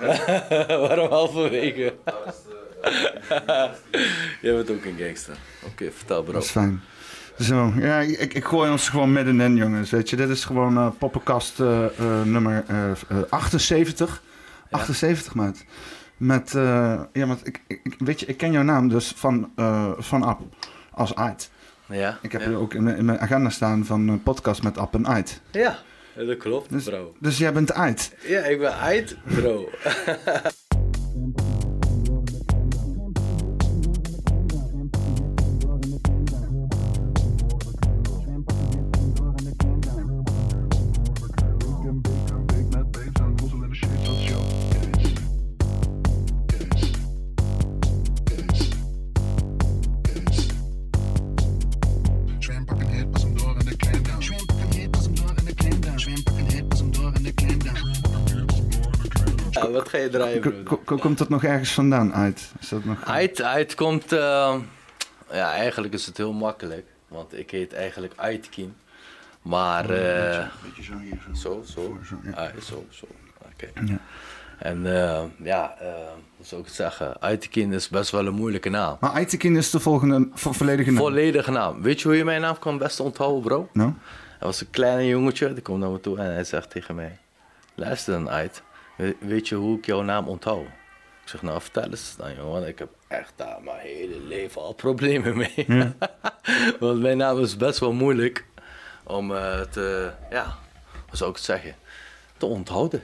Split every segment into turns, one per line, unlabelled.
Waarom halverwege?
Dat is eh, de...
Jij bent ook een gangster. Oké, vertel bro.
Dat is fijn. Zo, ja, ik, ik gooi ons gewoon middenin, jongens. Weet je, dit is gewoon eh, poppenkast eh, eh, nummer eh, eh, 78. 78, maat. Met, eh, ja, want ik, ik, ik- weet je, ik ken jouw naam dus van, eh van App als Ait.
Ja?
Ik heb
ja.
hier ook in, mijn- in mijn agenda staan van een podcast met App en Ait.
Ja, dat klopt
Dus,
bro.
dus jij bent Ait.
Ja, ik ben uit bro. Ja, wat ga je draaien
Ko-
bro?
ko- ko- komt dat nog ergens vandaan, Ait? Is dat nog...
Uit, uit komt... ehm, ja, eigenlijk is het heel makkelijk. Want ik heet eigenlijk Aitkin. Maar... eh,
Beetje zo hier, zo.
Zo, zo.
Zo, ja.
Ah, zo, zo. Oké.
Ja.
En eh, ja, eh, hoe zou ik het zeggen? Aitkin is best wel een moeilijke naam.
Maar Aitekin is de volgende, vo- volledige naam.
Volledige naam. Weet je hoe je mijn naam kan best onthouden, bro?
Nou?
Hij was een klein jongetje, die komt naar me toe en hij zegt tegen mij... Luister dan, Ait. We- Weet je hoe ik jouw naam onthoud? Ik zeg, nou vertel eens dan, jongen. want Ik heb echt daar mijn hele leven al problemen mee. Want mijn naam is best wel moeilijk om eh, te... Ja, hoe zou ik het zeggen? Te onthouden.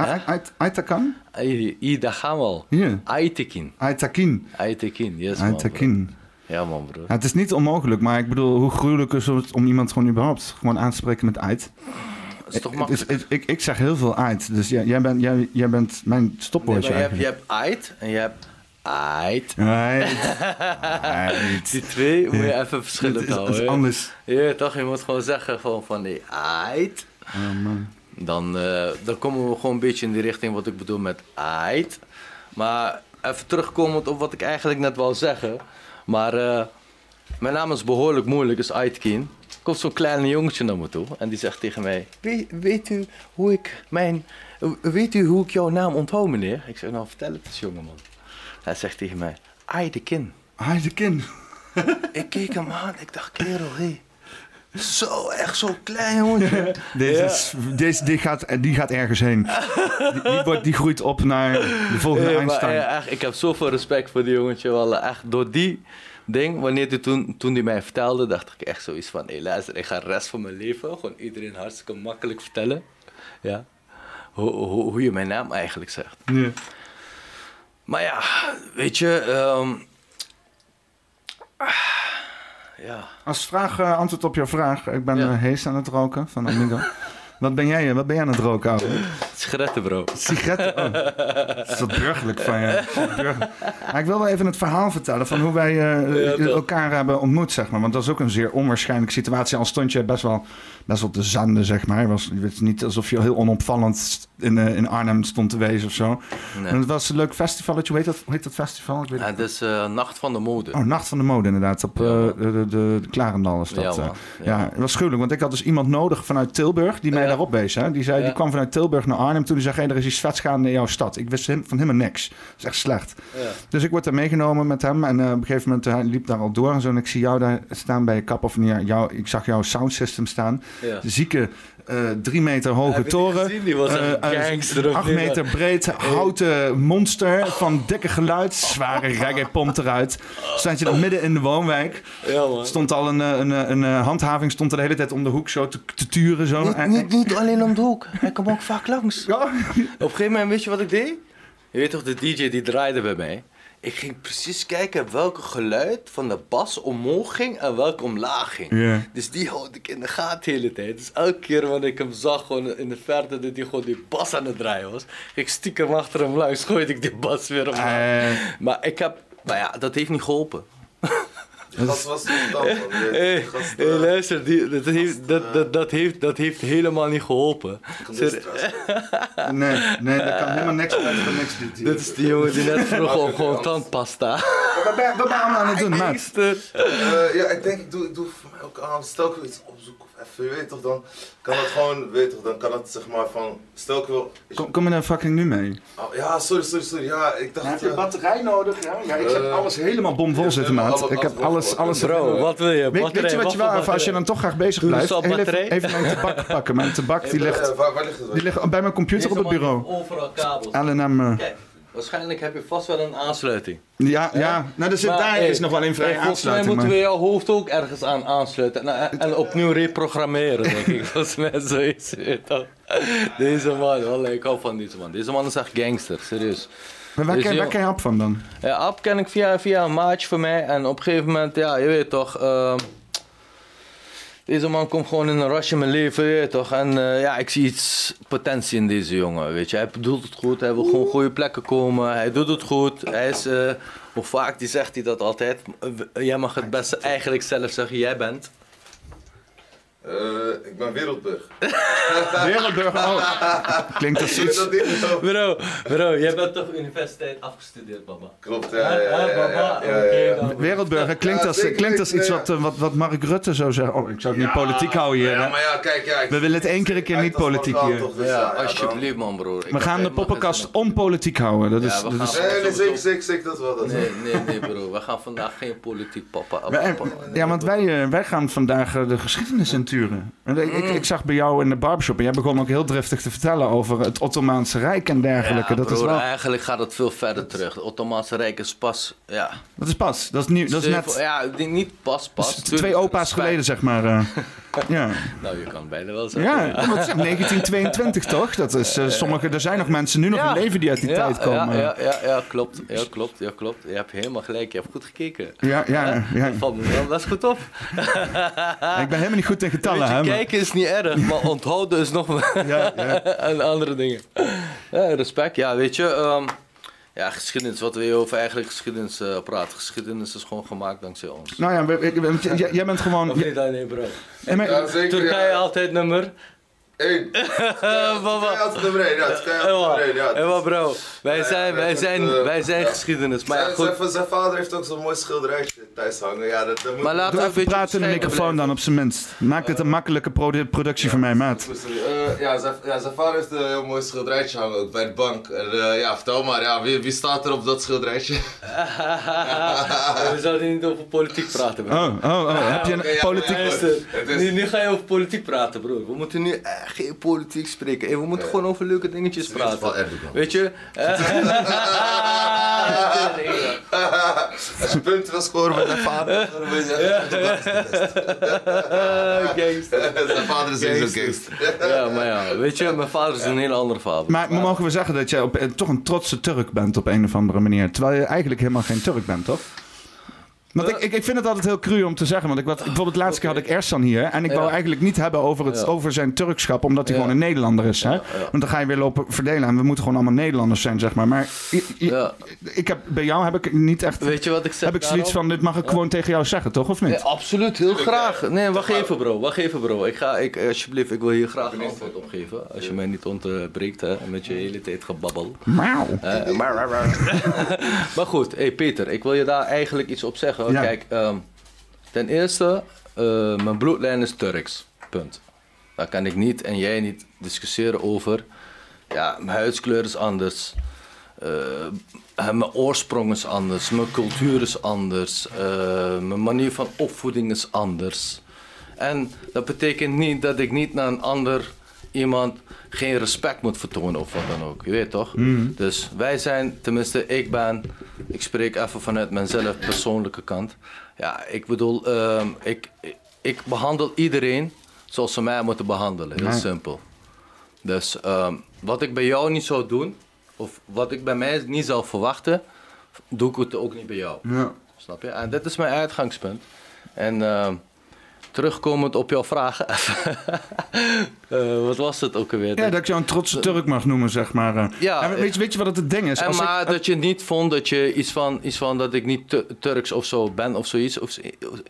A- Ait- Aitakan?
Ai- Ida Gamal.
Ja.
Aitekin.
Aitakin.
Aitekin, yes man.
Aitakin.
bro. Ja man, bro.
Ja, het is niet onmogelijk, maar ik bedoel, hoe gruwelijk is het om iemand gewoon überhaupt gewoon aan te spreken met uit?
Dat is toch
Het is-
makkelijk.
het- ik, ik zeg heel veel uit, dus jij, jij, bent, jij, jij bent mijn
Nee,
stopwoordje
maar je hebt, je
eigenlijk.
hebt Ait en je hebt Ait.
Uit.
Die twee moet je even
Het
verschillend
is- het is
houden.
anders.
Ja, toch? Je moet gewoon zeggen van, van die ait.
Oh, man.
Dan, eh, dan komen we gewoon een beetje in die richting wat ik bedoel met ait. Maar even terugkomend op wat ik eigenlijk net wou zeggen. Maar eh, mijn naam is behoorlijk moeilijk, is Aitkin. Komt zo'n klein jongetje naar me toe en die zegt tegen mij: "We- Weet u hoe ik mijn. Weet u hoe ik jouw naam onthoud, meneer? Ik zeg: Nou, vertel het eens, jongeman. Hij zegt tegen mij: Aitkin.
Ah, Aitakin.
Ik keek hem aan, ik dacht, kerel, hé. Zo, echt zo klein jongetje.
Deze, is- deze die, gaat, die gaat ergens heen. Die, die, wordt, die groeit op naar de volgende
Ja, maar,
Einstein.
eh, echt, ik heb zoveel respect voor die jongetje. Wel, eh, echt, door die ding, wanneer die toen, toen die mij vertelde, dacht ik echt zoiets van: hé, luister, ik ga de rest van mijn leven gewoon iedereen hartstikke makkelijk vertellen. Ja. Hoe, hoe, hoe je mijn naam eigenlijk zegt.
Ja.
Maar ja, weet je. ehm, ah, ja.
Als vraag, eh, antwoord op jouw vraag. Ik ben
Ja.
eh, Hees aan het roken van Amigo. wat ben jij? eh, Wat ben jij aan het roken, ouwe?
Schretten, bro.
Sigaretten. Oh. Dat is wat burgerlijk van je. Dat is wat burgerlijk. Maar ik wil wel even het verhaal vertellen van hoe wij eh,
Ja, dat-
elkaar hebben ontmoet, zeg maar. Want dat is ook een zeer onwaarschijnlijke situatie. Al stond je best wel best wel op de zanden, zeg maar. Je Was, het is niet alsof je heel onopvallend st- in, eh, in Arnhem stond te wezen of zo.
Nee.
En het was een leuk festivaletje. Hoe heet dat, hoe heet dat festival? Ik weet
Ja,
het
het is eh, Nacht van de Mode.
Oh, Nacht van de Mode inderdaad. Op
Ja,
eh,
man.
de, de, de Klarendal is dat.
Ja,
eh.
man.
ja,
Ja.
het was gruwelijk. Want ik had dus iemand nodig vanuit Tilburg die mij
Ja.
daarop wees. Hè. Die, zei,
Ja.
die kwam vanuit Tilburg naar Arnhem. Toen die zei, hey, er is iets vets gaande in jouw stad. Ik wist hem, van helemaal niks. Dat is echt slecht.
Ja.
Dus ik word daar meegenomen met hem. En eh, op een gegeven moment eh, hij liep daar al door. En, zo, en ik zie jou daar staan bij je kap. Of niet, jou, ik zag jouw soundsystem staan.
Ja.
Zieke eh, drie meter hoge
Heb je die
toren.
gezien? Die was
Eh,
echt
eh,
gangster, of
acht
niet?
meter breed houten monster van dikke geluid. Zware reggae pompt eruit. Stond je dan midden in de woonwijk.
Ja, man.
Stond al een, eh, een, eh, een, eh, handhaving stond er de hele tijd om de hoek zo te, te turen. Zo.
Niet,
En-
niet, niet alleen om de hoek. Hij kwam ook vaak langs.
Oh, Ja.
Op een gegeven moment, weet je wat ik deed? Je weet toch, de DJ die draaide bij mij. Ik ging precies kijken welke geluid van de bas omhoog ging en welke omlaag ging.
Ja.
Dus die houd ik in de gaten de hele tijd. Dus elke keer wanneer ik hem zag, gewoon in de verte, dat hij gewoon die bas aan het draaien was. ging Ik stiekem achter hem langs, gooide ik die bas weer omhoog.
Eh.
Maar ik heb, maar ja, dat heeft niet geholpen.
Dat was niet dan, man.
Hé,
Die gast, eh,
hey, luister, die, dat, heeft, dat, dat, dat, heeft, dat heeft helemaal niet geholpen. Ser-
geluidsstress.
Nee, nee, dat kan helemaal niks uit van niks. Dit,
Dit is die jongen die net vroeg om gewoon tandpasta.
Wat ben wat ben je allemaal aan het doen, maat?
Gangster.
Eh, Ja, ik denk, ik doe, ik doe voor mij ook aan. Stel ik wil iets opzoeken of even, je weet toch dan, kan dat gewoon, weet toch, dan kan dat zeg maar van, stel ik wil, is-
Kom, kom je daar fucking nu mee?
oh, ja sorry, sorry, sorry, ja, ik dacht, eh,
Heb
dat
je batterij nodig? Ja, ja ik heb
Eh,
alles helemaal bomvol zitten,
helemaal
maat.
alle-
Ik heb
alles
alles...
weggeworpen.
alles
Bro, wat wil je?
Weet,
Batterij,
weet je wat je wel
voor
even, als je dan toch graag bezig
Doe
blijft,
eens al
heel even,
batterij.
even een tabak pakken. Mijn tabak die ligt,
Ja, waar, waar ligt het?
die ligt bij mijn computer op het
Eh, Deze man
bureau.
heeft Overal kabels.
Alleen aan mijn...
Kijk, waarschijnlijk heb je vast wel een aansluiting.
Ja, ja. Nou, er zit,
Maar,
daar
hey,
is nog wel een
hey,
vrije
Volgens mij
aansluiting.
moeten we
maar-
jouw hoofd ook ergens aan aansluiten. Nou, En, en- en opnieuw reprogrammeren, denk ik. Volgens mij zoiets. weet je wel. Deze man, wallah, ik hou van deze man. Deze man is echt gangster, serieus.
Maar waar,
Dus
ken,
ja.
waar ken je hap van dan?
Ja, Ab ken ik via, via een maatje van mij. En op een gegeven moment, ja, je weet toch. eh, deze man komt gewoon in een rasje in mijn leven, je weet toch. En eh, ja, ik zie iets potentie in deze jongen, weet je. Hij doet het goed, hij wil gewoon goede plekken komen. Hij doet het goed. Hij is, eh, hoe vaak die zegt hij dat altijd. eh, Jij mag het beste eigenlijk zelf zeggen, jij bent.
Eh, ik ben Wereldburg.
Wereldburger. oh. Klinkt als
Zie je
iets.
dat niet? Zo.
Bro, bro, jij bent toch universiteit afgestudeerd, mama?
Klopt, ja, ja, ja, ja, ja, ja, ja, ja.
Wereldburger klinkt als,
zeker,
klinkt als
zeker,
iets
ja.
wat, eh, wat, wat Mark Rutte zou zeggen. Oh, ik zou het niet politiek houden hier.
Ja,
hè.
maar ja, kijk, ja. ik-
We willen het één keer een keer
Kijk,
niet
dat is
politiek
Marokkaan
hier.
toch, dus
Ja,
dan-
alsjeblieft, man, broer. Ik heb
We gaan de
helemaal geen zin
poppenkast
om-
onpolitiek houden. Dat
Ja, we
is, dat
gaan-
is,
Nee, nee, zeker, zeker, zeker, dat wel. Dat wel.
Nee, nee, nee, bro. We gaan vandaag geen politiek papa.
Wij- ja, want wij, eh, wij gaan vandaag eh, de geschiedenis inturen. En Ik, ik, ik zag bij jou in de barbershop en jij begon ook heel driftig te vertellen over het Ottomaanse Rijk en dergelijke.
Ja,
dat, is
broer,
wel,
Eigenlijk gaat het veel verder terug. Het Ottomaanse Rijk is pas. Ja,
dat is pas, dat is nieuw, dat is
zeven-
net
Ja, die- niet pas, pas.
s- twee
Tuurlijk,
opa's
respect.
geleden, zeg maar. eh. ja.
Nou, je kan het bijna wel zeggen.
Ja, wat zeg, 1922 toch? Dat is, eh, sommige, er zijn nog mensen nu nog
Ja.
in leven die uit die
Ja,
tijd eh. komen.
Ja, ja, ja, ja, klopt. Ja, klopt. Ja, klopt. Je hebt helemaal gelijk. Je hebt goed gekeken.
Ja, ja, ja.
Van, wel best goed op.
Ik ben helemaal niet goed in getallen,
Weet je,
hè? maar-
kijken is niet erg, maar onthouden is nog
Ja, ja.
en andere dingen. Ja, respect. Ja, weet je. ehm, ja, geschiedenis. Wat wil je over eigenlijk geschiedenis eh, praten? Geschiedenis is gewoon gemaakt dankzij ons.
Nou ja, we- ik- want j- jij bent gewoon.
Of
j-
niet? Ah, Nee, bro.
en maar-
Ja, zeker.
Turkije
ja.
altijd nummer.
Eén.
Eh,
Turkije
Baba.
altijd nummer één, ja. Turkije altijd
Ewa,
nummer één, ja.
Ewa, Eh, bro, wij zijn, wij
dat,
zijn,
eh,
wij zijn geschiedenis. Maar ja,
zijn,
goed.
zijn- zijn vader heeft ook zo'n mooi schilderijtje thuis hangen. Ja, dat, dat moet
Maar laten
Doe
we
even
een beetje
praten in de
bescheiden
microfoon dan, op zijn minst. Maak dit een makkelijke produ- productie voor mij, maat.
Eh, ja, zijn, ja, zijn vader heeft een heel mooi schilderijtje hangen ook bij de bank. En, eh, ja, vertel maar, ja, wie, wie staat er op dat schilderijtje?
blijven. We zouden niet over politiek praten, bro.
Oh, oh, oh. Heb je
oké,
een
ja,
politiek.
maar
Luister,
Het is-
nu, nu ga je over politiek praten, broer. We moeten nu eh, geen politiek spreken. Hey, we moeten gewoon over leuke dingetjes
in ieder geval
praten.
Erdogan.
Weet je? Eh,
Als je punten wil scoren met zijn vader, dan moet je zeggen, dat is de
Oh, Gangster.
beste. Zijn vader is een gangster.
Ja, maar ja. Weet je, mijn vader is een heel andere vader.
Maar mogen we zeggen dat jij op, eh, toch een trotse Turk bent op een of andere manier? Terwijl je eigenlijk helemaal geen Turk bent, toch? Want ik,
Eh.
ik, ik vind het altijd heel cru om te zeggen. Want ik, wat, bijvoorbeeld de laatste keer had ik Ersan hier. En ik wou
Ja.
eigenlijk niet hebben over, het,
Ja.
over zijn Turkschap. Omdat hij
Ja.
gewoon een Nederlander is. Hè?
Ja, ja.
Want dan ga je weer lopen verdelen. En we moeten gewoon allemaal Nederlanders zijn, zeg maar. Maar i- i-
Ja.
ik heb, bij jou heb ik niet echt...
Weet je wat ik zeg?
heb ik zoiets
daarop?
van, dit mag ik gewoon tegen jou zeggen, toch? Of niet?
Nee, absoluut, heel graag. Nee, wacht even bro, wacht even bro. Ik ga, ik, alsjeblieft, ik wil hier graag een antwoord op geven. Als je mij niet onderbreekt hè, met je hele tijd gebabbel.
Mauw.
Eh, maar, maar, maar. maar goed, hey Peter, ik wil je daar eigenlijk iets op zeggen.
Ja.
Kijk, ehm, ten eerste, eh, mijn bloedlijn is Turks. Punt. Daar kan ik niet en jij niet discussiëren over. Ja, mijn huidskleur is anders. Eh, eh, mijn oorsprong is anders. Mijn cultuur is anders. eh, mijn manier van opvoeding is anders. En dat betekent niet dat ik niet naar een ander iemand geen respect moet vertonen of wat dan ook. Je weet toch? Dus wij zijn, tenminste ik ben, ik spreek even vanuit mijnzelf persoonlijke kant. Ja, ik bedoel, ehm, ik, ik, ik behandel iedereen zoals ze mij moeten behandelen. Heel
Nee.
simpel. Dus ehm, wat ik bij jou niet zou doen, of wat ik bij mij niet zou verwachten, doe ik het ook niet bij jou.
Ja.
Snap je? En dit is mijn uitgangspunt. En ehm, terugkomend op jouw vraag. Eh, wat was het ook alweer?
Ja, dat ik jou een trotse Turk mag noemen, zeg maar. eh.
Ja,
En weet, je- weet je wat het het ding is?
en
Als ik-
maar dat je niet vond dat je iets van, iets van dat ik niet Tu- Turks of zo ben of zoiets. Of z-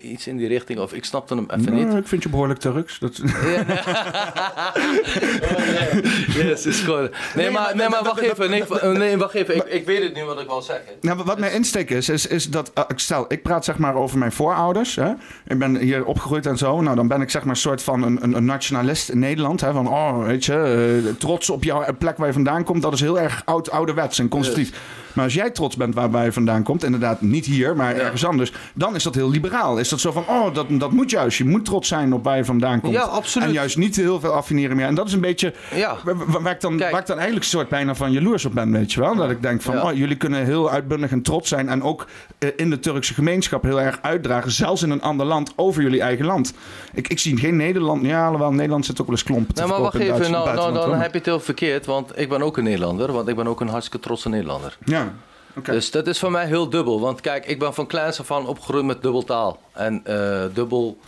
iets in die richting. Of ik snapte hem even
Nou,
niet.
Ik vind je behoorlijk Turks. Dat,
Yes, is gewoon. Nee, maar,
maar-
nee, maar
dat-
wacht
dat-
even. Nee, v- nee, wacht even. Ik, ik weet het nu wat ik wil zeggen.
Nou, wat
Dus-
mijn insteek is, is, is dat, eh, ik stel, ik praat zeg maar over mijn voorouders. Hè? Ik ben hier opgegroeid en zo. Nou, dan ben ik zeg maar een soort van een, een, een nationalist in Nederland. Hè? Van, oh, weet je, eh, trots op jouw plek waar je vandaan komt. Dat is heel erg oud, ouderwets en conservatief. Maar als jij trots bent waar, waar je vandaan komt, inderdaad niet hier, maar ergens anders. Dan is dat heel liberaal. Is dat zo van, oh, dat, dat moet juist. Je moet trots zijn op waar je vandaan komt.
Ja, absoluut.
En juist niet heel veel affineren meer. En dat is een beetje
Ja.
Waar, waar- waar ik dan,
Kijk.
waar ik dan eigenlijk een soort bijna van jaloers op ben, weet je wel. Dat ik denk van,
Ja.
oh, jullie kunnen heel uitbundig en trots zijn. En ook eh, in de Turkse gemeenschap heel erg uitdragen. Zelfs in een ander land, over jullie eigen land. Ik, ik zie geen Nederland. Ja, alhoewel, Nederland zit ook wel eens klompen te
Nee, maar wacht
verkopen in
even.
Duitsland,
Nou, nou, dan
buitenland
heb je het heel verkeerd. Want ik ben ook een Nederlander. Want ik ben ook een hartstikke trotse Nederlander.
wel. Ja, oké.
Dus dat is voor mij heel dubbel. Want kijk, ik ben van kleins af aan opgegroeid met dubbeltaal. En eh, dubbel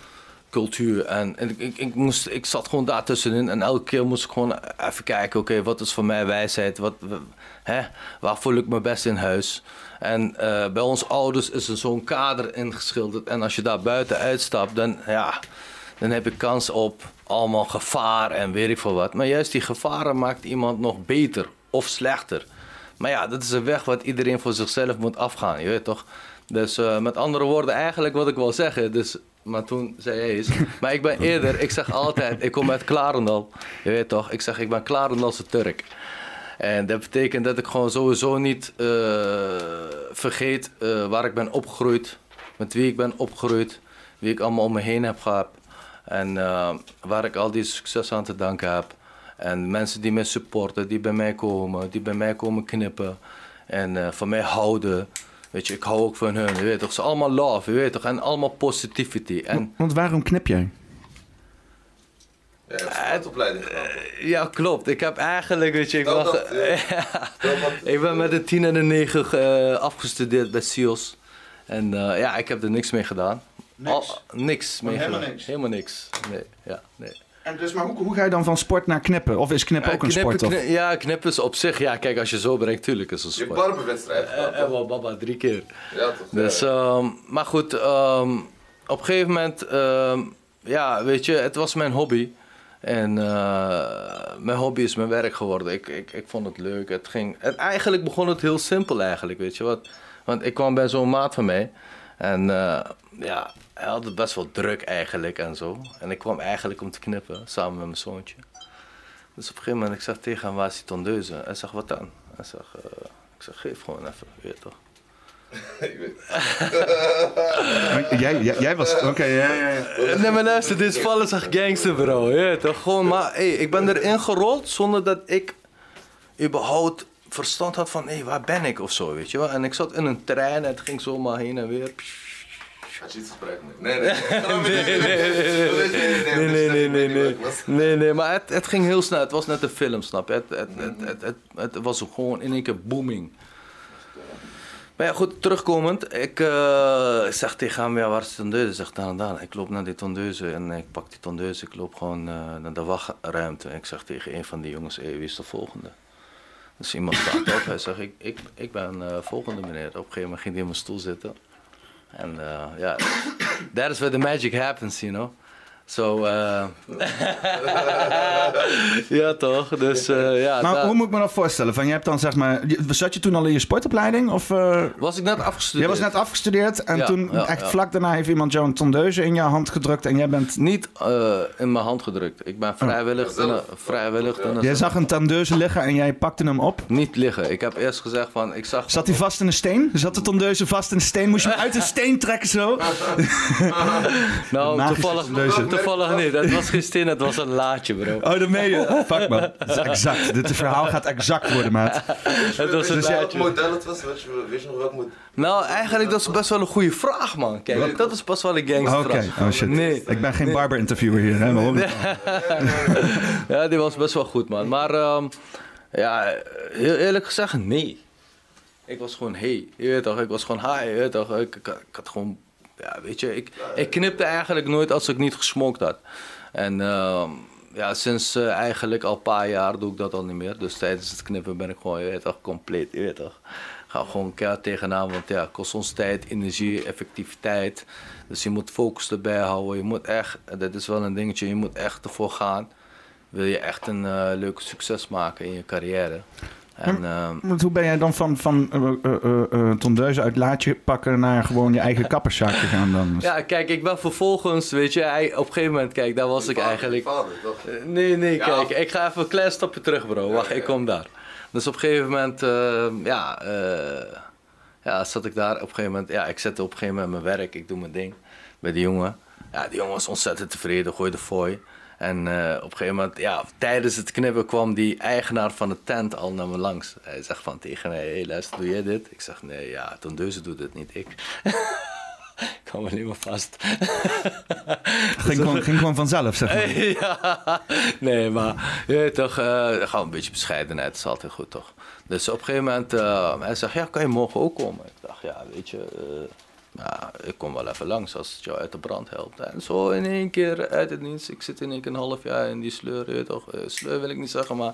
cultuur. En, en ik, ik, ik, moest, ik zat gewoon daartussenin. En elke keer moest ik gewoon even kijken... oké, wat is voor mij wijsheid? Wat, hè, waar voel ik me best in huis? En eh, bij ons ouders is er zo'n kader ingeschilderd. En als je daar buiten uitstapt, dan, ja, dan heb je kans op allemaal gevaar en weet ik veel wat. Maar juist die gevaren maakt iemand nog beter of slechter. Maar ja, dat is een weg wat iedereen voor zichzelf moet afgaan, je weet toch? Dus eh, met andere woorden, eigenlijk wat ik wil zeggen. Dus, maar toen zei hij eens. Maar ik ben eerder, ik zeg altijd, ik kom uit Klarendal. Je weet toch? Ik zeg, ik ben Klarendalse Turk. En dat betekent dat ik gewoon sowieso niet eh, vergeet eh, waar ik ben opgegroeid. Met wie ik ben opgegroeid. Wie ik allemaal om me heen heb gehad. En eh, waar ik al die succes aan te danken heb. En mensen die mij supporten, die bij mij komen, die bij mij komen knippen. En eh, van mij houden. Weet je, ik hou ook van hun. Je weet toch, ze allemaal love, je weet toch. En allemaal positivity. En
Want waarom knip jij?
Ja, je hebt sportopleiding gedaan.
eh, ja, klopt. Ik heb eigenlijk, weet je, ik
Dat-
was...
dat, ja. Dat wat-
Ik ben met de 10 en de 9 eh, afgestudeerd bij SIOS. En eh, ja, ik heb er niks mee gedaan.
Niks? Oh,
niks mee
helemaal
gedaan.
niks?
Helemaal niks. Nee, ja, nee.
En dus, maar hoe, hoe ga je dan van sport naar knippen? Of is knippen
Ja,
ook een
knippen-
sport? Of?
kni- ja, knippen is op zich. Ja, kijk, als je zo brengt, tuurlijk is het
Je
een
hebt
sport.
barbenwedstrijd gedaan.
En wel baba drie keer.
Ja, toch?
Dus,
Ja.
ehm, maar goed, ehm, op een gegeven moment, ehm, ja, weet je, het was mijn hobby. En eh, mijn hobby is mijn werk geworden. Ik, ik, ik vond het leuk. Het ging, het, eigenlijk begon het heel simpel eigenlijk, weet je. Want, want ik kwam bij zo'n maat van mij. En eh, ja, hij had het best wel druk eigenlijk en zo. En ik kwam eigenlijk om te knippen, samen met mijn zoontje. Dus op een gegeven moment, ik zeg tegen hem, waar is die tondeuze? Hij zegt, wat dan? Hij zegt, eh, ik zeg, geef gewoon even, weet je toch.
Ik weet-
Maar Jij, jij, jij
Eh,
was... Oké, ja, ja, ja.
Nee, maar luister, dit is vallen als gangster, bro. Ja, toch? Gewoon, maar hey, ik ben erin gerold zonder dat ik überhaupt verstand had van, hé, waar ben ik of zo, weet je wel. En ik zat in een trein en het ging zomaar heen en weer.
Had je iets gebruikt? Nee, nee. Nee,
Nee, nee, nee, nee, nee, nee, nee, nee, nee, nee, maar het, het ging heel snel. Het was net een film, snap je? Het, het, het, het, het, het was gewoon in één keer booming. Maar ja, goed, terugkomend. Ik eh, ik zeg tegen hem, ja, waar is de tondeuze? Zegt daar en daar. Ik loop naar die tondeuze en ik pak die tondeuze. Ik loop gewoon eh, naar de wachtruimte. En ik zeg tegen een van die jongens, hey, wie is de volgende? Dus iemand staat op. Hij zegt, ik, ik, ik ben eh, volgende meneer. Op een gegeven moment ging hij in mijn stoel zitten. En eh, ja, that is where the magic happens, you know. So, eh, ja toch, dus eh, ja.
Maar
daar-
hoe moet ik me dat voorstellen? Van, je hebt dan zeg maar... je- Zat je toen al in je sportopleiding? Of... eh,
Was ik net afgestudeerd?
Jij was net afgestudeerd en
Eh, Ja,
toen
ja,
echt
ja.
vlak daarna heeft iemand jou een tondeuze in jouw hand gedrukt en jij bent...
Niet eh, in mijn hand gedrukt. Ik ben vrijwillig.
Ja,
in
zelf.
een- vrijwillig in een-
Jij zag een tondeuze liggen en jij pakte hem op.
Niet liggen. Ik heb eerst gezegd van, ik zag...
Zat hij vast in een steen? Zat de tondeuze vast in een steen? Moest je hem uit een steen trekken zo?
nou,
magische
toevallig,
tondeuze.
toevallig niet. Het was geen steen, het was een laadje, bro.
Oh, dat meen je. Fuck man. Dat is exact. Dit verhaal gaat exact worden, maat.
Het was een
Weet je welk
laadje.
model het was? Weet je, weet je nog welk model?
Nou, eigenlijk dat is best wel een goede vraag, man. Kijk, dat is pas wel een
Oké.
gangster.
Oh shit.
Nee.
Ik ben geen barber-interviewer hier. Hè? Waarom?
Ja, die was best wel goed, man. Maar ehm, ja, heel eerlijk gezegd, nee. Ik was gewoon hey, je weet toch, ik was gewoon hi, je weet toch. Ik, ik, ik had gewoon, ja, weet je, ik, ik knipte eigenlijk nooit als ik niet gesmokt had. En ehm, ja, sinds eh, eigenlijk al een paar jaar doe ik dat al niet meer. Dus tijdens het knippen ben ik gewoon, je weet toch, compleet, je weet toch. Ga gewoon keihard tegenaan, want ja, kost ons tijd, energie, effectiviteit. Dus je moet focus erbij houden. Je moet echt, en dat is wel een dingetje, je moet echt ervoor gaan. Wil je echt een eh, leuk succes maken in je carrière. En, ehm,
Want hoe ben jij dan van, van eh, eh, eh, eh, tondeuzen uit laadje pakken naar gewoon je eigen kapperszaak gegaan dan?
ja, kijk, ik ben vervolgens, weet je, hij- op een gegeven moment, kijk, daar was ik
Vader,
eigenlijk.
Vader, toch?
Eh, Nee, nee,
Ja,
kijk,
of-
ik ga even een klein stapje terug, bro. Wacht,
ja,
ik
ja.
kom daar. Dus op een gegeven moment, eh, ja, eh, ja, zat ik daar. Op een gegeven moment, ja, ik zette op een gegeven moment mijn werk, ik doe mijn ding bij die jongen. Ja, die jongen was ontzettend tevreden, gooide fooi. En eh, op een gegeven moment, ja, tijdens het knippen kwam die eigenaar van de tent al naar me langs. Hij zegt van tegen mij, hé, hey, luister, doe jij dit? Ik zeg, nee, ja, Tondeuze doet het niet, ik. ik hou me niet meer vast.
Ging, gewoon, ging gewoon vanzelf, zeg maar.
ja, nee, maar je weet toch, eh, gewoon een beetje bescheidenheid is altijd goed, toch? Dus op een gegeven moment, eh, hij zegt, ja, kan je morgen ook komen? Ik dacht, ja, weet je, eh, ja, ik kom wel even langs als het jou uit de brand helpt. En zo in één keer uit het niets, ik zit in één keer een half jaar in die sleur, je weet toch, eh, sleur wil ik niet zeggen, maar...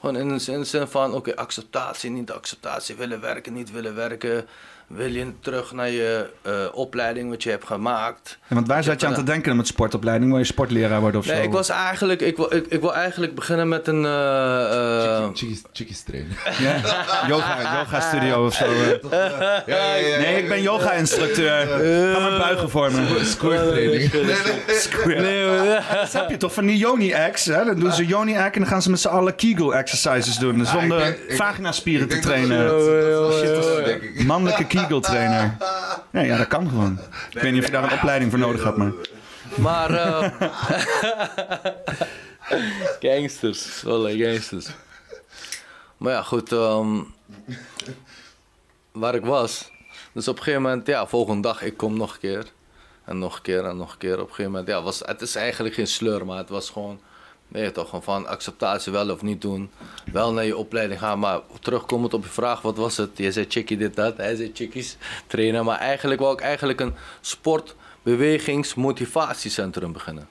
Gewoon in de zin in de zin van, oké, acceptatie, niet acceptatie, willen werken, niet willen werken. Wil je terug naar je eh, opleiding wat je hebt gemaakt?
Ja, Want waar zat je aan te denken met sportopleiding? Wil je sportleraar worden of zo?
Nee, ik was eigenlijk, ik wil, ik, ik wil eigenlijk beginnen met een. eh, eh,
Chickies, chickies trainen.
Ja? Yoga, yoga studio of zo. eh.
Ja, ja, ja, ja.
Nee, ik ben yoga instructeur. Ga maar buigen voor me.
Squirt training.
nee, hoor.
Dat heb je toch van die yoni acts hè? Dan doen ze yoni act en dan gaan ze met z'n allen Kegel exercises doen. Zonder
ik denk- ik-
vaginaspieren
Ik
te
denk dat
trainen.
Oh,
dat- dat- dat- dat- dat- denk ik.
Mannelijke Kegel trainer. Ja, ja, dat kan gewoon. Ik weet niet of je daar een opleiding voor nodig had, maar...
maar. eh, gangsters, alle gangsters. Maar ja, goed. ehm, waar ik was. Dus op een gegeven moment, ja, volgende dag, ik kom nog een keer. En nog een keer en nog een keer. Op een gegeven moment, ja, was, het is eigenlijk geen sleur, maar het was gewoon. Nee, toch, gewoon van acceptatie wel of niet doen. Wel naar je opleiding gaan, maar terugkomend op je vraag, wat was het? Je zei chickie dit, dat. Hij zei chickies trainen. Maar eigenlijk wou ik eigenlijk een sportbewegingsmotivatiecentrum beginnen.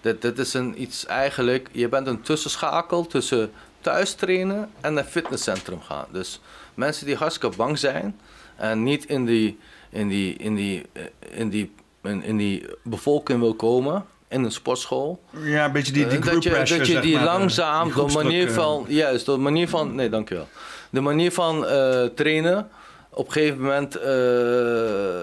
Dit, dit is een iets eigenlijk, je bent een tussenschakel tussen thuis trainen en naar fitnesscentrum gaan. Dus mensen die hartstikke bang zijn en niet in die, in die, in die, eh, in die, in, in die bevolking wil komen, in een sportschool.
Ja, een beetje die, die
Eh,
group
dat je,
pressure,
dat je
zeg
die
maar, de-
langzaam,
die
de manier
groepsdruk, eh.
van, juist, de manier van, nee dankjewel, de manier van eh, trainen, op een gegeven moment eh,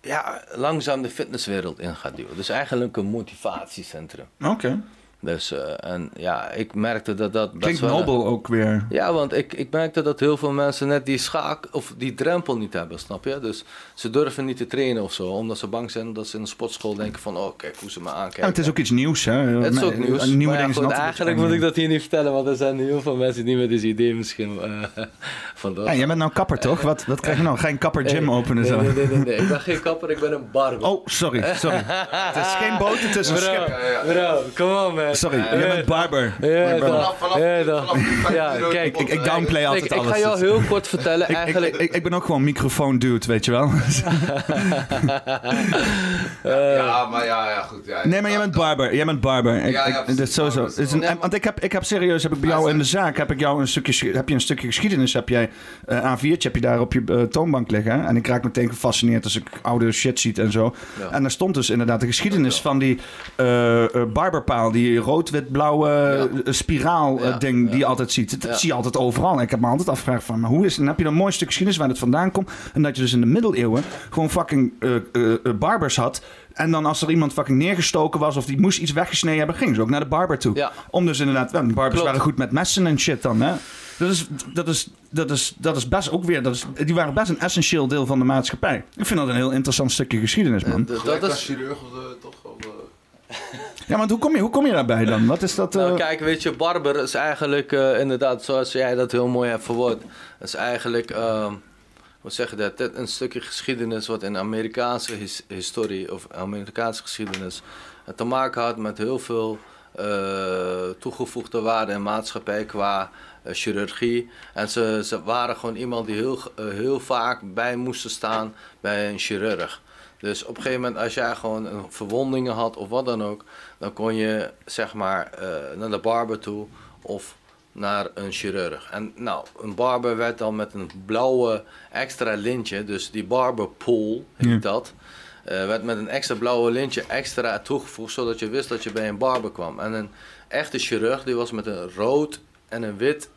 ja, langzaam de fitnesswereld in gaat duwen. Dus eigenlijk een motivatiecentrum.
eh. Oké.
Dus eh, en ja, ik merkte dat dat best
Klinkt
wel...
nobel ook weer.
Ja, want ik, ik merkte dat heel veel mensen net die schaak of die drempel niet hebben, snap je? Dus ze durven niet te trainen of zo, omdat ze bang zijn dat ze in de sportschool denken van, oh kijk hoe ze me aankijken.
Ja, het is ook iets nieuws, hè?
Het is
Me-
ook nieuws.
Nieuwe
Maar ja,
dingen zijn
goed,
altijd
eigenlijk
eng.
moet ik dat hier niet vertellen, want er zijn heel veel mensen die met dit idee misschien eh vandoor.
Ja, jij bent nou kapper, toch? Wat, wat krijg je nou? Ga je een kapper gym
Nee,
openen?
nee,
zo?
Nee, nee, nee, nee. Ik ben geen kapper, ik ben een barber.
Oh, sorry, sorry. het is geen boot, het is een
bro,
schip.
bro, come on man.
Sorry,
Ja,
jij
ja.
bent barber.
Ja,
Vanaf-
toch.
vanaf-
ja,
vanaf
toch.
die vijf
Ja,
euro
kijk,
Ik, ik downplay altijd
ik, ik
alles.
ga jou
dus-
heel kort vertellen,
Ik- ik,
eigenlijk...
ik, ik ben ook gewoon microfoon dude, weet je wel.
Ja, maar ja, ja, goed. Ja,
Nee, maar jij bent barber. Jij bent barber. Ik,
Ja, ja,
ik-
precies.
dit is sowieso.
Barber is
Dit is een-
wel-
want ik heb, ik heb serieus, heb ik bij jou in de zaak, heb ik jou een stukje, sch- heb je een stukje geschiedenis, heb jij eh, A4'tje, heb je daar op je eh, toonbank liggen. En ik raak meteen gefascineerd als ik oude shit ziet en zo.
Ja.
En daar stond dus inderdaad de geschiedenis van die eh, eh, barberpaal, die rood-wit-blauwe eh, spiraal eh,
Ja,
ding die
ja.
je altijd ziet. Dat
Ja.
zie je altijd overal. En ik heb me altijd afgevraagd van, maar hoe is het? Dan heb je dan een mooi stuk geschiedenis waar het vandaan komt. En dat je dus in de middeleeuwen gewoon fucking eh, eh, eh, barbers had. En dan als er iemand fucking neergestoken was of die moest iets weggesneden hebben, gingen ze ook naar de barber toe.
Ja.
Om dus inderdaad, wel, die barbers
Klopt.
waren goed met messen en shit dan, hè. Dat is, dat, is, dat, is, dat is best ook weer, dat is, die waren best een essentieel deel van de maatschappij. Ik vind dat een heel interessant stukje geschiedenis, man.
eh,
Dat
dat
is
is...
chirurg of eh, toch? Of, eh,
Ja, want hoe kom je, hoe kom je daarbij dan? Wat is dat? eh,
Nou, kijk, weet je, barber is eigenlijk eh, inderdaad, zoals jij dat heel mooi hebt verwoord, is eigenlijk, ehm, hoe zeg je dat, dit een stukje geschiedenis wat in Amerikaanse his- historie of Amerikaanse geschiedenis eh, te maken had met heel veel eh, toegevoegde waarde in maatschappij qua eh, chirurgie. En ze, ze waren gewoon iemand die heel, eh, heel vaak bij moesten staan bij een chirurg. Dus op een gegeven moment, als jij gewoon een verwondingen had of wat dan ook, dan kon je zeg maar eh, naar de barber toe of naar een chirurg. En nou, een barber werd dan met een blauwe extra lintje, dus die barberpool heet
Ja.
dat, eh, werd met een extra blauwe lintje extra toegevoegd, zodat je wist dat je bij een barber kwam. En een echte chirurg, die was met een rood en een wit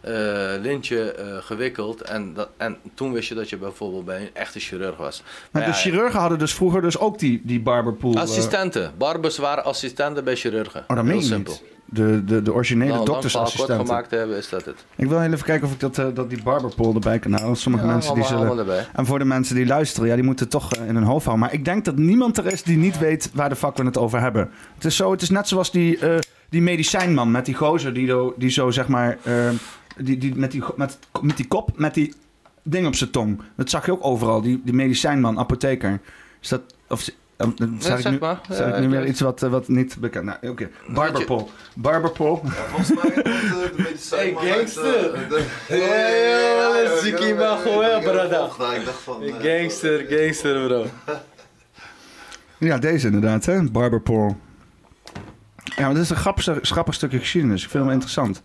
eh, lintje eh, gewikkeld. En, dat, en toen wist je dat je bijvoorbeeld bij een echte chirurg was.
Maar
ja,
de chirurgen hadden dus vroeger dus ook die, die barberpool. eh,
Assistenten. Barbers waren assistenten bij chirurgen.
oh, dat meen
Heel
je
simpel.
niet. De, de, de originele
Nou, lang verhaal kort
doktersassistenten.
gemaakt hebben, is dat het.
Ik wil heel even kijken of ik dat, eh, dat die barberpool erbij kan halen. Sommige
Ja,
mensen die
allemaal-
zullen...
allemaal erbij.
En voor de mensen die luisteren, ja, die moeten het toch eh, in hun hoofd houden. Maar ik denk dat niemand er is die niet weet waar de fuck we het over hebben. Het is, zo, het is net zoals die, eh, die medicijnman met die gozer die, do- die zo zeg maar... eh, die, die, met, die, go- met, met die kop, met die ding op zijn tong. Dat zag je ook overal, die, die medicijnman, apotheker. Is dat... Of, eh, dan zeg
Ja,
ik
zeg
nu,
maar.
zeg
Ja,
ik nu
ik
weer
weet.
iets wat, eh, wat niet bekend... Nou, oké. Barberpol. Barberpol.
Ja, volgens mij komt eh, de
Hey,
medicijn... maar uit, eh,
gangster.
de-
Hey, hey, Ziki
ik heb-
Mago, hè,
ik heb
brada.
hem opgedaan, Ik dacht van... eh,
gangster bro.
Ja, deze inderdaad, hè? Barberpol. Ja, maar dit is een grappig, grappig stukje geschiedenis. Ik vind hem interessant.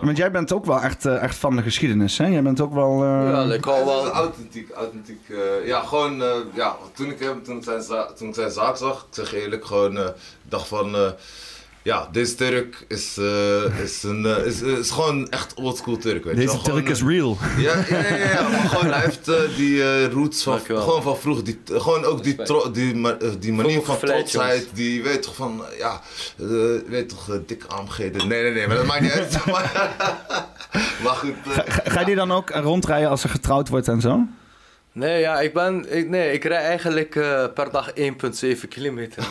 Want jij bent ook wel echt, eh, echt van de geschiedenis, hè? Jij bent ook wel... eh,
Ja, ik hou
Het is
wel.
authentiek, authentiek. eh, ja, gewoon, eh, ja, toen ik hem, toen ik zijn, za- toen ik zijn zaak zag, ik zeg je eerlijk, gewoon, eh, ik dacht van, eh, ja, deze Turk is, eh, is, een, eh, is, is gewoon echt oldschool Turk, weet je wel.
Deze
Gewoon, eh,
Turk is real.
Ja, ja, ja, ja, maar gewoon, hij heeft eh, die eh, roots van,
Dankjewel.
gewoon van vroeg. Die, eh, gewoon ook die,
Respect.
tro- die, ma- eh, die manier
Vroeg
van
gevleid,
trotsheid. Die weet toch van, eh, ja, eh, weet toch, eh, dikke armgeden. Nee, nee, nee, maar dat maakt niet uit. maar, maar goed. eh,
Ga, ga je die dan ook rondrijden als ze getrouwd wordt en zo?
Nee, ja, ik ben. Ik, nee, ik rij eigenlijk eh, per dag 1,7 kilometer.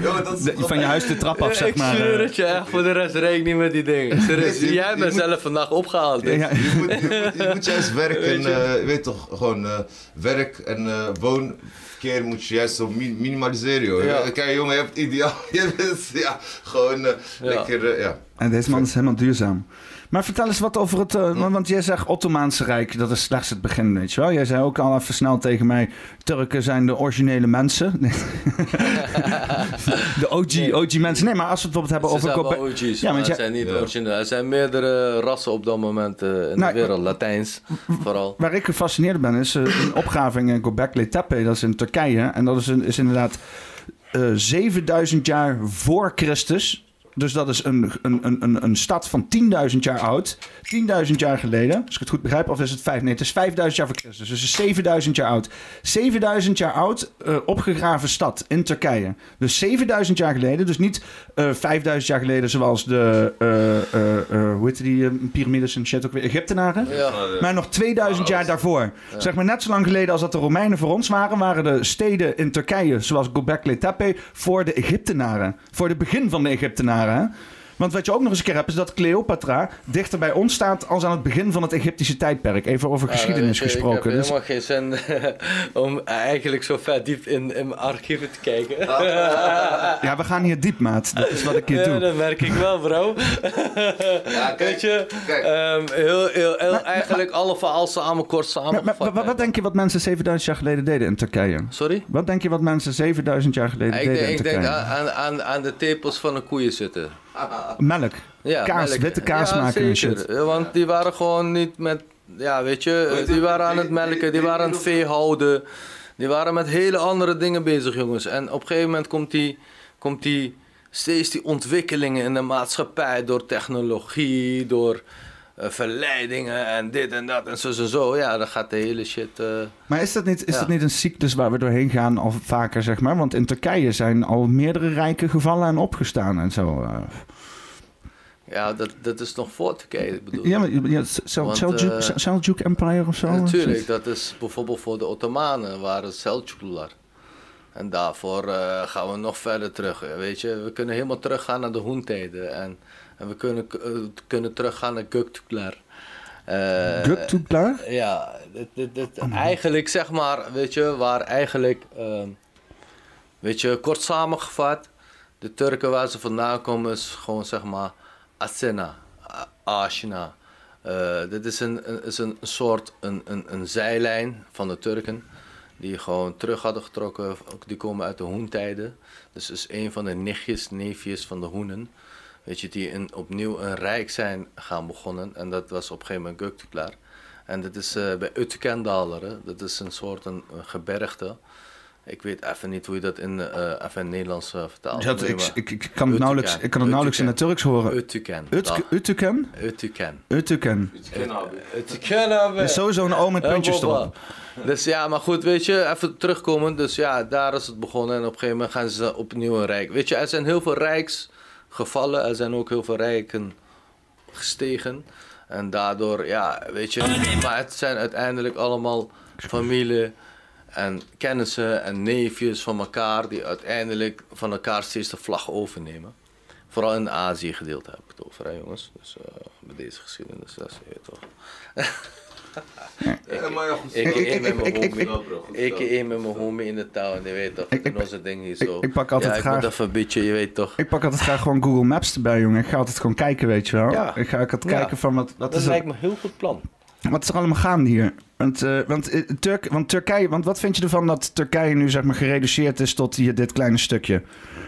joh, dat is
De-
toch-
van je huis de trap af, zeg
ik
maar.
zweer
eh.
het je echt, voor de rest rijd ik niet met die dingen. Serieus,
Je- je-
jij
je
bent
moet-
zelf vandaag opgehaald. hè?
Ja,
Je moet, je, moet, je moet juist werken,
Weet
weet,
je?
weet toch, gewoon eh, werk en eh woonverkeer moet je juist zo mi- minimaliseren, joh. Eh,
Ja.
Kijk, jongen, je hebt het ideaal. Je bent, ja, gewoon eh,
Ja.
lekker, eh, ja.
En deze man is helemaal duurzaam. Maar vertel eens wat over het... eh,
Hm?
want- want jij zegt Ottomaanse Rijk, dat is slechts het begin, weet je wel? Jij zei ook al even snel tegen mij... Turken zijn de originele mensen. Nee. de OG,
Nee.
OG mensen. Nee, maar als we het bijvoorbeeld hebben
Ze
over...
zijn
Kopen-
wel OG's, maar
Ja, want
het
jij-
zijn niet
Ja.
origineel. Er zijn meerdere rassen op dat moment eh, in
Nou,
de wereld. Latijns vooral.
Waar ik gefascineerd ben is eh, een opgraving in Göbekli Tepe, dat is in Turkije. En dat is, een- is inderdaad eh, 7000 jaar voor Christus. Dus dat is een, een, een, een, een stad van 10.000 jaar oud. 10.000 jaar geleden, als ik het goed begrijp, of is het 5? Nee, het is 5000 jaar voor Christus. Dus het is 7000 jaar oud. 7000 jaar oud, eh, opgegraven stad in Turkije. Dus 7000 jaar geleden, dus niet eh, 5000 jaar geleden zoals de, eh, eh, eh, hoe heette die eh, piramides en shit ook weer, Egyptenaren.
Ja.
eh,
Maar nog 2000 jaar daarvoor. Zeg maar net zo lang geleden als dat de Romeinen voor ons waren, waren de steden in Turkije, zoals Göbekli Tepe, voor de Egyptenaren. Voor het begin van de Egyptenaren. hè. Want wat je ook nog eens een keer hebt, is dat Cleopatra dichter bij ons staat als aan het begin van het Egyptische tijdperk. Even over geschiedenis
Ja, weet je,
gesproken.
Eh, Ik heb
Dus-
helemaal geen zin om eigenlijk zo ver diep in, in mijn archieven te kijken.
ja, we gaan hier diep, maat. Dat is wat ik hier
Ja,
doe.
dat merk ik wel, bro.
Ja, kijk,
Weet je,
kijk.
ehm, heel, heel, heel, eigenlijk alle verhaal samen kort
Maar, maar,
samengevat.
wat- wat denk je wat mensen 7000 jaar geleden deden in Turkije?
Sorry?
Wat denk je wat mensen 7000 jaar geleden
Ik
deden
denk,
in
ik
Turkije?
denk aan, aan- aan, aan de tepels van de koeien zitten.
Melk.
Ja,
Kaas,
melk.
witte kaas
Ja,
maken en
zeker.
shit.
Ja, Want die waren gewoon niet met... Ja, weet
Weet
je,
je,
die waren aan
die-
het melken, die
die-
waren aan het
die-
vee houden. Die waren met hele andere dingen bezig, jongens. En op een gegeven moment komt die... Komt die steeds die ontwikkelingen in de maatschappij... door technologie, door eh, verleidingen en dit en dat en zo en zo. Ja, dan gaat de hele shit... eh,
Maar is dat niet, is
Ja.
dat niet een ziektes waar we doorheen gaan al vaker, zeg maar? Want in Turkije zijn al meerdere rijken gevallen en opgestaan en zo. eh.
ja, dat, dat is nog voor te kijken, ik bedoel.
Ja, maar ja, Sel-
Want,
Seljuk,
eh,
Sel- Seljuk Empire of zo?
Ja, Natuurlijk, dat is bijvoorbeeld voor de Ottomanen waren Selçuklular. En daarvoor eh, gaan we nog verder terug. eh, Weet je, we kunnen helemaal teruggaan naar de Hoentijden. En, en we kunnen, eh, kunnen teruggaan naar Göktürkler. Eh,
Göktürk daar?
Ja, dit, dit, dit- eigenlijk zeg maar, weet je, waar eigenlijk, ehm, weet je, kort samengevat, de Turken waar ze vandaan komen is gewoon zeg maar Asena, A- Ashina. Eh, dit is een, een- is een soort een, een, een zijlijn van de Turken die gewoon terug hadden getrokken. Ook Die komen uit de hoentijden. Dus is een van de nichtjes, neefjes van de hoenen. Weet je, die een, opnieuw een rijk zijn gaan begonnen. En dat was op een gegeven moment Göktürkler. En dat is eh, bij Utkendaleren. Dat is een soort een, een gebergte. Ik weet even niet hoe je dat in, eh even in Nederlands eh, vertaalt.
Dat,
Moet je
ik,
maar-
ik, ik kan het nauwelijks, ik kan het nauwelijks in het Turks horen.
Ötüken.
Utk- Utuken?
Ötüken.
Utuken.
Eh, Ötüken abi.
Er is sowieso een oom met
Hè,
puntjes
Bobba?
erop.
Dus ja, maar goed, weet je, even terugkomen. Dus ja, daar is het begonnen. En op een gegeven moment gaan ze opnieuw een rijk. Weet je, er zijn heel veel rijksgevallen. Er zijn ook heel veel rijken gestegen. En daardoor, ja, weet je. Maar het zijn uiteindelijk allemaal familie en kennissen en neefjes van elkaar. die uiteindelijk van elkaar steeds de vlag overnemen. Vooral in Azië gedeelte heb ik het over, hè, jongens. Dus eh bij deze geschiedenis, dat is je weet toch.
Ja, eh, maar ja, goed.
Ik, ik,
Ik-
ik,
ik-
met mijn
ik- ik-
homie.
ik-
wel, bro, goed
Ik
gedaan.
één met mijn homie in de town, je weet toch.
Ik- ik-
En onze ding hier
ik-
zo.
ik pak altijd
ja, ik
graag-
moet even een beetje, je weet toch.
Ik pak altijd graag gewoon Google Maps erbij, jongen. Ik ga altijd gewoon kijken, weet je wel.
Ja.
Ik ga altijd
Ja.
kijken van wat, wat,
Dat
is er,
lijkt me een heel goed plan.
wat is er allemaal gaande hier. Want, eh, want, eh, Turk, want Turkije, want wat vind je ervan dat Turkije nu zeg maar gereduceerd is tot hier dit kleine stukje?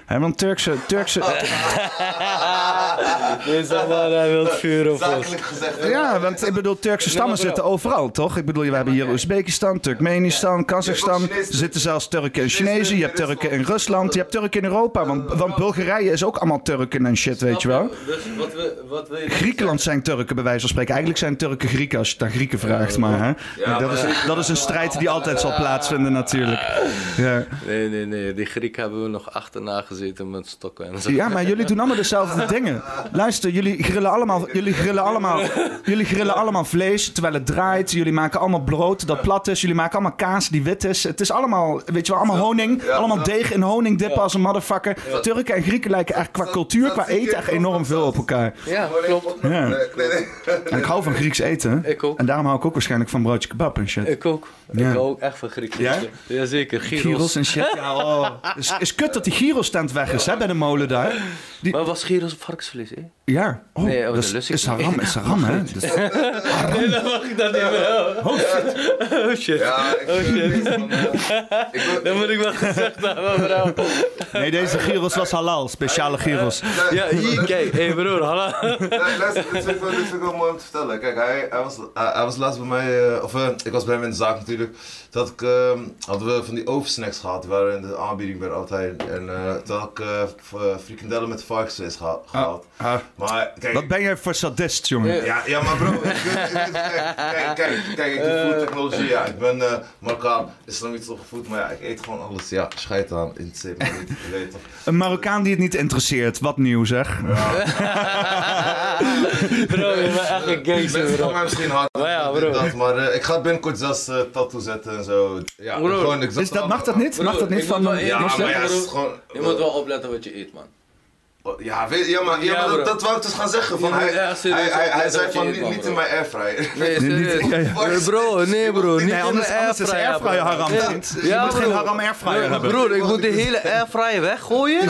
Hè, want Turkse, Turkse,
Deze man, hij wil vuur op
Zakelijk gezegd. eh, hè?
eh, ja, want ik bedoel Turkse stammen
maar bro.
zitten overal, toch? Ik bedoel, we hebben hier Oezbekistan, Turkmenistan, Kazachstan.
Je hebt ook
Er
Chinezen.
zitten zelfs Turken en
Chinezen
Chinezen. Je
in
hebt Turken in
Rusland.
Rusland. Je hebt Turken in Europa. Want, want Bulgarije is ook allemaal Turken en shit, weet je wel.
Dus wat, we, wat wil je...
Griekenland zijn Turken, bij wijze van spreken. Eigenlijk zijn Turken Grieken, als je het aan Grieken vraagt. Maar hè? Nee, dat, is, dat is een strijd die altijd zal plaatsvinden, natuurlijk. Ja,
Nee, nee, nee. Die Griek hebben we nog achterna gezeten met stokken en zo.
ja maar jullie doen allemaal dezelfde dingen. Luister, jullie grillen allemaal, jullie grillen allemaal, jullie grillen allemaal vlees terwijl het draait. Jullie maken allemaal brood dat plat is. Jullie maken allemaal kaas die wit is. Het is allemaal, weet je wel, allemaal honing. Allemaal deeg in honing dippen als een motherfucker. Turken en Grieken lijken echt qua cultuur, qua eten, echt enorm veel op elkaar.
Ja,
Gewoon even
klopt.
opnemen.
Ja.
Nee, nee, nee.
En ik hou van Grieks eten.
Ik ook.
En daarom hou ik ook waarschijnlijk van broodje kebab en shit.
Ik ook.
Ja.
Ik hou ook echt van Griekenland.
Ja?
Jazeker, Gyros.
Gyros en shit. Ja, oh. is, is kut dat die Gyros-tent weg is, hè, bij de molen daar. Die,
Maar was Gyros varkensvlees, hè?
ja. Oh,
Nee, oh,
dat
dat
is,
lust ik
is
niet.
haram, is haram, hè. Dat is-
Nee, dat mag ik dan niet meer. Oh shit. Oh shit.
Ja, ik,
Oh, shit.
van, eh, ik wil-
Dat moet ik wel gezegd hebben, mevrouw.
nee, deze Gyros was halal, speciale Gyros.
Ja, hier, kijk. Hé hey broer, hallo.
Nee, luister, dit vind ik wel- dit vind ik wel mooi om te vertellen. Kijk, hij, hij, was, hij, hij was laatst bij mij, eh, of eh, ik was bij hem in de zaak natuurlijk. Toen had ik, ehm, hadden we van die ovensnacks gehad, die waren in de aanbieding bij de altijd. En eh, toen had ik eh, f- eh, frikandellen met varkensvlees geha- gehaald.
Ah,
Maar kijk,
wat ben jij voor sadist, jongen?
ja, ja, maar bro, ik weet- ik weet- kijk, kijk, kijk, kijk, ik
Eh.
doe food technology, ja, ik ben eh Marokkaan, islamitisch opgevoed, maar ja, ik eet gewoon alles, ja, scheid aan, in het zeep, maar niet, je weet toch.
Een Marokkaan die het niet interesseert, wat nieuw, zeg.
Bro, je bent echt een gangster,
Mensen gaan
bro.
mij misschien hard
Maar ja,
dit,
bro.
dat, maar eh, ik ga binnenkort zelfs eh, tattoo zetten en zo. Ja,
Bro.
gewoon, ik zat
Is dat,
al-
mag dat niet? Mag dat niet
Ik moet
van...
wel
Ja,
eerlijk
moslims?
maar
zeggen,
ja, het is
bro.
gewoon... Oh,
Je moet wel opletten wat je eet, man.
Ja, weet, ja, maar, ja,
Ja,
maar
bro.
dat, dat wou ik dus gaan zeggen. Van,
Ja,
hij,
ja, serieus,
hij, hij,
dat-
hij
dat
zei
je
van,
niet
niet,
mag,
niet
bro.
in mijn airfryer.
Nee,
Nee, niet-
serieus.
ja, ja.
Bro, Bro, nee bro, niet
Nee, anders,
in de
anders is
airfryer.
airfryer
bro.
haram.
Ja.
vriend. Je
Ja,
moet geen
bro.
haram airfryer
Nee,
hebben.
Broer, ik moet de hele airfryer weggooien.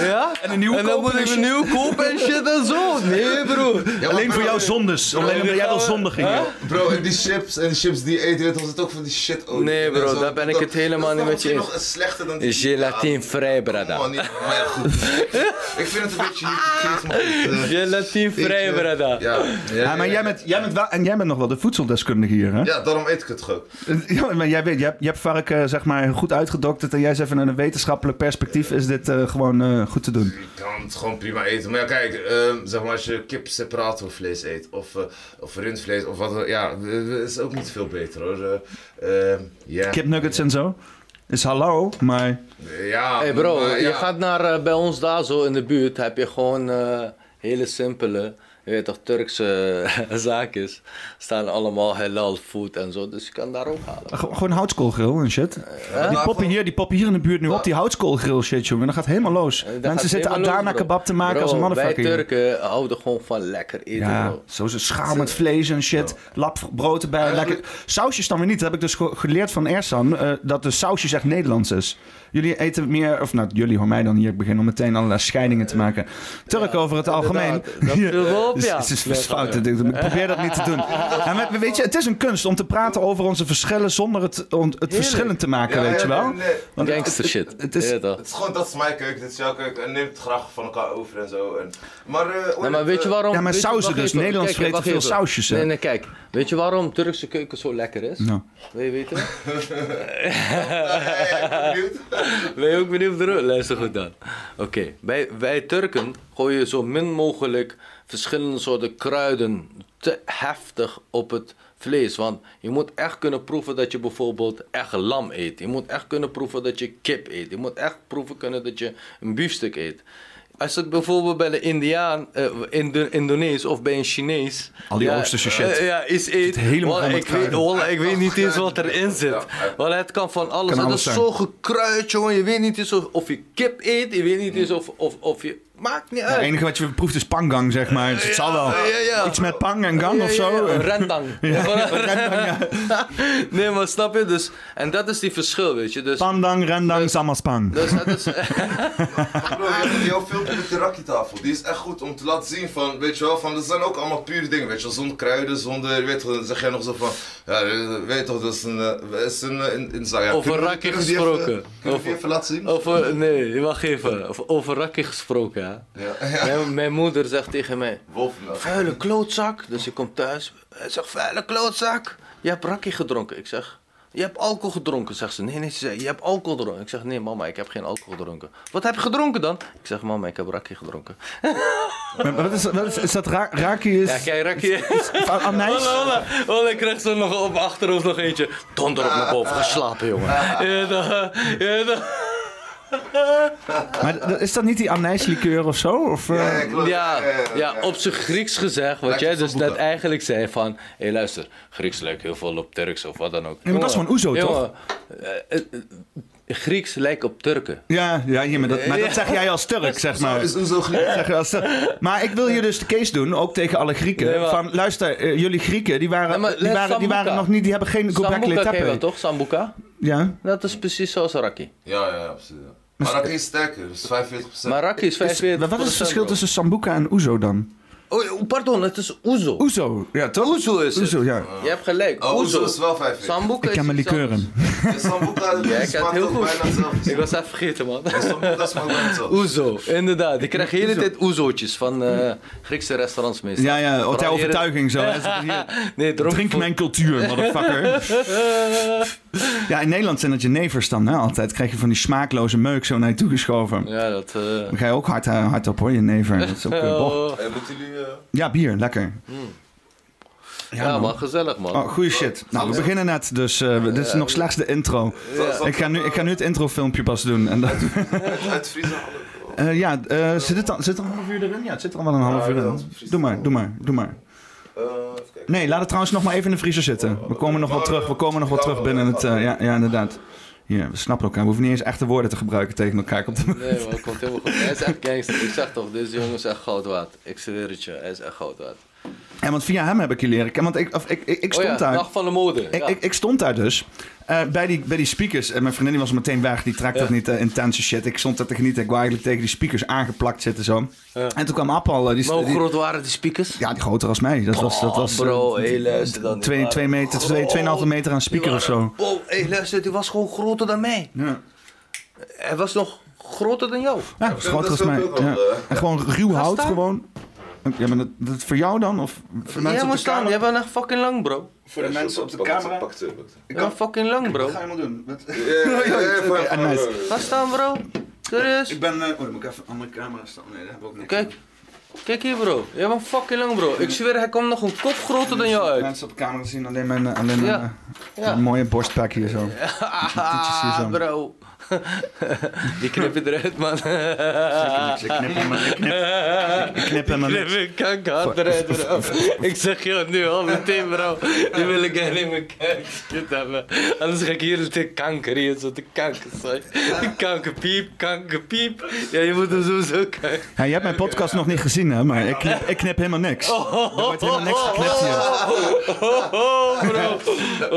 Ja?
En een nieuwe
En dan
kopen
moet ik
en
een
shit.
nieuw kopen en shit en zo. Nee broer.
Ja, maar
Alleen
bro,
voor jouw zondes. Alleen omdat jij wel zondig ging. joh.
Bro, en die chips en die chips die eten, weet je, was het ook van die shit ook.
Nee, bro, daar ben ik het helemaal niet met je
is.
eens.
nog een slechter dan die
Gelatinvrij,
Ja,
Oh,
brada.
man, niet- maar ja, goed. ik vind het een beetje hypocriet, man. Eh,
Gelatinvrij,
ik, eh,
brada.
Ja,
Ja, Ah, maar jij bent, jij bent wel, en jij bent nog wel de voedseldeskundige hier, hè?
Ja, daarom eet ik het gewoon.
Ja, maar jij weet, je hebt, je hebt varken zeg maar, goed uitgedokterd en jij zegt van een wetenschappelijk perspectief is dit eh, gewoon eh, goed te doen.
Je kan het gewoon prima eten. Maar ja, kijk, ehm, zeg maar als je kip separaat voor vlees eet, of, eh, of rundvlees, of wat dan- ja, eh, is ook niet veel beter hoor. Eh, ehm, ja.
Kipnuggets en zo. Is hallo, maar
Ja,
Hey bro,
maar
je
ja.
gaat naar eh, bij ons daar zo in de buurt, heb je gewoon eh, hele simpele, je weet toch, Turkse eh, zaakjes. Staan allemaal halal food en zo, dus je kan daar ook halen.
ge- gewoon houtskoolgril en shit. Die
daarvoor-
poppen, hier, die poppen hier in de buurt nu op, die houtskoolgril shit, jongen. Dat gaat helemaal los.
Eh, dat gaat
Mensen zitten
helemaal los,
Adana
bro.
kebab te maken
Bro,
als een motherfucker.
Wij
hier.
Turken houden gewoon van lekker eten,
Ja,
bro.
zo zo'n schaal
eh,
met vlees en shit. Lap brood erbij.
Eigenlijk-
Lekker. Sausjes dan weer niet. Dat heb ik dus ge- geleerd van Ersan. eh, dat de sausjes echt Nederlands is. Jullie eten meer, of nou jullie hoor mij dan hier. Ik begin om meteen allerlei scheidingen te maken. Turk over het algemeen.
Inderdaad, Dat viel wel
Het is,
ja.
het is fout. dit ding. Probeer dat niet te doen. Ja, maar weet je, het is een kunst om te praten over onze verschillen zonder het, om het verschillend te maken,
Ja,
weet
ja,
je wel?
nee, nee.
Want
Gangster
het- het-
shit.
Het is,
Ja, toch?
Het is gewoon, dat is mijn keuken, dit is jouw keuken. En neem het graag van elkaar over en zo. En, maar, eh, hoor
Nee, maar
het,
weet je
eh,
waarom...
Ja, maar
weet je-
sauzen
wacht
dus.
even,
Nederlands
kijk,
vreten
wacht
veel
even.
sausjes, hè?
Nee, nee, kijk. Weet je waarom Turkse keuken zo lekker is?
nou,
Wil je weten?
eh, eh, ik ben benieuwd.
Ben je ook benieuwd naar Luister goed dan. Oké, wij, wij Turken gooien zo min mogelijk verschillende soorten kruiden te heftig op het vlees. Want je moet echt kunnen proeven dat je bijvoorbeeld echt lam eet. Je moet echt kunnen proeven dat je kip eet. Je moet echt proeven kunnen dat je een biefstuk eet. Als het bijvoorbeeld bij de Indiaan, eh, Indo- Indonees of bij een Chinees...
Al die
ja,
Oosterse shit.
eh, ja, is eet.
helemaal
Wallah,
vol met
ik, weet,
kruiden.
wallah, ik weet niet eens wat erin zit. Want het kan van alles.
Kan
zijn. dat
alles
is
zijn.
zo gekruid, jongen. Je weet niet eens of, of je kip eet. Je weet niet eens of, of, of je... Maakt niet
het
uit.
enige wat je proeft is pangang, zeg maar. Dus het zal wel.
ja, ja.
Iets met pang en gang
Ja,
of
ja,
zo.
ja,
Ja,
rendang.
rendang, ja.
nee, maar snap je? Dus, en dat is die verschil, weet je. Dus,
Pandang, rendang, samaspang.
dus dat is...
Bro, je hebt jouw filmpje met de rakietafel. Die is echt goed om te laten zien van, weet je wel, van dat zijn ook allemaal pure dingen, weet je wel. Zonder kruiden, zonder, je weet toch, dan zeg jij nog zo van, ja, weet je toch, dat is een, eh, is een eh, in, in, ja,
Over
kunnen we-
rakkie
kunnen we die even-
gesproken.
Kunnen we die
Over-
even laten zien?
Over, nee, wacht even. Over, over rakkie gesproken, hè.
Ja, ja.
Mijn, mijn moeder zegt tegen mij...
Wolfendag.
Vuile klootzak. Dus ik kom thuis. Hij zegt, vuile klootzak. Je hebt rakkie gedronken. Ik zeg, je hebt alcohol gedronken. Zegt ze, nee, nee. Ze zei, je hebt alcohol gedronken. Ik zeg, nee mama, ik heb geen alcohol gedronken. Wat heb je gedronken dan? Ik zeg, mama, ik heb rakkie gedronken.
Maar Wat is, wat is, is dat ra raki? Is,
Ja, kijk, rakkie. Oh,
van anijs?
Holla, holla. Holla, ik kreeg zo nog op mijn achterhoofd nog eentje. Donder op mijn boven geslapen, jongen. Ja, toch, ja, toch.
Maar d- is dat niet die anijslikeur of zo? Of, eh,
Ja, ja, klopt.
Ja,
Ja, ja,
ja,
ja.
op zijn Grieks gezegd, wat
Lekker
jij dus
verboeken.
net eigenlijk zei van... Hé, luister, Grieks lijkt heel veel op Turks of wat dan ook.
maar dat is
Jongen,
gewoon oezo, toch?
jongen, eh, eh, eh, Grieks lijkt op Turken.
ja, ja, ja, maar, dat, maar dat zeg jij als Turk, zeg maar.
Nou, Is Oezo
Dat
gelijk?
zeg je als Turk. Maar ik wil hier dus de case doen, ook tegen alle Grieken.
Nee, maar-
Van, luister, eh, jullie Grieken, die waren,
Nee, maar
die
let
waren, die waren
Sambuca.
nog niet, die hebben geen Gobekli
Sambuca ken je wel,
Tepe.
toch? Sambuca?
Ja,
Dat is precies zoals Rakki.
Ja, ja, ja, absoluut. ja. Maar rakkie is sterker, dus 45%.
Maar Rakki is 45%.
maar Dus wat is het verschil tussen Sambuca en Oezo dan?
Oh, pardon, het is Oezo.
Oezo, ja toch?
Oezo is het.
Oezo, ja.
Je hebt gelijk,
Oh,
Oezo.
Oezo is wel 45%.
Sambuca
Ik
is
ken mijn
iets anders.
likeuren.
Sambuca
Ja, ik
smaakt
ken het heel
ook
goed.
bijna hetzelfde.
Ik was even vergeten, man.
Sambuca smaakt bijna hetzelfde.
Oezo, inderdaad. Ik krijg de hele tijd oezootjes van eh, Griekse restaurants meestal.
Ja, ja,
Vooral
ter
hier-
overtuiging zo. hè. Ze zeggen hier,
Nee, dronk
Drink mijn cultuur, motherfucker. Ja, in Nederland zijn dat jenevers dan, hè, altijd. Krijg je van die smaakloze meuk zo naar je toe geschoven.
Ja, dat... eh,
Dan ga je ook hard, eh, hard op hoor, jenever. Dat is ook, eh, boh.
oh.
Hey, moeten jullie... eh,
Ja, bier, lekker.
Hmm. ja, man, gezellig, man.
Oh, goede shit. Nou, we beginnen net, dus eh, dit is nog slechts de intro.
zal- zal-
Ik ga nu, ik ga nu het introfilmpje pas doen. En dan,
Uit Friesland.
Eh, ja, eh, zit, het al, zit er een half uur erin? Ja, het zit er al wel een half uur in. Doe maar, doe maar, doe maar.
Eh, even kijken.
Nee, laat het trouwens nog maar even in de vriezer zitten. We komen nog wel terug, we komen nog wel terug binnen het... eh, ja, ja, inderdaad. Hier, we snappen elkaar. We hoeven niet eens echte woorden te gebruiken tegen elkaar. Komt er-
Nee, man, komt helemaal goed. Hij is echt gangster. Ik zeg toch, deze jongen is echt goud waard. Ik zweer het je, hij is echt goud waard.
En want via hem heb ik je leren kennen. Want ik, of, ik, ik, ik stond
oh ja,
daar...
dag van de mode.
Ik,
ja.
ik, ik stond daar dus eh, bij, die, bij die speakers. En mijn vriendin die was meteen weg. Die trekt dat niet, eh, intense shit. Ik stond daar te genieten. Ik wou eigenlijk tegen die speakers aangeplakt zitten zo. En toen kwam Appal. eh, die,
Maar hoe
die-
groot waren die speakers?
ja, die groter als mij. Dat was, dat was eh,
bro, hé, luister dan. Die
twee,
waren
twee meter, twee,
groot.
tweeënhalve meter aan
Die
speaker of
waren-
zo.
Oh, hé, luister, die was gewoon groter dan mij.
Ja,
Hij was nog groter dan jou.
ja dat was
dat
groter als
is
mij.
ook wel,
Ja.
eh.
En gewoon ruw hout
staan?
gewoon. Ja, maar dat, dat voor jou dan? Of voor mensen
Jij
op
moet
de
staan,
camera?
jij bent echt fucking lang, bro.
Voor de
Ja,
mensen op de
pak het,
camera?
Pak het, pak het.
Ik ben fucking lang, bro.
Wat ga je allemaal doen? Wat-
Ja, ja, ja, ja, voor-
en nice.
Ga staan, bro. Serieus.
Ik ben... eh, oh, dan moet ik even een andere camera staan. Nee, daar heb ik ook niks
Kijk. Kijk hier, bro. Jij bent fucking lang, bro. Ik zweer, hij komt nog een kop groter dan jou uit.
Mensen op de camera zien alleen mijn, eh, alleen mijn,
Ja.
eh,
Ja.
een mooie borstpak hier zo. Tietjes hier zo.
Ah, bro. Die knip je eruit, man.
Ik knip hem, ik knip, ik knip hem.
Knip
en-
ik kank hard eruit, bro. Ik zeg je nu al meteen, bro. Nu wil ik echt in mijn kijk shit hebben. Anders ga ik hier meteen kanker hier, zo te kanker. sorry. Kankerpiep, kankerpiep. Ja, je moet hem sowieso kanker.
Ja, je hebt mijn podcast nog niet gezien, hè, maar ik knip, ik knip helemaal niks. Er wordt helemaal niks geknipt hier.
Oh, oh, bro.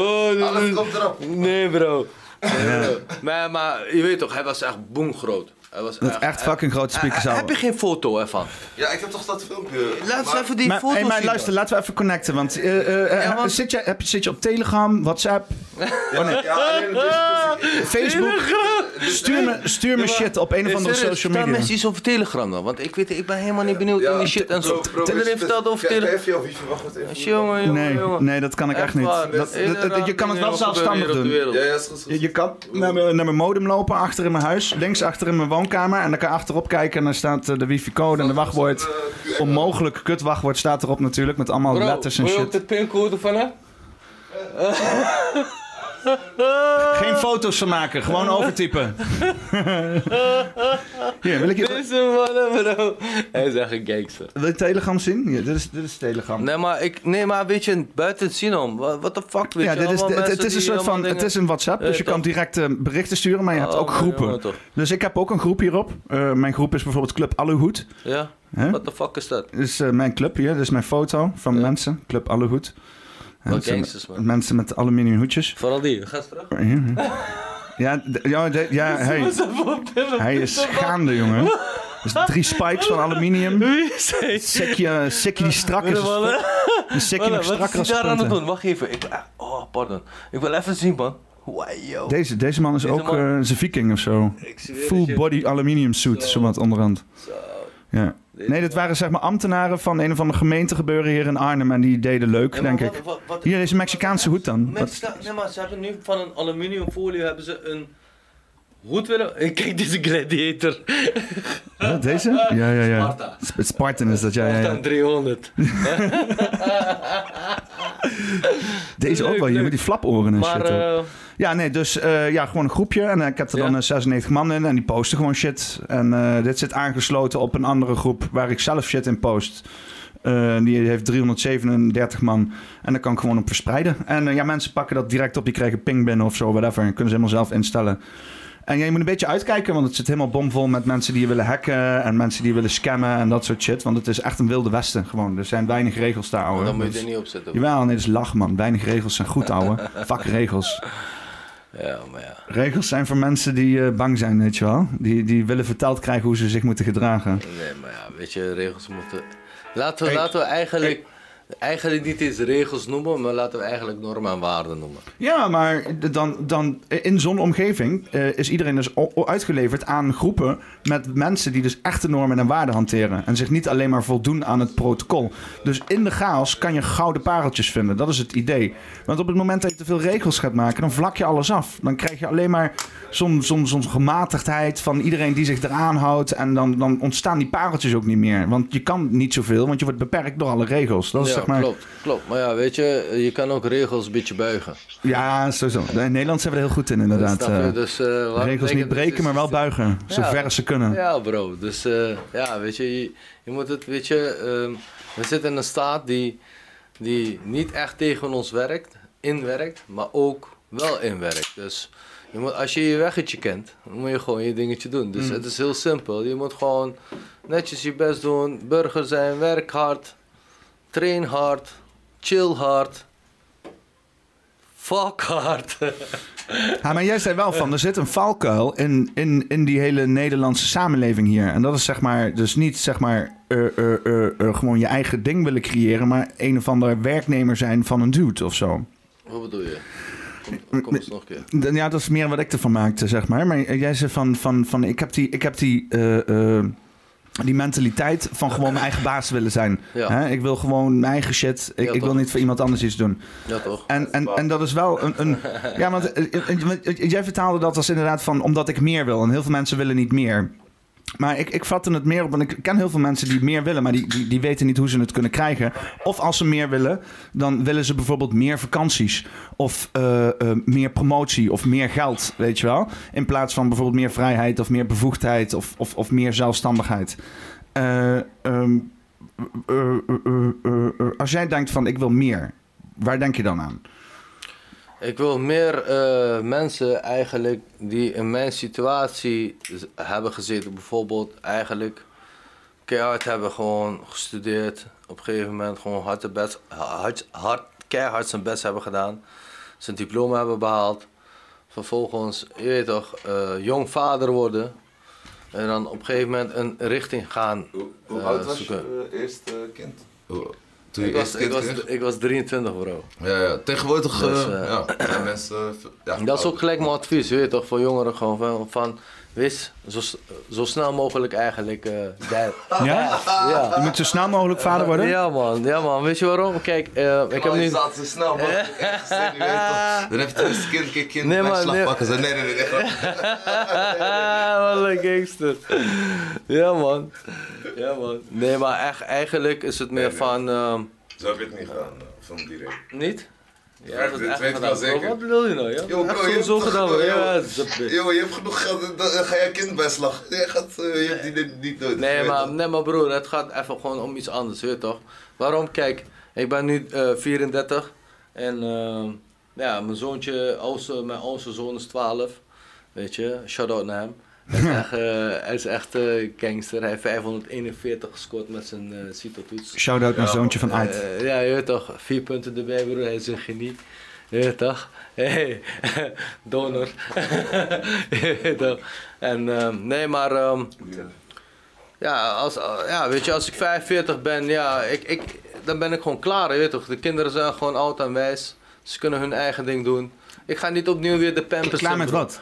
Oh, dit
Alles
is-
komt erop.
Nee, bro. Nee, bro. Maar, maar je weet toch, hij was echt boemgroot. Het was
Dat echt fucking grote speakers
Eh, eh, Heb je
houden.
geen foto ervan?
Ja, ik heb toch dat filmpje.
Laat eens
Maar-
even die
Maar,
foto
hey, maar
zien.
luister, laten we even connecten. Want, eh, eh, eh,
Ja, want-
Zit, je, heb je, zit je op Telegram, WhatsApp, Oh,
Ja, ja, alleen het is-
Facebook? Stuur me, stuur me shit op een of andere social
Stel
media.
mensen iets over Telegram dan, want ik, weet, ik ben helemaal niet benieuwd in die shit en zo.
Bro, bro,
Iedereen
is-
vertelt over
Kijk,
Telegram.
Even jouw wifi, wacht even.
Jongen, jongen,
Nee,
jongen.
nee, dat kan ik echt niet.
waar,
Dat- dat-
dit is
dat- dat- je kan het wel
inderdaad
zelfstandig
gebeuren op de
doen.
wereld.
Ja, ja, is goed, is goed.
Je, je kan naar mijn, naar mijn modem lopen, achter in mijn huis, links achter in mijn woonkamer. En dan kan je achterop kijken en dan staat eh, de wifi-code en de
eh,
wachtwoord. Onmogelijk kut wachtwoord staat erop natuurlijk, met allemaal letters en
wil je
shit.
ook de pincode van hè?
Geen foto's van maken, gewoon overtypen. Hier, wil ik je
Deze man, bro. Hij is echt een gangster.
wil je Telegram zien? Hier, dit, is, dit is Telegram.
Nee maar, ik, nee, maar weet je, buiten het zien om. Wat de fuck, weet
ja,
je.
dit is,
allemaal
het, het
mensen
is
die
een soort van,
allemaal
het
dingen-
is een WhatsApp,
Eh,
dus je
toch?
kan direct eh, berichten sturen, maar je hebt
Oh,
ook
maar jongen,
groepen.
toch.
Dus ik heb ook een groep hierop. Eh, mijn groep is bijvoorbeeld Club Allehoed.
Ja,
Hè?
what the fuck is dat?
Dit is eh, mijn club hier, dit is mijn foto van
Ja.
mensen. Club Allehoed. En
Wat
het zijn
gangsters, man.
Mensen met aluminium hoedjes.
Vooral die, ga eens terug.
Hier, hè. Ja, d- ja, d- ja hey. hij is gaande, jongen. Dus drie spikes van aluminium.
Wie is hij?
Sikje, sikje die strak is. als
Wat-
fuck. Een sikje nog
Wat wat is
strakker
hij
als
daar aan het
punten.
doen? Wacht even. Ik, ah, oh, pardon. Ik wil even zien, man. Wai, yo.
Oh. Deze, deze man is
Deze
ook
man-
eh, zijn viking of zo.
Ik zweer dat
Full
je-
body aluminium suit,
Zo.
zowat onderhand.
Zo.
Ja.
Deze
Nee, dat waren zeg maar ambtenaren van een of andere gemeentegebeuren hier in Arnhem. En die deden leuk,
Ja, maar
denk
wat-
ik.
wat- wat-
Hier, deze Mexicaanse hoed dan.
Mensen
Wat-
staan- nee, maar ze hebben nu van een aluminiumfolie hebben ze een hoed willen. Eh, Kijk, deze gladiator.
Huh, deze? Ja, ja, ja.
Sparta.
Sp- Spartan is dat, ja, ja, ja.
Dan 300.
Deze ook
Leuk,
wel hier,
leuk.
met die flaporen en
Maar
shit. hoor.
eh,
Ja, nee, dus eh, ja, gewoon een groepje. En eh, ik heb er dan
Ja.
eh, 96 man in en die posten gewoon shit. En eh, dit zit aangesloten op een andere groep waar ik zelf shit in post. Eh, die heeft 337 man. En daar kan ik gewoon op verspreiden. En eh, ja, mensen pakken dat direct op. Die krijgen ping binnen of zo, whatever. En kunnen ze helemaal zelf instellen. En ja, je moet een beetje uitkijken, want het zit helemaal bomvol met mensen die je willen hacken. En mensen die je willen scammen en dat soort shit. Want het is echt een wilde westen gewoon. Er zijn weinig regels daar, ouwe.
dan moet je
Dus-
er niet op zetten.
Jawel, nee, dat is lach, man. Weinig regels zijn goed, ouwe. Fuck regels.
Ja, maar ja.
Regels zijn voor mensen die eh, bang zijn, weet je wel. Die, die willen verteld krijgen hoe ze zich moeten gedragen.
Nee, maar ja, weet je, regels moeten... Laten we,
Hey,
laten we eigenlijk, eigenlijk niet eens regels noemen, maar laten we eigenlijk normen en waarden noemen.
Ja, maar d- dan, dan eh, in zo'n omgeving eh, is iedereen dus o- o- uitgeleverd aan groepen met mensen die dus echte normen en waarden hanteren. En zich niet alleen maar voldoen aan het protocol. Dus in de chaos kan je gouden pareltjes vinden. Dat is het idee. Want op het moment dat je te veel regels gaat maken, dan vlak je alles af. Dan krijg je alleen maar zo'n zo'n zo'n gematigdheid van iedereen die zich eraan houdt. En dan, dan ontstaan die pareltjes ook niet meer. Want je kan niet zoveel, want je wordt beperkt door alle regels. Dat is
ja,
zeg maar...
klopt, klopt. Maar ja, weet je, je kan ook regels een beetje buigen.
Ja, sowieso. In Nederland zijn we er heel goed in, inderdaad.
Snap je?
eh.
Dus, eh, wat
Regels
betekent-
niet breken, maar wel buigen. Zo
Ja.
ver als ze kunnen.
Ja, bro. Dus eh, ja, weet je, je, je moet het, weet je, ehm, we zitten in een staat die, die niet echt tegen ons werkt, inwerkt, maar ook wel inwerkt. Dus je moet, als je je weggetje kent, dan moet je gewoon je dingetje doen.
Mm.
Dus het is heel simpel. Je moet gewoon netjes je best doen, burger zijn, werk hard, train hard, chill hard. Fuck hard.
Ja, maar jij zei wel van, er zit een valkuil in, in, in die hele Nederlandse samenleving hier. En dat is zeg maar, dus niet zeg maar eh, eh, eh, eh, gewoon je eigen ding willen creëren, maar een of ander werknemer zijn van een dude of zo.
Wat bedoel je? Kom, kom eens nog een keer.
Dan- Ja, dat is meer wat ik ervan maakte, zeg maar. Maar eh, jij zei van, van, van ik heb die, ik heb die, eh, eh, die mentaliteit van gewoon mijn eigen baas willen zijn.
Ja.
Hè? Ik wil gewoon mijn eigen shit. Ik,
Ja,
ik wil
toch.
niet voor iemand anders iets doen.
Ja, toch?
En, en, en dat is wel een. een ja, want eh, eh, want jij vertaalde dat als inderdaad van omdat ik meer wil. En heel veel mensen willen niet meer. Maar ik, ik vatte het meer op. En ik ken heel veel mensen die meer willen, maar die, die, die weten niet hoe ze het kunnen krijgen. Of als ze meer willen, dan willen ze bijvoorbeeld meer vakanties. Of eh, eh, meer promotie of meer geld, weet je wel. In plaats van bijvoorbeeld meer vrijheid of meer bevoegdheid of, of, of meer zelfstandigheid. Eh, ehm, eh, eh, eh, eh, eh, als jij denkt van ik wil meer, waar denk je dan aan?
Ik wil meer eh, mensen eigenlijk die in mijn situatie z- hebben gezeten. Bijvoorbeeld eigenlijk keihard hebben gewoon gestudeerd. Op een gegeven moment gewoon hard, de best, hard, hard, keihard zijn best hebben gedaan. Zijn diploma hebben behaald. Vervolgens, je weet toch, eh, jong vader worden. En dan op een gegeven moment een richting gaan.
Hoe, hoe
Eh,
oud was
zoeken.
je eh, eerste kind?
Oh,
Hoe- Toen je
Ik was,
eerste
ik,
kind
was,
kreeg?
ik was 23, bro.
Ja, ja. Tegenwoordig eh,
Dus, eh,
ja, zijn mensen... eh, Ja,
Dat is ook gelijk mijn advies, weet je toch, voor jongeren gewoon van, van wees zo, s- zo snel mogelijk eigenlijk eh dad.
Ja? Je
Ja.
moet zo snel mogelijk vader worden.
Ja man, ja man, weet je waarom? Kijk, eh, ik heb nu...
staat zo snel mogelijk ergens in, je weet toch. Dan heeft hij een kind, kind, kind,
Nee,
nee,
maar, nee.
pakken. Ze, nee, nee, nee. nee, grapje.
Wat een gangster. Ja man. Ja man. Nee, maar echt, eigenlijk is het meer
nee.
van... ehm,
Zo heb je het niet gedaan, eh, van direct.
niet?
Ja,
dat
dit
echt
weet ik wel
gedaan, bro.
zeker.
Wat bedoel je nou, ja?
Yo, bro, je
Echt
hebt
zo
toch
gedaan, bro.
gedaan,
Ja,
yo.
dat is een bitch.
Yo, je hebt genoeg geld, dan ga je kind bijslag. Je, gaat, eh, je hebt die niet- niet nodig. je
Nee
weet
maar,
toch.
nee, maar broer, het gaat even gewoon om iets anders, weet je toch? Waarom? Kijk, ik ben nu eh, 34 en ehm, ja, mijn zoontje, oudste, mijn oudste zoon is 12, weet je, shout-out naar hem. Hij is echt, eh, hij is echt eh, gangster, hij heeft 541 gescoord met zijn eh CITO-toets.
Shout-out naar
Ja.
zoontje van Ait.
Eh, ja, je weet toch, vier punten erbij broer, hij is een genie. Je weet toch? Hey, donor. je weet toch? En ehm, nee, maar ehm, ja, als, ja, weet je, als ik 45 ben, ja, ik, ik, dan ben ik gewoon klaar, je weet toch? De kinderen zijn gewoon oud en wijs. Ze kunnen hun eigen ding doen. Ik ga niet opnieuw weer de pampers...
Klaar met wat?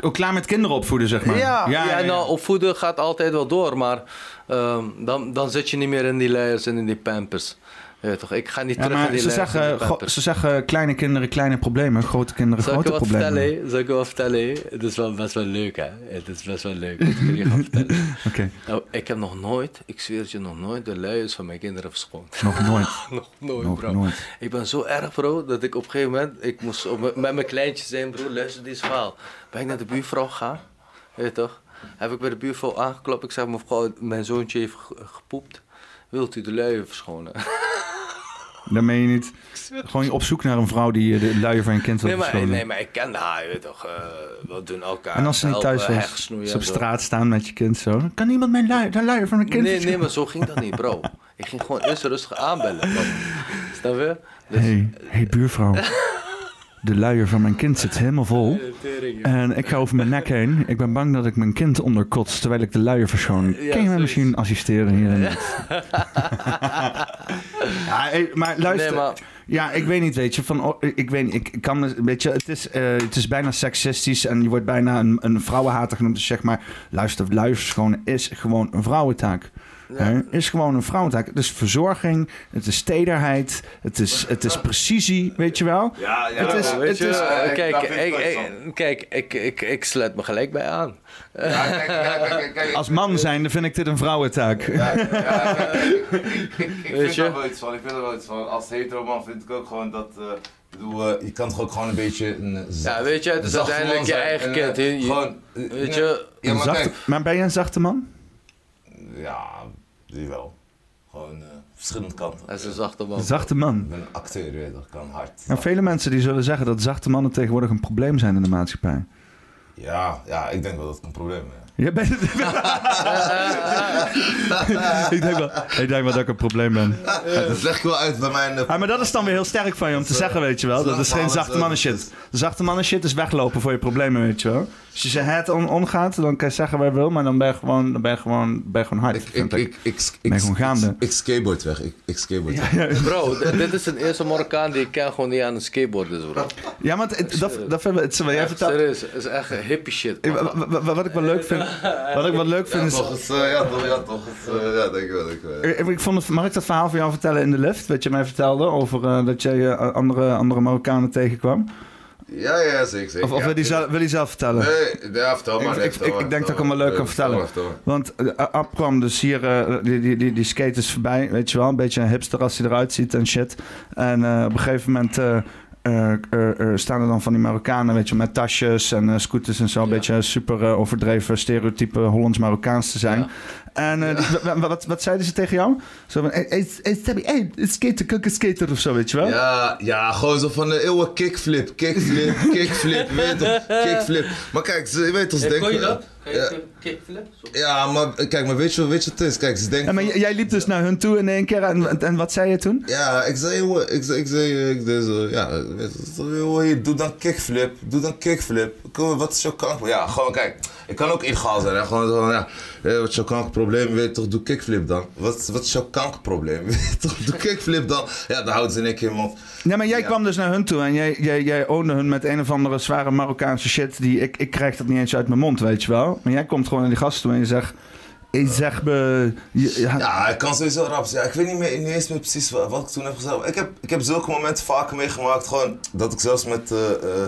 Ook klaar met kinderen opvoeden, zeg maar.
Ja, ja,
ja, ja.
nou, opvoeden gaat altijd wel door, maar ehm, dan, dan zit je niet meer in die leiders en in die pampers. Je weet toch? Ik ga niet
Ja,
terug in
maar
die
ze
leiders en die
zeggen, go-
pampers.
ze zeggen kleine kinderen kleine problemen, grote kinderen
Zal ik
grote
je wat
problemen.
vertellen? hé? Zal ik je wat vertellen? hé? Het is wel best wel leuk, hè? Het is best wel leuk. Ik wil je gaan vertellen.
Oké,
Nou, ik heb nog nooit, ik zweer het je, nog nooit de luiers van mijn kinderen verschoond.
nog nooit.
nog nooit,
Nog
bro.
nooit.
Ik ben zo erg, bro, dat ik op een gegeven moment, ik moest op- met mijn kleintje zijn, bro, luister dit verhaal. Ben ik naar de buurvrouw gegaan, weet je toch? Heb ik bij de buurvrouw aangeklopt, ik zeg, mevrouw, mijn zoontje heeft ge- gepoept. Wilt u de luier verschonen?
Dan ben je niet gewoon op zoek naar een vrouw die eh, de luier van je kind wil
Nee maar,
verschonen.
nee, maar ik kende haar, je weet toch? eh, we doen elkaar.
En als ze niet
helpen,
thuis was,
hechtsnoeien
ze
en
op
zo.
straat staan met je kind zo. Kan iemand mijn luier, de luier van mijn kind
Nee, nee,
verschonen?"
maar zo ging dat niet, bro. Ik ging gewoon eerst rustig aanbellen. man. Snap je?
hey, hey, buurvrouw. De luier van mijn kind zit helemaal vol. En ik ga over mijn nek heen. Ik ben bang dat ik mijn kind onderkots terwijl ik de luier verschoon.
Ja,
Kun je mij
zoiets.
misschien assisteren hierin? ja, hey, maar luister.
Nee, maar
Ja, ik weet niet, weet je. Van, oh, ik weet niet, ik ik kan, weet je, het is, eh, het is bijna seksistisch en je wordt bijna een, een vrouwenhater genoemd. Dus zeg maar, luister, luisterschonen is gewoon een vrouwentaak. Hè? Is gewoon een vrouwentaak. Het is verzorging, het is tederheid, het is, het is precisie, weet je wel.
Ja, ja.
Het is-
ja,
weet je,
is-
eh,
ik-
kijk,
daar vind ik
ik,
niks
ik- kijk ik, ik, ik sluit me gelijk bij aan.
Ja, kijk, kijk, kijk, kijk, kijk,
Als man zijnde vind ik dit een vrouwentaak.
Ja, kijk, kijk, ik- ik- Ik
Weet
vind
je?
daar wel iets van. Ik vind er wel iets van. Als hetero man vind ik ook gewoon dat. eh, ik bedoel, eh, je kan toch ook gewoon een beetje een. eh, zacht-
Ja, weet je, het is
zacht
uiteindelijk
man
je
zijn.
eigen
En,
kind,
eh,
hè. Je-
Gewoon. eh,
Weet
nee.
je?
Ja,
Een
maar
zachte-
kijk.
maar ben je een zachte man?
Ja, die wel. Gewoon eh, verschillende kanten.
Hij is een zachte man.
Een zachte man.
Ik ben een acteur, je weet toch, ik kan hard.
En vele mensen die zullen zeggen dat zachte mannen tegenwoordig een probleem zijn in de maatschappij.
Ja, ja, ik denk wel dat het een probleem is.
Je bent ik, denk wel, ik denk wel dat ik een probleem ben.
Dat leg ik wel uit bij mijn. eh,
Ah, maar dat is dan weer heel sterk van je om te zeggen, weet je wel. Dat is geen zachte mannen shit. Zachte mannen shit is weglopen voor je problemen, weet je wel. Als je ze het on omgaat, dan kan je zeggen waar je wil, maar dan ben je gewoon, dan ben je gewoon, ben je gewoon hard.
ik, ik,
vind
ik, ik,
Ben gewoon gaande.
ik- ik skateboard weg. Ik, ik skateboard weg.
Bro, d- dit is een eerste Marokkaan die ik ken gewoon die aan een skateboard is, bro.
Ja, maar het- dat, dat vind ik... het- Jij
Echt,
vertelt-
serieus, het is echt een hippie shit,
Ik-
man.
Eh, wa- wa- wa- Wat ik wel leuk vind, wat ik wel leuk vind is...
Toch eens, eh, ja, toch, ja, toch eens, eh, ja, denk ik wel, denk ik wel.
Ik- Eh, Ik vond het, mag ik dat verhaal van jou vertellen in de lift? Wat je mij vertelde over eh, dat jij eh, andere, andere Marokkanen tegenkwam?
Ja, ja, zeker, zeker.
Of, of
ja, Eh.
wil, die
tuurlijk.
zelf, wil die zelf vertellen?
Nee, ja, vertel maar.
Ik-
nee,
ik-
vertel
ik-
maar,
ik denk dat ik hem
vertel
wel leuk
maar.
kan vertellen.
Ja, vertel maar, vertel
Want eh, Ab kwam dus hier, eh, die, die, die, die skate is voorbij, weet je wel. Een beetje een hipster als hij eruit ziet en shit. En eh, op een gegeven moment eh, eh, eh, eh, staan er dan van die Marokkanen, weet je wel, met tasjes en eh, scooters en zo. Een
Ja.
beetje super eh, overdreven stereotype Hollands-Marokkaans te zijn.
Ja.
En eh, die- wa- wa- wat, wat zeiden ze tegen jou? Zo van, hey, hey, hey, Stabby, hey, skater, kukke skater of zo, weet je wel?
maar. Ja, ja, gewoon zo van eh, de eeuwen kickflip, kickflip, kickflip, weet je toch, kickflip. Maar kijk, ze, je weet toch, ze
Hey, Eh, kon
denken...
je dat?
Kickflip?
Ja, maar kijk, maar weet je, weet je wat het is? Kijk, ze denken...
Ja, maar j- jij liep dus naar hun toe in één keer en, en- en wat zei je toen?
Ja, ik zei, jongen, ik zei, ik zei, ik zei zo, ja, weet je, zo, jongen, hier, doe dan kickflip, doe dan kickflip. Kom, wat is jouw kanker? Ja, gewoon, kijk, ik kan ook illegaal zijn, hè. Gewoon, gewoon ja, eh, wat is jouw kankerprobleem? Weet je toch, doe kickflip dan. Wat, wat is jouw kankerprobleem? Weet je toch, doe kickflip dan. Ja, dan houdt ze in één keer in mond.
Ja, maar jij
Ja.
kwam dus naar hun toe en jij, jij, jij oonde hun met een of andere zware Marokkaanse shit. Die, ik, ik krijg dat niet eens uit mijn mond, weet je wel. Maar jij komt gewoon naar die gasten toe en je zegt... Ik zeg me... je- ja,
Ja, ik kan sowieso raps. Ja, ik weet niet, meer, niet eens meer precies wat, wat ik toen heb gezegd. Ik heb, ik heb zulke momenten vaker meegemaakt. Gewoon dat ik zelfs met eh, eh,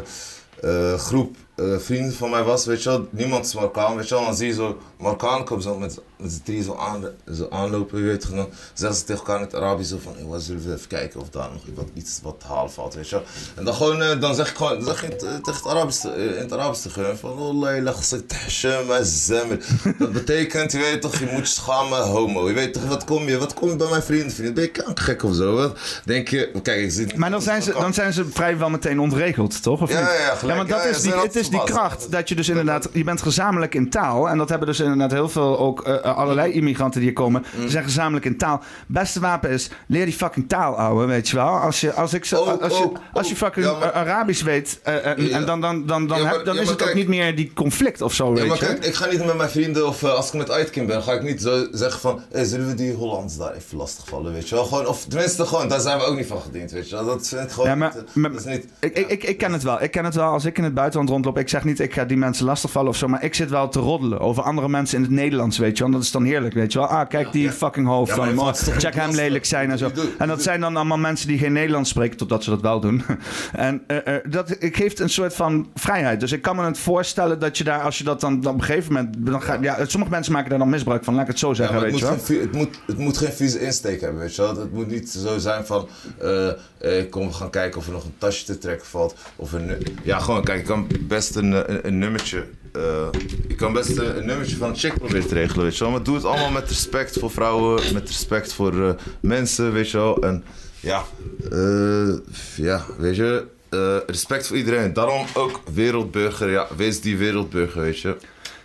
eh, groep eh, vrienden van mij was. Weet je wel, niemand is Marokkaan. Weet je wel, dan zie je zo Marokkaan komt zo met, met z'n drieën zo, aan, zo aanlopen. Je weet, gewoon, zeggen ze tegen elkaar in het Arabisch zo van... "Hey, zullen we even kijken of daar nog wat, iets wat te halen valt, weet je wel. En dan gewoon, eh, dan zeg ik gewoon, dan zeg je het, eh, tegen het Arabisch, eh, in het Arabisch tegen hun van... "Oh, Wallahi, lach ze tashem azzamer." Dat betekent, je weet toch, je moet je schamen, homo. Je weet toch, wat kom je, wat kom je bij mijn vrienden, vriend? Ben je kankergek of zo? Wat denk je, kijk, ik zit...
Maar dan zijn, ze, dan zijn ze vrijwel meteen ontregeld, toch? Of
Ja,
niet?
ja, ja, gelijk.
want
Ja,
dat
ja,
is
ze
die,
zijn
het is die
altijd
kracht. Dat je dus inderdaad, je bent gezamenlijk in taal. En dat hebben dus inderdaad heel veel ook eh, allerlei
Mm.
immigranten die hier komen. Ze zijn gezamenlijk in taal. Beste wapen is, leer die fucking taal, ouwe, weet je wel. Als je, als ik zo,
Ook,
als je,
ook,
als je
ook.
fucking
Oh, Ja, maar-
Arabisch weet, eh, en-
Ja.
en dan, dan, dan, dan,
Ja,
heb-
maar-
dan
ja,
is
maar
het ook
kijk.
niet meer die conflict of zo,
Ja,
weet
maar
je.
kijk, ik ga niet met mijn vrienden of eh, als ik met Uitkin ben, ga ik niet zo zeggen van, "Hey, zullen we die Hollands daar even lastigvallen, weet je wel? Gewoon, of tenminste, gewoon, daar zijn we ook niet van gediend, weet je wel? Dat vind ik gewoon,
Ja, maar-
niet, eh,
maar-
dat is niet...
Ik, ik, ik, ik ken het wel. Ik ken het wel als ik in het buitenland rondloop. Ik zeg niet, ik ga die mensen lastigvallen of zo. Maar ik zit wel te roddelen over andere mensen in het Nederlands, weet je wel. En Dat is dan heerlijk, weet je wel. Ah, kijk die
ja.
fucking hoofd
Ja,
van
maar
hem.
je
Oh,
valt toch
Check
niet
hem
lastig.
lelijk zijn en zo.
Die doe-
En dat zijn dan allemaal mensen die geen Nederlands spreken, totdat ze dat wel doen. en eh, eh, dat geeft een soort van vrijheid. Dus ik kan me het voorstellen dat je daar, als je dat dan, dan op een gegeven moment... Dan ga, ja, sommige mensen maken daar dan misbruik van, laat ik het zo
Ja,
zeggen,
maar het,
weet
moet
je wel.
geen, vie- het, moet, het moet geen vieze insteek hebben, weet je wel? Het moet niet zo zijn van, eh, eh, kom, we gaan kijken of er nog een tasje te trekken valt. Of een, nu- ja, gewoon, kijk, ik kan best een, eh, een, een nummertje, eh, ik kan best eh, een, een nummertje van een chick proberen te regelen, weet je wel? Maar doe het allemaal met respect voor vrouwen, met respect voor eh, mensen, weet je wel? En ja, eh, ja, weet je, eh, respect voor iedereen. Daarom ook wereldburger, ja, wees die wereldburger, weet je?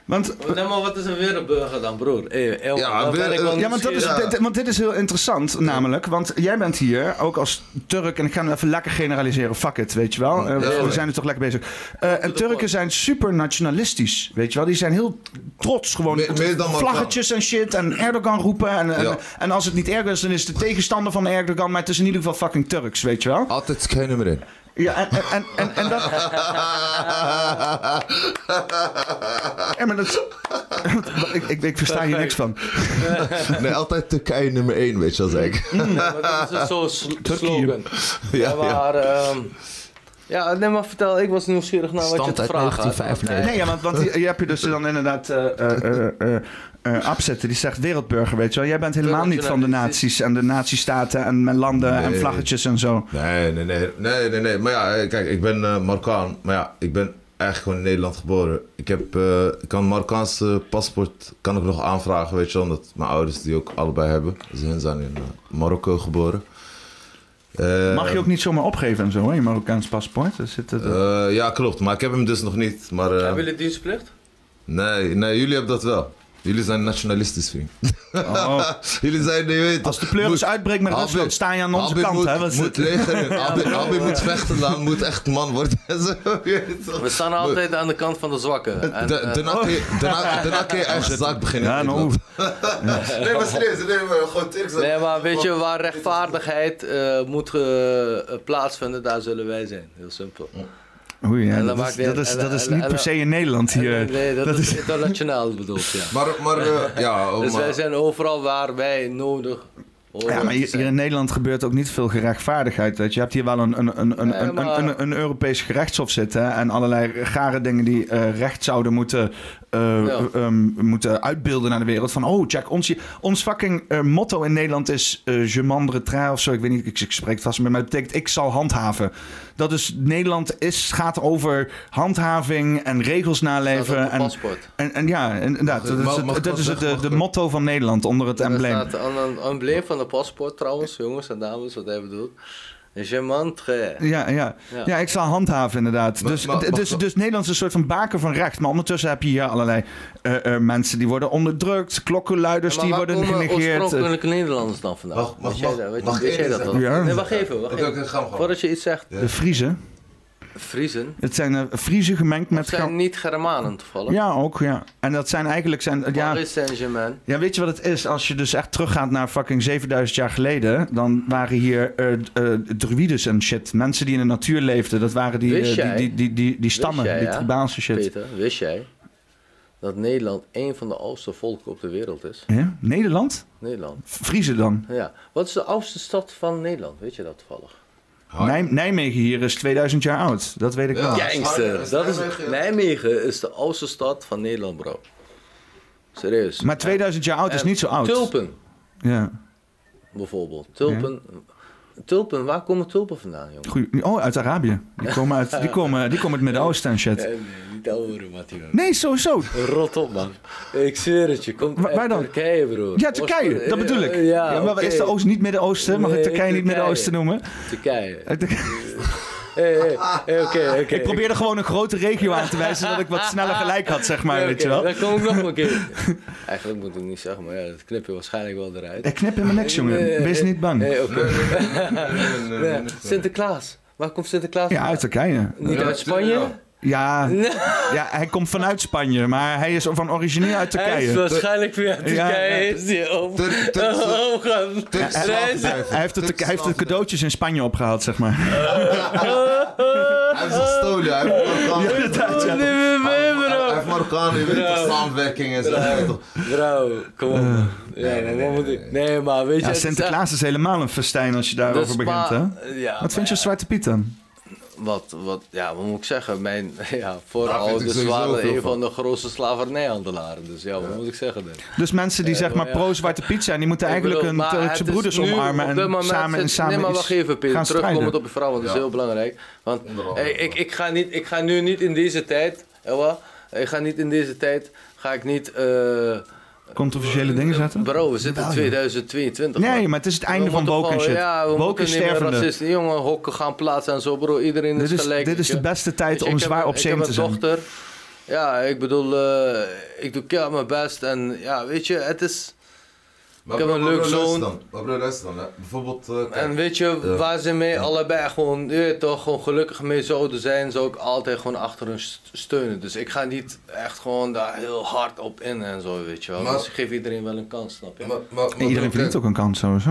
Want
Nee, maar wat is een wereldburger dan, broer? Eh, eh,
Ja,
dan
weer-
ben ik
eh,
wel
Ja, want, dat is,
nieuwsgierig.
Ja.
dit, want dit is heel interessant, namelijk. Want jij bent hier, ook als Turk, en ik ga hem even lekker generaliseren, fuck it, weet je wel. Eh,
Ja.
we zijn er toch lekker bezig. Eh, en Turken zijn super nationalistisch, weet je wel. Die zijn heel trots, gewoon
Meer- meer dan Marokkaan.
vlaggetjes en shit, en Erdogan roepen. En, en,
Ja.
en als het niet Erdogan is, dan is het de tegenstander van Erdogan, maar het is in ieder geval fucking Turks, weet je wel.
Altijd geen nummer in.
Ja, en, en, en, en, en dat... Ja, maar dat is- ik, ik, ik versta hier niks van.
Nee, altijd Turkije nummer 1, weet je wel, zeg ik.
Ja, maar dat is zo'n sl- slogan. Ja,
Ja, ja.
maar... ehm, ja, nee, maar vertel, ik was nieuwsgierig naar wat je
Stand
te
uit
vragen had.
Eh,
1995.
Nee, ja, want, want je, je hebt je dus dan inderdaad eh eh, eh, eh, eh, Abzetten, die zegt wereldburger, weet je wel. Jij bent helemaal niet van de naties en de nazistaten en met landen en
Nee.
vlaggetjes en zo.
Nee, nee, nee, nee, nee, nee. Maar ja, eh, kijk, ik ben eh, Marokkaan. Maar ja, ik ben eigenlijk gewoon in Nederland geboren. Ik heb, eh, ik kan Marokkaanse paspoort kan ik nog aanvragen, weet je wel. Omdat mijn ouders die ook allebei hebben. Dus hun zijn in eh, Marokko geboren. Eh,
Mag je ook niet zomaar opgeven en zo, hè, je Marokkaans paspoort. Daar zit het,
eh, ja, klopt. Maar ik heb hem dus nog niet. Maar eh,
Hebben jullie dienstplicht?
nee, nee, jullie hebben dat wel. Jullie zijn nationalistisch, vriend.
oh.
Jullie zijn, je weet
Als de pleuris uitbreekt met
Habib-
Rusland, sta je aan onze
Habib
kant,
moet,
hè. Wat is
moet
het?
leger in. Abi, moet vechten dan, moet echt man worden. Zo, je weet toch.
We staan altijd aan de kant van de zwakken. En,
Da-
eh,
Daarna kun je- daarna- daarna kun je eigen zaak beginnen.
Oh. Ja, nou,
Nee, maar serieus, nee, maar gewoon Turks.
nee, maar weet je, waar rechtvaardigheid eh, moet eh, eh, plaatsvinden, daar zullen wij zijn. Heel simpel.
oei, ja,
En dan
dat,
maakt
is,
die-
dat, is,
en-
dat is
en-
niet
en-
per se in Nederland
En,
hier.
eh, nee, dat, is internationaal bedoeld, ja.
Maar, maar eh, ja, oh,
Dus wij
maar,
zijn overal waar wij nodig horen
Ja, maar
te
hier,
zijn.
hier in Nederland gebeurt ook niet veel gerechtvaardigheid. Weet je. je hebt hier wel een, een, een, een,
Nee,
een,
maar-
een, een, een Europees gerechtshof zitten. hè, En allerlei gare dingen die eh, recht zouden moeten, eh,
Ja.
ehm, moeten uitbeelden naar de wereld. Van, oh, check, ons, hier- ons fucking eh, motto in Nederland is eh je mandre train of zo. Ik weet niet, ik, ik spreek het vast meer, maar het betekent ik zal handhaven. Dat is, Nederland is, gaat over handhaving en regels
Staat op
naleven.
mijn
en,
paspoort.
en, en ja, inderdaad. Dat is,
Mag- mag
het,
ik
dat
wat
is het, de,
zeggen? Mag
de
ik wat-
motto van Nederland onder het
Er
embleem.
staat een, een embleem van de paspoort trouwens, jongens en dames, wat hij bedoelt.
Je mantre.
Ja, ja.
Ja.
ja, ik zal handhaven inderdaad.
Maar-
dus,
maar-
d-
mag-
dus, dus Nederland is een soort van baken van recht. Maar ondertussen heb je hier allerlei eh, eh, mensen die worden onderdrukt. Klokkenluiders
Ja, maar
die
waar
worden
komen
genegeerd. eh.
oorspronkelijke Nederlanders dan vandaan?
Mag- mag-
Weet jij
mag-
dat? Weet-
mag ik
weet jij
eerder
dat
zeggen?
al?
Ja.
Nee, wacht even. Wacht
Oké,
even.
oké, ga maar gewoon.
Voordat je iets zegt.
Ja.
De Vriezen.
Vriezen.
Het zijn eh, Vriezen gemengd
Het
met...
zijn
Gal-
niet Germanen toevallig.
Ja, ook, ja. En dat zijn eigenlijk... Zijn, ja,
Paris Saint-Germain.
Ja, weet je wat het is? Als je dus echt teruggaat naar fucking 7000 jaar geleden, dan waren hier eh eh, druides en shit. Mensen die in de natuur leefden, dat waren die,
Wist
eh,
jij-
die, die, die, die, die stammen,
jij,
die
ja?
tribaanse shit.
Peter, wist jij dat Nederland één van de oudste volken op de wereld is?
Ja? Nederland?
Nederland.
Vriezen dan.
Ja. Wat is de oudste stad van Nederland? Weet je dat toevallig? Oh,
Nij- Nijmegen hier is 2000 jaar oud, dat weet ik
Ja.
wel.
dat Ah, is
Gangster.
Nijmegen.
Dat is,
Nijmegen.
Nijmegen is de oudste stad van Nederland, bro. Serieus.
Maar 2000 jaar oud is
En
niet zo oud.
Tulpen,
Ja.
bijvoorbeeld. Tulpen. Tulpen, waar komen tulpen vandaan, jongen?
Goeie. Oh, uit Arabië. Die komen uit, die komen, die komen uit het Midden-Oosten en shit.
niet ouder, Matthieu.
Nee, sowieso.
Rot op, man. Ik zweer het je. Komt
Wa-
uit
waar dan?
Turkije, bro.
Ja, Turkije, dat bedoel ik.
Ja,
Ja, maar
oké.
is de Oost niet Midden-Oosten? Mag ik
Nee,
Turkije niet
Turkije.
Midden-Oosten noemen?
Turkije.
Uit de-
Hey, hey, hey, Oké, oké.
Ik probeerde gewoon een grote regio aan te wijzen, zodat ik wat sneller gelijk had, zeg maar,
Ja,
weet
oké,
je wel.
Dan kom ik nog een keer. Eigenlijk moet ik niet zeggen, maar ja, dat knip je waarschijnlijk wel eruit.
Ik knip in mijn nek, jongen. Wees niet bang.
Hey, oké.
Nee, nee, nee,
Ja,
nee.
Sinterklaas. Waar komt Sinterklaas
Ja, uit Turkije.
Niet
Ja,
uit Spanje?
ja.
Ja,
Nee,
ja, hij komt vanuit Spanje, maar hij is van origine uit
hij is
Turkije.
waarschijnlijk weer uit
Ja,
Turkije.
ja.
Is die op?
Turk- Turkse-
Oh, gaan-
Turkse
Hij is-
slaven.
Hij heeft, de, hij heeft de cadeautjes in Spanje opgehaald, zeg maar.
Hij heeft ze gestolen, hij heeft Marokkaan.
inderdaad, ja.
Nee, nee, nee,
Hij-
bro.
Hij heeft Marokkaan, je weet toch, samenwerking en zo. je weet toch.
Bro, kom op. man. Nee, nee, nee, nee, nee, maar weet je...
Eh. Ja,
het is echt-
Sinterklaas is helemaal een festijn als je
de
daarover begint,
spa-
hè?
Ja,
Wat vind je van Zwarte Piet dan?
Wat, wat, ja, wat moet ik zeggen? Mijn ja,
vind ik
voorouders
sowieso
waren
veel
een
van.
van de grootste slavernijhandelaren. Dus ja, wat moet ik zeggen? dan?
Dus mensen die zeg maar
ja.
pro-Zwarte Piet zijn, die moeten
Ik
eigenlijk
bedoel,
hun
maar het
Turkse
is
broeders
nu
omarmen
op dit
en
moment
samen,
zit-
en samen
Nee, maar
iets
wacht even, Peter.
gaan
Terugkomend
strijden.
op je vrouw, want dat is
Ja.
heel belangrijk. Want
Onder andere.
hey, ik, ik, ga niet, ik ga nu niet in deze tijd... Ewa, ik ga niet in deze tijd... Ga ik niet... eh,
Controversiële dingen zetten?
Bro, we zitten in 2022.
Nee,
man.
maar het is het
We
einde van
moeten
woke en
gewoon-
shit.
Ja, we
woke
moeten
is
niet meer
stervende.
racisten. Jongen, hokken gaan plaatsen en zo, bro. Iedereen
Dit
is
is,
gelijk.
dit
weet
is
je.
de beste tijd
Dus
om
ik heb
zwaar
een-
op zee
Ik
te
heb een
zijn.
dochter. Ja, ik bedoel, eh, ik doe keer mijn best. En ja, weet je, het is...
Maar
Ik heb
bro,
een
maar
leuk
bro, luister
zoon.
dan. Maar bro, luister dan. hè. Bijvoorbeeld, eh, kijk,
En weet je,
Ja.
waar ze mee allebei gewoon, je weet toch, gewoon gelukkig mee zouden zijn, zou ik altijd gewoon achter hun st- steunen. Dus ik ga niet echt gewoon daar heel hard op in en zo, weet je wel.
Maar-
dus ik geef iedereen wel een kans, snap je?
maar- maar- maar
En iedereen
bro,
verdient
kijk,
ook een kans sowieso.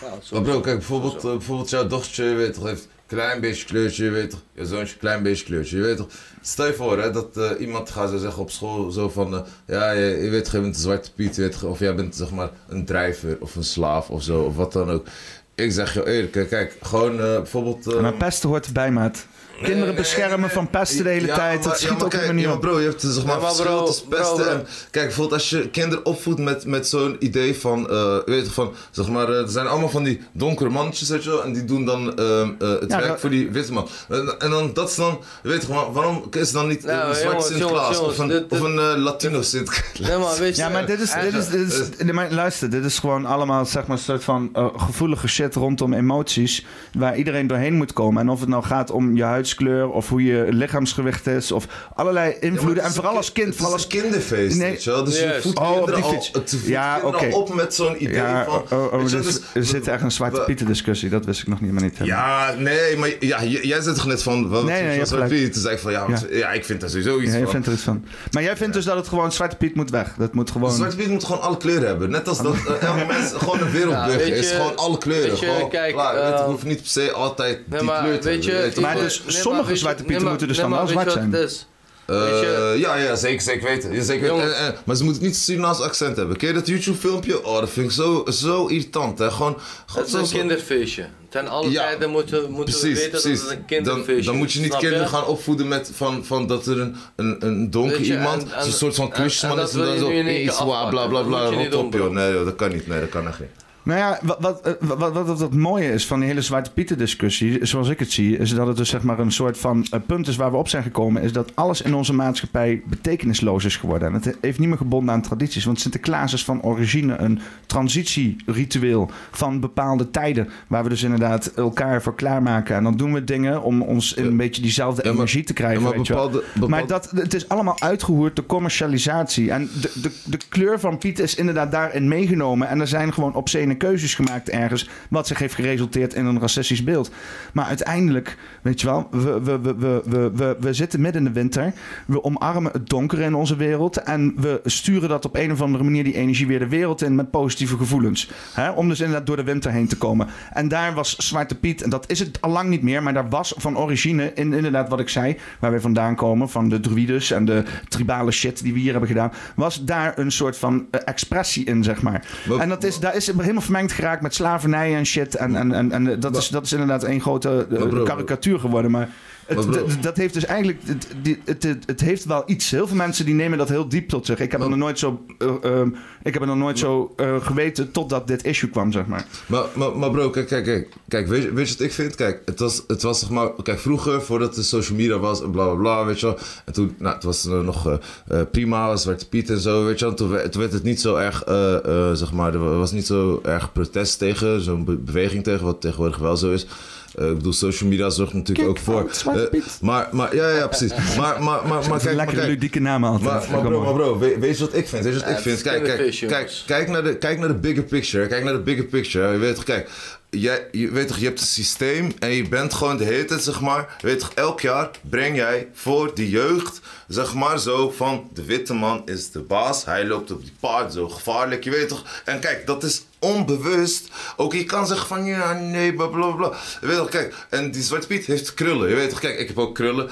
ja, zo.
Maar bro, kijk, bijvoorbeeld, eh, bijvoorbeeld jouw dochtertje, je weet toch, heeft een klein beetje kleurtje, je weet toch. Je zoontje, een klein beetje kleurtje, je weet toch. Stel je voor, hè, dat eh, iemand gaat zo zeggen op school, zo van, eh, ja, je, je weet, toch, je bent een zwarte piet, je weet toch, of jij bent, zeg maar, een drijver of een slaaf of zo, of wat dan ook. Ik zeg je eerlijk, hè, kijk, gewoon eh, bijvoorbeeld... eh,
Maar pesten hoort erbij, maat. Kinderen beschermen van pesten de hele
Ja,
tijd.
maar-
Dat
ja,
schiet
maar
ook
kijk,
helemaal niet
ja,
op.
Bro, je hebt zeg maar,
Ja, maar
verschil
bro,
tussen pesten
bro, bro.
en... Kijk, bijvoorbeeld als je kinderen opvoedt met, met zo'n idee van... eh, weet je, van, zeg maar, eh, er zijn allemaal van die donkere mannetjes, weet je wel, En die doen dan ehm, eh, het
Ja,
werk
dat-
voor die witte man. En, en dan, dat is dan... Weet je, maar waarom is dan niet eh,
Nou,
een zwart
jongens,
Sinterklaas?
jongens,
Of een,
jongens, dit-
of een eh, Latino Sinterklaas?
Nee, maar weet je,
Ja, maar dit is, dit is, dit is, nee, maar luister, dit is gewoon allemaal zeg maar, een soort van eh, gevoelige shit rondom emoties. Waar iedereen doorheen moet komen. En of het nou gaat om je huidskleur of hoe je lichaamsgewicht is. Of allerlei invloeden. en vooral als kind.
Het is
Vooral als
een kinderfeest,
Nee.
weet je wel. Dus je
Juist.
voedt
Oh, op
kinderen
die
al-
fiets.
het voedt
Ja,
kinderen
oké.
al op met zo'n idee
ja,
van...
oh, oh,
weet je
dit-
wel, dus
er
we-
zit echt een zwarte
we-
pieten discussie. Dat wist ik nog niet, maar niet. helemaal.
Ja, nee, maar ja, j- jij zit toch net van. Wat
Nee,
nee,
nee, je
nee,
hebt
van
gelijk.
Piet. Toen zei ik van ja, want- ja. ik vind daar sowieso iets
Ja, je
van.
vindt er iets van. Maar jij vindt dus dat het gewoon Zwarte Piet moet weg. Dat moet gewoon...
Zwarte Piet moet gewoon alle kleuren hebben. Net als dat eh, elke mens gewoon een wereldburger
Ja, weet
is.
je-
Gewoon alle kleuren.
weet je,
gewoon,
kijk,
klaar, weet je,
eh,
we hoeven niet per se altijd
Nee,
die
maar
kleur te
weet je,
hebben. weet je,
Maar
ik-
gewoon,
dus
nee, maar
sommige
weet je-
zwarte pieten
nee, maar-
moeten dus
nee,
dan
maar
wel
weet je
zwart
wat
zijn.
het is?
eh,
weet je-
ja, ja, zeker, zeker weten. Ja, zeker weten.
Jongens.
En- en- maar ze moeten niet een Surinaams accent hebben. Ken je dat YouTube-filmpje? Oh, dat vind ik zo, zo irritant. Hè. Gewoon, gewoon
Het is een
zo-
kinderfeestje. Ten alle
Ja,
tijden moeten, moeten we
Precies,
weten
precies.
dat het een
dan,
kinderfeestje is.
dan moet je niet
snap
kinderen gaan opvoeden met van, van dat er een, een, een donker
Weet je,
iemand,
en- en-
zo'n soort van
en-
klusjesman
en
is
dat
en dan
wil je
zo,
nu in één
hey,
keer
zwa, bla
afpakken.
bla
Dat
bla,
moet je niet
rot op
doen,
joh.
bro.
Nee joh, dat kan niet, nee dat kan echt niet.
Nou ja, wat, wat, eh, wat, wat, wat het mooie is van die hele Zwarte Pieten discussie, zoals ik het zie, is dat het dus zeg maar een soort van eh, punt is waar we op zijn gekomen, is dat alles in onze maatschappij betekenisloos is geworden. En het heeft niet meer gebonden aan tradities, want Sinterklaas is van origine een transitieritueel van bepaalde tijden, waar we dus inderdaad elkaar voor klaarmaken. En dan doen we dingen om ons in een beetje diezelfde
Eh, maar-
energie te krijgen.
maar
weet je wel.
bepaalde, bepaalde,
Maar dat, het is allemaal uitgehoerd door commercialisatie. En de, de, de kleur van Piet is inderdaad daarin meegenomen. En er zijn gewoon obscene keuzes gemaakt ergens. Wat zich heeft geresulteerd in een racistisch beeld. Maar uiteindelijk, weet je wel, we, we, we, we, we, we, we zitten midden in de winter. We omarmen het donkere in onze wereld. En we sturen dat op een of andere manier, die energie, weer de wereld in met positieve gevoelens. Hè? Om dus inderdaad door de winter heen te komen. En daar was Zwarte Piet, en dat is het allang niet meer, maar daar was van origine, in, inderdaad wat ik zei, waar we vandaan komen, van de druides en de tribale shit die we hier hebben gedaan, was daar een soort van eh, expressie in, zeg maar.
Maar-
en dat is, daar is het helemaal vermengd geraakt met slavernij en shit. En, en, en, en eh, dat, is, dat is inderdaad een grote eh,
Maar bro-
karikatuur geworden, maar...
Maar
Het,
bro-
d- dat heeft dus eigenlijk. Het, die- het, het, het heeft wel iets. Heel veel mensen die nemen dat heel diep tot zich. Ik heb
Maar-
het nog nooit zo, eh, ehm, ik heb het nog nooit zo eh, geweten totdat dit issue kwam, zeg maar.
Maar, maar, maar bro, kijk, kijk, kijk. Kijk, weet, je- weet je wat ik vind? Kijk, het was, het was zeg maar... Kijk, vroeger, voordat de social media was en bla, bla, bla, weet je wel. En toen, nou, het was eh, nog eh, eh, prima, Zwarte Piet en zo, weet je wel. Toen, we- toen werd het niet zo erg, eh, eh, zeg maar... Er was niet zo erg protest tegen, zo'n be- beweging tegen, wat tegenwoordig wel zo is. Eh, ik bedoel, social media zorgt natuurlijk ook voor... eh, maar, maar, ja, ja, precies. Maar, maar, maar, maar, kijk, maar
Lekkere
kijk.
ludieke namen altijd.
Maar, maar
Kom
bro,
op.
maar bro, we- weet je wat ik vind? Weet je wat
Ja,
ik
het
vind?
is
Kijk, kijk,
television,
kijk,
jongens.
kijk, naar de, kijk naar de bigger picture. Kijk naar de bigger picture. Je weet toch, kijk, jij, je, weet toch, je hebt een systeem en je bent gewoon de hele tijd, zeg maar. je Weet toch, elk jaar breng jij voor die jeugd, zeg maar zo, van de witte man is de baas. Hij loopt op die paard, zo gevaarlijk, je weet toch. En kijk, dat is onbewust. Ook je kan zeggen van, ja, nee, bla bla bla. Je weet toch, kijk, en die Zwarte Piet heeft krullen. Je weet toch, kijk, ik heb ook krullen.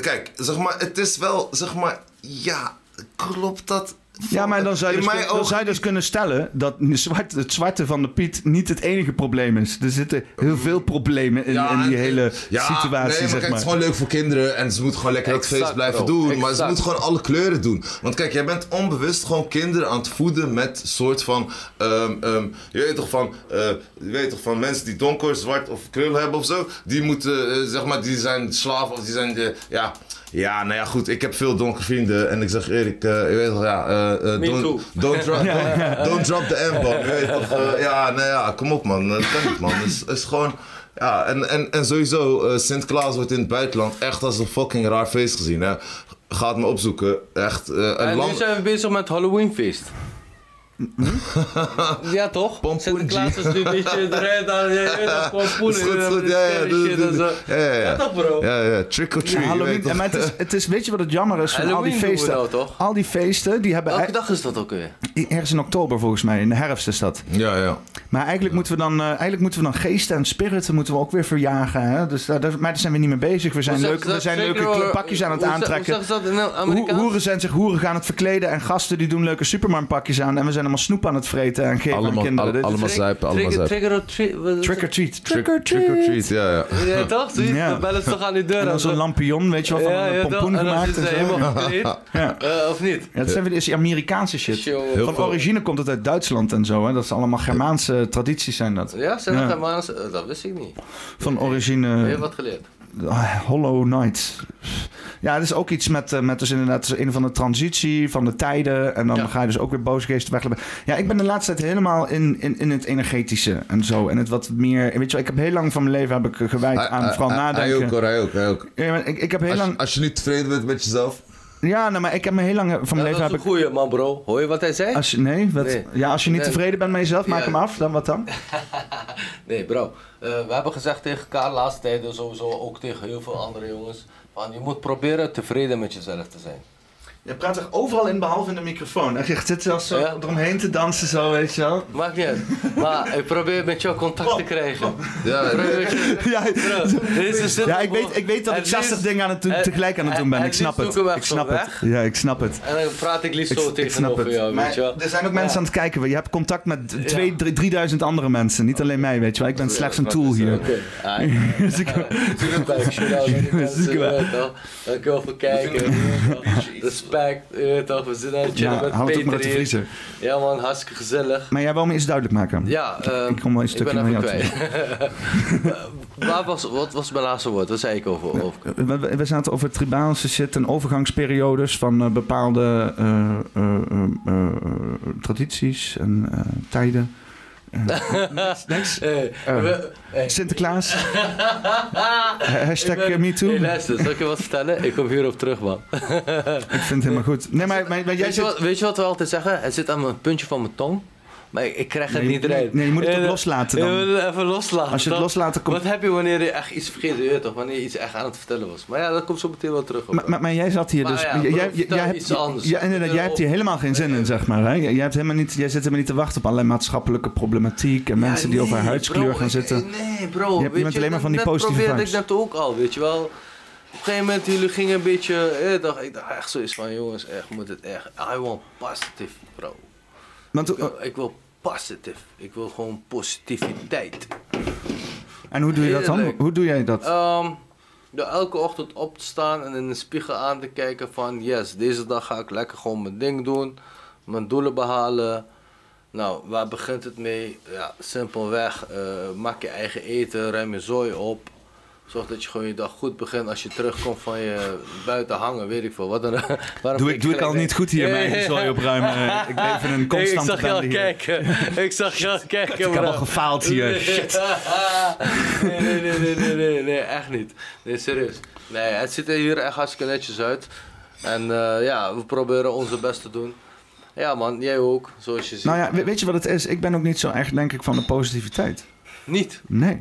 Kijk, zeg maar, het is wel, zeg maar, ja, klopt dat?
Ja, maar dan zou je
In
dus,
mijn
dan
ogen-
zou je dus kunnen stellen dat de zwarte- het zwarte van de Piet niet het enige probleem is. Er zitten heel veel problemen in,
Ja,
in die
en-
hele
ja,
situatie,
nee, maar.
zeg
Kijk, het is
maar.
gewoon leuk voor kinderen en ze moeten gewoon lekker dat
Exact,
feest blijven
bro.
doen. Maar ze
Exact.
moeten gewoon alle kleuren doen. Want kijk, jij bent onbewust gewoon kinderen aan het voeden met soort van, ehm, ehm, je, weet toch van eh, je weet toch van mensen die donker, zwart of krul hebben of zo. Die moeten, eh, zeg maar, die zijn slaaf of die zijn, eh, ja... Ja, nou ja, goed, ik heb veel donkere vrienden en ik zeg Erik, eh, je weet toch, ja, eh, eh,
Me
don't,
too.
don't, drop, don't, don't drop the M-bomb, je weet toch, eh, ja, nou ja, kom op man, dat kan niet man, het is, is gewoon, ja, en, en, en sowieso, eh, Sinterklaas wordt in het buitenland echt als een fucking raar feest gezien, hè. Ga het me opzoeken, echt, eh, een
En nu
land...
zijn we bezig met Halloweenfeest. ja toch?
Pompoentje.
Sinterklaas is nu een beetje eruit aan de pompoen.
Is goed, is goed, ja, ja, doe- doe- doe. ja, ja,
Ja
ja,
toch bro?
ja, ja, trick or
Ja,
treat, je weet
Halloween,
toch.
maar het is, het is, weet je wat het jammer is van al die
Halloween doen we
feesten?
nou, toch?
Al die feesten, die hebben
Welke dag is dat ook weer?
e- ergens in oktober volgens mij, in de herfst is dat.
Ja, ja.
Maar eigenlijk, moeten we dan, eh, eigenlijk moeten we dan geesten en spiriten moeten we ook weer verjagen. Hè? Dus, daar, daar- maar daar zijn we niet mee bezig. We zijn,
Hoe
leuke,
zeggen
we
ze
zijn
dat?
leuke
Zeker,
kleur-
hoor.
pakjes aan het
Hoe ze-
aantrekken.
Hoe zeggen ze dat in het
Ho-
Amerikaans?
Hoeren zijn zich hoeren gaan het verkleden en gasten die doen leuke supermarktpakjes aan. En we zijn allemaal snoep aan het vreten en geven aan
Allemaal-
kinderen.
al-
Dit is-
allemaal- zuipen, allemaal
Trigger, trigger or treat. wat is
Trick or treat.
Trick trick or treat, ja, ja.
het? Ja toch? Zie je?
Ja.
Dan bellen ze toch aan die deur.
En dan
als
zo'n
we-
lampion, weet je wel, van
Ja, ja,
een
toch?
pompoen
En dan
gemaakt.
zitten
En zo.
ze helemaal gekleed.
Ja.
Eh, Of niet?
Ja, dat zijn weer dus die Amerikaanse shit.
Show.
Heel
Van
veel-
origine komt het uit Duitsland en zo. Hè? Dat zijn allemaal Germaanse tradities zijn dat.
Ja, zijn
Ja.
dat Germaanse? Eh, Dat wist ik niet.
Van
Heb
origine
je wat geleerd?
Ah, Hollow Knight. Ja, het is ook iets met, eh, met dus inderdaad een van de transitie van de tijden. En dan
Ja.
ga je dus ook weer boze geesten weglopen. Ja, ik ben de laatste tijd helemaal in, in, in het energetische en zo. En het wat meer. Weet je wel, ik heb heel lang van mijn leven heb ik eh, gewijd
Ah,
Hij-
aan
hij-
vooral
hij- Hij ook
nadenken.
hoor, hij ook, hij ook.
Ja, maar ik, ik heb heel
Als, je-
lang.
als je niet tevreden bent met jezelf,
Ja, nou, maar ik heb me heel lang eh, van mijn
Ja, dat
leven.
is een
Heb ik,
goeie man bro. Hoor je wat hij zei?
als je, nee, wat,
Nee.
ja, als je niet
Nee.
tevreden bent met jezelf, maak
Ja.
hem af. Dan wat dan?
Nee, bro. Eh, we hebben gezegd tegen elkaar de laatste tijden, sowieso ook tegen heel veel andere jongens, van je moet proberen tevreden met jezelf te zijn.
Je praat er overal in, behalve in de microfoon. Hij zit zelfs
zo Ja.
eromheen te dansen, zo, weet je wel.
Maakt niet uit. Maar ik probeer met jou contact te krijgen.
ja,
Probeer met je-
Ja,
Bro, dit is
Ja, ik weet, ik weet dat
Het
ik 60
liefst-
dingen aan het doen,
het-
tegelijk aan het doen ben.
het
Ik snap
liefst
het.
zoeken we
Ik
echt
snap
zo'n
het.
weg.
Ja, ik snap het.
En dan praat ik liefst
Ik,
zo
ik snap
tegenover
het.
jou, weet
Maar
je wel.
er zijn ook mensen aan het kijken. Je hebt contact met twee,
Ja.
drie- 3000 andere mensen. Niet alleen mij, weet je wel. Ik ben slechts een tool hier.
Oké, Ah, ai.
Dus ik-
Tuurlijk, ik shout-out aan die
Tuurlijk
mensen,
wel.
weet je wel. Dankjewel voor het kijken. weet je wel. gepakt. Je weet toch, we zitten aan het chillen
Ja,
met
hou het ook maar uit
Peter
de vriezer.
hier. Ja man, hartstikke gezellig.
Maar jij wil me iets duidelijk maken.
Ja, eh,
ik kom wel een
ik
stukje
ben even
naar jou
kwijt. Waar was, wat was mijn laatste woord? Wat zei ik over? over?
We, we- we zaten over tribaalse zitten en overgangsperiodes van eh, bepaalde eh, eh, eh, eh, tradities en eh, tijden. Eh,
Hey, we- hey.
Sinterklaas, hashtag
eh. Ik ben-
MeToo.
Hey, luister, zal ik je wat vertellen? Ik kom hierop terug, man.
ik vind het helemaal goed. Nee, maar, maar, maar jij
Weet je,
zit...
wat, weet je wat we altijd zeggen? Het zit aan mijn puntje van mijn tong, maar ik, ik krijg het
Nee,
niet eruit.
nee, je moet het
Eh,
ook loslaten dan.
je moet het even loslaten.
Als je het
Dan-
loslaten komt...
Wat heb je wanneer je echt iets vergeet, je weet toch? Wanneer je iets echt aan het vertellen was. Maar ja, dat komt zo meteen wel terug. hoor.
Maar, maar, maar jij zat hier
Maar
dus...
ja,
jij, jij,
vertel
jij hebt,
iets anders.
Ja, inderdaad, jij hebt hier helemaal geen zin in, zeg maar. Hè? Jij, jij hebt helemaal niet, jij zit helemaal niet te wachten op allerlei maatschappelijke problematiek... en
Ja,
mensen die over
nee,
haar huidskleur
bro,
gaan zitten.
eh, Nee, bro.
Je
weet
bent alleen maar van die
net
positieve
probeerde
vibes.
ik dat ook al, weet je wel. Op een gegeven moment, jullie gingen een beetje... eh, dacht, ik dacht echt zoiets van, jongens, echt, moet het echt... I want positive, bro.
Want, eh,
Ik wil, ik wil positive. Ik wil gewoon positiviteit.
en hoe doe je dat dan?
Heerlijk.
Hoe doe jij dat?
Ehm, door elke ochtend op te staan en in de spiegel aan te kijken van... Yes, deze dag ga ik lekker gewoon mijn ding doen. Mijn doelen behalen. Nou, waar begint het mee? Ja, simpelweg. eh, maak je eigen eten, ruim je zooi op. Zorg dat je gewoon je dag goed begint als je terugkomt van je buiten hangen, weet ik veel. Wat dan, waarom
Doe
keek
ik, doe ik
gelijk
al
weg?
niet goed hier,
Ja,
mijn
ja, ja.
zooi opruimen. Ik ben even een
Hey, ik
constante
zag je al
bende hier.
kijken. Ik zag je al kijken,
Ik heb
bro.
al gefaald hier. Shit.
nee, nee, nee, nee, nee, nee, nee, echt niet. Nee, serieus. Nee, het ziet er hier echt hartstikke netjes uit. En eh, ja, we proberen onze best te doen. Ja man, jij ook, zoals je ziet.
Nou ja, we- weet je wat het is? Ik ben ook niet zo erg, denk ik, van de positiviteit.
Niet,
Nee.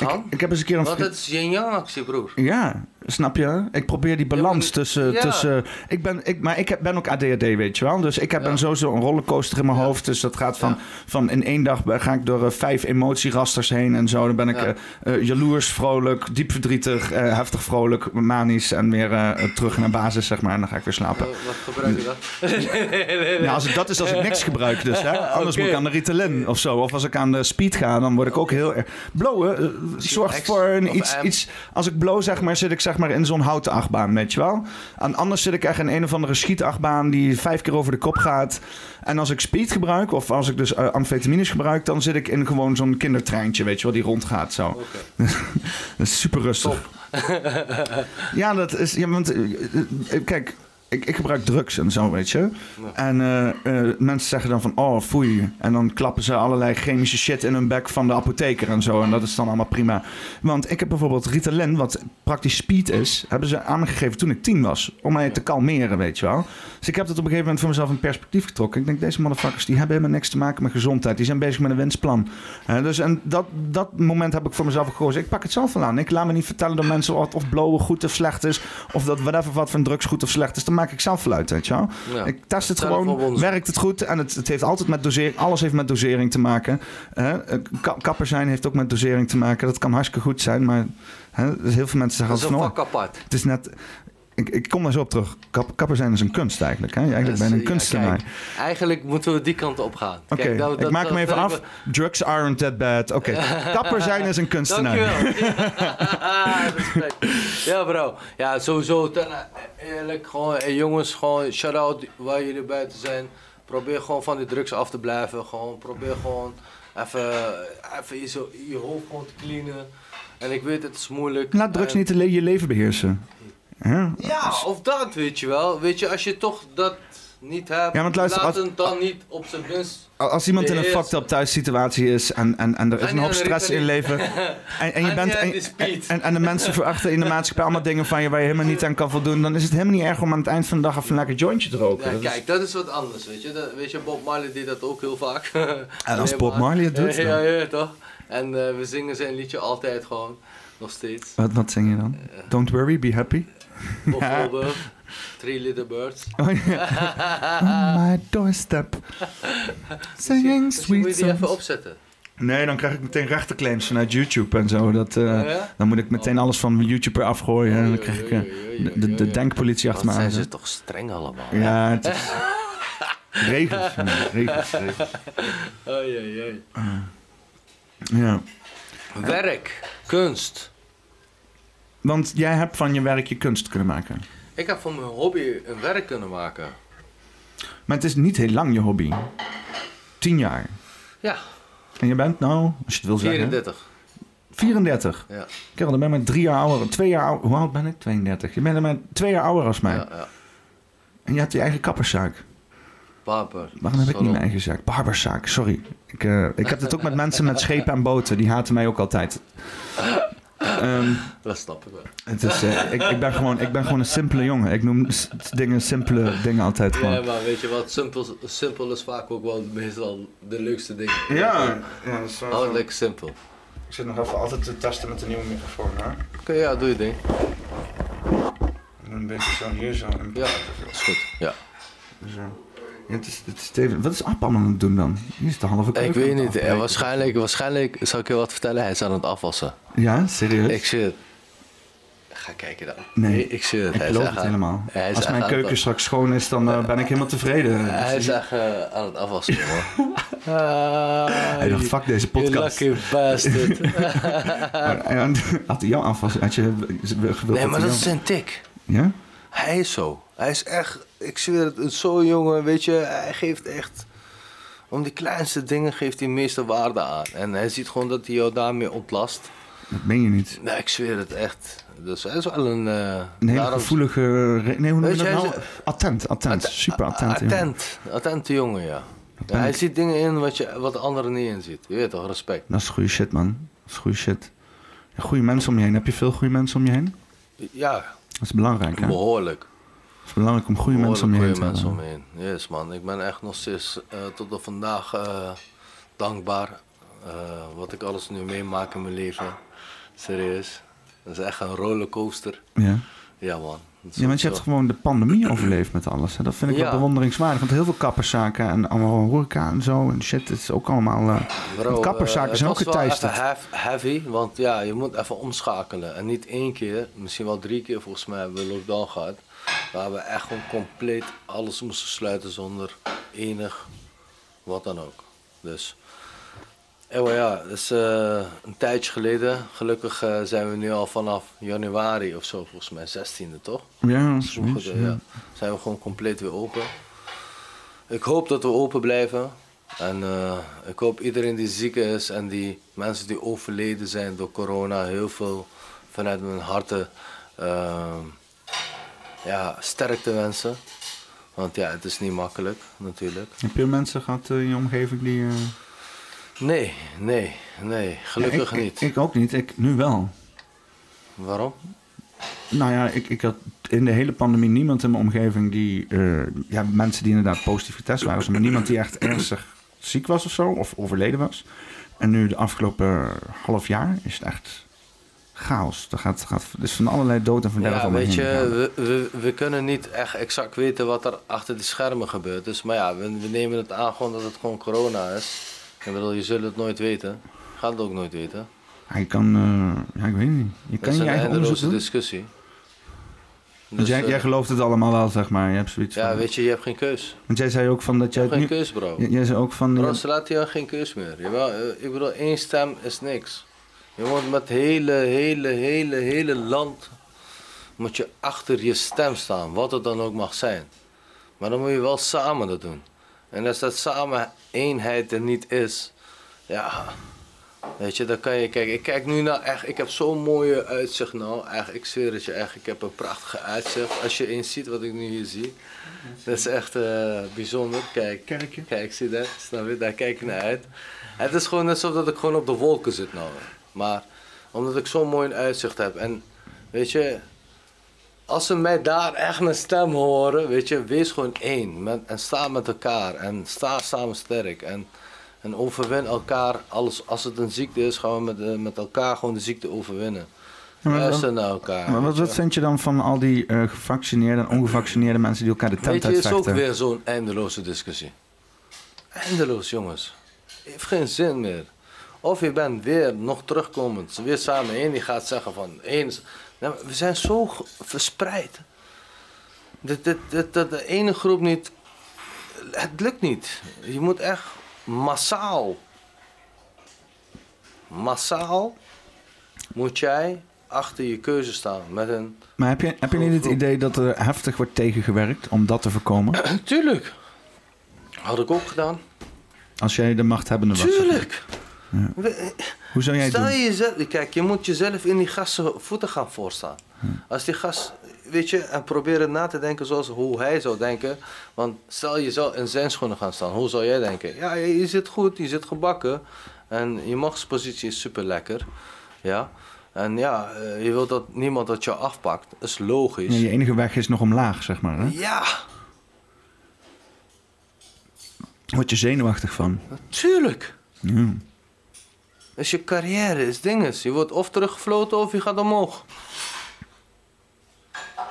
Ik,
kan.
ik heb eens een keer een
Want
vriend-
het is yin-yang actie, broer.
Ja, snap je? Ik probeer die balans
maar-
tussen...
ja.
tussen ik ben, ik, maar ik heb, ben ook ADHD, weet je wel. Dus ik heb
Ja.
ben sowieso een rollercoaster in mijn hoofd. Dus dat gaat van,
Ja.
van in één dag ben- ga ik door eh, vijf emotierasters heen en zo. Dan ben ik
Ja.
eh, eh, jaloers, vrolijk, diep verdrietig, eh, heftig vrolijk, manisch. En weer eh, terug naar basis, zeg maar. En dan ga ik weer slapen.
Eh, Wat, wat gebruik je dan?
Ja, als het dat is als ik niks gebruik dus. Hè? Anders
Oké.
moet ik aan de Ritalin of zo. Of als ik aan de speed ga, dan word ik ook heel erg... Blowen eh, zorgt
X
voor
of eh,
een iets,
M.
iets... Als ik blow zeg maar, zit ik zeg maar in zo'n houten achtbaan, weet je wel? En anders zit ik echt in een of andere schietachtbaan die vijf keer over de kop gaat. En als ik speed gebruik, of als ik dus eh, amfetamines gebruik... dan zit ik in gewoon zo'n kindertreintje, weet je wel, die rondgaat zo. Dat is super rustig. ja, dat is. Ja, want eh, eh, kijk, ik, ik gebruik drugs en zo, weet je. En eh, eh, mensen zeggen dan van, oh, foei. En dan klappen ze allerlei chemische shit in hun bek van de apotheker en zo. En dat is dan allemaal prima. Want ik heb bijvoorbeeld Ritalin, wat praktisch speed is, hebben ze aan me gegeven toen ik tien was. Om mij te kalmeren, weet je wel. Dus ik heb dat op een gegeven moment voor mezelf in perspectief getrokken. Ik denk, deze motherfuckers, die hebben helemaal niks te maken met gezondheid. Die zijn bezig met een wensplan. Eh, dus en dat, dat moment heb ik voor mezelf gekozen. Ik pak het zelf wel aan. Ik laat me niet vertellen door mensen wat of blowen goed of slecht is. Of dat whatever wat van drugs goed of slecht is. Dan maak ik zelf wel uit, weet je wel.
Ja.
Ik test het
Zelf op
gewoon,
onderzoek.
werkt het goed. En het, het heeft altijd met dosering, alles heeft met dosering te maken. Eh, eh, ka- kapper zijn heeft ook met dosering te maken. Dat kan hartstikke goed zijn, maar hè, dus heel veel mensen
Dat
zeggen
is
van,
een
oh,
vak apart.
het is net... Ik, ik kom daar zo op terug. Kap- kapper zijn is een kunst eigenlijk. Hè? Je eigenlijk
Dus,
ben je een
ja,
kunstenaar.
kijk, eigenlijk moeten we die kant op gaan.
Oké,
Kijk, nou,
ik
dat-
maak hem
dat-
even
dat-
af. Drugs aren't that bad. Oké, kapper zijn is een kunstenaar.
Dankjewel. Ja, respect. ja, bro. Ja, sowieso. ten- eerlijk, gewoon, eh, jongens, gewoon shout-out waar jullie buiten zijn. Probeer gewoon van die drugs af te blijven. Gewoon, probeer gewoon even, even je, zo- je hoofd gewoon te cleanen. En ik weet, het is moeilijk.
Laat drugs
En-
niet le- je leven beheersen. Ja,
Ja, of dat, weet je wel. Weet je, als je toch dat niet hebt,
Ja, want luister,
laat
als-
het dan niet op zijn minst.
Al- Als iemand in een
Beheersen.
fucked up thuis situatie is en, en, en er
Ga
is een
niet
hoop
aan de
stress in leven.
Ritalin.
En, en,
Ga
je
niet
bent,
aan
en,
de speed.
en, en de mensen verachten in de maatschappij allemaal dingen van je waar je helemaal niet aan kan voldoen. Dan is het helemaal niet erg om aan het eind van de dag even een lekker jointje te roken.
Ja,
Dat is-
kijk, dat is wat anders, weet je. Dat, weet je, Bob Marley deed dat ook heel vaak.
En als
Nee,
Bob
maar-
Marley het doet,
Ja,
dan?
ja, ja, toch? En eh, we zingen zijn liedje altijd gewoon, nog steeds.
wat, wat zing je dan? Don't worry, be happy.
Bijvoorbeeld, Three Little Birds.
Oh, ja. On my doorstep. Singing
Misschien moet
sweet
Dus je die even
songs.
opzetten.
Nee, dan krijg ik meteen rechtenclaims vanuit YouTube en zo. Dat, eh,
Oh, ja?
Dan moet ik meteen alles van YouTube eraf gooien. En dan krijg ik eh,
Oei, oei, oei, oei,
de, de, de
oei.
denkpolitie
Wat
achter me aan.
zijn ze toch streng allemaal.
Ja, het is... regels, jongen, regels, regels.
Oei, oei, oei.
Ja.
Werk, kunst.
Want jij hebt van je werk je kunst kunnen maken.
Ik heb van mijn hobby een werk kunnen maken.
Maar het is niet heel lang je hobby. Tien jaar.
Ja,
En je bent nou, als je het wil zeggen,
34.
34.
Ja,
Kerel, dan ben je maar drie jaar ouder. Twee jaar ouder. Hoe oud ben ik? 32. Je bent maar twee jaar ouder als mij.
ja, ja.
En je hebt je eigen kapperszaak.
Paper.
Waarom heb ik niet
Salon.
mijn eigen zaak? Barberzaak, sorry. Ik, eh, ik heb het ook met mensen met schepen en boten. Die haten mij ook altijd. Ehm,
Dat snap ik wel.
het is, eh, ik, ik, ben gewoon, ik ben gewoon een simpele jongen. Ik noem s- dingen simpele dingen altijd
Ja,
gewoon.
maar weet je wat? Simpel, simpel is vaak ook wel meestal de leukste ding.
Ja, ja dat is wel-
Hou het lekker simpel.
Ik zit nog even altijd te testen met de nieuwe microfoon, hè?
Oké, ja, doe je ding.
En Een beetje zo hier zo. en-
Ja, is goed. Ja.
zo.
Ja, het is, het is Steven. Wat is App allemaal aan het doen dan? Hier is de halve
Ik
keuken
weet
aan het
niet. eh,
afbreken.
waarschijnlijk, waarschijnlijk zal ik je wat vertellen. Hij is aan het afwassen.
Ja, serieus?
Ik zie het. Ga kijken dan.
Nee.
ik zie het.
Ik
Hij is
geloof
echt
het
aan-
helemaal.
Hij
Als
is echt
mijn
aan het-
keuken straks schoon is, dan eh, ben ik helemaal tevreden. Dus
Hij is echt eh, aan het afwassen, hoor.
Hij dacht, fuck deze podcast.
You lucky bastard.
En- Had hij jou afwas? Had je gewild
nee,
hij
maar dat is
jou-
zijn tik.
Ja?
Hij is zo. Hij is echt, ik zweer het, het, zo'n jongen, weet je, hij geeft echt... Om die kleinste dingen geeft hij de meeste waarde aan. En hij ziet gewoon dat hij jou daarmee ontlast.
Dat meen je niet.
Nee, ik zweer het echt. Dus hij is wel een... eh
Een hele
daarom-
gevoelige... re- Nee, hoe noem je
Weet
dat
je,
nou?
hij is-
Attent, attent.
Att-
Super attent. jongen.
Attent. Attente jongen, ja. Ja, hij ziet dingen in wat, je, wat de anderen niet in ziet. Je weet toch, respect.
Dat is goede shit, man. Dat is goede shit. Ja, Goede mensen om je heen. Heb je veel goede mensen om je heen?
Ja,
Dat is belangrijk, hè?
behoorlijk.
Het is belangrijk om goede mensen om je heen
Behoorlijk
te
mensen om
hebben.
je heen. Yes man, ik ben echt nog steeds eh, tot op vandaag eh, dankbaar. eh, wat ik alles nu meemaak in mijn leven. Serieus. Dat is echt een rollercoaster.
Ja.
Ja man. Dat is
Ja, want
ook
je hebt
zo.
gewoon de pandemie overleefd met alles. Hè? Dat vind ik wel
Ja.
bewonderingswaardig. Want heel veel kapperszaken en allemaal horeca en zo en shit. Het is ook allemaal... eh
Bro,
want kapperszaken
eh, het
zijn ook
was wel
geteisterd.
even hef- heavy, want ja, je moet even omschakelen. En niet één keer, misschien wel drie keer volgens mij hebben we lockdown gehad. Waar we echt gewoon compleet alles moesten sluiten zonder enig wat dan ook. Dus, anyway, ja, dat is eh, een tijdje geleden. Gelukkig eh, zijn we nu al vanaf januari of zo, volgens mij 16e toch?
Ja,
Vroeger,
zoiets,
eh, ja. Zijn we gewoon compleet weer open. Ik hoop dat we open blijven. En eh, ik hoop iedereen die ziek is en die mensen die overleden zijn door corona, heel veel vanuit mijn harten ehm, ja, sterkte wensen. Want ja, het is niet makkelijk natuurlijk.
Heb je mensen gehad eh, in je omgeving die... eh,
Nee, nee, nee, gelukkig
ik,
niet.
Ik, ik ook niet. Ik, nu wel.
Waarom?
Nou ja, ik, ik had in de hele pandemie niemand in mijn omgeving die... eh, ja, mensen die inderdaad positief getest waren. Maar niemand die echt ernstig ziek was of zo. Of overleden was. En nu de afgelopen half jaar is het echt chaos. Er gaat, gaat, er is van allerlei dood en van dergelijke
Ja,
om me
weet je, eh,
heen gegaan.
we, we, we kunnen niet echt exact weten wat er achter die schermen gebeurt. Dus, maar ja, we, we nemen het aan gewoon dat het gewoon corona is. Ik bedoel, je zult het nooit weten. Je Gaat het ook nooit weten.
Hij kan... eh, ja, ik weet het niet. Je
Dat
kan
is
je
een
eigen onderzoek
eindeloze
doen.
discussie.
Want
Dus,
jij,
eh,
jij gelooft het allemaal wel, zeg maar. Je hebt zoiets
ja,
van...
weet je, je hebt geen keus.
Want jij zei ook van dat
Je
jij...
hebt
het
geen
niet-
keus, bro.
Jij zei ook van...
Bro, ze laten jou geen keus meer. Jawel, eh, ik bedoel, één stem is niks. Je moet met hele, hele, hele, hele land moet je achter je stem staan, wat het dan ook mag zijn. Maar dan moet je wel samen dat doen. En als dat samen eenheid er niet is, ja, weet je, dan kan je kijken. Ik kijk nu naar echt, ik heb zo'n mooie uitzicht nou. Echt, ik zweer het je echt, ik heb een prachtige uitzicht. Als je eens ziet wat ik nu hier zie, dat is echt eh, bijzonder. Kijk,
Kerkje.
kijk, zie dat, snap je, daar kijk ik naar uit. Het is gewoon net alsof dat ik gewoon op de wolken zit nou. Maar omdat ik zo'n mooi uitzicht heb en weet je, als ze mij daar echt mijn stem horen, weet je, wees gewoon één. Met, en sta met elkaar en sta samen sterk. En, en overwin elkaar. Alles, als het een ziekte is, gaan we met, eh, met elkaar gewoon de ziekte overwinnen.
Ja, maar dan-
Luister naar elkaar.
Maar wat,
weet je.
wat vind je dan van al die eh, gevaccineerde en ongevaccineerde mensen die elkaar de
Weet
tent
je, is ook
uitvechten?
weer zo'n eindeloze discussie. Eindeloos, jongens. Heeft geen zin meer. Of je bent weer nog terugkomend, weer samen één die gaat zeggen van eens. Nou, we zijn zo ge- verspreid. Dat, dat, dat, dat de ene groep niet. Het lukt niet. Je moet echt massaal. Massaal moet jij achter je keuze staan. Met een...
Maar heb je, heb je niet het idee dat er heftig wordt tegengewerkt om dat te voorkomen?
Tuurlijk. Had ik ook gedaan.
Als jij de machthebbende was. zeg maar.
Tuurlijk. We-
Hoe zou jij het
Stel
doen?
je jezelf, kijk, je moet jezelf in die gasten voeten gaan voorstaan. Als die gast, weet je, en proberen na te denken zoals hoe hij zou denken. Want stel je zou in zijn schoenen gaan staan, hoe zou jij denken? Ja, je, je zit goed, je zit gebakken. En je machtspositie is super lekker. Ja. En ja, eh, je wilt dat niemand dat je afpakt. is logisch.
Ja, je enige weg is nog omlaag, zeg maar. Hè?
Ja,
Word je zenuwachtig van.
natuurlijk.
Ja.
Is je carrière, is dinges. Je wordt of teruggefloten of je gaat omhoog.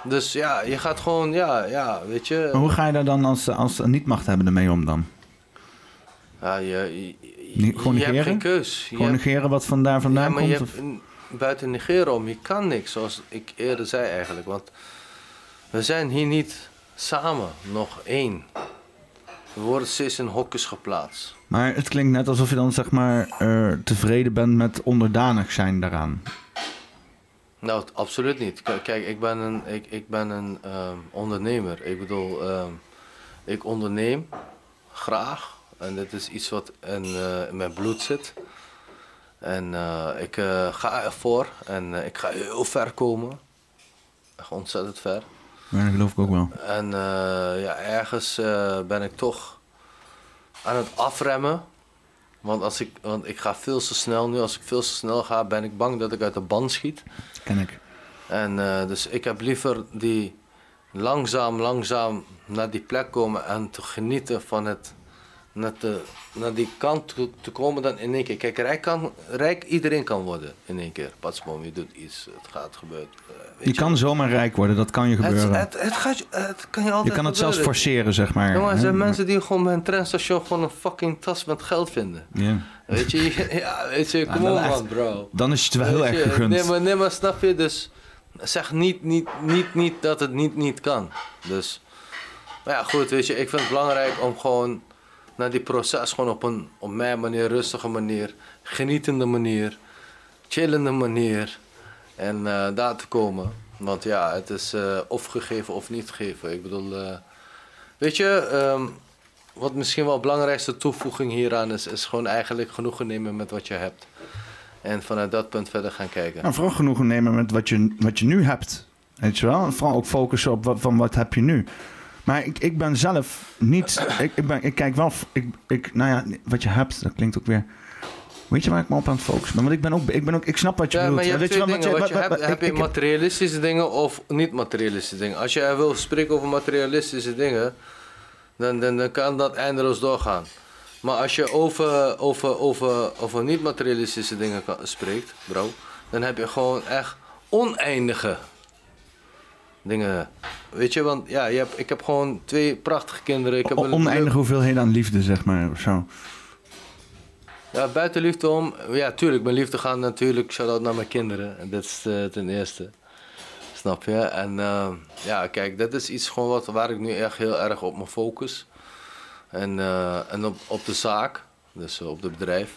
Dus ja, je gaat gewoon, ja, ja, weet
Maar
je.
hoe ga je daar dan als, als niet-machthebbende mee om dan?
Ja, je, je, je-
Niet gewoon
je hebt
negeren?
geen keus. Je
Gewoon
hebt-
negeren wat vandaar vandaan
ja, maar
komt?
je
of-
hebt n- buiten negeren om, je kan niks, zoals ik eerder zei eigenlijk. Want we zijn hier niet samen, nog één. We worden steeds in hokjes geplaatst.
Maar het klinkt net alsof je dan zeg maar eh, tevreden bent met onderdanig zijn daaraan.
Nou, t- absoluut niet. K- kijk, ik ben een, ik, ik ben een ehm, ondernemer. Ik bedoel, ehm, ik onderneem graag. En dit is iets wat in, eh, in mijn bloed zit. En eh, ik eh, ga ervoor. En eh, ik ga heel ver komen. Echt ontzettend ver.
Ja, dat geloof ik ook wel.
En eh, ja, ergens eh, ben ik toch aan het afremmen. Want, als ik, want ik ga veel te snel nu. Als ik veel te snel ga, ben ik bang dat ik uit de band schiet.
Ken ik.
En eh, dus ik heb liever die langzaam, langzaam naar die plek komen en te genieten van het. Naar, de, naar die kant toe te komen dan in één keer. Kijk, rijk, kan, rijk iedereen kan worden in één keer. Patsboom, je doet iets, het gaat gebeuren. eh,
Je kan zomaar rijk worden, dat kan je
het,
gebeuren.
het, het, gaat, je- het kan je altijd
je kan het zelfs
gebeuren.
forceren, zeg maar.
Jongen, er
hè?
zijn mensen die gewoon bij een treinstation gewoon een fucking tas met geld vinden.
Ja.
Weet je, ja, weet je, kom
wel
op
echt.
man, bro.
Dan is het wel heel
Weet
erg
je,
gegund.
Nee maar, nee, maar snap je? Dus zeg niet, niet, niet, niet dat het niet, niet kan. Dus, maar ja, goed, weet je, ik vind het belangrijk om gewoon naar die proces gewoon op een, op mijn manier, rustige manier, genietende manier, chillende manier en eh, daar te komen. Want ja, het is eh, of gegeven of niet gegeven. Ik bedoel, eh, weet je, ehm, wat misschien wel belangrijkste toevoeging hieraan is, is gewoon eigenlijk genoegen nemen met wat je hebt. En vanuit dat punt verder gaan kijken.
Nou, vooral genoegen nemen met wat je, wat je nu hebt. Weet je wel? En vooral ook focussen op wat, van wat heb je nu. Maar ik, ik ben zelf niet... Ik, ik, ben, ik kijk wel... f- Ik, ik, nou ja, wat je hebt, dat klinkt ook weer... Weet je waar ik me op aan het focussen ben? Want ik ben ook... Ik, ben ook, ik snap wat je
Ja,
bedoelt.
maar je hebt
weet wel,
twee
want
dingen. Wat je hebt,
ik-
heb je
ik heb-
materialistische dingen of niet-materialistische dingen. Als jij wil spreken over materialistische dingen, dan, dan, dan kan dat eindeloos doorgaan. Maar als je over, over, over, over niet-materialistische dingen kan- spreekt, bro, dan heb je gewoon echt oneindige dingen. Weet je, want ja, je hebt, ik heb gewoon twee prachtige kinderen. Ik heb
O-
een
oneindige hoeveelheden aan liefde, zeg maar. Of zo.
Ja, buiten liefde om. Ja, tuurlijk. Mijn liefde gaat natuurlijk shout-out naar mijn kinderen. En dat is eh, ten eerste. Snap je? En eh, ja, kijk, dat is iets gewoon wat, waar ik nu echt heel erg op me focus. En, eh, en op, op de zaak. Dus eh, op het bedrijf.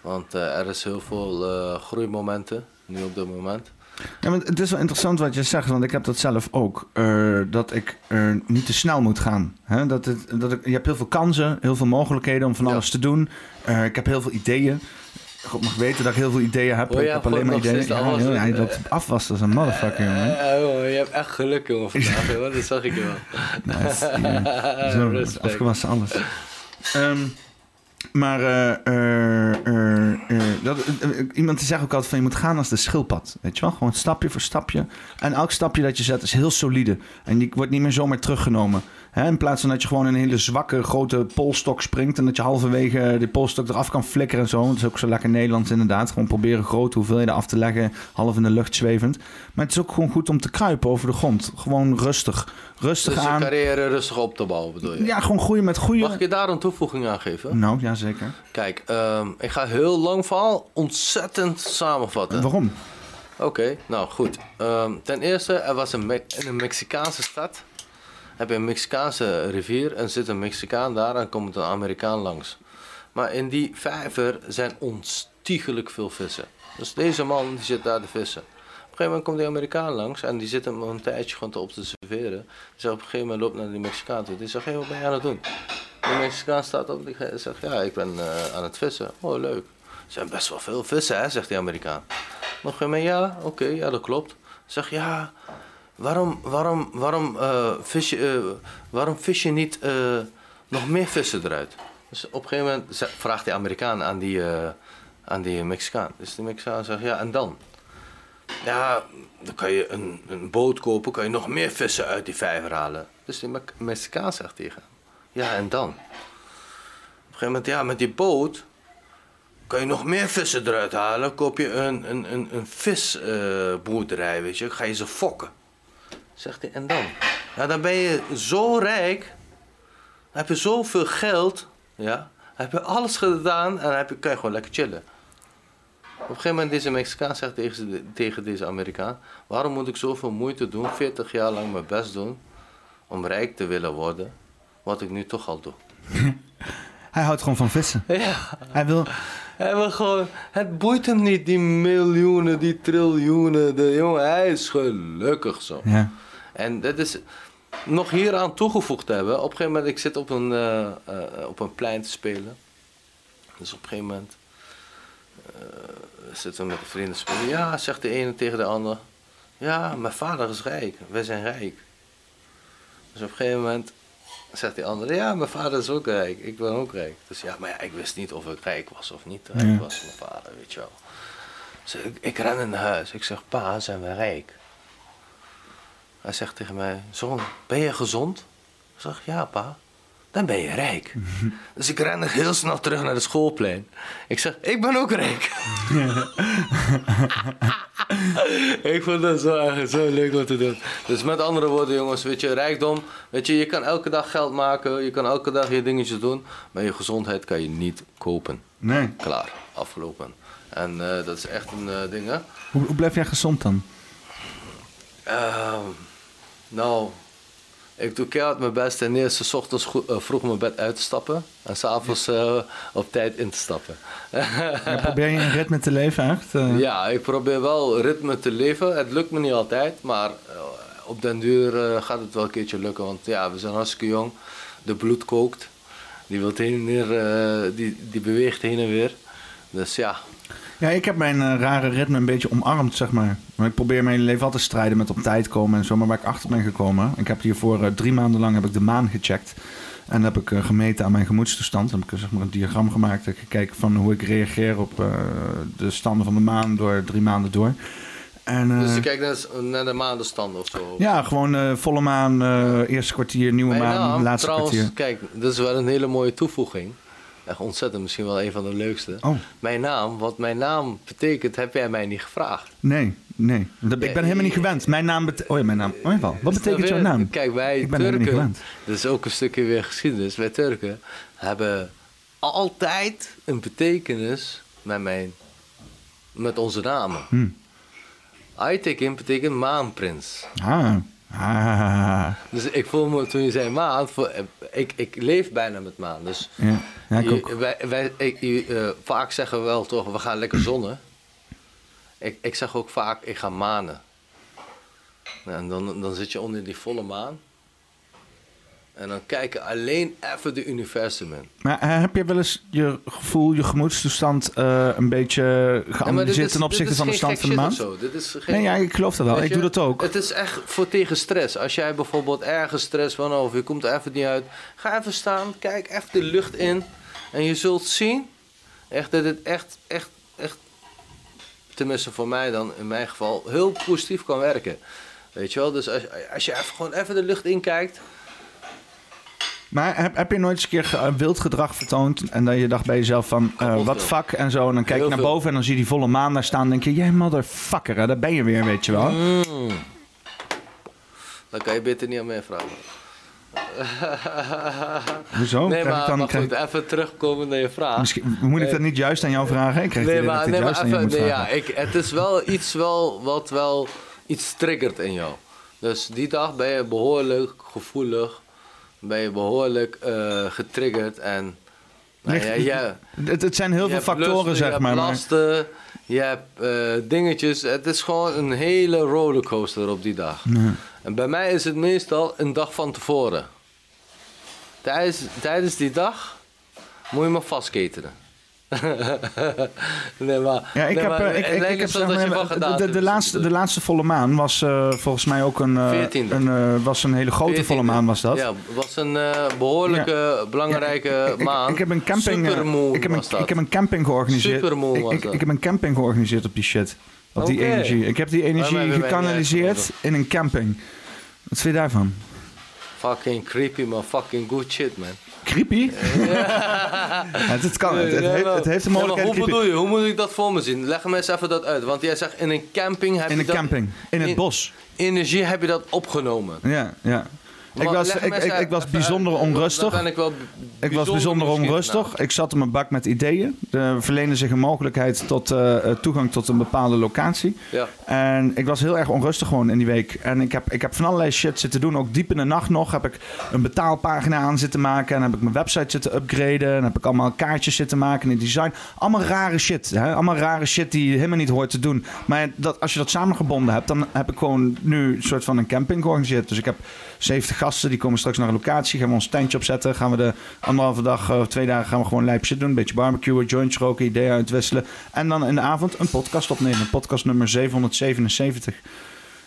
Want eh, er is heel veel eh, groeimomenten nu op dit moment.
Ja, maar het is wel interessant wat je zegt, want ik heb dat zelf ook. eh, dat ik eh, niet te snel moet gaan. Hè? Dat het, dat ik, je hebt heel veel kansen, heel veel mogelijkheden om van
Ja.
alles te doen. Eh, ik heb heel veel ideeën. God mag weten dat ik heel veel ideeën heb.
Oh ja,
ik heb
God,
alleen maar
nog
ideeën.
steeds de
Ja,
alles-
joh, hij loopt op afwas als een motherfucker, jongen.
Ja, joh, je hebt echt geluk, jongen, vandaag. joh. Dat zag ik je wel.
Nice, ja. Zo,
Respect.
afgewassen alles. Ehm, maar eh, eh, eh, eh, dat, eh, eh, iemand die zegt ook altijd van je moet gaan als de schildpad. Weet je wel? Gewoon stapje voor stapje. En elk stapje dat je zet is heel solide. En die wordt niet meer zomaar teruggenomen. Hè, in plaats van dat je gewoon een hele zwakke grote polstok springt. En dat je halverwege die polstok eraf kan flikkeren en zo. Dat is ook zo lekker Nederlands inderdaad. Gewoon proberen grote hoeveelheden af te leggen. Half in de lucht zwevend. Maar het is ook gewoon goed om te kruipen over de grond. Gewoon rustig. Rustig
Dus je
aan.
carrière rustig op te bouwen, bedoel je?
Ja, gewoon groeien met
Mag
goede.
ik je daar een toevoeging aan geven?
Nou, ja, zeker.
Kijk, ehm, ik ga heel lang verhaal ontzettend samenvatten.
Waarom?
Oké, nou goed. Ehm, ten eerste, er was een Me- in een Mexicaanse stad. Heb je een Mexicaanse rivier en zit een Mexicaan daar en komt een Amerikaan langs. Maar in die vijver zijn onstiegelijk veel vissen. Dus deze man die zit daar te vissen. een gegeven moment komt die Amerikaan langs en die zit hem een tijdje gewoon te observeren. Dus op een gegeven moment loopt naar die Mexicaan toe. Die zegt, hey, wat ben je aan het doen? De Mexicaan staat op en die zegt, ja, ik ben eh, aan het vissen. Oh, leuk. Er zijn best wel veel vissen, hè, zegt die Amerikaan. Nog een gegeven moment, ja, oké, ja, dat klopt. Zeg, ja, waarom, waarom, waarom, eh, vis, je, eh, waarom vis je niet eh, nog meer vissen eruit? Dus op een gegeven moment ze- vraagt die Amerikaan aan die, eh, aan die Mexicaan. Dus die Mexicaan zegt, ja, en dan? Ja, dan kan je een, een boot kopen, kan je nog meer vissen uit die vijver halen. Dus die Mex- Mexicaan zegt tegen hem, ja, en dan? Op een gegeven moment, ja, met die boot kan je nog meer vissen eruit halen. Koop je een, een, een, een visboerderij, weet je. Ga je ze fokken. Zegt hij, en dan? Ja, dan ben je zo rijk. Dan heb je zoveel geld. Ja. Dan heb je alles gedaan en dan heb je, kan je gewoon lekker chillen. Op een gegeven moment deze Mexicaan zegt tegen, ze- tegen deze Amerikaan... waarom moet ik zoveel moeite doen, 40 jaar lang mijn best doen... om rijk te willen worden, wat ik nu toch al doe.
Hij houdt gewoon van vissen.
Ja.
Hij wil...
Hij wil gewoon, het boeit hem niet, die miljoenen, die triljoenen. De jongen, hij is gelukkig zo.
Ja.
En dat is nog hieraan toegevoegd te hebben. Op een gegeven moment, ik zit op een, eh, eh, op een plein te spelen. Dus op een gegeven moment eh, zitten we met de vrienden te spelen. Ja, zegt de ene tegen de ander. Ja, mijn vader is rijk. Wij zijn rijk. Dus op een gegeven moment zegt die andere, ja, mijn vader is ook rijk. Ik ben ook rijk. Dus ja, maar ja, ik wist niet of ik rijk was of niet rijk
Ja.
was, mijn vader, weet je wel. Dus ik, ik ren naar huis. Ik zeg, pa, zijn we rijk? Hij zegt tegen mij, zoon, ben je gezond? Ik zeg, ja, pa. Dan ben je rijk. dus ik ren heel snel terug naar de schoolplein. Ik zeg, ik ben ook rijk. ik vond dat zo, zo leuk om te doen. Dus met andere woorden, jongens, weet je, rijkdom. Weet je, je kan elke dag geld maken, je kan elke dag je dingetjes doen. Maar je gezondheid kan je niet kopen.
Nee.
Klaar, afgelopen. En eh, dat is echt een eh, ding, hè?
Hoe, hoe blijf jij gezond dan?
Ehm, nou, ik doe keihard mijn best ten eerste 's ochtends goe- eh, vroeg mijn bed uit te stappen en s'avonds avonds eh, op tijd in te stappen.
Ja, probeer je een ritme te leven echt? Eh,
ja, ik probeer wel ritme te leven. Het lukt me niet altijd, maar eh, op den duur eh, gaat het wel een keertje lukken. Want ja, we zijn hartstikke jong. De bloed kookt. Die, wilt heen en weer, eh, die, die beweegt heen en weer. Dus ja,
Ja, ik heb mijn eh, rare ritme een beetje omarmd, zeg maar. Maar ik probeer mijn leven altijd te strijden met op tijd komen en zo. Maar waar ik achter ben gekomen... Ik heb hiervoor eh, drie maanden lang heb ik de maan gecheckt. En heb ik eh, gemeten aan mijn gemoedstoestand. Dan heb ik eh, zeg maar, een diagram gemaakt. Heb ik gekeken van hoe ik reageer op eh, de standen van de maan door drie maanden door. En, eh,
dus je kijkt naar, naar de maandenstand of zo.
ja, gewoon eh, volle maan, eh, eerste kwartier, nieuwe
Mijn
maan,
naam,
laatste
trouwens,
kwartier.
kijk, dat is wel een hele mooie toevoeging. Echt ontzettend, misschien wel een van de leukste.
Oh,
Mijn naam, wat mijn naam betekent, heb jij mij niet gevraagd.
nee, nee. Dat,
Nee.
ik ben helemaal niet gewend. Mijn naam betekent... Oh ja, mijn naam. Oh jawel. Wat betekent jouw naam?
Dus Kijk, wij
Ik ben helemaal niet
Turken,
gewend.
dat is ook een stukje weer geschiedenis. Wij Turken hebben altijd een betekenis met, mijn, met onze namen.
Hmm.
Aytekin betekent maanprins.
Ah. Ah.
Dus ik voel me, toen je zei maan, voel- ik, ik leef bijna met maan. Dus
Ja, ja ik
Je-
ook.
wij, wij, ik, je, eh, vaak zeggen we wel toch, we gaan lekker zonnen. Ik, ik zeg ook vaak, ik ga manen. Nou, en dan, dan zit je onder die volle maan. En dan kijken alleen even de universum in.
Maar eh, heb je wel eens je gevoel, je gemoedstoestand eh, een beetje
maar
geanalyseerd ten opzichte van de stand van de
maan?
maan?
Dit is geen,
Nee, ja, ik geloof dat wel.
Weet
Nou, Ik
je,
doe dat ook.
Het is echt voor tegen stress. Als jij bijvoorbeeld ergens stress van of je komt er even niet uit. Ga even staan, kijk even de lucht in. En je zult zien echt dat het echt, echt, echt... Tenminste voor mij dan in mijn geval heel positief kan werken. Weet je wel, dus als, als je even, gewoon even de lucht inkijkt.
Maar heb, heb je nooit eens een keer ge- eh, wild gedrag vertoond en dat je dacht bij jezelf van eh,
Heel
wat
veel.
fuck en zo. En dan kijk je
Heel
naar
veel.
boven en dan zie je die volle maan daar staan en denk je, jij motherfucker, hè, daar ben je weer, weet je wel.
Mm. Dan kan je beter niet aan mij vragen.
Hoezo?
nee,
Krijg ik
maar,
Oh, dan-
maar
krijg
goed, even terugkomen naar je vraag.
ik- misschien, moet ik dat niet juist aan jou vragen? Ik krijg het idee
Nee, maar,
dat ik
nee,
dit juist
maar
aan jou moet
even, nee, ja,
vragen.
ik, het is wel iets wel wat wel iets triggert in jou. Dus die dag ben je behoorlijk gevoelig, ben je behoorlijk eh, getriggerd en... Nou,
Ligt-
ja, ja,
Het, het zijn heel
je
veel
hebt
factoren,
lusten, je
zeg
hebt
maar. maar-
lasten, je hebt eh, dingetjes. Het is gewoon een hele rollercoaster op die dag. En bij mij is het meestal een dag van tevoren. Tijdens, tijdens die dag moet je me vastketenen. nee, maar,
Ja, ik
nee,
heb,
maar
eh, ik,
het
ik,
lijkt
ik heb
alsof
zeg
dat je
maar,
wat
de-
gedaan
de, de,
hebt.
laatste, de laatste volle maan was eh, volgens mij ook een, eh,
14e.
een eh, was een hele grote
14e.
volle maan was dat.
Ja, was een eh, behoorlijke, belangrijke
Ik- ik,
maan.
ik heb een camping, eh,
Supermoon
ik, heb een,
was dat.
ik heb een camping georganiseerd.
Supermoon was
ik, ik,
dat.
ik heb een camping georganiseerd op die shit. Op die
Oké.
energie. Ik heb die
Waarom
energie
hebben wij niet
gekanaliseerd
uitgenodigd?
in een camping. Wat vind je daarvan?
Fucking creepy, man. Fucking good shit, man.
Creepy? het, het kan. Het, het
Nee,
heeft,
maar-
het heeft de
Nee, maar
mogelijkheid.
hoe
creepy.
bedoel je? Hoe moet ik dat voor me zien? Leg me eens even dat uit. Want jij zegt in een camping heb
In
je
een
dat-
camping. In het
in-
bos.
Energie heb je dat opgenomen.
Ja, ja. Ik
Maar
was,
leg me
ik,
eens
ik,
uit-
ik was
even
bijzonder
uit. Dan
onrustig.
ben ik wel b-
Ik was bijzonder
misschien.
onrustig. Ik zat in mijn bak met ideeën. Er verleende zich een mogelijkheid tot eh, eh, toegang tot een bepaalde locatie.
Nou,
En ik was heel erg onrustig gewoon in die week. En ik heb, ik heb van allerlei shit zitten doen. Ook diep in de nacht nog heb ik een betaalpagina aan zitten maken. En heb ik mijn website zitten upgraden. En heb ik allemaal kaartjes zitten maken in het design. Allemaal rare shit. Hè? Allemaal rare shit die je helemaal niet hoort te doen. Maar dat, als je dat samengebonden hebt, dan heb ik gewoon nu een soort van een camping georganiseerd. Dus ik heb 70 gasten. Die komen straks naar een locatie. Gaan we ons tentje opzetten. Gaan we de anderhalve dag eh, of twee dagen gaan we gewoon lijp shit doen. Een beetje barbecuen, joints roken, ideeën uitwisselen. En dan in de avond een podcast opnemen. Podcast nummer 777.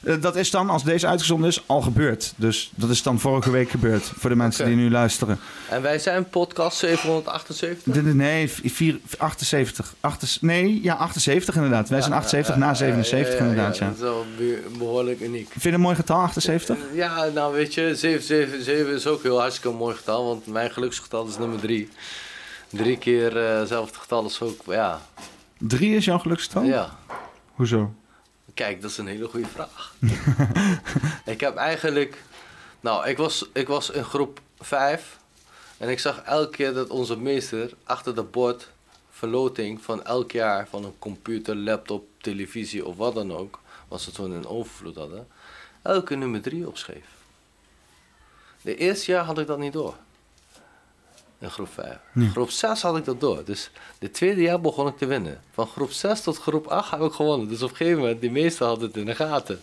Eh, Dat is dan, als deze uitgezonden is, al gebeurd. Dus dat is dan vorige week gebeurd. Voor de mensen
Oké.
die nu luisteren.
Ja. En wij zijn podcast 778.
Dit is- Nee, vier- 78. Achter- nee, ja, 78 inderdaad. Wij zijn 78 na 77 inderdaad, ja.
Dat is wel be- behoorlijk uniek.
Vind je een mooi getal, 78?
Ja, nou weet je, 777 is ook heel hartstikke mooi getal, want mijn geluksgetal is nummer 3. Drie keer eh, hetzelfde getal is ook, ja.
3 is jouw geluksgetal?
ja.
Hoezo?
Kijk, dat is een hele goede vraag. ik heb eigenlijk, nou, ik was, ik was in groep 5 en ik zag elke keer dat onze meester achter de bord verloting van elk jaar van een computer, laptop, televisie of wat dan ook, was het toen in overvloed hadden, elke nummer 3 opschreef. De eerste jaar had ik dat niet door. In groep 5. Groep 6 had ik dat door. Dus de tweede jaar begon ik te winnen. Van groep 6 tot groep 8 heb ik gewonnen. Dus op een gegeven moment, die meester had het in de gaten.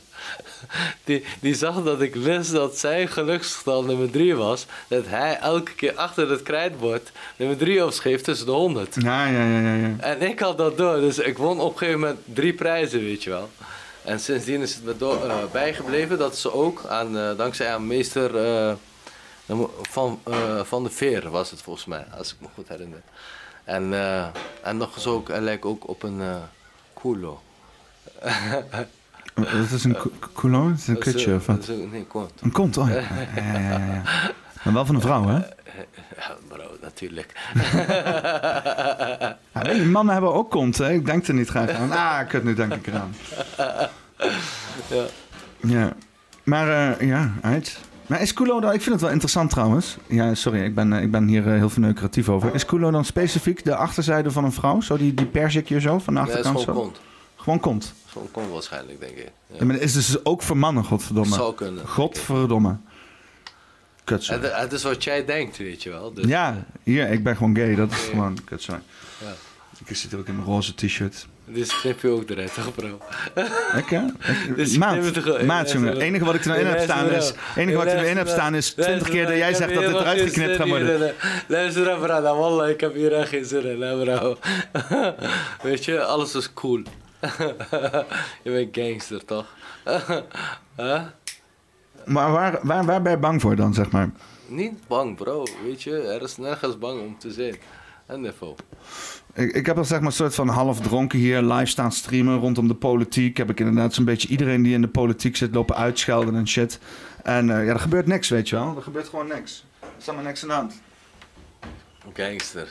Die, die zag dat ik wist dat zijn geluksgetal nummer 3 was. Dat hij elke keer achter het krijtbord nummer 3 opschreef tussen de 100.
Ja, ja, ja, ja. ja.
En ik had dat door, dus ik won op een gegeven moment drie prijzen, weet je wel. En sindsdien is het me door, eh, bijgebleven dat ze ook, aan, eh, dankzij aan meester eh, dan mo- van, eh, van de Veer was het volgens mij, als ik me goed herinner. En, eh, en nog eens ook, hij lijkt ook op een eh culo.
Dat is een cou- coulon? Dat is een
Eh, Dat is, eh,
kutje of
dat
wat?
is een- Nee, kont.
Een kont, oh ja. Ja, ja, ja, ja. Maar wel van een vrouw,
Eh,
hè?
Ja, bro, natuurlijk.
Ja,
eh.
weet je, mannen hebben ook kont, hè? Ik denk er niet graag aan. Ah, kut, nu denk ik eraan.
Ja.
Ja. Maar, eh, ja, uit. Maar is Kulo dan... Ik vind het wel interessant, trouwens. Ja, sorry, ik ben, eh, ik ben hier eh, heel verneukeratief over. Is Kulo dan specifiek de achterzijde van een vrouw? Zo die, die persikje zo, van de
Dat is
achterkant
gewoon
zo?
kont.
Gewoon kont.
Gewoon kont waarschijnlijk, denk ik. Ja.
Ja, maar dat is dus ook voor mannen, godverdomme.
Zou kunnen.
Godverdomme. Kut, sorry.
Het, het is wat jij denkt, weet je wel. Dus,
Ja, hier, ik ben gewoon gay. Dat is gewoon kut, sorry.
Ja.
Ik zit ook in mijn roze t-shirt.
dus knip je ook eruit, toch bro?
Oké.
Dus
Ik-
je
Maat,
neemt het gewoon-
maat, jongen. Het enige wat ik er nou in heb staan is... enige wat ik er nou in heb staan is... 20 keer dat jij zegt dat dit eruit geknipt gaat worden.
Luister even, bro. Nou, wallah, ik heb hier echt geen zin in, hè, bro. Weet je, alles is cool. je bent gangster, toch? Huh?
Maar waar, waar, waar ben je bang voor dan, zeg maar?
Niet bang, bro. Weet je, er is nergens bang om te zijn. En niveau.
Ik, ik heb al zeg maar een soort van half dronken hier live staan streamen rondom de politiek. Heb ik inderdaad zo'n beetje iedereen die in de politiek zit lopen uitschelden en shit. En eh, ja, er gebeurt niks, weet je wel. Er gebeurt gewoon niks. Er is maar niks aan de hand.
Gangster.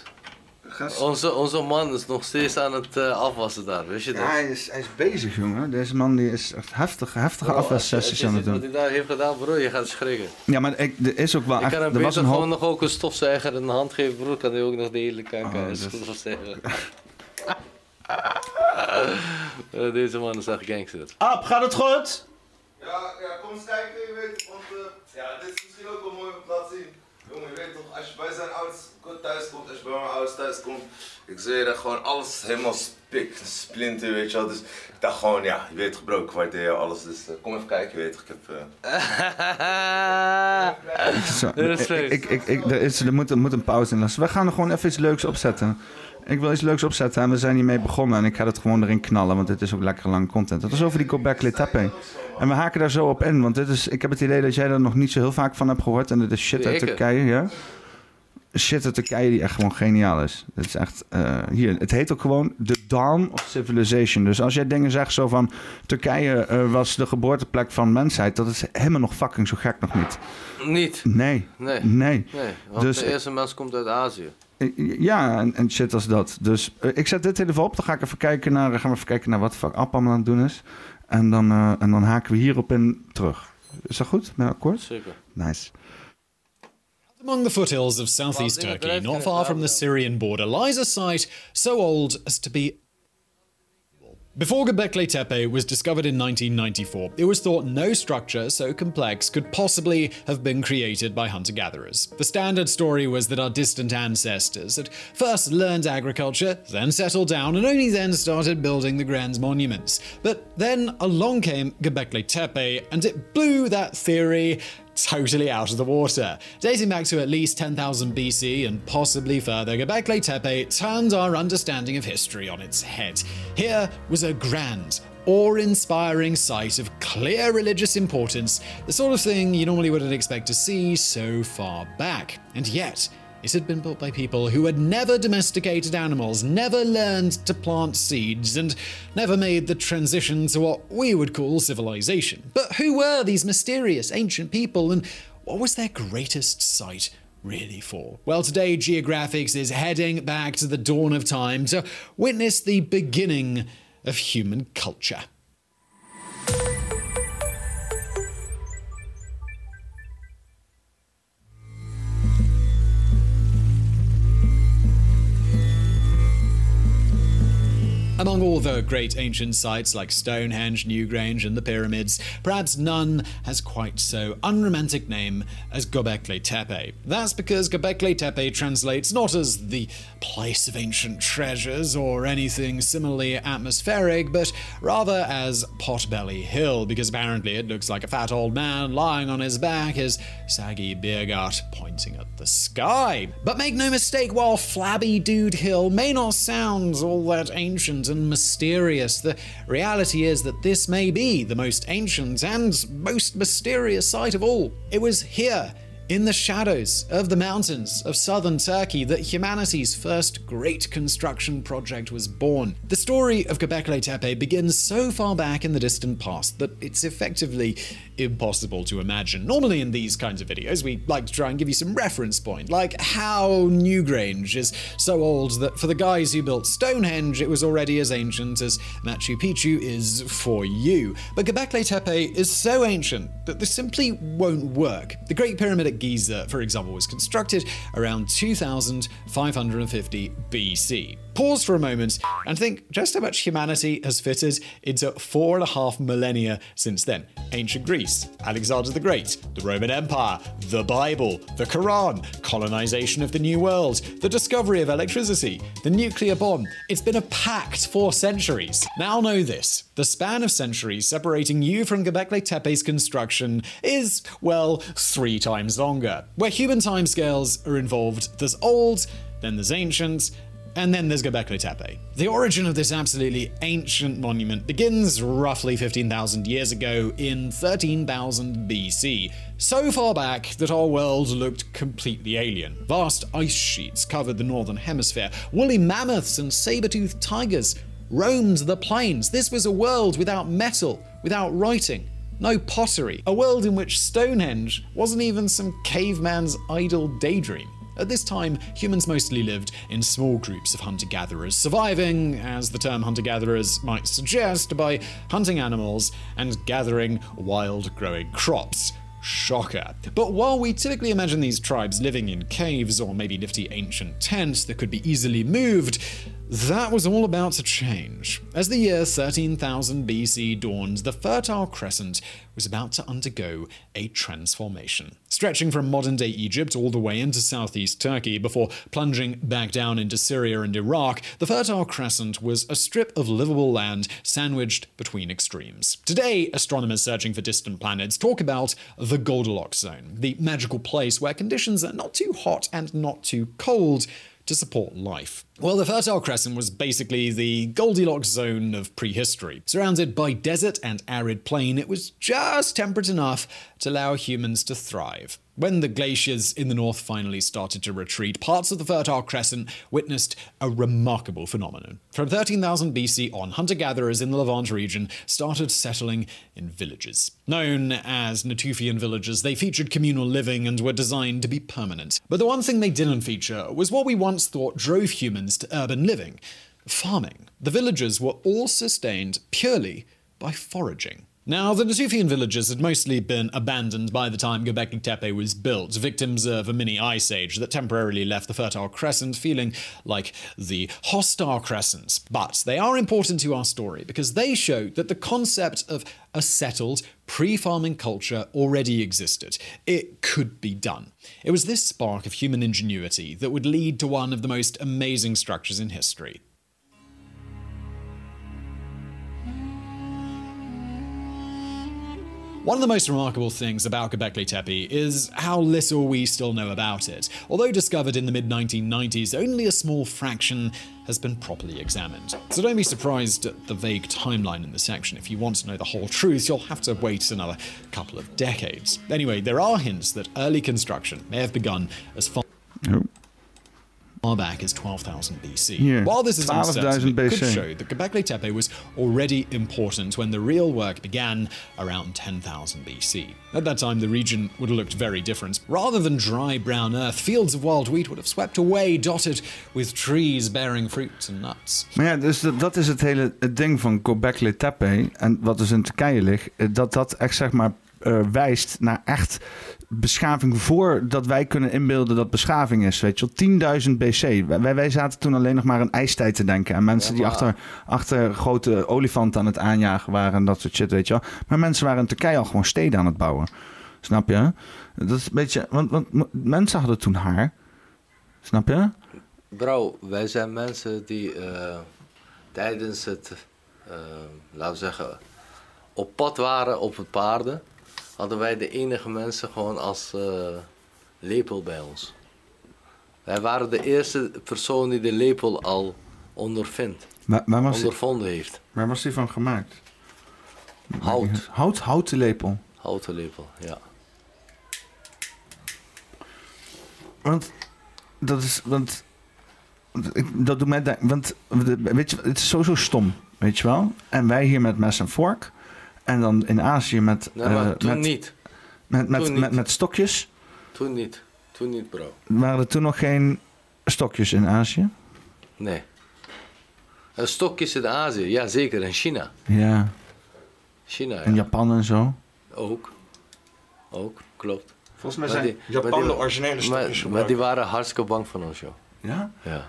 Gast-
Onze, onze man is nog steeds aan het eh, afwassen daar, weet je dat?
Ja, hij, is, hij is bezig, jongen. Deze man die is echt heftige, heftige
Bro, als je- als
afwassessies
je
aan het
ziet Wat
doen.
hij daar heeft gedaan, bro, je gaat schrikken.
Ja, maar ik, er is ook wel
Ik
echt...
kan hem
Er was
beter
een
gewoon
hoop...
nog ook een stofzuiger in de hand geven, broer. Kan hij ook nog de hele kanker
Oh,
oh,
dat is-
stofzuigen. Eh, Deze man is echt gangster.
Ab, gaat het goed?
Ja, ja, kom eens kijken, je weet, want eh, ja, dit is misschien ook wel mooi om te laten zien. Jongen, je weet toch, als je bij zijn ouders goed thuis komt, als je bij mijn ouders thuis komt, ik zweer dat gewoon alles helemaal spik, splinter, weet je wel. Dus ik dacht gewoon, ja, je weet gebroken, waardeer alles. Dus eh, kom even kijken, je weet toch, ik heb... eh,
Zo,
Dit
ik,
is feest.
ik, ik, ik- er, is, er, moet, er moet een pauze in. Dus we gaan er gewoon even iets leuks opzetten. Ik wil iets leuks opzetten en we zijn hiermee begonnen. En ik ga het gewoon erin knallen, want dit is ook lekker lang content. Dat was over die Gobek Litappe. En we haken daar zo op in, want dit is, ik heb het idee dat jij er nog niet zo heel vaak van hebt gehoord. En dit is shit uit
Zeker.
Turkije, ja? Shit uit Turkije die echt gewoon geniaal is. Het is echt, eh, hier, het heet ook gewoon The Dawn of Civilization. Dus als jij dingen zegt zo van, Turkije eh, was de geboorteplek van mensheid. Dat is helemaal nog fucking zo gek nog niet.
Niet.
Nee,
Nee.
nee.
Nee, want
Dus-
de eerste mens komt uit Azië.
Ja, en, en shit als dat. Dus eh, ik zet dit in ieder geval op. Dan ga ik even kijken naar, gaan we even kijken naar wat de fuck App allemaal aan het doen is. En dan, eh, en dan haken we hierop in terug. Is dat goed? Ben je akkoord?
Zeker.
Nice.
Among the foothills of southeast
Well, they-
Turkey,
they've got it
not far from the
down.
Syrian border, lies a site so old as to be. Before Göbekli Tepe was discovered in 1994, it was thought no structure so complex could possibly have been created by hunter gatherers. The standard story was that our distant ancestors had first learned agriculture, then settled down, and only then started building the grand monuments. But then along came Göbekli Tepe, and it blew that theory totally out of the water. Dating back to at least 10,000 BC and possibly further, Göbekli Tepe turned our understanding of history on its head. Here was a grand, awe-inspiring site of clear religious importance, the sort of thing you normally wouldn't expect to see so far back. And yet, it had been built by people who had never domesticated animals, never learned to plant seeds, and never made the transition to what we would call civilization. But who were these mysterious ancient people, and what was their greatest site? Really for? Well, today Geographics is heading back to the dawn of time to witness the beginning of human culture. Among all the great ancient sites like Stonehenge, Newgrange, and the pyramids, perhaps none has quite so unromantic name as Göbekli Tepe. That's because Göbekli Tepe translates not as the place of ancient treasures or anything similarly atmospheric, but rather as Potbelly Hill, because apparently it looks like a fat old man lying on his back, his saggy beer gut pointing at the sky. But make no mistake, while Flabby Dude Hill may not sound all that ancient and mysterious, the reality is that this may be the most ancient and most mysterious site of all. It was here. In the shadows of the mountains of southern Turkey, that humanity's first great construction project was born. The story of Göbekli Tepe begins so far back in the distant past that it's effectively impossible to imagine. Normally, in these kinds of videos, we like to try and give you some reference point, like how Newgrange is so old that for the guys who built Stonehenge, it was already as ancient as Machu Picchu is for you. But Göbekli Tepe is so ancient that this simply won't work. The Great Pyramid at Giza, for example, was constructed around 2550 BC. Pause for a moment and think just how much humanity has fitted into four and a half millennia since then. Ancient Greece, Alexander the Great, the Roman Empire, the Bible, the Quran, colonization of the New World, the discovery of electricity, the nuclear bomb. It's been a packed four centuries. Now know this the span of centuries separating you from Göbekli Tepe's construction is, well, three times longer. Where human timescales are involved, there's old, then there's ancient, and then there's Göbekli Tepe. The origin of this absolutely ancient monument begins roughly 15,000 years ago in 13,000 BC, so far back that our world looked completely alien. Vast ice sheets covered the northern hemisphere, woolly mammoths and saber toothed tigers roamed the plains. This was a world without metal, without writing, no pottery, a world in which Stonehenge wasn't even some caveman's idle daydream. At this time, humans mostly lived in small groups of hunter gatherers, surviving, as the term hunter gatherers might suggest, by hunting animals and gathering wild growing crops. Shocker. But while we typically imagine these tribes living in caves or maybe nifty ancient tents that could be easily moved, that was all about to change. As the year 13,000 BC dawned, the Fertile Crescent was about to undergo a transformation, stretching from modern day Egypt all the way into southeast Turkey before plunging back down into Syria and Iraq. The Fertile Crescent was a strip of livable land sandwiched between extremes. Today, astronomers searching for distant planets talk about the Goldilocks zone, the magical place where conditions are not too hot and not too cold to support life. Well, the Fertile Crescent was basically the Goldilocks zone of prehistory. Surrounded by desert and arid plain, it was just temperate enough to allow humans to thrive. When the glaciers in the north finally started to retreat, parts of the Fertile Crescent witnessed a remarkable phenomenon. From 13,000 BC on, hunter gatherers in the Levant region started settling in villages. Known as Natufian villages, they featured communal living and were designed to be permanent. But the one thing they didn't feature was what we once thought drove humans to urban living farming. The villages were all sustained purely by foraging. Now, the Natufian villages had mostly been abandoned by the time Göbekli Tepe was built, victims of a mini ice age that temporarily left the Fertile Crescent feeling like the hostile crescents. But they are important to our story because they show that the concept of a settled, pre farming culture already existed. It could be done. It was this spark of human ingenuity that would lead to one of the most amazing structures in history One of the most remarkable things about Göbekli Tepe is how little we still know about it. Although discovered in the mid 1990s, only a small fraction has been properly examined. So don't be surprised at the vague timeline in the section. If you want to know the whole truth, you'll have to wait another couple of decades. Anyway, there are hints that early construction may have begun as far far back as 12,000 BC.
Yeah,
While this is
12,000
uncertain, it could
BC.
show that Göbekli Tepe was already important when the real work began around 10,000 BC. At that time, the region would have looked very different. Rather than dry brown earth, fields of wild wheat would have swept away, dotted with trees bearing fruits and nuts.
Maar ja, dus dat, dat is het hele het ding van Göbekli Tepe. En wat dus in Turkije ligt. eh, Dat dat echt zeg maar eh, wijst naar echt beschaving voordat wij kunnen inbeelden dat beschaving is. Weet je wel, 10.000 BC. Wij, wij zaten toen alleen nog maar aan ijstijd te denken. En mensen die achter, achter grote olifanten aan het aanjagen waren en dat soort shit, weet je wel. Maar mensen waren in Turkije al gewoon steden aan het bouwen. Snap je? Dat is een beetje... Want, want m- mensen hadden toen haar. Snap je?
Bro, wij zijn mensen die eh, tijdens het, eh, laten we zeggen, op pad waren op het paarden. Hadden wij de enige mensen gewoon als eh, lepel bij ons. Wij waren de eerste persoon die de lepel al ondervindt,
Waar, waar was die,
ondervonden heeft.
waar was die van gemaakt?
Hout,
Hout, houten lepel.
houten lepel, ja.
Want dat is, want ik- dat doet mij denken, want weet je, het is sowieso stom, weet je wel? En wij hier met mes en vork, en dan in Azië met,
Nee, maar
eh,
toen
met, met,
niet.
met,
Toen
met,
niet.
met, stokjes.
Toen niet. Toen niet, bro.
Waren er toen nog geen stokjes in Azië?
Nee. Een stokjes in Azië, ja zeker. En China.
Ja,
China, ja.
in Japan en zo.
Ook. Ook, klopt.
Volgens mij
Maar
zijn
die- maar
Japan
die-
de originele stokjes
Maar, maar die waren hartstikke bang van ons, joh.
Ja?
Ja.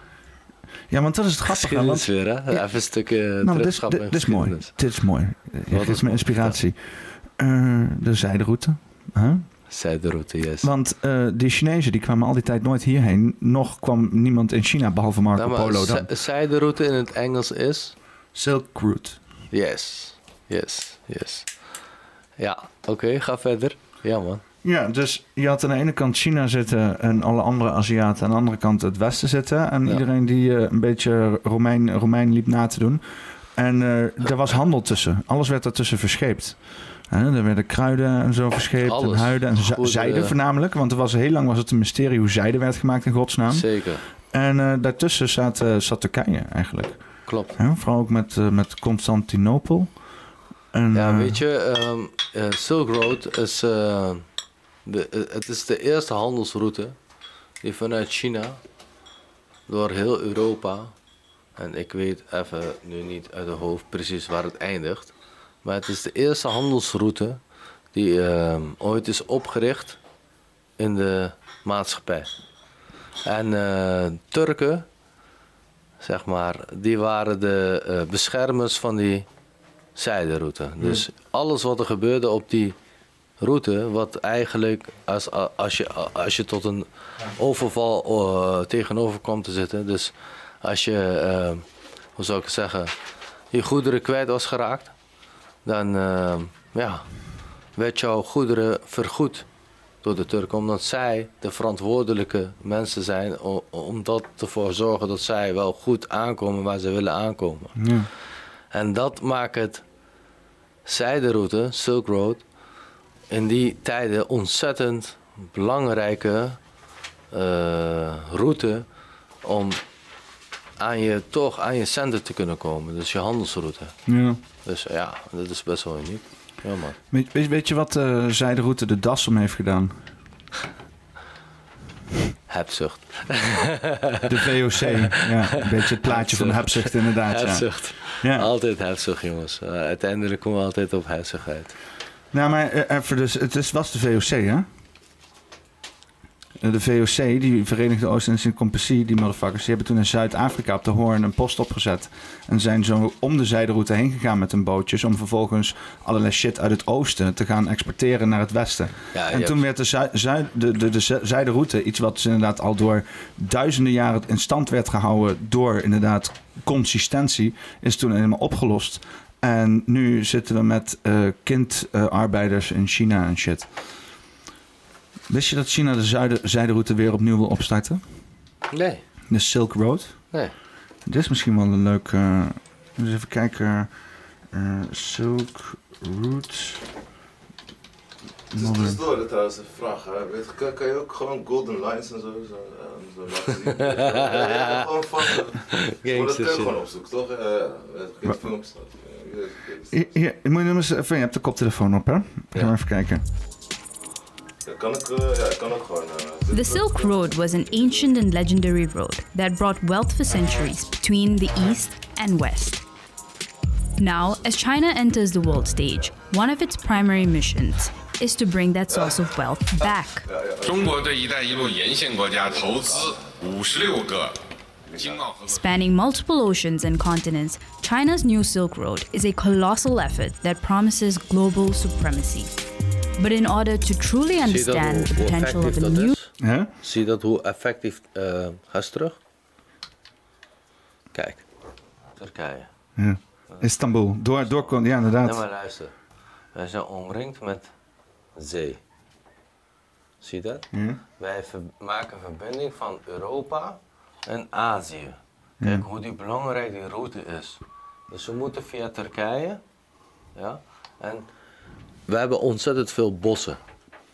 Ja, want dat is het grappige. aan
Geschiedenis
land-
weer, hè? Even een stukje eh,
Nou, dit, is-
terugschap
dit,
in
dit is mooi.
geschiedenis.
Dit is mooi.
Wat
Dit
is
is
mooi?
mijn inspiratie. Eh, de zijderoute. Huh?
Zij de route, yes.
Want eh, die Chinezen die kwamen al die tijd nooit hierheen. Nog kwam niemand in China behalve Marco
Nou, maar
Polo
zij-
dan.
zij de route in het Engels is...
Silk Route.
Yes. Yes. Yes. Ja, oké, ga verder. Ja, man.
Ja, dus je had aan de ene kant China zitten en alle andere Aziaten. Aan de andere kant het Westen zitten. En
Ja.
iedereen die eh, een beetje Romein, Romein liep na te doen. En eh er was handel tussen. Alles werd daartussen verscheept. Hè, er werden kruiden en zo verscheept.
Alles.
En huiden en za-
Goede-
zijde voornamelijk. Want er was, heel lang was het een mysterie hoe zijde werd gemaakt in godsnaam.
Zeker.
En eh, daartussen zat, eh, zat Turkije eigenlijk.
Klopt.
Hè, vooral ook met, eh, met Constantinopel. En,
Ja,
eh,
weet je, ehm, eh, Silk Road is, eh, de, eh, het is de eerste handelsroute die vanuit China door heel Europa, en ik weet even nu niet uit het hoofd precies waar het eindigt, maar het is de eerste handelsroute die ehm, ooit is opgericht in de maatschappij. En eh, Turken, zeg maar, die waren de eh, beschermers van die zijderoute. Dus alles wat er gebeurde op die route, wat eigenlijk als, als, je, als je tot een overval eh, tegenover kwam te zitten, dus als je, eh, hoe zou ik het zeggen, je goederen kwijt was geraakt, dan eh, ja, werd jouw goederen vergoed door de Turken, omdat zij de verantwoordelijke mensen zijn o- om dat ervoor zorgen dat zij wel goed aankomen waar ze willen aankomen.
Ja.
En dat maakt het zijderoute, Silk Road, in die tijden ontzettend belangrijke eh, route om aan je, toch aan je centen te kunnen komen. Dus je handelsroute.
ja.
Dus ja, dat is best wel uniek. Ja, man.
Weet, weet, weet je wat eh zijderoute de das om heeft gedaan?
Hebzucht.
De VOC. ja, een beetje het plaatje van de hebzucht inderdaad. Ja.
Hebzucht.
Ja.
Altijd hebzucht, jongens. Eh, uiteindelijk komen we altijd op hebzucht uit.
Nou, maar eh, even dus, het is, was de VOC, hè? Eh, De VOC, die Verenigde Oost-Indische Compagnie, die motherfuckers, die hebben toen in Zuid-Afrika op de Hoorn een post opgezet. En zijn zo om de zijderoute heen gegaan met hun bootjes. Om vervolgens allerlei shit uit het oosten te gaan exporteren naar het westen.
Ja,
en
je
toen werd de, zui- zui- de, de, de zi- zijderoute iets wat dus inderdaad al door duizenden jaren in stand werd gehouden. door inderdaad consistentie, is toen helemaal opgelost. En nu zitten we met eh, kindarbeiders in China en shit. Wist je dat China de zuiden, zijderoute weer opnieuw wil opstarten?
Nee,
De Silk Road.
nee.
Dit is misschien wel een leuk... eh, eens even kijken. Eh, Silk Route.
Het is tussendoor dat trouwens een vraag. Hè. Weet, je, kan, kan je ook gewoon golden lines en zo, zo, eh, zo laten zien? ja, ja, gewoon van. eh, Maar dat
Gangster
kun je
shit.
gewoon opzoeken, toch? Eh, eh, Kindfilms. eh, je- je-
Hier, hier, moet je, nummers, even, je hebt de koptelefoon op, hè? Gaan we even kijken.
Ja, Kan ik, eh, ja, kan ook gewoon. eh, dit-
The Silk Road was an ancient and legendary road that brought wealth for centuries between the East and West. Now, as China enters the world stage, one of its primary missions is to bring that source of wealth back.
中国对“一带一路”沿线国家投资五十六个经贸合作。
Spanning multiple oceans and continents, China's new Silk Road is a colossal effort that promises global supremacy. But in order to truly
Zie je dat
understand the
hoe, hoe
potential of
effectief
a
dat
new
is?
Hè?
Zie je dat hoe effectief... eh ga eens terug. Kijk. Turkije.
Istanbul. Door, door, kon- ja,
Nee,
inderdaad.
maar luister. Wij zijn omringd met zee. Zie je dat? Wij ver- maken verbinding van Europa en Azië. Kijk hoe die belangrijk die route is. Dus we moeten via Turkije. Ja? En we hebben ontzettend veel bossen.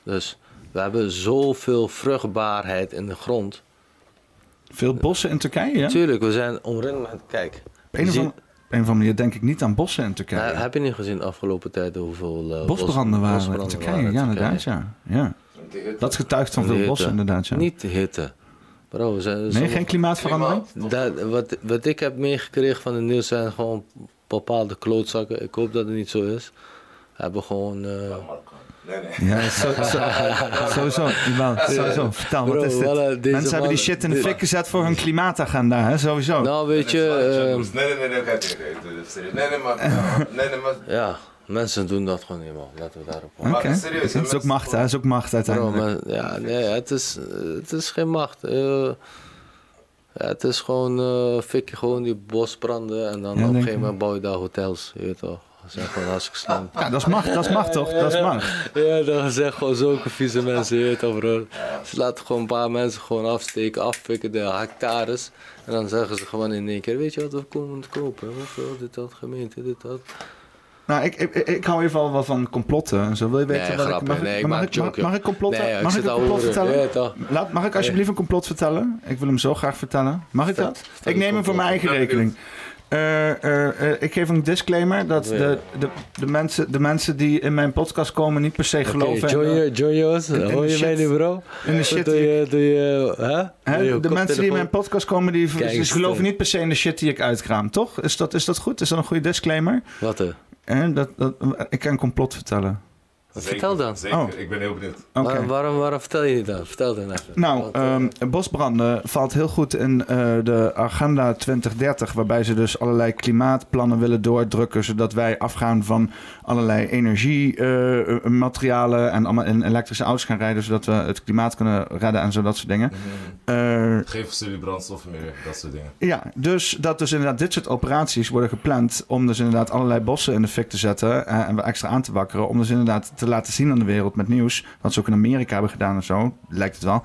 Dus we hebben zoveel vruchtbaarheid in de grond.
Veel bossen in Turkije, ja? Op
Tuurlijk, we zijn omringd met... Kijk.
een of
zie-
andere- op een of andere manier denk ik niet aan bossen in Turkije.
Nou, heb je niet gezien de afgelopen tijd hoeveel... eh, bos-
Bosbranden waren in
bosbranden
Turkije,
waren in
ja, inderdaad, ja. ja. Dat getuigt van
De
veel
hitte.
bossen, inderdaad, ja.
Niet de hitte. Bro, we zijn,
Nee, geen klimaatverandering?
Dat, wat, wat ik heb meegekregen van de nieuws zijn gewoon bepaalde klootzakken. Ik hoop dat het niet zo is. Hebben gewoon. eh,
Nee, nee.
Ja, zo- zo- sowieso. Jawel, sowieso. Vertel,
Bro,
wat is dit?
voilà, deze
Mensen hebben
man-
die shit in de
dit-
fik gezet voor hun klimaatagenda, hè? Sowieso.
nou, weet je. eh,
Dus Nee, nee, nee, nee, kijk, nee, nee, nee, serieus. nee, nee, maar, nou, nee, nee, maar,
ja, mensen doen dat gewoon niet, man. Laten we daarop houden.
Oké.
maar serieus. hè,
Het is ook
mensen-
macht, hè? Het is ook macht
Bro,
uiteindelijk.
maar, eh, ja, nee, het is, het is geen macht. Eh, ja, het is gewoon. eh, fik je gewoon die bosbranden en dan op een
denk
gegeven
ik.
moment bouw je daar hotels. Je weet toch? Dat zijn gewoon hartstikke slim.
Ja, dat is macht, dat is macht toch? Dat is macht.
Ja, dat zijn gewoon zulke vieze mensen, je weet toch bro. Ze laten gewoon een paar mensen gewoon afsteken, afpikken, de hectares. En dan zeggen ze gewoon in één keer, weet je wat, we komen te kopen. Hoeveel, dit, dat, gemeente, dit, dat.
Nou, ik, ik, ik hou even al wel van complotten en zo. Wil je weten
Nee,
wat
grapje.
ik... Mag,
Nee, ik
ik, mag,
maak
ik, mag,
joke,
mag ik complotten?
Nee, ik
mag ik
zit
een
al
complot
horen.
vertellen?
Ja, toch.
Laat, mag ik alsjeblieft een complot vertellen? Ik wil hem zo graag vertellen. Mag ik dat? Ik
een
neem hem voor mijn eigen rekening. Eh, eh, eh, ik geef een disclaimer dat de, de, de, mensen, de mensen die in mijn podcast komen niet per se geloven. in-
Joy, Joy Jos,
de
eh, hoor je mij
shit.
nu bro?
in de
Wat
shit
doe
die ik-
je, doe je, hè? Doe je
Hè, de mensen die in
koptelefoon?
mijn podcast komen, die
Kijk
ze
eens,
geloven
eh.
niet per se in de shit die ik uitkraam, toch? Is dat, is dat goed? Is dat een goede disclaimer?
Wat eh? hè?
En dat, dat, ik kan een complot vertellen.
vertel dan.
Zeker,
Oh.
ik ben heel benieuwd.
Oké.
Waar- waarom, waarom vertel je niet dat? Vertel dan even.
Nou,
Want, eh,
ehm, bosbranden valt heel goed in eh, de agenda 2030, waarbij ze dus allerlei klimaatplannen willen doordrukken, zodat wij afgaan van allerlei energiematerialen en allemaal in elektrische auto's gaan rijden, zodat we het klimaat kunnen redden en zo dat soort dingen. Eh,
Geen fossiele brandstoffen meer, dat soort dingen.
ja, dus dat dus inderdaad dit soort operaties worden gepland om dus inderdaad allerlei bossen in de fik te zetten eh, en we extra aan te wakkeren. Om dus inderdaad te laten zien aan de wereld met nieuws, wat ze ook in Amerika hebben gedaan en zo, lijkt het wel.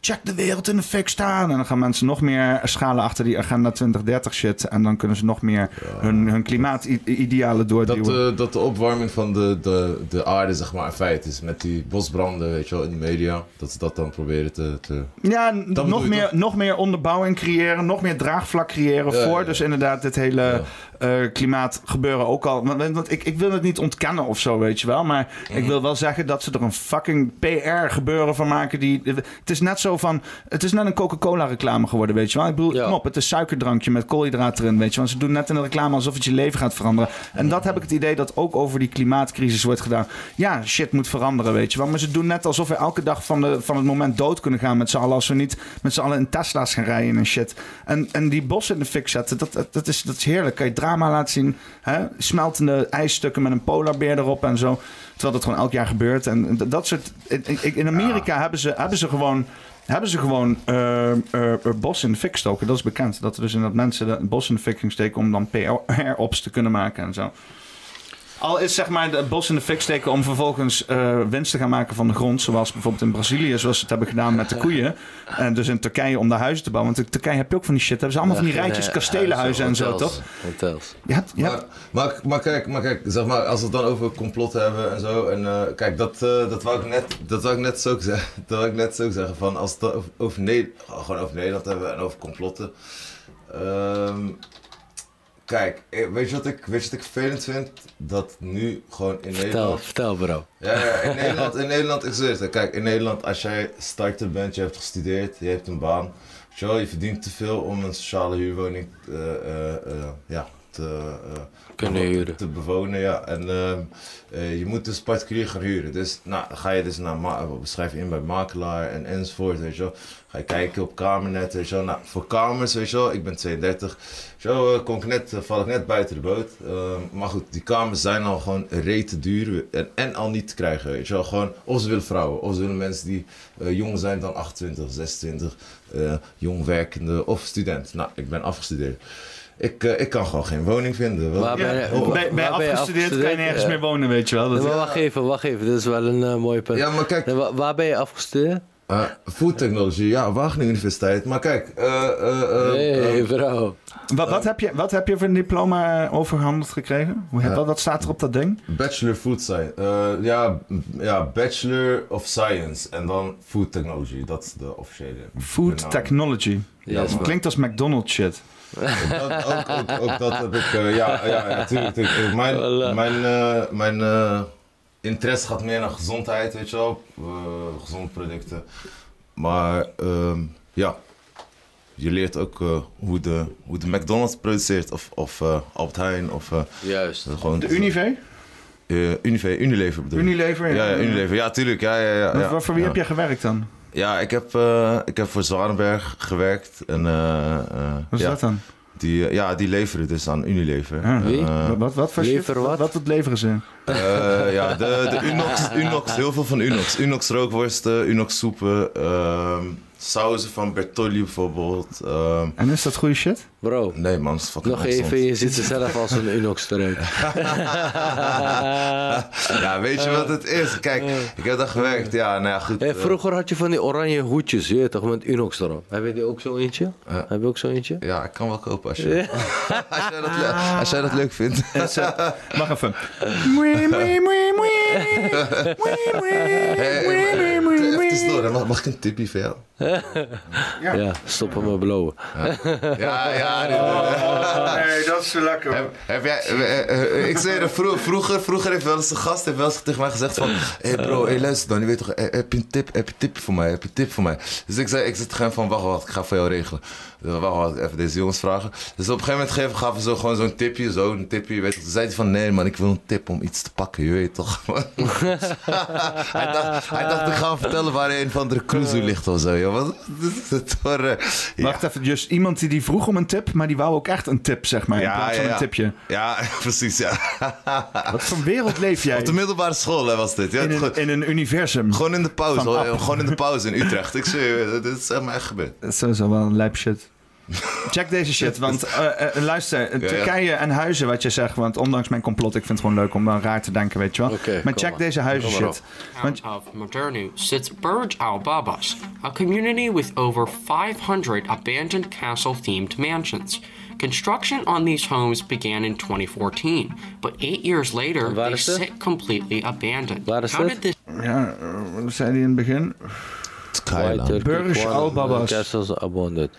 Check de wereld in de fik staan! En dan gaan mensen nog meer schalen achter die agenda 2030 shit en dan kunnen ze nog meer hun, hun klimaatidealen
Dat,
doorduwen.
eh, dat de opwarming van de, de, de aarde, zeg maar, een feit is. Met die bosbranden, weet je wel, in de media. Dat ze dat dan proberen te... te...
ja, n-
bedoel
nog
je,
meer, nog meer onderbouwing creëren, nog meer draagvlak creëren
Ja,
voor
ja, ja.
dus inderdaad dit hele...
Ja.
eh, klimaat gebeuren ook al. Want, want ik, ik wil het niet ontkennen of zo, weet je wel. Maar ik
Mhm.
wil wel zeggen dat ze er een fucking PR gebeuren van maken. Die, het is net zo van. Het is net een Coca-Cola reclame geworden, weet je wel. Ik bedoel,
Ja.
kom op, het is suikerdrankje met koolhydraten erin, weet je wel. Ze doen net in de reclame alsof het je leven gaat veranderen. En dat heb ik het idee dat ook over die klimaatcrisis wordt gedaan. Ja, shit moet veranderen, weet je wel. Maar ze doen net alsof we elke dag van, de, van het moment dood kunnen gaan met z'n allen. Als we niet met z'n allen in Tesla's gaan rijden en shit. En, en die bossen in de fik zetten, dat, dat, dat is, dat is heerlijk. Kan je drama laten zien. Hè? Smeltende ijsstukken met een polarbeer erop en zo. Terwijl dat gewoon elk jaar gebeurt. En d- dat soort. ik- ik- In Amerika hebben, ze, hebben ze gewoon. Hebben ze gewoon eh, eh, eh, bos in de fik stoken? Dat is bekend. Dat er dus inderdaad mensen de- het bos in de fik gingen steken om dan PR-ops te kunnen maken en zo. Al is zeg maar het bos in de fik steken om vervolgens eh, winst te gaan maken van de grond. Zoals bijvoorbeeld in Brazilië, zoals ze het hebben gedaan met de koeien. En dus in Turkije om daar huizen te bouwen. Want in Turkije heb je ook van die shit. Hebben ze allemaal van die
geen,
rijtjes
eh,
kastelenhuizen en zo,
hotels.
toch?
Hotels.
Je hebt, je hebt-
Maar, maar, maar kijk, maar kijk zeg maar, als we het dan over complotten hebben en zo. En eh, kijk, dat, eh, dat, wou ik net, dat wou ik net zo ook zeggen. Dat wou ik net zo ook zeggen. Van als we het over, over, Ne- gewoon over Nederland hebben en over complotten. Ehm, kijk, eh, weet je, wat ik, weet je wat ik vervelend vind? Dat nu gewoon in
Vertel,
Nederland...
vertel bro.
Ja, ja, in Nederland, in Nederland ik zweer het. hè. Kijk, in Nederland, als jij starter bent, je hebt gestudeerd, je hebt een baan. weet je wel, Je verdient te veel om een sociale huurwoning eh, eh, eh, ja, te, eh,
Kunnen huren.
te bewonen. Ja. En ehm, eh, je moet dus particulier gaan huren. Dus nou, dan ga je dus naar ma- schrijf je in bij makelaar en enzovoort. Weet je wel. Ga je kijken op kamernet. Weet je wel. Nou, voor kamers, weet je wel, ik ben 32. Zo eh, kon ik net, eh, val ik net buiten de boot. Ehm, maar goed, die kamers zijn al gewoon rete duur en, en al niet te krijgen. Weet je wel. Gewoon, of ze willen vrouwen, of ze willen mensen die eh, jong zijn dan 28, 26, eh, jong werkende of student. Nou, ik ben afgestudeerd. Ik, eh, ik kan gewoon geen woning vinden. Wat-
Waar ben je-
Oh,
bij, bij
waar ben je
afgestudeerd kan je
afgestudeerd?
nergens
Ja.
meer wonen, weet je wel. Dat-
Nee, maar wacht even, wacht even. Dit is wel een eh, mooi punt.
Ja, maar kijk,
Nee, wa- waar ben je afgestudeerd?
eh, food technology, ja, Wageningen Universiteit. Maar kijk, eh, eh, eh,
Nee,
eh,
bro.
wat, wat, heb je, wat heb je voor een diploma eh, overgehandeld gekregen? Hoe, heb-
Ja.
wat, wat staat er op dat ding?
bachelor food science. Eh, ja, m- ja, bachelor of science en dan food technology. Dat is de officiële.
Food
naam.
technology.
Ja, is
dat
waar.
klinkt als McDonald's shit.
Dat, ook, ook, ook dat heb ik, eh, ja, ja, ja, tuurlijk. tuurlijk. Eh, Mijn,
Voilà.
mijn, eh, mijn eh, interesse gaat meer naar gezondheid, weet je wel. Eh, gezonde producten. Maar ehm, ja, je leert ook eh, hoe, de, hoe de McDonald's produceert of, of eh, Albert Heijn of... eh,
Juist.
Gewoon,
De Unive?
Eh, Unive- Unilever bedoel ik.
Unilever? Eh,
Ja, ja, Unilever. Ja, tuurlijk. Ja, ja, ja,
Wat-
ja.
wat- voor wie
ja.
heb jij gewerkt dan?
Ja, ik heb, eh, ik heb voor Zwanenberg gewerkt. En, eh, eh,
Wat is
ja,
dat dan?
Die, eh, ja, die leveren dus aan Unilever.
Ah.
Wie?
Eh,
Wat, wat, wat voor
Lever
shit?
wat?
Wat, wat leveren ze?
eh, ja, de, de Unox, Unox, heel veel van Unox. Unox rookworsten, Unox soepen, ehm, sauzen van Bertolli bijvoorbeeld. ehm.
En is dat goede shit?
Bro.
nee man, dat is fucking
Nog
ongezond.
even, je ziet er zelf als een Unox eruit.
ja, weet je wat het is? Kijk, ik heb daar gewerkt. Ja, nou ja, goed.
Hey,
eh,
vroeger had je van die oranje hoedjes, je weet toch, met Unox erop. Heb je die ook zo eentje?
Ja.
Heb je ook zo eentje?
ja, ik kan wel kopen als je... als, jij dat le- als jij dat leuk vindt.
Wacht even.
Hey, hey, maar- even tussendoor, hè. mag, mag ik een tipje van jou?
Ja, stoppen met blowen.
Ja, ja. nee, nee, nee.
Nee, dat is lekker.
Heb, heb jij, eh, eh, eh, ik zei er vro- vroeger, vroeger heeft wel eens een gast heeft wel eens tegen mij gezegd van... Hé hey bro, hey, luister dan, je weet toch, eh, heb je een tip, heb je een tipje voor mij, heb je een tip voor mij? Dus ik zei, ik zit gewoon van, wacht, wacht, ik ga voor jou regelen. Dus wacht, wacht, even deze jongens vragen. Dus op een gegeven moment geven, gaven ze gewoon zo'n tipje, zo'n tipje, je weet toch. Toen zei hij van, nee man, ik wil een tip om iets te pakken, je weet toch. hij, dacht, hij dacht, ik ga hem vertellen waar een van de cruiser ligt of zo. joh. Wat is het voor... eh, ja.
Eh. Wacht even, dus iemand die, die vroeg om een tip, maar die wou ook echt een tip, zeg maar. in plaats van een tipje.
Ja, precies, ja.
Wat voor wereld leef jij?
Op de middelbare school hè, was dit. Ja,
in,
Gewoon-
een, in een universum.
Gewoon in de pauze,
Van
hoor.
App.
gewoon in de pauze in Utrecht. Ik zweer, je, dit is helemaal echt gebeurd.
Dat is sowieso wel een lijp shit. Check deze shit, want eh, eh, luister,
ja.
Turkije en huizen wat je zegt, want ondanks mijn complot, ik vind het gewoon leuk om dan raar te denken, weet je wel.
Oké,
maar
kom
check
maar.
deze huizen
Kom maar
shit. Want
of Modernu sits Burj Al Babas, a community with over 500 abandoned castle themed mansions. Construction on these homes began in 2014, but eight years later,
Waar
they
is het?
sit completely abandoned.
Waar is
How
het?
did this
ja, eh, wat zei hij in het begin?
Turkish
Burj
one,
Al Babas.
uh, Castles abundant.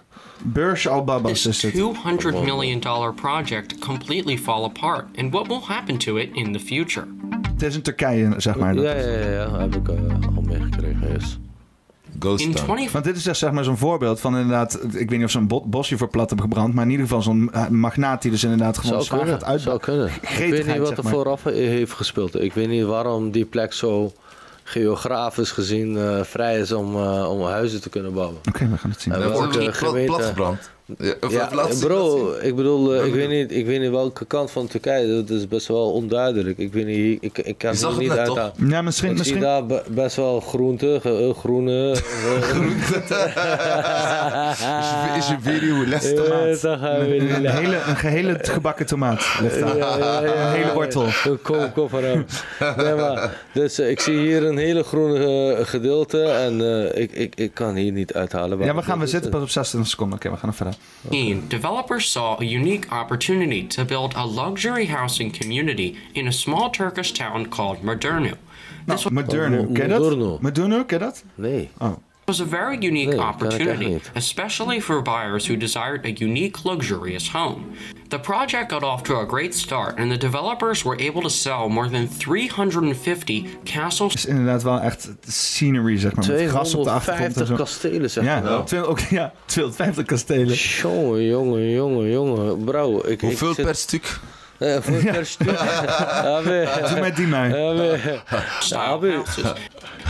Burj Al Babas is
this
het.
$200 million project completely fall apart, and what will happen to it in the future?
Het is in Turkije, zeg maar. dat
Ja,
is-
ja, ja, ja, heb ik eh, al meegekregen. Yes.
Ghost
In
Town.
2014,
Want dit is echt zeg maar zo'n voorbeeld van inderdaad, ik weet niet of zo'n bo- bosje voor plat hebben gebrand, maar in ieder geval zo'n eh, magnaat die dus inderdaad gewoon
Zou
zwaar gaat
kunnen, zou
uitbakken.
kunnen. Ik weet niet
Gretigheid,
wat
zeg
er
maar.
vooraf eh, heeft gespeeld. Ik weet niet waarom die plek zo geografisch gezien eh, vrij is om, eh, om huizen te kunnen bouwen.
Oké, we gaan het zien.
En
Ja,
welke
wordt plat-
gemeente-
platgebrand. Ja, of
Ja,
laat
eh,
zien, laat zien.
bro, ik bedoel, eh, ik, weet niet, ik weet niet welke kant van Turkije, dat is best wel onduidelijk. Ik weet niet, ik, ik kan
Je zag
het
het
niet
net, toch?
uithalen.
Ja, misschien,
Ik zie
misschien,
daar be- best wel groente, ge- eh, groene. eh,
Is je- Is je video les te maken?
eh, daar gaan we weer.
een, hele, een gehele gebakken tomaat ligt daar.
Ja, ja, ja,
Een hele
ja.
wortel.
Kom, kom van hem. Nee, maar, dus eh, ik zie hier een hele groene eh, gedeelte en eh, ik, ik, ik kan hier niet uithalen. waar
Ja, we
het
gaan, we
is.
zitten pas op 26 seconden. Oké, we gaan er verder.
developers saw a unique opportunity to build a luxury housing community in a small Turkish town called Modernu. This
Nou, Moderno,
Mo-
ken je
Oh, Moderno.
dat? Moderno, ken je dat? Oh,
Nee.
was a very unique
Nee, kan ik
opportunity,
echt niet.
especially for buyers who desired a unique, luxurious home. The project got off to a great start, and the developers were able to sell more than 350 castle
is inderdaad wel echt scenery, zeg maar. Met gras op de achtergrond en
250
zo.
kastelen, zeg
Ja,
maar. Nou.
twee- ook, ja, 250 kastelen.
Jongen, jongen, jongen, jongen. Bro, ik,
Hoeveel
ik zit...
per stuk? Ah,
Eh, voor per stuk. Ja, we-
Doe met die mij.
ja, we- Ja,
style
we-
houses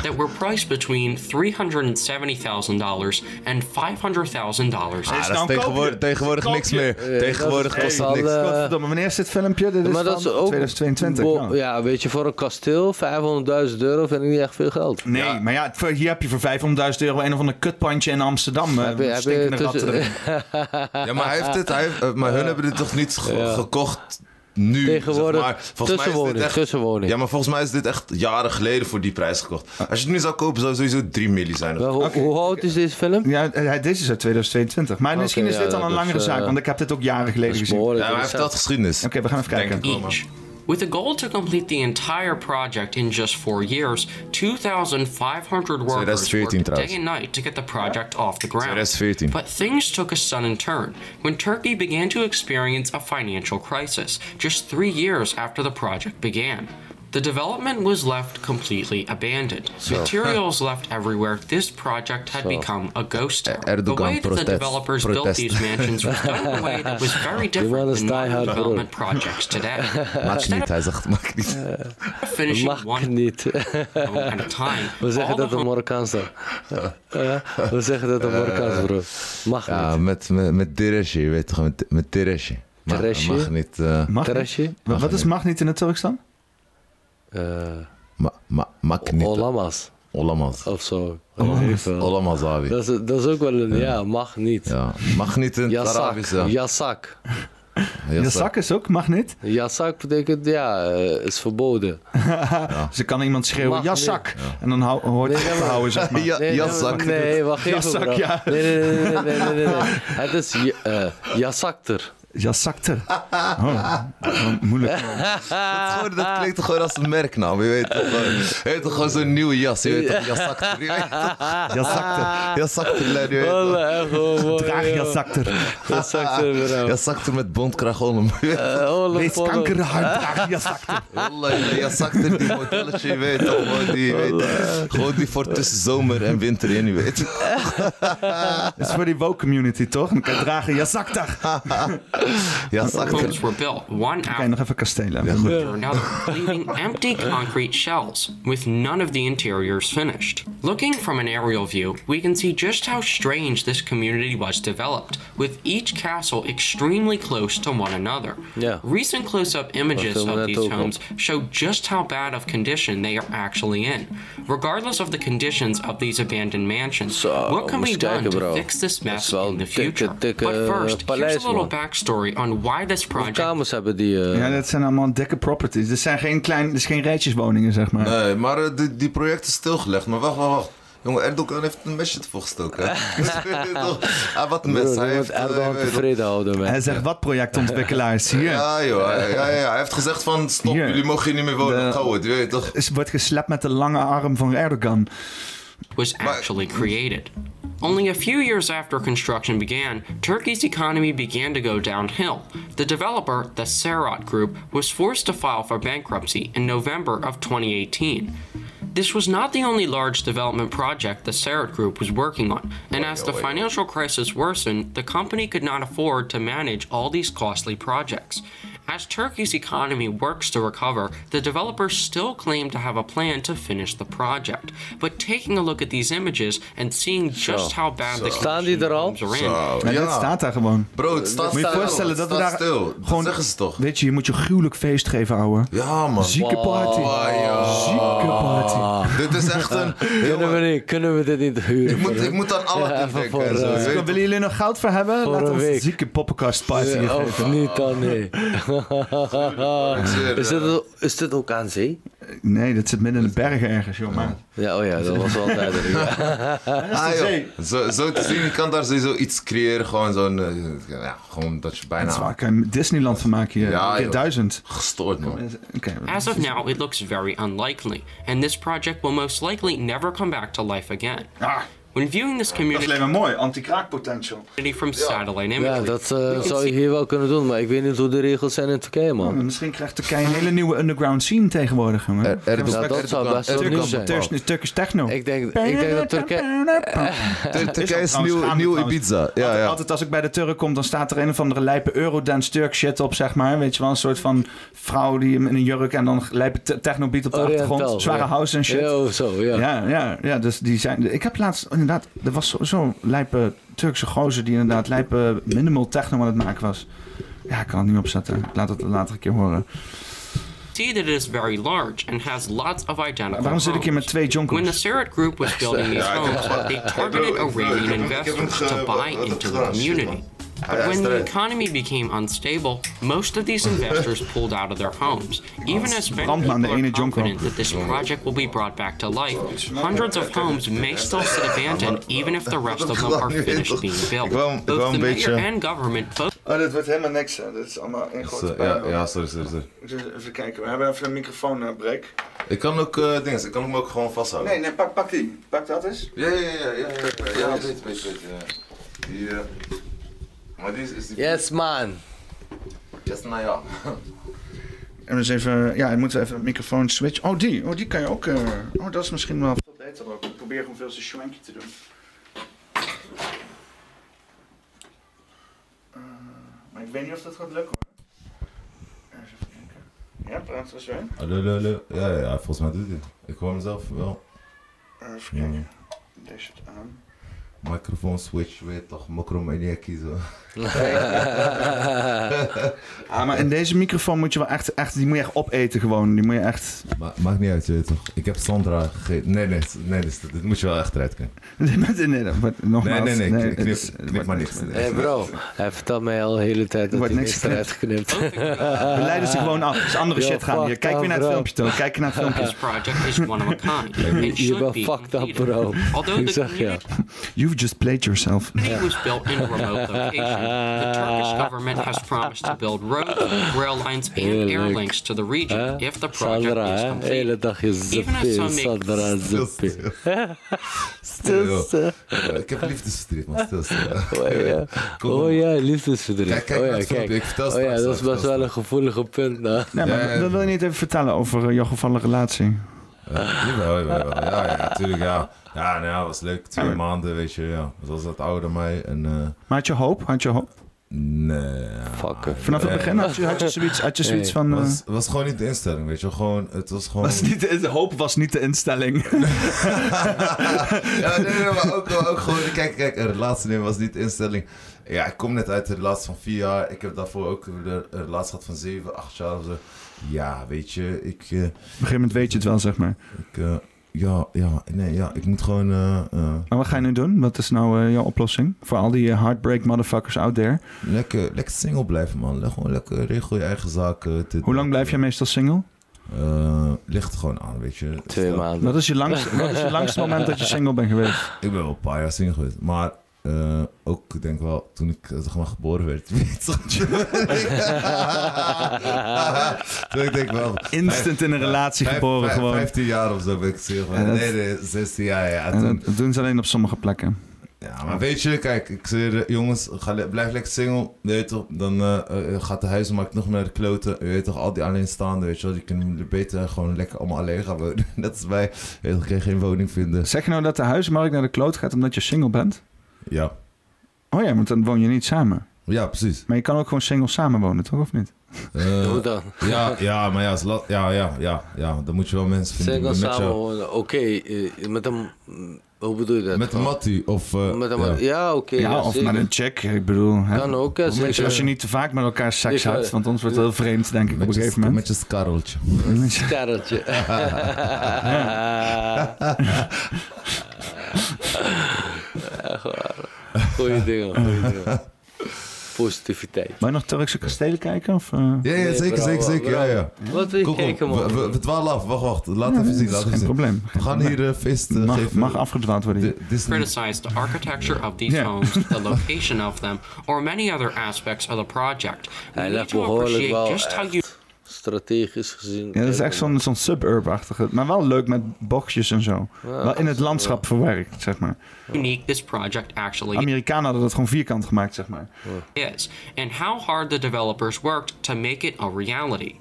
that were priced between $370,000 and $500,000.
Ah, dat is
nou een
tegenwoordig,
koopje.
tegenwoordig
Een
niks meer. Tegenwoordig
dat is
kost dat
al,
niks.
eh,
Godverdomme, wanneer is dit filmpje? Dit is
Maar dat is
van
ook...
2022.
bo-
nou.
Ja, weet je, voor een kasteel, 500.000 euro vind ik niet echt veel geld.
Nee, maar ja, voor- hier heb je voor 500.000 euro een of ander kutpandje in Amsterdam. eh,
Heb je- heb je
stinkende
tussen-
ratten erin.
Ja, maar, hij heeft het, hij heeft- eh, maar hun hebben dit toch niet ge- gekocht nu?
Tegenwoordig
zeg maar. Volgens mij is dit
tussenwoning,
echt-
tussenwoning.
Ja, maar volgens mij is dit echt jaren geleden voor die prijs gekocht. Als je het nu zou kopen, zou het sowieso 3 milli zijn. of-
Wel, hoe, hoe oud is deze film?
Ja, eh, deze is uit 2022. Maar misschien is
ja,
dit dan een
dus,
langere
eh,
zaak, want ik heb dit ook jaren geleden
Dat is
gezien. Oké,
behoorlijk
Ja, maar hij vertelt
interessant.
geschiedenis.
we gaan even
Denk
kijken.
ik wel, man.
each. With a goal to complete the entire project in just four years, 2,500 workers
2014
worked
trouwens.
day and night to get the project off the ground.
2014.
But things took a sudden turn when Turkey began to experience a financial crisis just three years after the project began. The development was left completely abandoned. Materials left everywhere. This project had become a ghost town. the
Erdogan
way that the
protest-
developers built
protest.
these mansions was done in a way that was very different
is
than modern
diehard
development projects today.
Maakt niet, hij zegt maakt niet.
finishing
Mag
one
niet.
home at a time.
We
all
zeggen
the
dat op
homes
Marokkaans dan. Eh, we zeggen dat op Marokkaans, bro. Mag
Ja,
niet.
met, met, met Teresje, je weet toch, met, met Teresje. Maar
Teresje?
mag niet... eh,
Mag
Terrasje?
niet? Wa- Wat is mag niet in het Turks dan?
Eh,
ma, ma, mak niet.
Olamas
Olamaz.
of zo.
Olamaz abi.
Dat is, dat is ook wel een ja, mag niet.
Ja, mag niet in het
Yasak.
Arabisch. Ja.
Yasak.
De zak is ook, mag niet.
Yasak betekent ja, eh, is verboden.
Ze Dus kan iemand schreeuwen,
Ah. Mag
ja
niet.
zak. En dan hou, hoort
Nee,
het
nee,
te
maar-
houden, zeg maar.
Ja,
Nee,
Yasak.
Nee, nee, wacht even.
Yasak,
bro.
ja.
Nee, nee, nee, nee, nee, nee, nee, nee. Het is ja- eh, Yasakter.
Ja, zakte. Oh, wat moeilijk.
Dat, is gewoon- dat klinkt toch gewoon als een merknaam. Je weet toch gewoon, je weet toch gewoon zo'n nieuwe jas. Je weet toch, Yasak. Je weet toch,
Ja, zakte.
Yasak. Je weet toch.
Wallah, echt wel eh, mooi,
Draag
joh.
ja, zakte.
Yasakter, bro.
Yasak met bondkracht om.
Eh, Olaf,
Wees
Olaf.
kankerhard, draag ja, zakte.
Wallah, Yasak die modelletje. Je weet toch, gewoon die, je weet toch. Gewoon die voor tussen zomer en winter in. Je weet toch.
Ah.
Dat is voor die woke community, toch? Dan kan je dragen, ja, zakte.
Ja, zag ik.
Homes were built, one
Oké,
after
nog even kastelen.
after another, leaving empty concrete shells, with none of the interiors finished. Looking from an aerial view, we can see just how strange this community was developed, with each castle extremely close to one another.
Yeah.
Recent close up images
Wacht,
of
dat
these
ook nog.
homes show just how bad of condition they are actually in. Regardless of the conditions of these abandoned mansions,
Zo,
what can be
moest
done
kijken,
to
bro.
fix this
Dat
mess
is wel
in the
een dikke,
future?
dikke,
but first, here's
paleis,
a little
man.
backstory on why this project
Kamers hebben die... eh,
Ja, dat zijn allemaal dikke properties. Dit zijn geen, klein, dit is geen rijtjeswoningen, zeg maar.
Nee, maar eh, die, die project is stilgelegd. Maar wacht, wacht, wacht. Jongen, Erdogan heeft een mesje ervoor gestoken. hè? Toch? hij wat een mes.
broer,
Hij
je
heeft,
moet
eh,
Erdogan
weet je toch-
tevreden houden, man.
Hij zegt, wat projectontwikkelaars hier?
ja, joh. Ja, ja, ja. Hij heeft gezegd van, stop,
Hier.
jullie mogen hier niet meer wonen.
De-
Gauw het, je weet toch?
Is, wordt geslept met de lange arm van Erdogan.
was actually created. Only a few years after construction began, Turkey's economy began to go downhill. The developer, the Sarat Group, was forced to file for bankruptcy in November of 2018. This was not the only large development project the Sarat Group was working on, and as the financial crisis worsened, the company could not afford to manage all these costly projects. As Turkey's economy works to recover, the developers still claim to have a plan to finish the project. But taking a look at these images and seeing just how bad the
Staan die
condition
er al?
homes are in,
Zo,
En dit staat daar gewoon.
Bro, het staat
Moet je
stil.
je voorstellen dat we
Het
daar...
staat stil.
Gewoon,
Dat zeggen ze toch?
Weet je, je moet je gruwelijk feest geven, ouwe.
Ja, man. Oh,
Zieke party. Zieke party.
Dit is echt een...
Kunnen we, niet, kunnen we dit niet huren?
Ik moet, ik moet aan alle
Ja,
dingen
even
denken.
voor,
en zo,
eh,
je weet
Wil- Dus Willen jullie nog goud voor hebben?
Voor
Laat
een
ons
week.
zieke poppenkast party
Ja,
geven.
Of niet dan, nee.
zeer,
is,
eh,
dit, is dit ook aan zee?
Nee, dat zit midden in de bergen ergens, joh. Maar
Ja, oh ja, dat was wel duidelijk. ja.
Ah, joh. Zo, zo te zien, je kan daar sowieso iets creëren. Gewoon zo'n... eh, ja, gewoon dat je
dat is
bijna
waar. Kan je Disneyland van maken hier.
Ja,
Keer
joh.
duizend.
gestoord, man.
Oké.
As of now, it looks very unlikely, and this project will most likely never come back to life again.
Ah,
When viewing this community
maar mooi. Anti-kraakpotential. Oh,
from satellite imagery,
Ja, dat eh,
we can
zou je
see
hier wel kunnen doen, maar ik weet niet hoe de regels zijn in Turkije, man.
Misschien krijgt Turkije een hele nieuwe underground scene tegenwoordig, jongen.
Eh,
Ja, dat zou best wel nieuw
Turkish,
zijn.
Turkish, Turkish techno.
Ik denk, ik denk dat Turkije...
Turkije is
trouwens
nieuw,
gaande
nieuw
trouwens.
Ibiza. Ja, ja.
Altijd als ik bij de Turk kom, dan staat er een of andere lijpe Eurodance Turk shit op, zeg maar. Weet je wel, een soort van vrouw die hem in een jurk en dan lijpe te- technobeat op de
Oriental,
achtergrond. Zware
ja.
house en shit.
Ja, oh, zo, ja.
Ja, ja, ja, dus die zijn... Ik heb laatst inderdaad... Er was zo- zo'n lijpe Turkse gozer die inderdaad lijpe minimal techno aan het maken was. Ja, ik kan het niet opzetten. Ik Laat het later een keer horen.
see that it is very large and has lots of identical
Waarom zit ik hier met
homes.
twee jonkers?
When the Sarat Group was building these homes, they targeted Iranian investors to buy into the community. But when the economy became unstable, most of these investors pulled out of their homes. Even as many
Brandman,
people
de ene
are
jonker.
confident that this project will be brought back to life, hundreds of homes may still sit abandoned even if the rest of them are finished being built.
Ik wou- ik wou
Both the
een
mayor
beetje-
and government both
Oh, dit wordt helemaal niks. Hè. Dit is allemaal één grote
Zo,
pijn.
Ja, ja, sorry, sorry, sorry.
Dus even kijken. We hebben even een microfoonbreak.
Ik kan ook eh dingen, ik kan hem ook gewoon vasthouden.
nee, pak, pak die. Pak dat eens.
Ja, ja, ja, ja, ja, ja, ja, weet, weet, weet, ja. Die, eh, maar die is, is die...
Yes, man.
Yes, nou ja.
En dus even... Ja, dan moeten we even een microfoon switch. Oh, die. Oh, die kan je ook... eh, oh, dat is misschien wel...
Dat beter ook. Ik probeer gewoon veel zijn schwenkje te doen. Eh, maar ik weet niet of dat gaat lukken hoor. Eens even kijken. Ja, praat er zo in.
Hallo, hallo, hallo. Ja, ja, ja, volgens mij doet hij. Ik hoor mezelf wel.
Even
Ja.
kijken. Deze zit aan.
Microfoon switch, weet toch, mokromaniakie zo.
Ah, maar in deze microfoon moet je wel echt... echt die moet je echt opeten gewoon. Die moet je echt...
Ma maakt niet uit, je weet toch. Ik heb Sandra gegeten. Nee, nee, nee, dit, dit moet je wel echt eruit kunnen.
Nee, nee, nee. dat wordt-
Nee,
Nogmaals.
nee, nee, knip,
het
knip,
is- het
knip
wordt
maar
niks.
niks.
Hé hey bro, hij vertelt mij al de hele tijd dat
Wordt
hij
niks
niks eruit geknipt.
We leiden ze gewoon af. Er is andere
Yo,
shit gaan hier.
fuck
Kijk weer naar het
off,
filmpje, Toon. Kijk naar het filmpje.
project is one of a kind and
Je
should
bent
be
fucked up,
completed.
bro.
Although
Ik
the
zeg ja.
community
You've just played yourself.
was built in a remote location, the Turkish government has promised to build roads, rail lines, and air
Heerlijk.
links to the
Hè?
region if the project
Sandra,
is
hè? Hele
complete.
dag je zippie,
some make-
Sandra, zippie.
Stil, Oh, Ja, Ik heb liefdesverdriet, man. Stil, stil.
ja.
Kom,
Oh
man.
ja, liefdesverdriet.
Kijk, kijk
oh
naar
ja,
het filmpje. Ik vertel
oh ja,
straks,
dat is
ik vertel
best wel een gevoelige punt. Nou.
Nee, maar
Ja, ja.
dat wil je niet even vertellen over eh, jouw gevallen relatie.
Ja, Eh, jawel, jawel, jawel. Ja, ja, natuurlijk, ja. Ja, nou ja, was leuk. Twee maanden, weet je, ja. Dat was dat oude mij. En, eh,
Maar had je hoop? Had je hoop?
Nee.
Fuck.
Vanaf het begin had je, had je zoiets, had je zoiets van... eh,
was, was gewoon niet de instelling, weet je. Gewoon, het was gewoon...
was niet, de hoop was niet de instelling.
Ja, nee, nee, maar ook, ook gewoon... Kijk, kijk, een relatie nemen was niet de instelling. Ja, ik kom net uit een relatie van vier jaar. Ik heb daarvoor ook een een relatie gehad van zeven, acht jaar of zo. Ja, weet je, ik... eh,
Op een gegeven moment weet je het wel, zeg maar.
ik eh, ja, ja, nee, ja, ik moet gewoon... eh, eh,
Maar wat ga je nu doen? Wat is nou eh, jouw oplossing? Voor al die eh, heartbreak motherfuckers out there.
lekker, lekker single blijven, man. Leg gewoon lekker, regel je eigen zaken. dit-
Hoe lang blijf jij meestal single?
Eh, ligt er gewoon aan, weet je.
Twee
Stel-
maanden.
Wat is je langst, wat is je langste moment dat je single bent geweest?
Ik ben wel een paar jaar single geweest. Maar eh, ook, ik denk wel, toen ik eh, zeg maar, geboren werd. weet je wat? toen ik denk wel...
Instant in een relatie
vijf-
geboren
vijf-
gewoon.
15 jaar of zo ben ik single.
En dat-
nee, nee, 16 jaar, ja.
En
Toen,
dat doen ze alleen op sommige plekken.
ja, maar weet je, kijk, ik zeg je, jongens, ga le- blijf lekker single, weet je toch, dan eh, eh, gaat de huizenmarkt nog meer naar de kloten, je weet toch, al die alleenstaanden, weet je wel, die kunnen beter gewoon lekker allemaal alleen gaan wonen, net als wij, weet je toch, kan geen woning vinden.
Zeg je nou dat de huismarkt naar de kloot gaat omdat je single bent?
Ja,
Oh ja, want dan woon je niet samen.
ja, precies.
Maar je kan ook gewoon single samen wonen, toch? Of niet?
Eh,
Hoe dan?
ja, ja, maar ja, is la- ja, ja, ja, ja, dan moet je wel mensen vinden.
Single
die met
samen
jou-
wonen. Oké, eh, met een... Hoe bedoel je dat?
Met een mattie of... eh,
Met een
ja.
man. Ja, oké.
Ja,
ja,
of
zeker.
met een check. Ik bedoel, hè.
Kan ook, hè,
Hoe mensen-
zeker.
als je niet te vaak met elkaar seks
Zeker.
hebt, want anders wordt het heel vreemd, denk ik, op een
Met je,
gegeven
met
moment.
je skarreltje.
Karretje. Echt waar. Goeie dingen, goeie dingen. Positiviteit.
Wou je nog Turkse kastelen kijken? Of, eh?
Ja, ja,
Nee,
zeker,
bro,
zeker, zeker, ja,
bro.
ja.
Wat wil je
Kom, kom,
kijken, man?
we, we, we dwalen af, wacht, wacht, laat even zien,
Dat is
laat even
geen
zien.
probleem.
We gaan hier eh, feest eh,
Mag,
geven.
mag afgedwaald worden hier.
Di- Disney.
criticized the architecture of these
Yeah.
homes, the location of them, or many other aspects of the project. We
Hij
need
legt
to
behoorlijk
appreciate
wel
just how you
echt strategisch gezien.
Ja, dat is echt zo'n zo'n suburb-achtige. Maar wel leuk met bochtjes en zo. wel in het landschap verwerkt, zeg maar.
unique this project actually
Amerikanen hadden dat gewoon vierkant gemaakt, zeg maar.
is, and how hard the developers worked to make it a reality.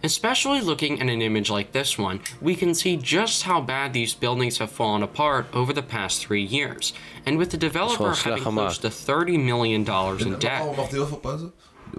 Especially looking at an image like this one, we can see just how bad these buildings have fallen apart over the past three years, and with the developer
slecht
having close
gemaakt.
to $30 million in debt.
Oh, wacht heel veel pauze.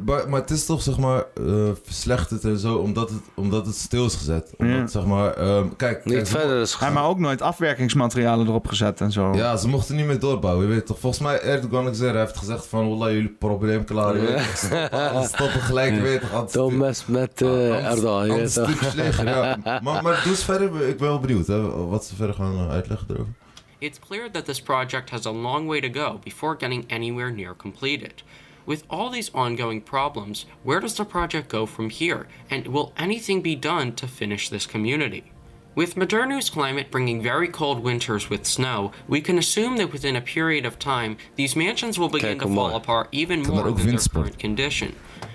Maar, maar het is toch zeg maar eh, verslechterd en zo omdat het, omdat het stil is gezet. Omdat
Ja.
zeg maar, ehm, kijk,
Niet
kijk, ze
verder is
Ja,
gegaan.
maar ook nooit afwerkingsmaterialen erop gezet en zo.
mo- Ja, ze mochten niet meer doorbouwen, je weet toch. Volgens mij Erdogan ik zeg, hij heeft gezegd van, wallah, jullie probleem klaar, je weet toch. Stoppen, alles stoppen gelijk, je weet toch. anders-
Don't mess met eh,
anders-
Erdogan. je
Ah, anders
weet toch.
stuk slechter, ja. Maar, maar doe eens verder, ik ben wel benieuwd hè, wat ze verder gaan eh, uitleggen erover.
It's clear that this project has a long way to go before getting anywhere near completed. With all these ongoing problems, where does the project go from here, and will anything be done to finish this community? With Modernu's climate bringing very cold winters with snow, we can assume that within a period of time, these mansions will begin
Kijk
to
hem
fall
maar.
apart even
Kan
more
er ook
than their
winst
current condition.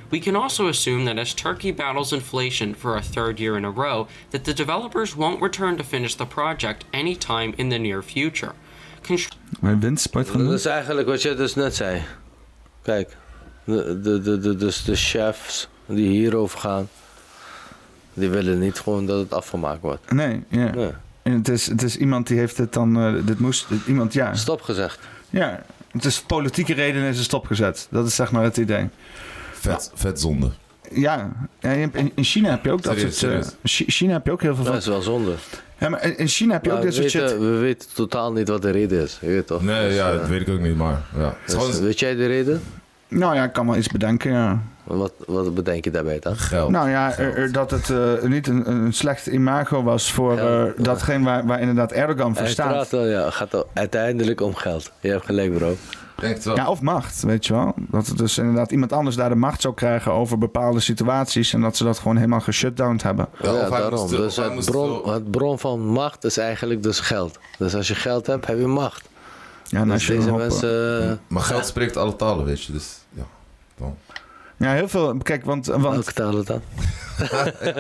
We can also assume that as Turkey battles inflation for a third year in a row, that the developers won't return to finish the project anytime in the near future. Constru-
Maar windsport
Dat
genoemd.
is eigenlijk wat jij dus net zei. Kijk, de, de, de, de, dus de chefs die hierover gaan, die willen niet gewoon dat het afgemaakt wordt.
Nee, ja.
Nee.
En het, is, het is iemand die heeft dit dan... eh, dit moest... dit- iemand, ja.
Stop gezegd.
ja. Het is politieke redenen is er stopgezet. Dat is zeg maar het idee.
Vet, vet zonde.
Ja, ja, je hebt- in in China heb je ook dat
Serieus,
soort... eh, Chi- China heb je ook heel veel
Dat
van...
is Nou, wel zonde.
Ja, maar in in China heb je
Maar
ook
we,
dit soort
weten,
shit.
we weten totaal niet wat de reden is. Je weet toch?
Nee,
Dus,
ja,
eh,
dat weet ik ook niet, maar ja. Het is
dus,
gewoon
Weet jij de reden?
Nou ja, ik kan wel iets bedenken, ja.
Wat, wat bedenk je daarbij dan?
geld.
Nou ja, er- er- dat het eh, niet een, een slecht imago was voor eh,
Geld, ja.
datgene waar, waar inderdaad Erdogan voor
Uiteraard
staat.
wel, ja. Het gaat uiteindelijk om geld. Je hebt gelijk, bro.
denk het wel.
Ja, of macht, weet je wel. Dat het dus inderdaad iemand anders daar de macht zou krijgen over bepaalde situaties. En dat ze dat gewoon helemaal geshutdowned hebben.
Ja,
Ja,
of hij
daarom.
moest er-
Dus
of hij
het
moest er-
bron, het bron van macht is eigenlijk dus geld. Dus als je geld hebt, heb je macht.
Ja, en als
Dus
je
deze
erop, eh,
mensen...
Maar geld spreekt alle talen, weet je, dus ja. Dan.
Ja, heel veel. Kijk, want, want
Welke talen dan?
Alles,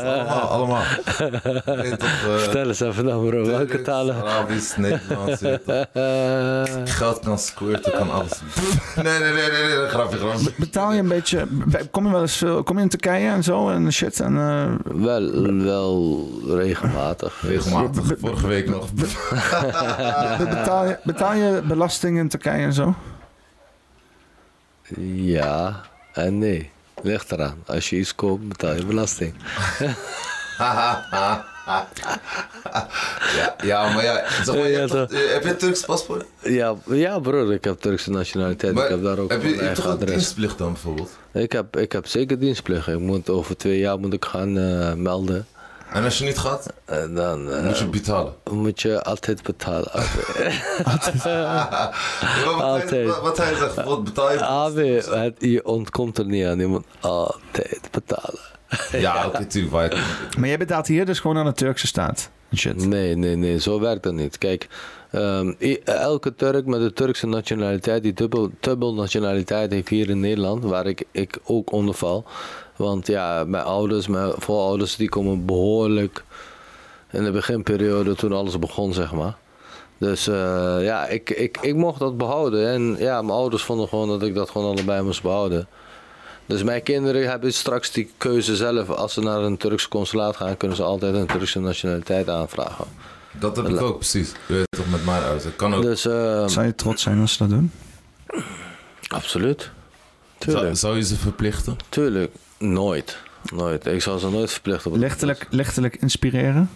allemaal, allemaal. Weet je toch, eh,
Vertel eens even dan, bro. Welke
Turks,
talen?
Arabisch, Nederlands, weet je
Eh,
toch. Geld kan squirten, kan alles. Nee, nee, nee, nee, nee, nee, grapje, grapje.
betaal je een beetje. Kom je wel eens veel. Kom je in Turkije en zo en shit. En, eh,
wel, wel regelmatig.
Regelmatig, vorige week nog.
Ah.
betaal, je, betaal je belasting in Turkije en zo?
Ja en nee. Ligt eraan. Als je iets koopt, betaal je belasting.
Ja, ja maar ja, zeg maar, je
Ja,
hebt
zo.
toch- eh, heb je een Turks paspoort?
Ja, ja broer, ik heb Turkse nationaliteit.
Maar
ik heb daar ook
heb je,
mijn
je hebt toch
eigen
een
adres.
dienstplicht dan bijvoorbeeld?
Ik heb, ik heb zeker dienstplicht. Ik moet over twee jaar moet ik gaan eh, melden.
En als je niet gaat,
En dan eh,
moet je betalen.
moet je altijd betalen.
Ja, maar wat, hij,
Altijd.
wat- wat hij zegt, wat betaal je?
AB, Ah, het, je ontkomt er niet aan. Je moet altijd betalen.
Ja, oké, tuurlijk. maar je-
Maar jij betaalt hier dus gewoon aan de Turkse staat. Shit.
Nee, nee, nee, zo werkt dat niet. Kijk, ehm, i- elke Turk met de Turkse nationaliteit, die dubbel, dubbel nationaliteit heeft hier in Nederland, waar ik, ik ook onder val. Want ja, mijn ouders, mijn voorouders, die komen behoorlijk in de beginperiode toen alles begon, zeg maar. Dus eh, ja, ik, ik, ik mocht dat behouden. En ja, mijn ouders vonden gewoon dat ik dat gewoon allebei moest behouden. Dus mijn kinderen hebben straks die keuze zelf. Als ze naar een Turks consulaat gaan, kunnen ze altijd een Turkse nationaliteit aanvragen.
Dat heb ik ook, precies. Je weet toch, met mijn ouders. Ik kan ook.
Dus eh,
Zou je trots zijn als ze dat doen?
absoluut.
Zou,
Tuurlijk,
zou je ze verplichten?
tuurlijk. Nooit. Nooit. Ik zou ze nooit verplichten. op-
Lichtelijk, lichtelijk inspireren?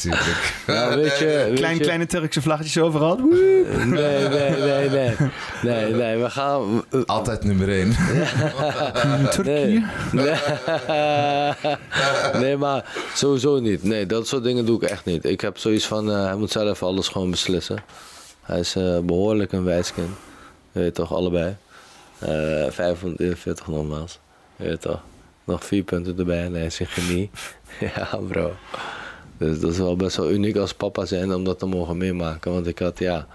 Tuurlijk.
Ja, weet je, weet
Eh, Klein,
je- Eh,
kleine Turkse vlaggetjes overal. Woe!
Nee, nee, nee, nee. Nee, nee, we gaan...
Altijd nummer één.
eh, Nee. Nee. nee, maar sowieso niet. Nee, dat soort dingen doe ik echt niet. Ik heb zoiets van, eh, hij moet zelf alles gewoon beslissen. Hij is eh, behoorlijk een wijskind. Je weet toch, allebei. Eh 541 nogmaals. Je weet toch. Nog vier punten erbij en hij is een genie. ja, bro. Dus dat is wel best wel uniek als papa zijn om dat te mogen meemaken. Want ik had, ja...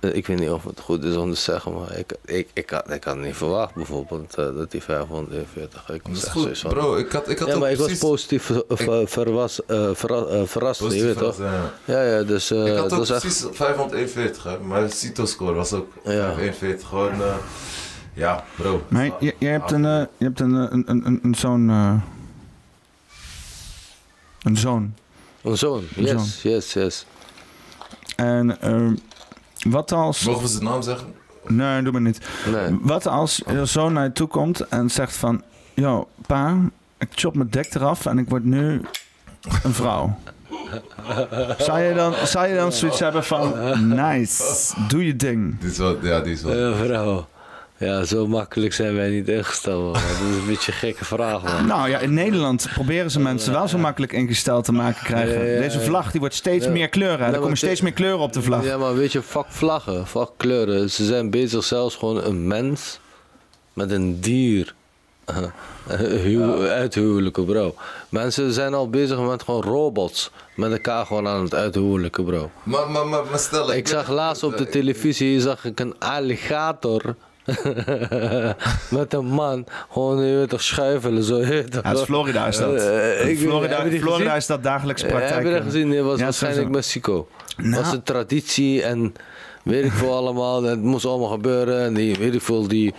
Eh, Ik weet niet of het goed is om te zeggen, maar ik, ik, ik, had, ik had niet verwacht bijvoorbeeld eh, dat die 540.
Dat
Ik was
is
echt
goed,
zoiets van-
bro. Ik had, ik had
Ja,
ook
maar ik was
precies-
positief ver- ver- verwas, eh, verra- eh, verrast,
positief
je weet toch?
verrast, ja.
Ja, ja, dus eh,
Ik had
dat
ook
is echt...
precies 541, hè, maar de CITO-score was ook
Ja.
541. Gewoon, eh, ja, bro.
Maar
Ah,
je, je hebt,
ah,
een, eh, je hebt een, eh, een, een, een, een zoon... eh, een zoon.
Een zoon, yes,
zoon.
yes, yes.
En eh, wat als...
Mogen we zijn naam zeggen?
Nee, doe maar niet.
Nee.
Wat als je zoon naar je toe komt en zegt van... Yo, pa, ik chop mijn dek eraf en ik word nu een vrouw. zou, je dan, zou je dan zoiets hebben van... Nice, doe je ding.
Die is wel, ja, die is wel.
Eh, vrouw. Ja, zo makkelijk zijn wij niet ingesteld. man. Dat is een beetje een gekke vraag, man.
Nou ja, in Nederland proberen ze mensen wel zo makkelijk ingesteld te maken krijgen.
Ja, ja, ja.
Deze vlag die wordt steeds meer kleuren. Er
maar
komen
dit-
steeds meer kleuren op de vlag.
Ja, maar weet je, fuck vlaggen, fuck kleuren. Ze zijn bezig zelfs gewoon een mens met een dier Huw- uithuwelijken, bro. Mensen zijn al bezig met gewoon robots met elkaar gewoon aan het uithuwelijken, bro.
Maar, maar, maar, maar stel,
Ik zag
ben-
laatst op de
eh,
televisie zag ik een alligator met een man gewoon je weet toch, schuifelen. Zo, je weet toch.
Ja, dat is Florida is dat.
Eh, ik weet-
Florida,
hebben die
Florida
gezien?
is dat dagelijks
Eh,
praktijk.
Heb je dat gezien? Nee, was
Ja,
waarschijnlijk
sowieso.
Mexico.
Nou.
was de traditie en weet ik veel allemaal. En het moest allemaal gebeuren. En die, weet ik veel, die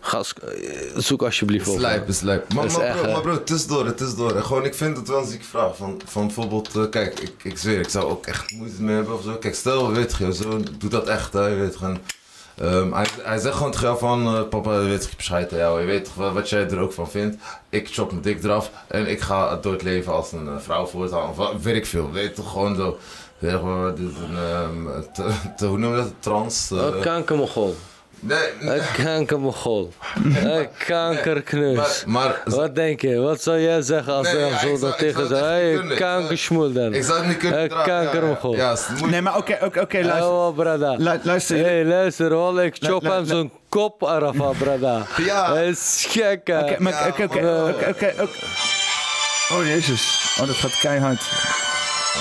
gas... eh, Zoek alsjeblieft op.
Slijpen, slijpen. Maar,
Dat is
maar,
echt, eh,
bro,
hè?
maar bro, het is door, het is door. En Gewoon, ik vind het wel een zieke vraag. Van, van bijvoorbeeld, eh, kijk, ik, ik zweer, ik zou ook echt moeite mee hebben of zo. Kijk, stel, weet je, zo doet dat echt, hè, je weet gewoon. Ehm, hij, hij zegt gewoon tegen jou van, eh, papa, je weet toch, je bescheid, jou. Je weet toch wel wat jij er ook van vindt. Ik chop mijn dik eraf en ik ga door het leven als een eh, vrouw voortaan. Of wat, weet ik veel, weet toch, gewoon zo. Weet je, gewoon, dit is een, ehm, te- te- hoe noem je dat, trans? eh,
Een kankermogol.
nee, nee,
Een kankermogol. Een
maar,
kankerkneus.
maar
Wat denk je? Wat zou jij zeggen als
Nee,
er
ja,
zo
ik zou-
dat
ik
tegen
zou het
zou?
echt niet
Hé,
kunnen. Ik zou-
kankersmoel dan.
Ik zou het niet kunnen
Een
dragen.
kankermogel.
Ja, ja, ja. het is moeilijk.
Nee, maar oké, oké, oké, luister.
Helemaal, brada.
Lu- luister,
Hé,
jullie-
hey, luister, hoor. Ik chop
lu-
hem
lu-
zo'n kop eraf, hè, brada.
Ja.
Dat is gek, hè.
Oké, maar-
Ja,
oké, oké,
maar-
oké, oké, oké. Oh, jezus. Oh, dat gaat keihard.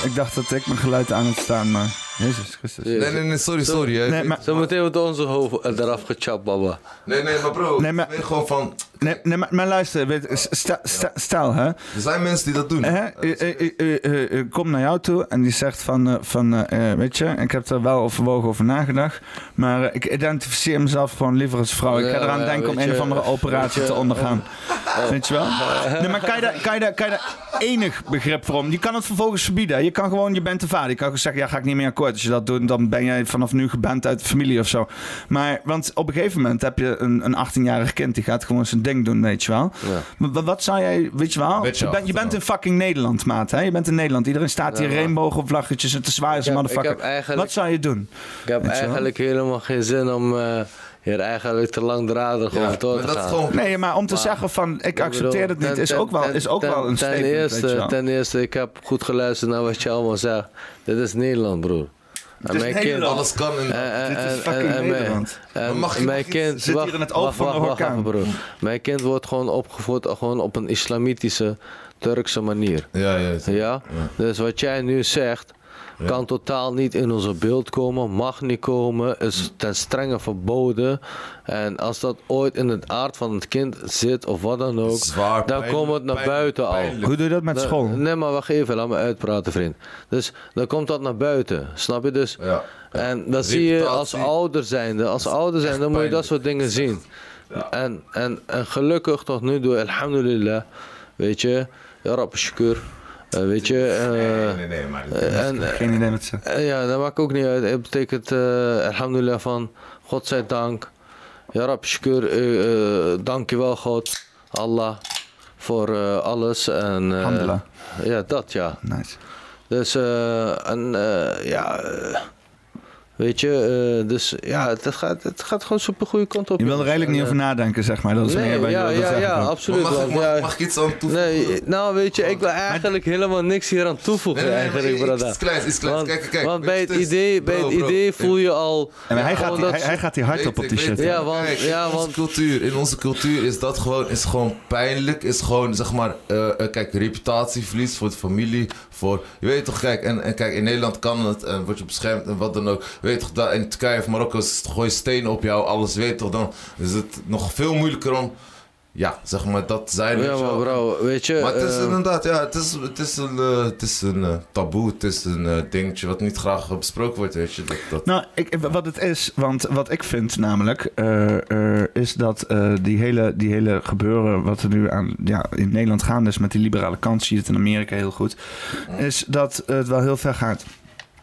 Ik dacht dat ik mijn geluid aan het staan, maar... Jezus Christus.
Nee, nee, nee, sorry, sorry. hè.
Nee, maar...
Zometeen wordt onze hoofd eraf gechapt, baba.
nee, nee, maar bro,
Nee,
nee,
maar-
maar... gewoon van,
Nee, nee, maar, maar luister, weet- stel, stel, stel hè,
Er zijn mensen die dat doen.
Hè? Eh, eh, eh, eh, eh, kom naar jou toe en die zegt van, eh, van eh, eh, weet je, ik heb er wel overwogen over nagedacht, maar eh, ik identificeer mezelf gewoon liever als vrouw. Ik ga
Ja,
eraan
ja,
denken om
weet
een
je,
of andere operatie
weet je,
te ondergaan.
Oh.
Weet je wel? Nee, maar kan je, daar, kan, je daar, kan je daar enig begrip voor om? Je kan het vervolgens verbieden. Je kan gewoon, je bent de vader. Je kan gewoon zeggen, ja, ga ik niet meer akkoord. Als je dat doet, dan ben jij vanaf nu geband uit de familie of zo. Maar, want op een gegeven moment heb je een, een 18-jarig kind, die gaat gewoon zijn ding doen, weet je wel. Maar Wat, wat zou jij, weet je wel?
Weet
je,
je wel,
bent, je bent in fucking Nederland, maat. Hè? Je bent in Nederland. Iedereen staat hier
Ja.
regenboogvlaggetjes en te zwaaien als
Ik
een
heb- ik
motherfucker.
heb eigenlijk-
Wat zou je doen?
Ik heb
Weet je wel?
eigenlijk helemaal geen zin om eh, hier eigenlijk te langdradig
Ja,
over door
maar
te
dat is
gaan.
gewoon.
Nee, maar om te zeggen van, ik accepteer het
bedoel,
niet,
ten-
is ook wel,
ten-
is ook
ten-
wel een
ten
statement, weet
eerste,
je wel.
Ten eerste, ik heb goed geluisterd naar wat je allemaal zegt. Dit is Nederland, broer. En
is
mijn
Nederland.
Alles kan in.
eh, eh,
Dit is
en-
fucking
en- en mijn-
Nederland.
en
Maar mag-
mijn
mag iets-
kind
zit hier
wacht,
in het oog
wacht,
van de
wacht, wacht
orkaan.
even, broer. Mijn kind wordt gewoon opgevoed eh, gewoon op een islamitische Turkse manier.
Ja, ja. ja.
Ja? Dus wat jij nu zegt, kan totaal niet in onze beeld komen, mag niet komen, is ten strenge verboden. En als dat ooit in het aard van het kind zit of wat dan ook,
Zwaar,
dan
pijnlijk,
komt het naar
pijnlijk,
buiten al.
pijnlijk.
Hoe doe je dat met
Dan-
school?
Nee, maar wacht even, laat me uitpraten, vriend. Dus dan komt dat naar buiten, snap je? Dus,
Ja.
En dat zie je als
Reputatie.
ouder zijnde. Als ouder zijnde moet je dat soort dingen zien. En, en, en gelukkig tot nu toe, alhamdulillah, weet je, ja, rab, shukur, eh, weet je. eh,
Nee, nee, nee, maar.
en,
Geen idee wat ze...
eh, ja, dat maakt ook niet uit. Het betekent, eh alhamdulillah, van Godzijdank. Ja, Rab, shukur, eh, eh, dankjewel God, Allah, voor eh, alles. En, eh,
Alhamdulillah.
Ja, dat ja.
Nice.
Dus, eh, en, eh, ja, eh, weet je, eh, dus ja, het gaat, het gaat gewoon super goede kant op.
Je wil er
jongens.
eigenlijk niet
En,
over nadenken, zeg maar. Dat is
eh,
meer
Nee,
wat je
ja,
wilde
ja,
zeggen.
ja,
Maar
absoluut.
mag, ik-
want, ja,
mag, mag ik iets aan toevoegen?
Nee, nou weet je, ik wil eigenlijk helemaal niks hier aan toevoegen
Nee, nee, nee,
eigenlijk,
maar
brada.
Iets kleins, iets kleins.
Want,
kijk, kijk, kijk.
want bij het
Dit is-
idee, bij
bro,
het
bro.
idee voel je al.
En hij,
ja,
gaat,
gewoon
die- hij,
dat-
hij gaat hier hard
Weet
op op
ik,
die
weet
shit.
ik.
Ja, want-
Kijk,
ja,
in
want-
onze cultuur, in onze cultuur is dat gewoon, is gewoon pijnlijk, is gewoon zeg maar, eh, eh, kijk, reputatieverlies voor de familie, voor, je weet toch, kijk, en, en kijk, in Nederland kan het, en word je beschermd en wat dan ook, weet je toch, daar in Turkije of Marokko is- gooi je stenen op jou, alles, weet je toch, dan is het nog veel moeilijker om, ja, zeg maar, dat zijn.
Ja, maar bro, weet je.
Maar het is
eh,
inderdaad, ja, het is, het is een, eh, het is een eh, taboe, het is een eh, dingetje wat niet graag eh, besproken wordt, weet je, dat, dat
Nou, ik, wat het is, want wat ik vind namelijk, eh, eh, is dat eh, die, hele, die hele gebeuren wat er nu aan, ja, in Nederland gaande is met die liberale kant, zie je het in Amerika heel goed, is dat het wel heel ver gaat.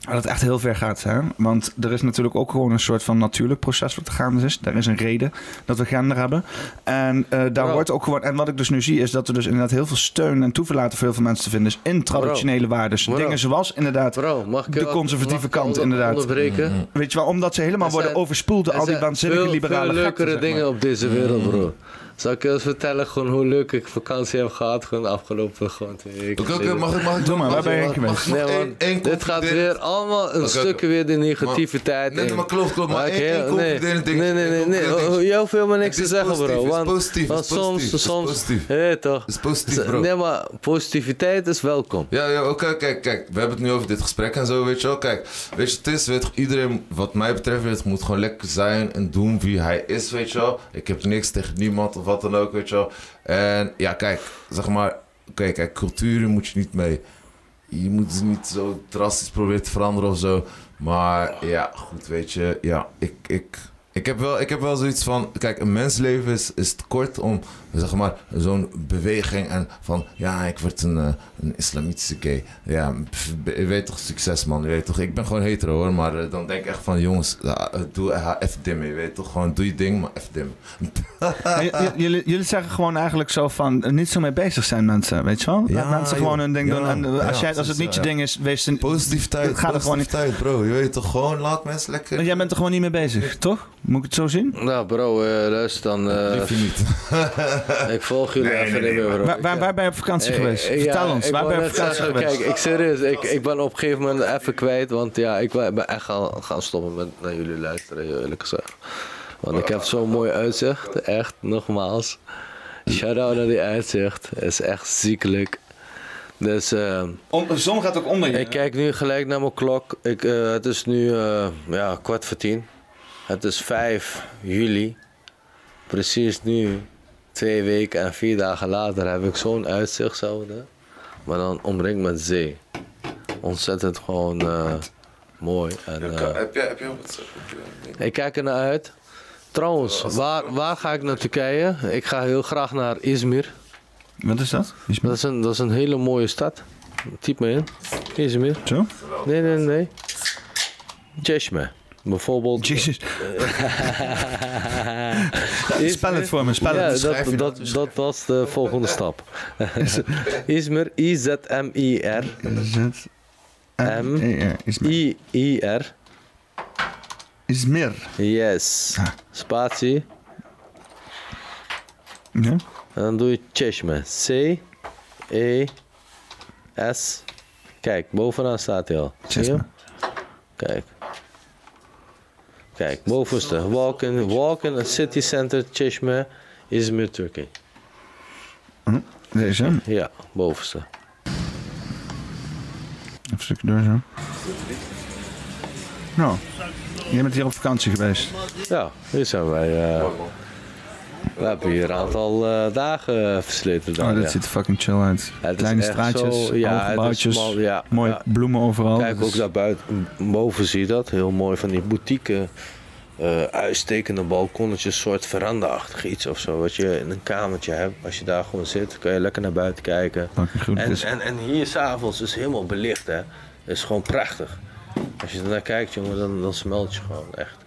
Dat het echt heel ver gaat, hè? Want er is natuurlijk ook gewoon een soort van natuurlijk proces wat er gaande is. Daar is een reden dat we gender hebben. En eh, daar
Bro.
wordt ook gewoon... En wat ik dus nu zie is dat er dus inderdaad heel veel steun en toeverlaten voor heel veel mensen te vinden is in traditionele waarden.
Bro.
Dingen zoals inderdaad
bro, mag ik
de
je wat-
conservatieve
mag ik je
kant,
onder-
inderdaad. Mm.
Onderbreken?
Weet je wel, omdat ze helemaal
Er
worden
zijn-
overspoeld door
Er
al die
zijn
waanzinnige
veel,
liberale
veel
gekten,
leukere
zeg
dingen
maar.
op deze wereld, bro. Zal ik je eens vertellen gewoon hoe leuk ik vakantie heb gehad? Gewoon afgelopen gewoon twee weken.
Oké, oké,
geleden.
mag ik, mag ik
Doe maar, waar
mag ik-
ben je
mag-
geweest?
mag ik nog
Nee,
één-
man,
één
dit gaat
concluderen?
weer allemaal een
Oké,
stukje
oké.
weer de negativiteit
Nee, nee,
in.
maar klopt, klopt, maar
ik
één-
heel-
één
nee,
concluderende ding,
nee, nee,
één
nee, nee.
concluderende
oh,
ding.
Jij hoeft helemaal
Het
niks te
is
zeggen,
positief,
bro.
het is
Want,
positief,
want
het is
soms,
positief, het is
soms,
positief.
je weet toch?
Het is positief, bro.
Nee, maar positiviteit is welkom.
Ja, ja, oké, kijk, kijk. We hebben het nu over dit gesprek en zo, weet je wel. Kijk, weet je, het is, weet je, iedereen, wat mij betreft, weet je, moet gewoon lekker zijn en doen wie hij is, weet je wel. Ik heb niks tegen niemand of wat dan ook, weet je wel. En ja, kijk, zeg maar, oké, kijk, culturen moet je niet mee. Je moet ze niet zo drastisch proberen te veranderen of zo. Maar ja, goed, weet je, ja, ik, ik, ik, heb, wel, ik heb wel zoiets van, kijk, een mensleven is, is te kort om, zeg maar, zo'n beweging en van, ja, ik word een, eh, een islamitische gay. Ja, pff, je weet toch, succes man, je weet toch. Ik ben gewoon hetero hoor, maar eh, dan denk ik echt van, jongens, ja, eh, doe eh, even dimmen, je weet toch. Gewoon doe je ding, maar even dimmen.
Maar j- j- jullie, jullie zeggen gewoon eigenlijk zo van, eh, niet zo mee bezig zijn mensen, weet je wel? Laat
Ja,
mensen gewoon
joh.
hun ding
Ja,
doen. En, eh, als,
ja,
jij, als het niet
precies,
je
ja.
ding is, wees een...
Positiviteit,
Het gaat er gewoon niet-
positiviteit, bro. Je weet toch, gewoon laat mensen lekker...
Want jij bent er gewoon niet mee bezig, toch? Moet ik het zo zien?
Nou, bro, eh, luister dan. eh,
Lief je niet.
ik volg jullie even niet meer, bro.
Waar, waar, waar ben je op vakantie geweest?
Eh, eh,
Vertel
ja,
ons,
ik
waar
wou
ben je op
net
vakantie
zeggen,
geweest?
Kijk, ik serieus, ik, ik ben op een gegeven moment even kwijt, want ja, ik wa- ben echt gaan, gaan stoppen met naar jullie luisteren, heel eerlijk gezegd. Want ik heb zo'n mooi uitzicht, echt, nogmaals. Shout-out naar die uitzicht, is echt ziekelijk. Dus... ehm,
de zon gaat ook onder
ik kijk nu gelijk naar mijn klok. Ik, eh, het is nu eh, ja, kwart voor tien. Het is 5 juli. Precies nu Twee weken en vier dagen later heb ik zo'n uitzicht, zouden, maar dan omringd met zee. Ontzettend gewoon eh, mooi. En, eh,
Heb jij, heb jij wat? heb jij-
ik kijk ernaar uit. Trouwens, waar, waar ga ik naar Turkije? Ik ga heel graag naar Izmir.
Wat is dat? Is
Dat is een, dat is een hele mooie stad. Typ me in. Izmir.
Zo?
Nee, nee, nee. Cheshme. Bijvoorbeeld.
Jezus.
Izmir-
Spel het voor me, spel
ja,
het.
dat, dat, dat was de volgende stap. Izmir, I-Z-M-I-R.
Zet-
M.
Eh, Is
I-I-R.
is meer.
Yes. Spatie.
Ja?
En dan doe je Cheshme. C-E-S. Kijk, bovenaan staat hij al. Zie je?
Cheshme.
hem? Kijk. Kijk, bovenste. Walken, Walken City Center, Cheshme, Izmir, Turkey.
Deze. Even
Ja, bovenste.
een stukje door zo. Nou, jij bent hier op vakantie geweest.
Ja, hier zijn wij. eh, we hebben hier een aantal eh, dagen versleten. Dan,
Oh, dat
ja.
ziet er fucking chill uit.
is
Kleine
echt
straatjes,
zo- ja, het
hoge
is
gebouwtjes,
smal, ja,
mooie
ja.
bloemen overal.
Kijk
Oh, Dat
ook
is-
daar buiten, m- boven zie je dat. Heel mooi van die boutique, eh, uitstekende balkonnetjes, soort veranda-achtig iets of zo. Wat je in een kamertje hebt. Als je daar gewoon zit, kan je lekker naar buiten kijken.
Fucking goed.
En,
Dus-
en, en hier s'avonds is helemaal belicht, hè. is gewoon prachtig. Als je ernaar kijkt, jongen, dan, dan smelt je gewoon echt.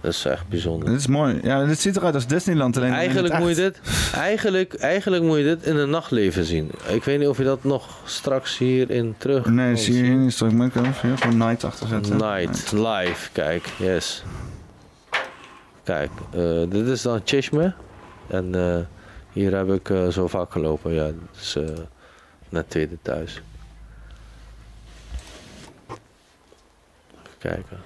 Dat is echt bijzonder.
Dit is mooi. Ja, dit ziet eruit als Disneyland alleen. in het
Eigenlijk moet, je
echt.
dit, eigenlijk, eigenlijk moet je dit in het nachtleven zien. Ik weet niet of je dat nog straks hierin terug
Nee,
kan
zie je hier niet. Zal ik me ook even hier gewoon night achter zetten?
Night, live, kijk, yes. Kijk, eh, dit is dan Chishme. En eh, hier heb ik eh, zo vaak gelopen, ja. Dus eh naar tweede thuis. Even kijken.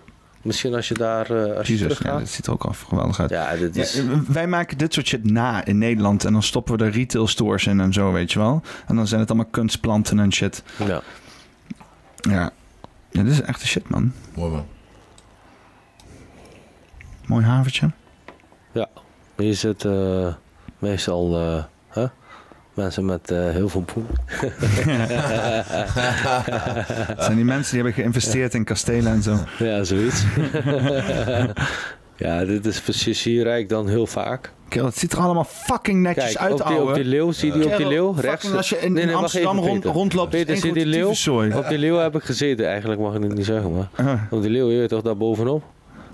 Misschien als je daar, eh, als je
Jezus,
terug
ja, dit
gaat.
ziet er ook al geweldig uit.
Ja, dit is...
Ja, eh, wij maken dit soort shit na in Nederland. En dan stoppen we er retail stores in en zo, weet je wel. En dan zijn het allemaal kunstplanten en shit.
ja.
Ja. ja dit is echt de shit, man.
Mooi man.
Mooi haventje.
Ja, hier zitten eh, meestal eh, hè? mensen met eh, heel veel poen.
Het zijn die mensen die hebben geïnvesteerd in kastelen en zo.
Ja, zoiets. ja, dit is precies hier rijk dan heel vaak.
Kerel, het ziet er allemaal fucking netjes
Kijk,
uit,
op die,
ouwe.
op die leeuw, zie je die op die
Kerel,
leeuw?
fucking
Rechts.
als je in- in
wacht
Amsterdam rond-
Peter.
rondloopt, is
Peter,
één
zie je die
grote
leeuw?
tyfuszooi.
Op die leeuw heb ik gezeten. Eigenlijk mag ik het niet zeggen, maar...
Ah.
Op die leeuw, je weet toch, daar bovenop?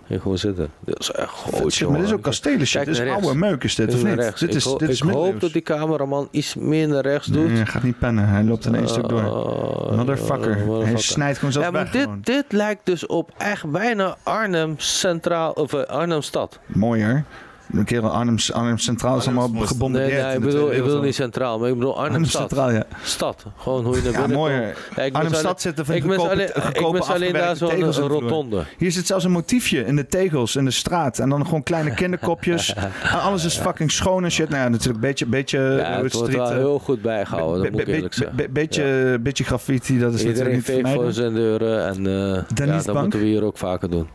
Ik gewoon zitten. Dat is echt groot,
Shit, maar dit is dus ook
jongen.
kastelen shit.
Kijk
Dit is
naar rechts.
oude meuk is dit,
Dit
of
is naar
niet?
rechts.
Dit
Ik
is,
ho-
dit is
ik hoop
middeleeuws.
dat die cameraman iets meer naar rechts doet.
Nee, hij gaat niet pennen. Hij loopt in één stuk door.
Oh,
Motherfucker. Hij
motherfucker.
snijdt gewoon zelf
Ja, maar
weg.
dit,
gewoon.
dit lijkt dus op echt bijna Arnhem Centraal, of eh, Arnhem Stad.
Mooi hoor. Een kerel Arnhem, Arnhem Centraal is allemaal
Nee,
gebombardeerd.
nee,
in
ik
de
bedoel,
Tweede
ik bedoel
Wereldoorlog.
niet Centraal, maar ik bedoel Arnhem,
Arnhem
Stad.
Centraal, ja.
Stad, gewoon hoe je naar
Ja,
binnen
mooi.
komt. Ja, ik mis
Arnhem
alleen-
Stad zitten van
ik mis
goedkope,
alleen-
goedkope
Ik mis alleen daar
afgewerkte
zo'n
tegels
een
in de vloer.
rotonde.
Hier zit zelfs een motiefje in de tegels, in de straat. En dan gewoon kleine kinderkopjes. en alles is fucking schoon en shit. Nou ja, natuurlijk een beetje, beetje
Ja,
eh,
het wordt
street,
wel
eh,
heel goed
be-
bijgehouden, dat moet ik
be-
eerlijk
be-
zeggen.
be- beetje, beetje graffiti, dat is
Iedereen
natuurlijk niet
veegt
vermijden.
voor zijn deuren en eh, ja,
Liefbank.
dat moeten we hier ook vaker doen.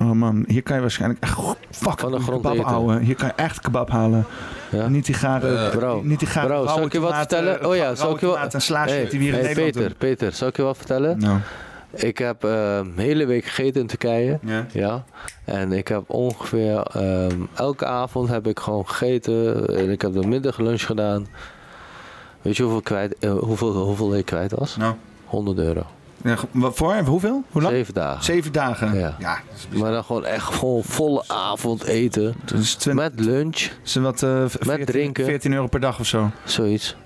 Oh man, hier kan je waarschijnlijk echt
Van
fucking
de grond
kebab
eten.
houden. Hier kan je echt kebab halen.
Ja.
Niet die gare,
Bro,
niet die gare
bro,
rauwe
zal ik je wat
tomaten-
vertellen? Oh ja,
rauwe
zal ik je wat...
tomaten en slaasje
Hey,
die we hier in
hey,
Nederland
Peter, Peter, zal ik je wat vertellen?
doen. Nou,
Ik heb eh, een hele week gegeten in Turkije.
ja.
Ja. En ik heb ongeveer ehm, elke avond heb ik gewoon gegeten. En ik heb de middaglunch gedaan. Weet je hoeveel, kwijt, eh, hoeveel, hoeveel ik kwijt was?
Nou.
100 euro.
Ja, ge- wat voor hoeveel? Hoe lang?
Zeven dagen.
Zeven dagen.
Ja.
ja
Maar dan gewoon echt gewoon volle avond eten.
dat is twin-
Met lunch,
is wat, eh, v- 14,
drinken.
14 euro per dag of zo.
zoiets.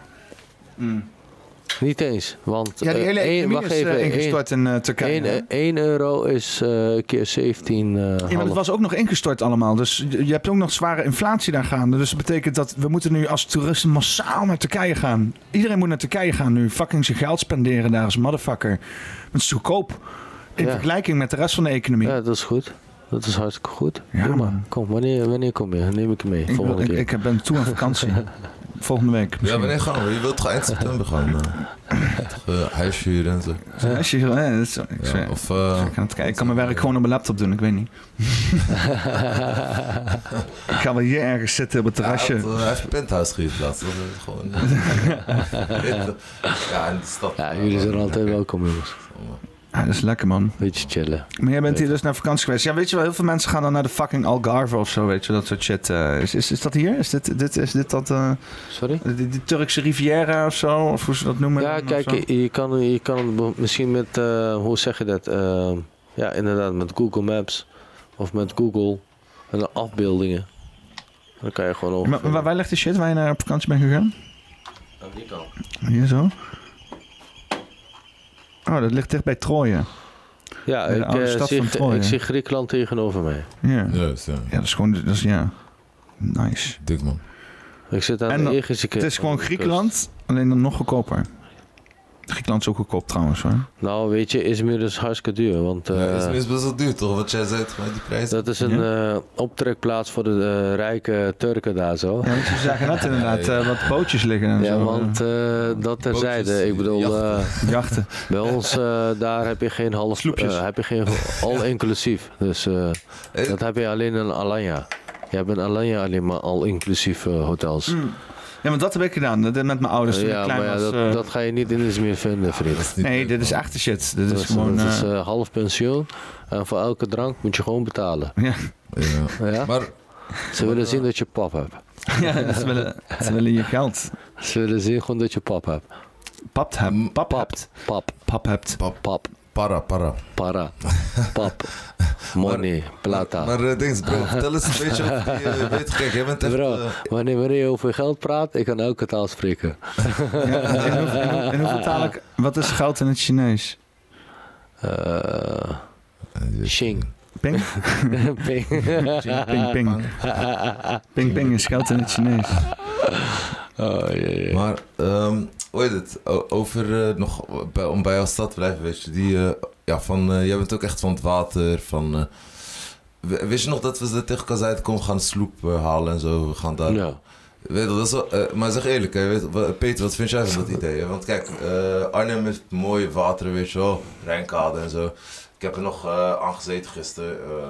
Niet eens. Want
Mm. Ja, die
eh,
hele
één-
economie
wacht
is
even,
eh,
één-
ingestort in eh, Turkije.
één-
hè?
eh, één euro is eh, keer 17. eh,
ja, maar
half.
het was ook nog ingestort allemaal. Dus je je hebt ook nog zware inflatie daar gaande. Dus dat betekent dat we moeten nu als toeristen massaal naar Turkije gaan. Iedereen moet naar Turkije gaan nu. Fucking zijn geld spenderen daar als motherfucker. Want het is goedkoop. In
Ja.
vergelijking met de rest van de economie.
Ja, dat is goed. Dat is hartstikke goed.
Ja,
Doe maar.
man.
Kom, wanneer, wanneer kom je? Neem ik je mee.
ik, wil-
volgende
ik,
keer.
ik ben toe aan vakantie. volgende week.
Ja,
Misschien.
wanneer gaan we? Je wilt toch eind september gaan? eh? Toch, eh, huishuur en zo.
Ja, als je- eh, dat is- ik
Ja,
zweer.
of eh,
Ik kan het kijken. Ik kan mijn werk gewoon op mijn laptop doen, ik weet niet. ik ga wel hier ergens zitten op het terrasje.
Hij, had, eh, hij heeft een penthouse gehuurd laatst. Dat is gewoon... eh, ja, in de stad.
Ja, jullie zijn altijd welkom, jongens.
Ah, dat is lekker, man.
Beetje chillen.
Maar jij
Eh,
bent hier dus naar vakantie geweest. Ja, weet je wel, heel veel mensen gaan dan naar de fucking Algarve of zo, weet je wel, dat soort shit. eh. is, is, is dat hier? Is dit, dit, is dit dat, eh,
Sorry?
die, die Turkse Riviera of zo? Of hoe ze dat noemen?
Ja,
of zo?
kijk, je kan, je kan be- misschien met, eh, hoe zeg je dat? eh, ja, inderdaad, met Google Maps of met Google en de afbeeldingen. Dan kan je gewoon over.
Maar, waar, waar ligt de shit waar je naar op vakantie bent gegaan?
Aan die kant.
Hier zo? Oh, dat ligt dicht bij Troje.
Ja,
Bij de
ik,
oude
eh,
stad
zie,
van
Gr-
Troje.
ik zie Griekenland tegenover mij.
Ja.
Juist, ja.
Ja, dat is gewoon, dat is, ja, nice.
Dik man.
Ik zit aan
En
de
dan-
Egische kust.
Het is gewoon
aan de kust.
Griekenland, alleen dan nog goedkoper. Griekenland is ook goedkoop trouwens hoor.
Nou, weet je, Izmir is hartstikke duur. Want
Ja, is
eh,
is best wel duur toch? Wat jij zei, gewoon die prijs.
dat is een eh, optrekplaats voor de eh, rijke Turken daar zo.
Ja, want ze zagen net inderdaad eh, wat bootjes liggen en
Ja,
zo.
want eh, dat terzijde. Ik bedoel,
jachten.
eh,
eh, Jachten.
bij ons eh, daar heb je geen half...
Sloepjes.
eh, heb je geen al inclusief. Dus eh, dat heb je alleen in Alanya. Je hebt in Alanya alleen maar al inclusief eh, hotels.
Ja, want dat heb ik gedaan. Dat, met mijn ouders toen
Eh,
ik
ja,
Hmm, dus klein
maar ja,
was.
dat,
eh,
dat ga je niet in Izmir vinden, vriend.
nee, dit is echte shit. Dit
Dat
is gewoon...
dat
eh,
is eh, half pensioen. En voor elke drank moet je gewoon betalen.
ja,
Ja.
Ja?
Maar
Ze willen zien dat je pap hebt.
ja, ze willen, ze willen je geld.
Ze willen zien gewoon dat je pap hebt.
Papt hebt. Pap hebt.
Pap,
Pap hebt.
pap,
pap,
para, para.
para, pap, money, plata.
Maar eh, dings, bro, vertel eens een beetje over die... eh, weet je, kijk, jij bent echt...
Bro,
eh,
wanneer, wanneer je over geld praat, ik kan elke taal spreken.
Ja, in, hoe- in hoe- in hoeveel taal ik... Wat is geld in het Chinees?
Eh,
Dus,
Xing.
Ping?
Ping.
Ping, ping, ping. Ping, ping is geld in het Chinees.
Oh, jee, jee.
Maar, ehm, hoe heet het? O- over eh, nog bij, om bij jouw stad te blijven, weet je. Die, eh, ja, van, eh, jij bent ook echt van het water. Van, eh, w- wist je nog dat we tegen elkaar zeiden: kom, we gaan sloep eh, halen en zo. We gaan daar.
Ja.
Weet je, dat is wel, eh, maar zeg eerlijk, hè, weet, wa- Peter, wat vind jij van dat idee? hè? Want kijk, eh, Arnhem heeft mooie wateren, weet je wel. Rijnkade en zo. Ik heb er nog eh aan gezeten gisteren. eh,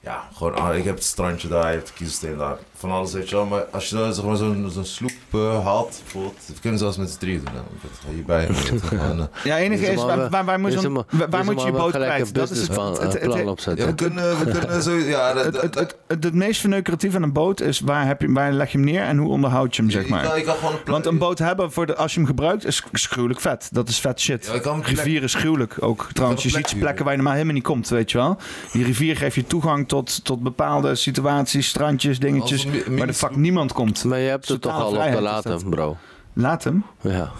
ja, gewoon, ah, ik heb het strandje daar, je hebt de kiezelsteen daar. Van alles, weet je wel. Maar als je nou zeg maar, zo'n zo'n sloep eh, haalt, bijvoorbeeld. We kunnen zelfs met z'n drieën doen. hè. Ik heb het hierbij. weet je, gewoon, eh.
Ja, enige
Deze
is,
man
waar,
wel-
waar, waar moet je,
deze
zo'n-
man-
waar- waar
deze
moet je je
man wel
boot
gelijk
kwijt?
een
Dat is het,
businessplan-
het, het,
eh, plan
het-
ja,
opzetten.
we kunnen, we kunnen zo... Ja, dat-
het,
dat-
het,
dat-
het, het- het meest verneukeratief aan een boot is waar, heb je, waar leg je hem neer en hoe onderhoud je hem, zeg
je kan-
maar.
je kan gewoon een pla-
Want een boot hebben, voor de, als je hem gebruikt, is, is gruwelijk vet. Dat is vet shit.
Ja, je kan een plek-
rivier is gruwelijk ook. Trouwens, je
een
ziet
plek
plekken waar je normaal helemaal niet komt, weet je wel. Die rivier geeft je toegang tot, tot bepaalde situaties, strandjes, dingetjes...
Als een mi-
waar de
minus-
fuck niemand komt.
Maar je hebt het toch
Totale
al op de
vrijheid is
laten, bro.
Laat hem.
Ja.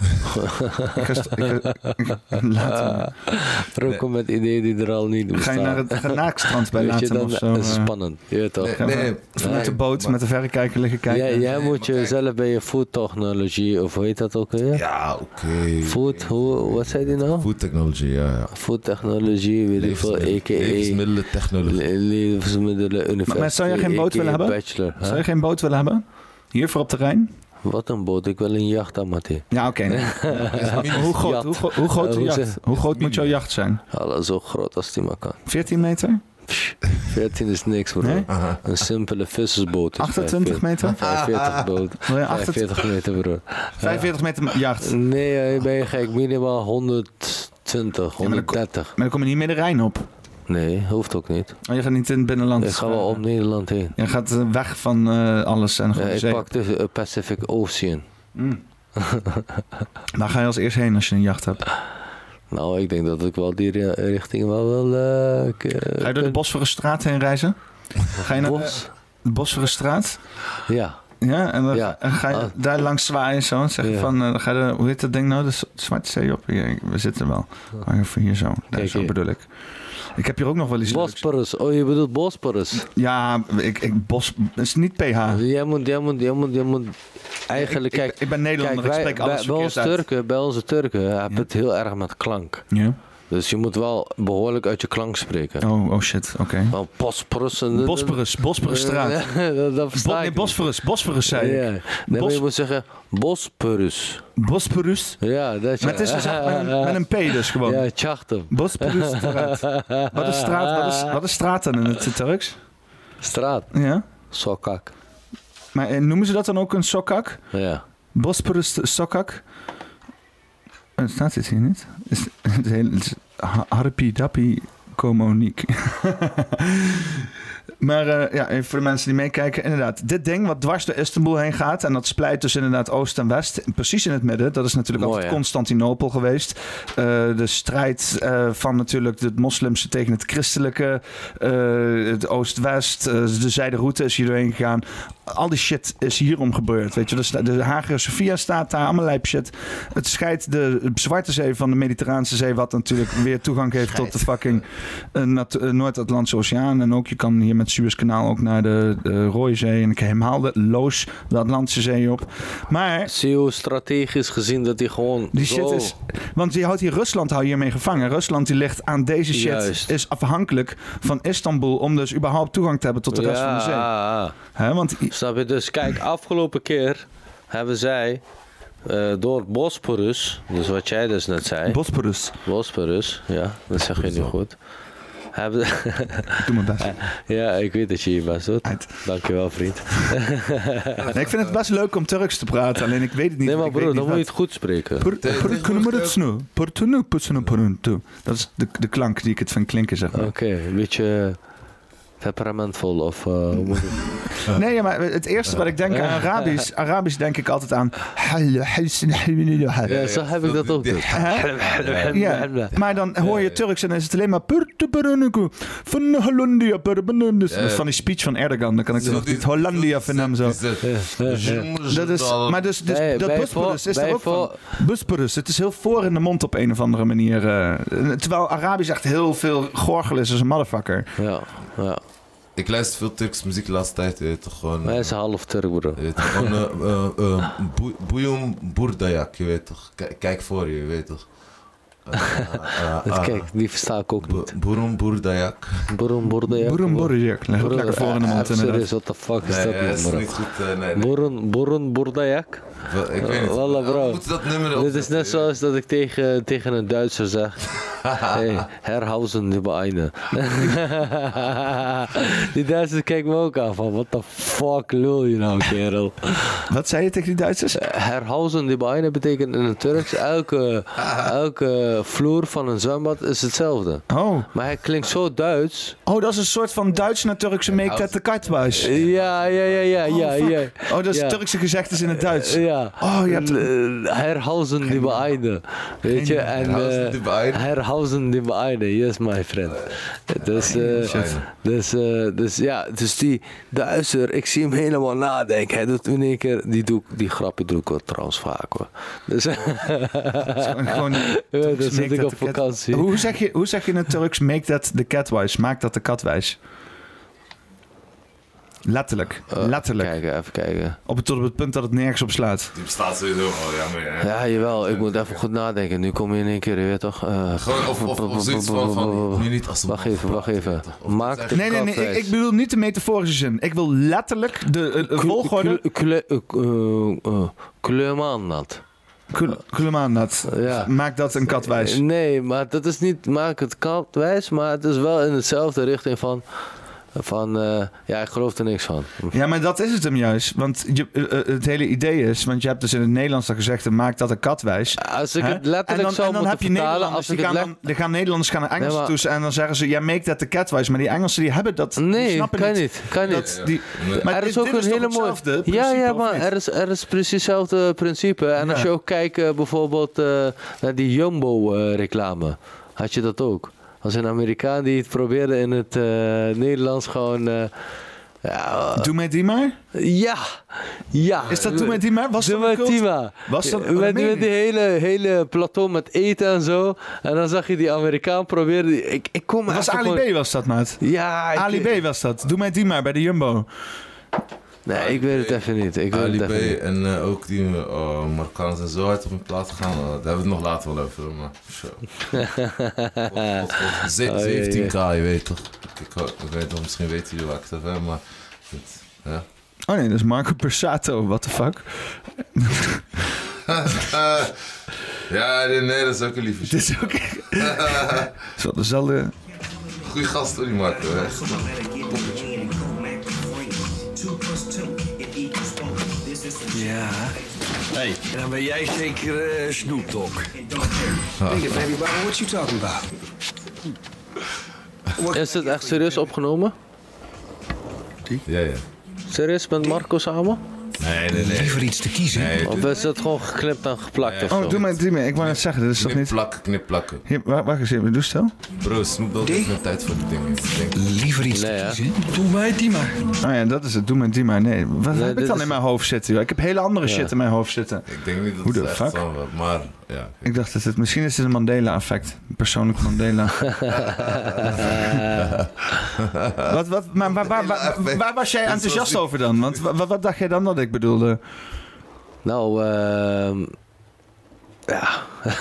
Ik ga st- ik ga- ik ga- Laat
Ah,
hem.
Bro, kom met ideeën die er al niet
Ga je naar
bestaan.
het naaktstrand bij
Weet je,
Laat hem
dan
of zo?
dat is
eh?
spannend. Je weet toch?
Nee,
Gaan we
nee,
met de
nee,
boot,
maar-
met de verrekijker liggen kijken.
Jij, jij moet
maar kijk.
jezelf bij je foodtechnologie, of hoe heet dat ook weer?
Ja, oké.
Food, hoe, wat zei die nou?
Food technology, ja, ja.
Food technology, weet ik veel, a.k.a.
إيه، Levensmiddelentechnologie.
le- Levensmiddelenuniversiteit.
Maar- maar zou je geen boot
a.k.a.
willen hebben?
Bachelor, hè?
Zou je geen boot willen hebben? Hier voor op terrein?
Wat een boot, ik wil een jacht aan, Matty.
Ja, oké. nee. hoe, groot, hoe, gro- hoe groot, de
Eh, hoe
jacht?
zeg-
Hoe groot moet jouw jacht zijn?
Alles zo groot als die maar kan.
14 meter?
Psh, 14 is niks, bro.
Nee?
Een simpele vissersboot. is
28 meter?
45 boot.
Wil je 48
45 meter, bro.
45 meter jacht.
Nee, eh, ben je gek. Minimaal 120, 130.
Maar dan kom je niet meer de Rijn op.
Nee, hoeft ook niet.
Oh, je gaat niet in het binnenland.
Ik ga wel om Nederland heen.
Je gaat eh, weg van eh, alles en
Ja,
gewoon de
ik
zee.
pak de eh, Pacific Ocean.
Waar ga je als eerst heen als je een jacht
Eh,
hebt?
Nou, ik denk dat ik wel die ri- richting wel wil. eh, k- eh,
Ga je door de eh?
kun-
Bosphorusstraat heen reizen? Ga je naar de
bos?
de Bosphorusstraat?
Ja.
Ja, en dan
Ja.
en ga je
Ah.
daar langs zwaaien en zo. En zeggen
Ja.
van, eh, dan ga je de, hoe heet dat ding nou? De Z- Zwarte Zee op? Hier, we zitten wel. Maar even hier zo. Daar
Kijk
zo
hier.
bedoel ik. Ik heb hier ook nog wel eens... leuks-
Bosporus. Oh, je bedoelt Bosporus. Dus
Ja, ik, ik bos... Het is niet PH.
Jij moet, jij moet, jij moet, jij moet... Eigenlijk,
Ik- ik-
kijk...
ik ben Nederlander, ik spreek alles
bij,
verkeerd
bij ons
uit.
Turken, bij onze Turken hebben het heel erg met klank.
Ja.
Dus je moet wel behoorlijk uit je klank spreken.
Oh, oh shit, oké.
Wel Bosporus en...
Bosporus, Bosporusstraat.
Ja, dat, dat versta
Bo- nee,
ik
Bosporus, Bosporus
niet.
zei
Ja.
ik.
Nee, maar
Bos-
je moet zeggen Bosporus.
Bosporus.
Ja, dat is...
Maar het is dus echt met een, met een P dus gewoon.
Ja, Tjachtum.
Bosporusstraat. Wat is straat, wat is, wat is straat dan in het Turks?
Straat.
Ja.
Sokak.
Maar eh, noemen ze dat dan ook een sokkak?
Ja.
Bosporus sokkak? Eh, Staat dit hier niet? Is, het hele, het is ha- harpie dappie komoniek. maar eh, ja, even voor de mensen die meekijken. Inderdaad, dit ding wat dwars door Istanbul heen gaat... en dat splijt dus inderdaad oost en west. Precies in het midden. Dat is natuurlijk
Mooi,
altijd
hè?
Constantinopel geweest. Eh, de strijd eh, van natuurlijk het moslimse tegen het christelijke. eh, het oost-west. eh, de zijderoute is hier doorheen gegaan. Al die shit is hierom gebeurd. Weet je, Dus de Hagia Sophia staat daar. Allemaal lijp shit. Het scheidt de Zwarte Zee van de Mediterraanse Zee. Wat natuurlijk weer toegang geeft tot de fucking eh, nat- eh, Noord-Atlantische Oceaan. En ook je kan hier met Suezkanaal ook naar de, de Rode Zee. En ik helemaal de Loos, de Atlantische Zee op. Maar
Zie je hoe strategisch gezien dat hij gewoon
die
zo-
shit is. Want je houdt hier Rusland hou je hiermee gevangen. Rusland die ligt aan deze shit.
Juist.
Is afhankelijk van Istanbul. om dus überhaupt toegang te hebben tot de rest van de
Ja,
zee.
ja, ja.
Hè, want i-
Snap je? Dus kijk, afgelopen keer hebben zij eh, door Bosporus, dus wat jij dus net zei,
Bosporus.
Bosporus, ja, dat zeg je nu goed. Hebben,
Doe mijn best.
ja, ik weet dat je je best doet.
Uit.
Dankjewel, vriend.
Nee, ik vind het best leuk om Turks te praten. Alleen ik weet het niet.
Nee, maar
ik weet
broer,
niet
dan moet je
wat-
het goed spreken.
Per- per-
tegenwoordig
kunnen we dat
ook-
snu? Per- tunu, putsunu, perun, tu. Dat is de, de klank die ik het van klinken zeg. maar.
Oké, een beetje eh, temperamentvol of... eh, hoe moet ik-
Nee, ja, maar het eerste wat ik denk aan Arabisch, Arabisch denk ik altijd aan.
ja, zo heb ik dat ook. doen.
Hè? Ja, maar dan hoor je Turks en dan is het alleen maar. Van die speech van Erdogan, dan kan ik er nog niet Hollandia van hem zo. Dat is, maar dus, dus
Nee,
dat
bij
Bosporus
voor-
is er
bij
ook van.
voor-
Bosporus, het is heel voor in de mond op een of andere manier. eh, terwijl Arabisch echt heel veel gorgel is als een motherfucker.
Ja, ja.
Ik luister veel Turks muziek de laatste tijd. Weet, je, gewoon,
Hij is half Turk, broer.
Weet je, gewoon eh, eh, eh, Boe- Boeyoum Boerdayak, je weet toch? Kijk- Kijk voor je, je weet toch?
Dus Kijk, die versta ik ook niet.
Bo- Boeroem Boerdayak.
Boerum borde ja. Ah,
Boerum borrejek. Leg ook
Broer,
lekker voor in de mond
even
inderdaad.
Serieus, what the fuck is
Nee,
dat
eh,
nou,
is
bro?
niet goed. eh, nee, nee.
Boeren, boeren, boerdayak.
Wel, Ik weet niet.
Wallah, bro.
We moeten dat nummer
Dit is
opzetten,
net
je weet.
zoals dat ik tegen, tegen een Duitser zeg. hey, herhausen über eine. die Duitsers kijken me ook aan van, what the fuck lul je nou, kerel?
Wat zei je tegen die Duitsers?
Herhausen über eine betekent in het Turks, elke, elke vloer van een zwembad is hetzelfde.
Oh.
Maar hij klinkt zo Duits.
oh, dat is een soort van Duits naar Turkse make that the cut was.
Ja, ja, ja, ja, ja,
fuck.
ja.
Oh, dat is
Ja.
Turkse gezegdes in het Duits.
Ja.
Oh, je hebt-
Eh, Herhausen die beeinde. Weet je, en...
Herhausen die
eh,
beeinde.
Herhausen die beeinde, yes my friend. Dus, eh, dus, eh, dus ja, dus die Duitser, ik zie hem helemaal nadenken. Hij doet in één keer, die, doe, die grapje doe ik wel trouwens vaak hoor. Dus,
Gewoon, gewoon
dan
Turkse
zit
make
ik
that
op
the cat-
vakantie.
Hoe zeg, je, hoe zeg je in het Turks make that the cat wise? Maak dat de kat wijs. Letterlijk.
Eh,
Letterlijk.
kijken, even kijken.
Op het, tot op het punt dat het nergens op slaat.
Die bestaat sowieso al, ja, maar ja.
Ja, jawel, ik moet even goed nadenken. Nu kom je in één keer, je weet toch? eh,
Gewoon of, of, of zoiets van, van nu niet als een
Wacht even, wacht even. Maak de
Nee, nee, nee.
kat
Ik,
wijs.
ik bedoel niet de metaforische zin. Ik wil letterlijk de eh, eh, volgorde...
Kle- kle- kle- eh, eh, Kleurman dat.
Kul- Kulemaanat.
Ja. Eh,
Maak dat een kat wijs.
Nee, maar dat is niet maak het katwijs, maar het is wel in dezelfde richting van. van eh, ja, ik geloof er niks van.
Ja, maar dat is het hem juist. Want je, eh, eh, het hele idee is, want je hebt dus in het Nederlands al gezegd, eh, maak dat een kat wijs.
Als ik
Hè?
het letterlijk zou moeten vertalen,
Nederlanders,
als
die
ik het
gaan,
le-
dan, die gaan Nederlanders gaan naar Engelsen
Nee, maar-
toe en dan zeggen ze, ja, make that the cat wijs. Maar die Engelsen die hebben dat, die
Nee,
snappen
kan
niet.
niet. Kan
Dat,
niet.
die, maar
er
dit-
is ook
dit
een
toch
hele mooie.
hetzelfde
Ja,
principe,
ja,
of
maar
niet?
er is, er is precies hetzelfde principe. En als
Ja.
je ook kijkt eh, bijvoorbeeld eh, naar die Jumbo-reclame, had je dat ook. Als een Amerikaan die het probeerde in het eh, Nederlands gewoon. eh, ja,
Doe mij die maar.
Ja, ja.
Is dat doe mij die maar? Was
Doe
dat een
met
cult?
Tima.
Was dat-
met,
dat meen
met
ik.
die hele, hele plateau met eten en zo. En dan zag je die Amerikaan proberen. die- Ik, ik kom
Dat was
even
Ali
gewoon-
B was dat, maat.
Ja, ik-
Ali B was dat. Doe mij die maar bij de Jumbo.
Nee, ik weet het even niet. Ik weet
Ali
het
B
even niet.
en eh, ook die eh, Marokkanen zijn zo hard op hun plaat gegaan. eh, daar hebben we het nog later wel over. Maar, zo. Ze-
Oh, jee, jee.
17k, je weet toch? Ik, ho- ik weet nog, misschien weten jullie waar ik het over heb, maar... goed, ja.
Oh nee, dat is Marco Persato. What the fuck?
ja, nee, nee, dat is ook een lieve shit.
is ook... Is wel dezelfde...
Goeie gast, hoor, die Marco. hè.
Ja. Hey. Dan ben jij zeker eh Snoop Dogg.
Ah.
Hey,
baby, what you talking about? Is het echt serieus opgenomen?
Ja, ja.
Serieus met Marco samen?
Nee, nee, nee.
Liever iets te kiezen.
Nee,
Of
dit-
is dat gewoon geknipt en geplakt of
Oh,
zo?
doe maar, doe maar. Ik wou net zeggen, dat is toch
Knip
niet...
plakken, knip plakken.
Hier, wa- wacht eens even, doe stel.
Bro, Snoop Dogg heeft geen tijd voor die dingen. Ik denk,
Liever iets nee, te kiezen? Doe mij die maar.
Oh ja, dat is het. Doe maar die maar. Nee, wat
Nee,
heb ik
dit
dan
is-
in mijn hoofd zitten? joh? Ik heb hele andere shit in mijn hoofd zitten.
ik denk niet dat
Hoe
het
de
echt
fuck?
zo was, maar ja.
Ik dacht dat het... Misschien is het een Mandela-effect. Een persoonlijk Mandela. wat, wat, maar waar, waar, waar, waar was jij enthousiast over dan? Want wa- wa- wat, dacht jij dan dat ik bedoelde?
Nou, ehm ja,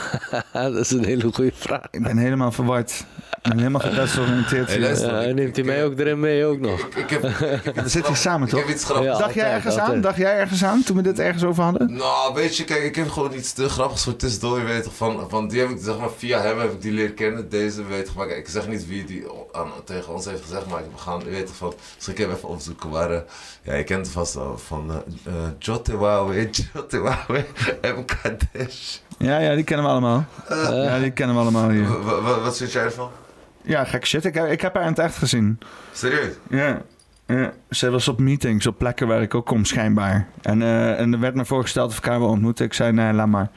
dat is een hele goede vraag.
Ik ben helemaal verward. Ik ben helemaal gedesoriënteerd.
Hey,
hier.
luister,
Ja,
ik-
neemt hij
ik-
mij ook erin mee ook nog?
Ik, ik heb, ik heb
We zitten hier samen,
ik heb
toch?
iets grappigs.
Ja.
Dacht jij
Altijd,
ergens aan?
altijd.
Dacht jij ergens aan toen we dit ergens over hadden?
Nou, weet je, kijk, ik heb gewoon iets te grappigs voor tussendoor, je weet toch, van, van die heb ik, zeg maar, via hem heb ik die leren kennen, deze, weet je, maar kijk, ik zeg niet wie die o- aan, tegen ons heeft gezegd, maar ik heb gaan, je weet toch, van, dus ik heb even opzoeken waar, eh, ja, je kent het vast wel, van eh eh, Jotewawe, Jotewawe, MKDesh.
Ja, ja, die kennen we allemaal. Ja, die kennen we allemaal hier.
Wa- wa- wa- Wat vind jij ervan?
Ja, gek shit. Ik, ik heb haar in het echt gezien.
Serieus?
Ja. ja. Ze was op meetings, op plekken waar ik ook kom, schijnbaar. En, eh, en er werd me voorgesteld of ik haar wil ontmoeten. Ik zei, nee, laat maar.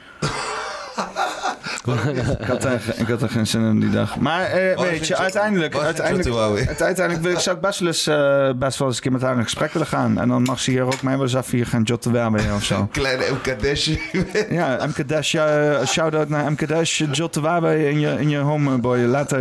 ik, had er, ge- ik had er geen zin in die dag. Maar eh,
Waar
weet
vind
je,
je-
uiteindelijk...
waar vind je
uiteindelijk,
Tatoeawe?
het- uiteindelijk wil ik, zou ik best wel, eens, eh, best wel eens een keer met haar in gesprek willen gaan. En dan mag ze hier ook mij wel eens even hier gaan jotten mee of zo.
Kleine MKDesh, je weet
Ja, MK Dash, ja, eh, shout-out naar MK Dash, Jot de Wabe in je, in je homeboy. Later,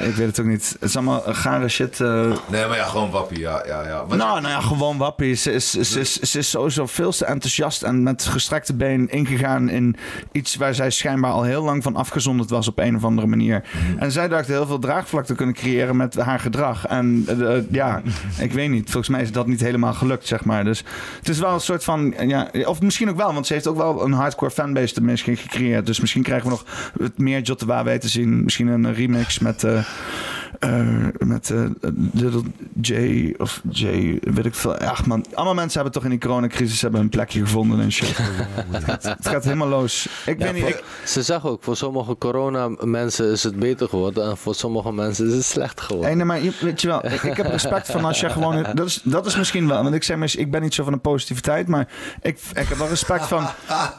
ik weet het ook niet. Het is allemaal gare shit. eh.
Nee, maar ja, gewoon wappie, ja, ja, ja. Maar-
nou, nou ja, gewoon wappie. Ze is, ze, is, ze is sowieso veel te enthousiast en met gestrekte been ingegaan in iets waar zij schijnbaar al heel lang van afgezonderd was op een of andere manier. En zij dacht heel veel draagvlak te kunnen creëren met haar gedrag. En eh, eh, ja, ik weet niet. Volgens mij is dat niet helemaal gelukt, zeg maar. Dus het is wel een soort van, eh, ja, of misschien ook wel, want ze heeft ook wel een hardcore fanbase de misschien gecreëerd. Dus misschien krijgen we nog het meer Jot de Wawe te zien. Misschien een remix met... eh, eh, met eh, Little J of J, weet ik veel. Ach man, allemaal mensen hebben toch in die coronacrisis hebben een plekje gevonden en shit. het, gaat, het gaat helemaal los. Ik weet niet, ik,
Ze zeggen ook, voor sommige corona-mensen is het beter geworden en voor sommige mensen is het slecht geworden.
Hey, nee, maar je- weet je wel, ik, ik heb respect van als je gewoon... Dat is, dat is misschien wel, want ik zeg maar, eens, ik ben niet zo van de positiviteit, maar ik, ik heb wel respect van...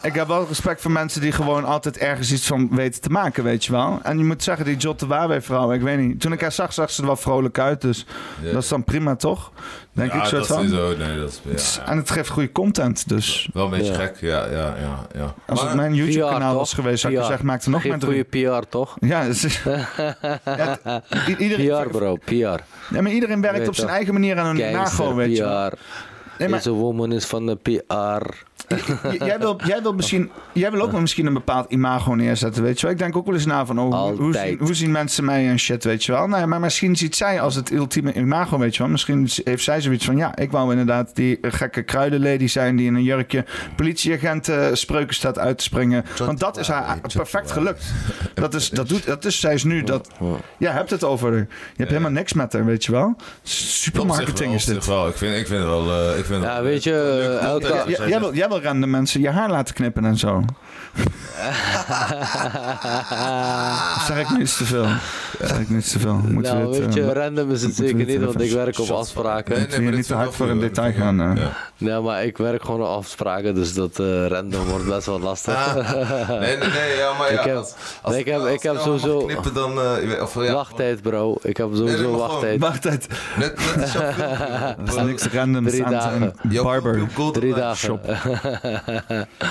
Ik heb wel respect voor mensen die gewoon altijd ergens iets van weten te maken, weet je wel. En je moet zeggen, die Jot de Wawe vrouw, ik weet niet. Toen ik haar zag, zag ze er wel vrolijk uit, dus dat is dan prima, toch? Denk ik
ja,
soort
dat
van.
is zo, nee, dat is, ja, ja.
En het geeft goede content, dus...
Wel een beetje
Ja.
gek, ja, ja, ja, ja.
Als het mijn YouTube-kanaal was geweest, had ik
PR.
gezegd, maak er nog
Geen
meer drie.
goede PR, toch?
Ja, het is- Ja, het- i- iedereen,
PR, bro, PR.
ja, maar iedereen werkt
Weet
op zijn
toch.
eigen manier aan hun nago,
Gangster,
weet je wel.
PR.
Nee, maar-
Deze woman is van de PR.
J- jij, wil, jij, wil misschien, jij wil ook wel misschien een bepaald imago neerzetten, weet je wel. Ik denk ook wel eens na van, oh, hoe- hoe,
Altijd.
zien, hoe zien mensen mij en shit, weet je wel. Nou ja, maar misschien ziet zij als het ultieme imago, weet je wel. Misschien z- heeft zij zoiets van, ja, ik wou inderdaad die eh, gekke kruidenlady zijn... die in een jurkje politieagent eh, spreuken staat uit te springen. Want dat is haar
Chotwaai,
perfect gelukt. Dat is, dat doet, dat is, zij is nu, dat, ja, hebt het over. haar. Je hebt helemaal niks met haar, weet je wel.
Op zich
Supermarketing
wel,
is
op zich
dit.
wel. Ik vind, ik vind het wel... eh, ik vind het
Ja,
wel-
weet je,
leuk
eh,
content.
elke-
J- jij, wil, jij wil random mensen je haar laten knippen en zo. Of zeg ik nu iets te veel? Zeg ik nu iets te veel? Moeten
nou,
we dit,
weet
eh,
je, random is het
moeten we
zeker
dit
niet,
even
want ik werk op
shot-
afspraken.
Nee,
Wil
Nee,
nee,
je
maar dit
niet te
vind
hard
ik
voor
wel
in
goed,
detail
hoor.
gaan? eh?
Ja.
maar ik werk gewoon op afspraken, dus dat eh, random wordt best wel lastig.
Nee, nee, nee, ja, maar ja.
Ik heb-
als, als-
ik heb-
als
ik heb
nou mag
sowieso-
knippen, dan... eh, je weet- of, ja,
wachttijd, bro. Ik heb
Nee, nee,
sowieso
maar
wachttijd.
gewoon-
Wacht uit.
Net, net als jouw filmpje.
Er is niks randoms
Drie
aan
dagen.
zijn
Jouw
barber.
filmpje op Golden
Drie
Eye.
dagen.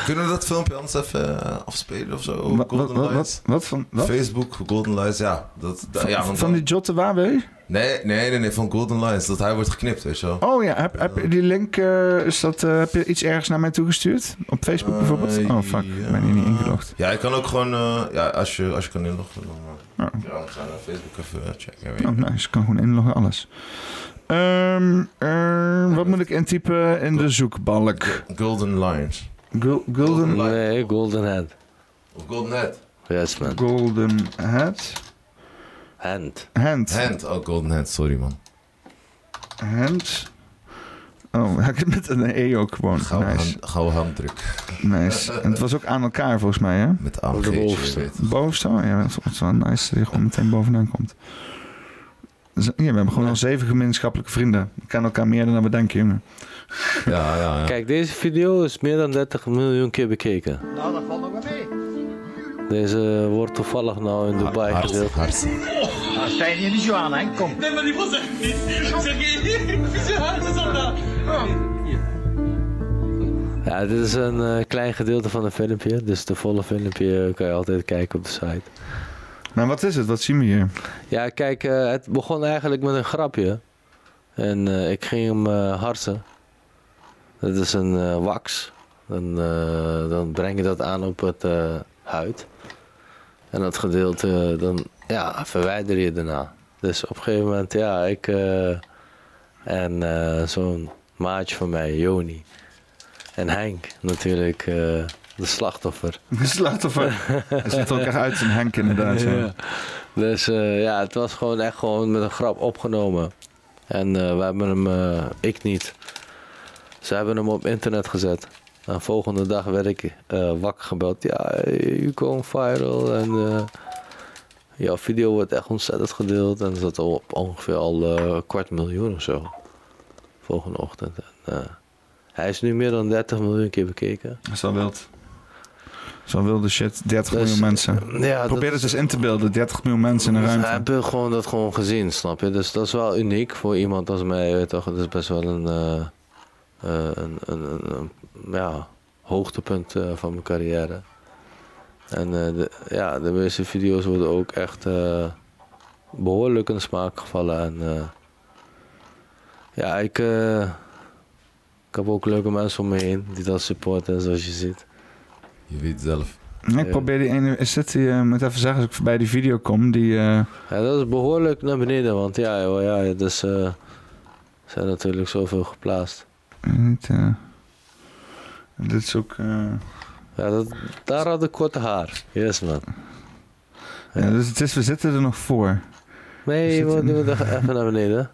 Kunnen we dat filmpje anders even eh, afspelen of zo?
Wat, wat,
Golden
wat,
Lights.
wat, wat van... Wat?
Facebook, Golden Lights, ja. Dat, da- ja want
van
dan-
die Jotte Wawe?
Nee, nee, nee, nee, van Golden Lions. Dat hij wordt geknipt, weet je wel.
Oh ja, heb, heb je die link, eh, is dat, eh, heb je iets ergens naar mij toegestuurd? Op Facebook bijvoorbeeld? Oh fuck, ik ben hier niet ingelogd.
Eh, ah. Ja, je kan ook gewoon... eh, ja, als je, als je kan inloggen, dan... eh, Ja, we gaan naar Facebook even eh, checken. weet je.
Oh nice, ik kan gewoon inloggen, alles. Ehm, ehm, wat moet ik intypen in de zoekbalk?
Golden Lions.
Gul- golden,
Nee, Golden Hand.
Of Golden Head.
Yes, man.
golden Head?
Hand.
Hand.
Hand. Oh, Golden Head. Sorry, man.
Hand. Oh, ik met een E ook gewoon.
Gauw
Nice,
hand- gauw handdruk.
nice. En het was ook aan elkaar volgens mij, hè?
Met
Op de
AMG.
bovenste.
Bovenste? Oh, ja, dat is wel een nice dat je gewoon meteen bovenaan komt. Z- Hier, we hebben gewoon al zeven gemeenschappelijke vrienden. We kennen elkaar meer dan we denken, jongen.
Ja, ja, ja.
Kijk, deze video is meer dan 30 miljoen keer bekeken. Nou, dat valt nog wel mee. Deze wordt toevallig nou in Dubai
Hard,
gedeeld.
hard.
Ja, dit is een eh, klein gedeelte van een filmpje. Dus de volle filmpje kan je altijd kijken op de site.
Maar wat is het? Wat zien we hier?
Ja, kijk, eh, het begon eigenlijk met een grapje. En eh, ik ging hem eh, harsen. Dat is een eh, wax. Dan, eh, dan breng je dat aan op het eh, huid. En dat gedeelte, eh, dan ja, verwijder je daarna. Dus op een gegeven moment, ja, ik eh, en eh, zo'n maatje van mij, Joni. En Henk, natuurlijk, eh, de slachtoffer.
De slachtoffer. Hij ziet er ook echt uit als een Henk, inderdaad. Ja.
Ja. Dus eh, ja, het was gewoon echt gewoon met een grap opgenomen. En eh, we hebben hem, eh, ik niet. Ze hebben hem op internet gezet. En volgende dag werd ik eh, wakker gebeld. Ja, je komt viral. En eh, jouw video wordt echt ontzettend gedeeld. En dat al op ongeveer al eh, een kwart miljoen of zo. Volgende ochtend. En, eh, hij is nu meer dan 30 miljoen keer bekeken.
Dat is wel wild. Dat is wel wilde shit. 30
Dus,
miljoen mensen.
Ja,
Probeer
dat- Dus,
het eens in te beelden. 30 miljoen mensen in de
Hij
ruimte.
heeft gewoon dat gewoon gezien, snap je? Dus dat is wel uniek voor iemand als mij, weet toch? Het is best wel een, eh, eh, een, een, een- een, ja, hoogtepunt eh, van mijn carrière. En eh, de, ja, de meeste video's worden ook echt eh, behoorlijk in de smaak gevallen. En, eh, ja, ik, eh, ik heb ook leuke mensen om me heen die dat supporten, zoals je ziet.
Je weet zelf.
Ik
Eh,
probeer die ene... Is dit die... eh, moet even zeggen, als ik voorbij die video kom, die... eh,
Ja, dat is behoorlijk naar beneden, want ja, joh, ja, het is, eh, zijn natuurlijk zoveel geplaatst.
niet, eh, dit is ook... eh,
Ja, dat, daar had ik korte haar. Yes, man.
ja, dus het is, we zitten er nog voor. Is
Nee,
het
we
een-
doen het even naar beneden.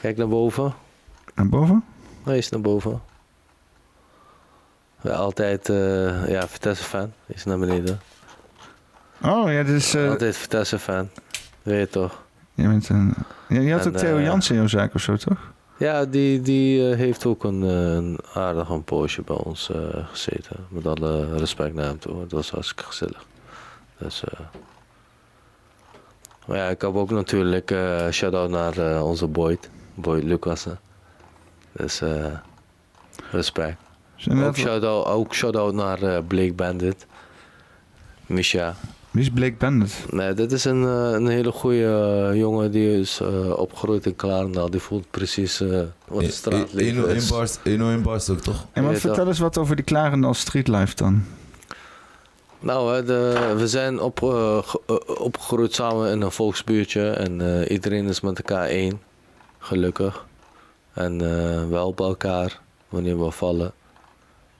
Kijk naar boven.
Naar boven?
Nee, is naar boven. Ja, altijd, eh, ja, Vitesse-fan. Is naar beneden.
Oh ja, dit is... eh,
Altijd Vitesse-fan. Weet je toch?
Je, bent een, ja, je had
En,
ook Theo
eh,
Jansen in jouw zaak of zo, toch?
Ja, die, die eh, heeft ook een, eh, een aardig een poosje bij ons eh, gezeten. Met alle respect naar hem toe. hoor. Het was hartstikke gezellig. Dus, eh, Maar ja, ik heb ook natuurlijk eh shout-out naar eh, onze Boyd. Boyd Lucassen. Dus eh, respect.
Dus inderdaad-
Ook shout-out, ook shout-out naar eh, Blake Bandit. Misha.
Wie is Blake Bandit?
Nee, dit is een, eh, een hele goede jongen die is eh, opgegroeid in Klarendaal. Die voelt precies eh, wat de straat
In- in- Eno in
is.
E- bars, Eno in bars ook, toch?
En wat
weet
vertel
dat.
eens wat over die Klarendal Streetlife dan.
Nou, hè, de- we zijn op, eh, ge- eh, opgegroeid samen in een volksbuurtje en eh, iedereen is met elkaar één, gelukkig. En eh, we helpen elkaar wanneer we vallen.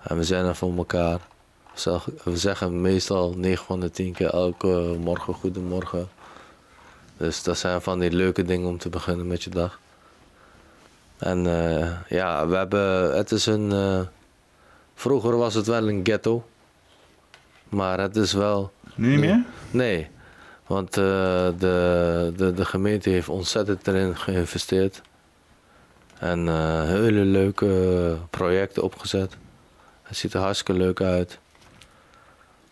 En we zijn er voor elkaar. We zeg- We zeggen meestal 9 van de 10 keer elke eh, morgen goedemorgen. Dus dat zijn van die leuke dingen om te beginnen met je dag. En eh, ja, we hebben, het is een, eh, vroeger was het wel een ghetto. Maar het is wel.
Nu niet meer?
Nee, want eh, de, de, de gemeente heeft ontzettend erin geïnvesteerd. En eh, hele leuke projecten opgezet. Het ziet er hartstikke leuk uit.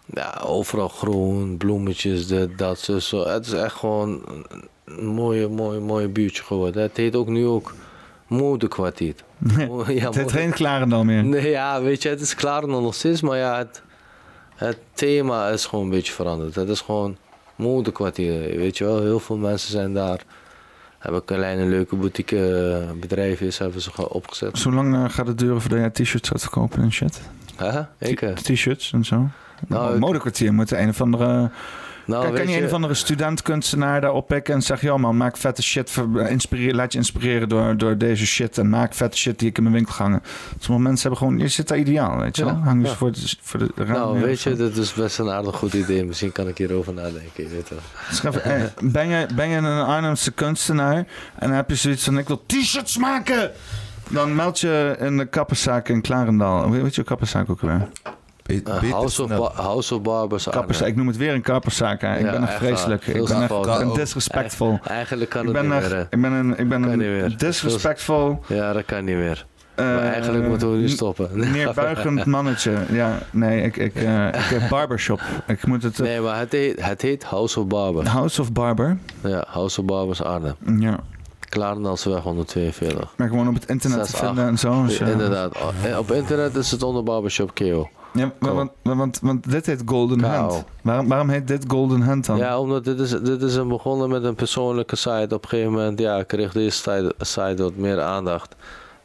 Ja, overal groen, bloemetjes, dit, dat, zo, zo. Het is echt gewoon een- een mooie, mooie, mooie buurtje geworden. Het heet ook nu ook Moederkwartier. Mo- Oh, ja,
het heet
moeder-
geen Klarendal meer.
Nee, ja, weet je, het is klaar dan nog steeds, maar ja, het, het thema is gewoon een beetje veranderd. Het is gewoon moederkwartier, weet je wel. Heel veel mensen zijn daar Hebben kleine leuke boutique eh, bedrijfjes hebben ze gewoon opgezet.
Zo lang eh, gaat het duren voordat jij t-shirts gaat verkopen en shit?
Hè? Ik? eh,
T- T-shirts en zo. Nou,
ik-
modekwartier moet een of andere...
Nou,
kan, kan
weet
je,
je-
een of andere studentkunstenaar daar oppikken en zeg... joh man, maak vette shit, ver- inspireer, laat je inspireren door, door deze shit... en maak vette shit die ik in mijn winkel ga hangen. Sommige mensen hebben gewoon... je zit daar ideaal, weet je
Ja,
wel? Hang je
ja.
voor, de, voor de raam
Nou,
neer of
weet
zo.
je, dat is best een aardig goed idee. Misschien kan ik hierover nadenken. Je weet wel.
Schrijf, eh, ben, je, ben je een Arnhemse kunstenaar en heb je zoiets van ik wil t-shirts maken? Dan meld je in de kapperszaak in Klarendaal. Hoe weet je kapperszaak ook weer?
Eh, House, of Ba- House of Barbers.
Kapperszaak.
Arnhem.
Ik noem het weer een kapperszaak. hè. Ik
Ja,
ben echt
echt
vreselijk.
waar.
Ik
Veel
ben echt ik
fouten.
ben disrespectvol.
Eh, Eigenlijk kan
Ik
het
ben,
niet
echt-
meer. hè.
ik ben een, ik ben
Kan
een
niet meer.
disrespectvol,
Ja, dat kan niet meer. maar
Eh,
eigenlijk moeten we nu stoppen.
neerbuigend mannetje. Ja, nee, ik, ik, eh, ik heb barbershop. Ik moet het... eh,
Nee, maar het heet, het heet House of Barber.
House of Barber.
Ja, House of Barbers Arnhem.
Ja.
Klarendalsweg 142.
Maar gewoon op het internet te
Zes, acht.
vinden en zo. Dus, eh,
Inderdaad. O- Op internet is het onder Barbershop Keo.
Ja, wa-
Cool.
want, wa- want, want dit heet Golden
Kou.
Hand. Waarom, waarom heet dit Golden Hand dan?
Ja, omdat dit is, dit is een begonnen met een persoonlijke site. Op een gegeven moment ja, kreeg deze site, site wat meer aandacht.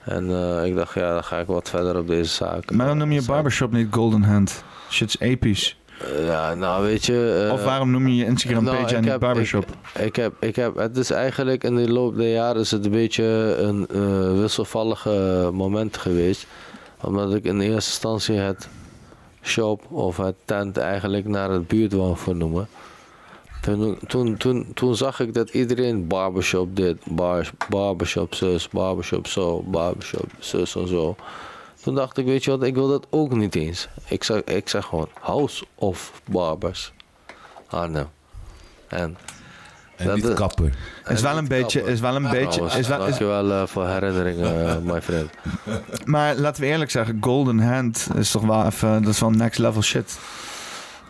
En eh, ik dacht, ja, dan ga ik wat verder op deze zaak.
Maar waarom noem je barbershop niet Golden Hand? Shit is episch.
Eh, ja, nou weet je... eh,
of waarom noem je je Instagram
nou,
page
ik
en niet
heb-
barbershop?
Ik, ik heb, ik heb, het is eigenlijk in de loop der jaren is het een beetje een eh, wisselvallige moment geweest. Omdat ik in eerste instantie het shop of het tent eigenlijk naar het buurt wou vernoemen. Toen, toen, toen, toen zag ik dat iedereen barbershop dit, bar, barbershop zus, barbershop zo, barbershop zus en zo. Toen dacht ik, weet je wat, ik wil dat ook niet eens. Ik zeg, ik zeg gewoon House of Barbers Arnhem. En
En
Dat
niet
is-
kapper.
is wel een
ik
beetje,
snap het.
is wel een beetje,
Trouwens,
is wel, is-
dankjewel eh, voor herinneringen, eh, my friend.
maar laten we eerlijk zeggen, Golden Hand is toch wel even, dat is wel next level shit.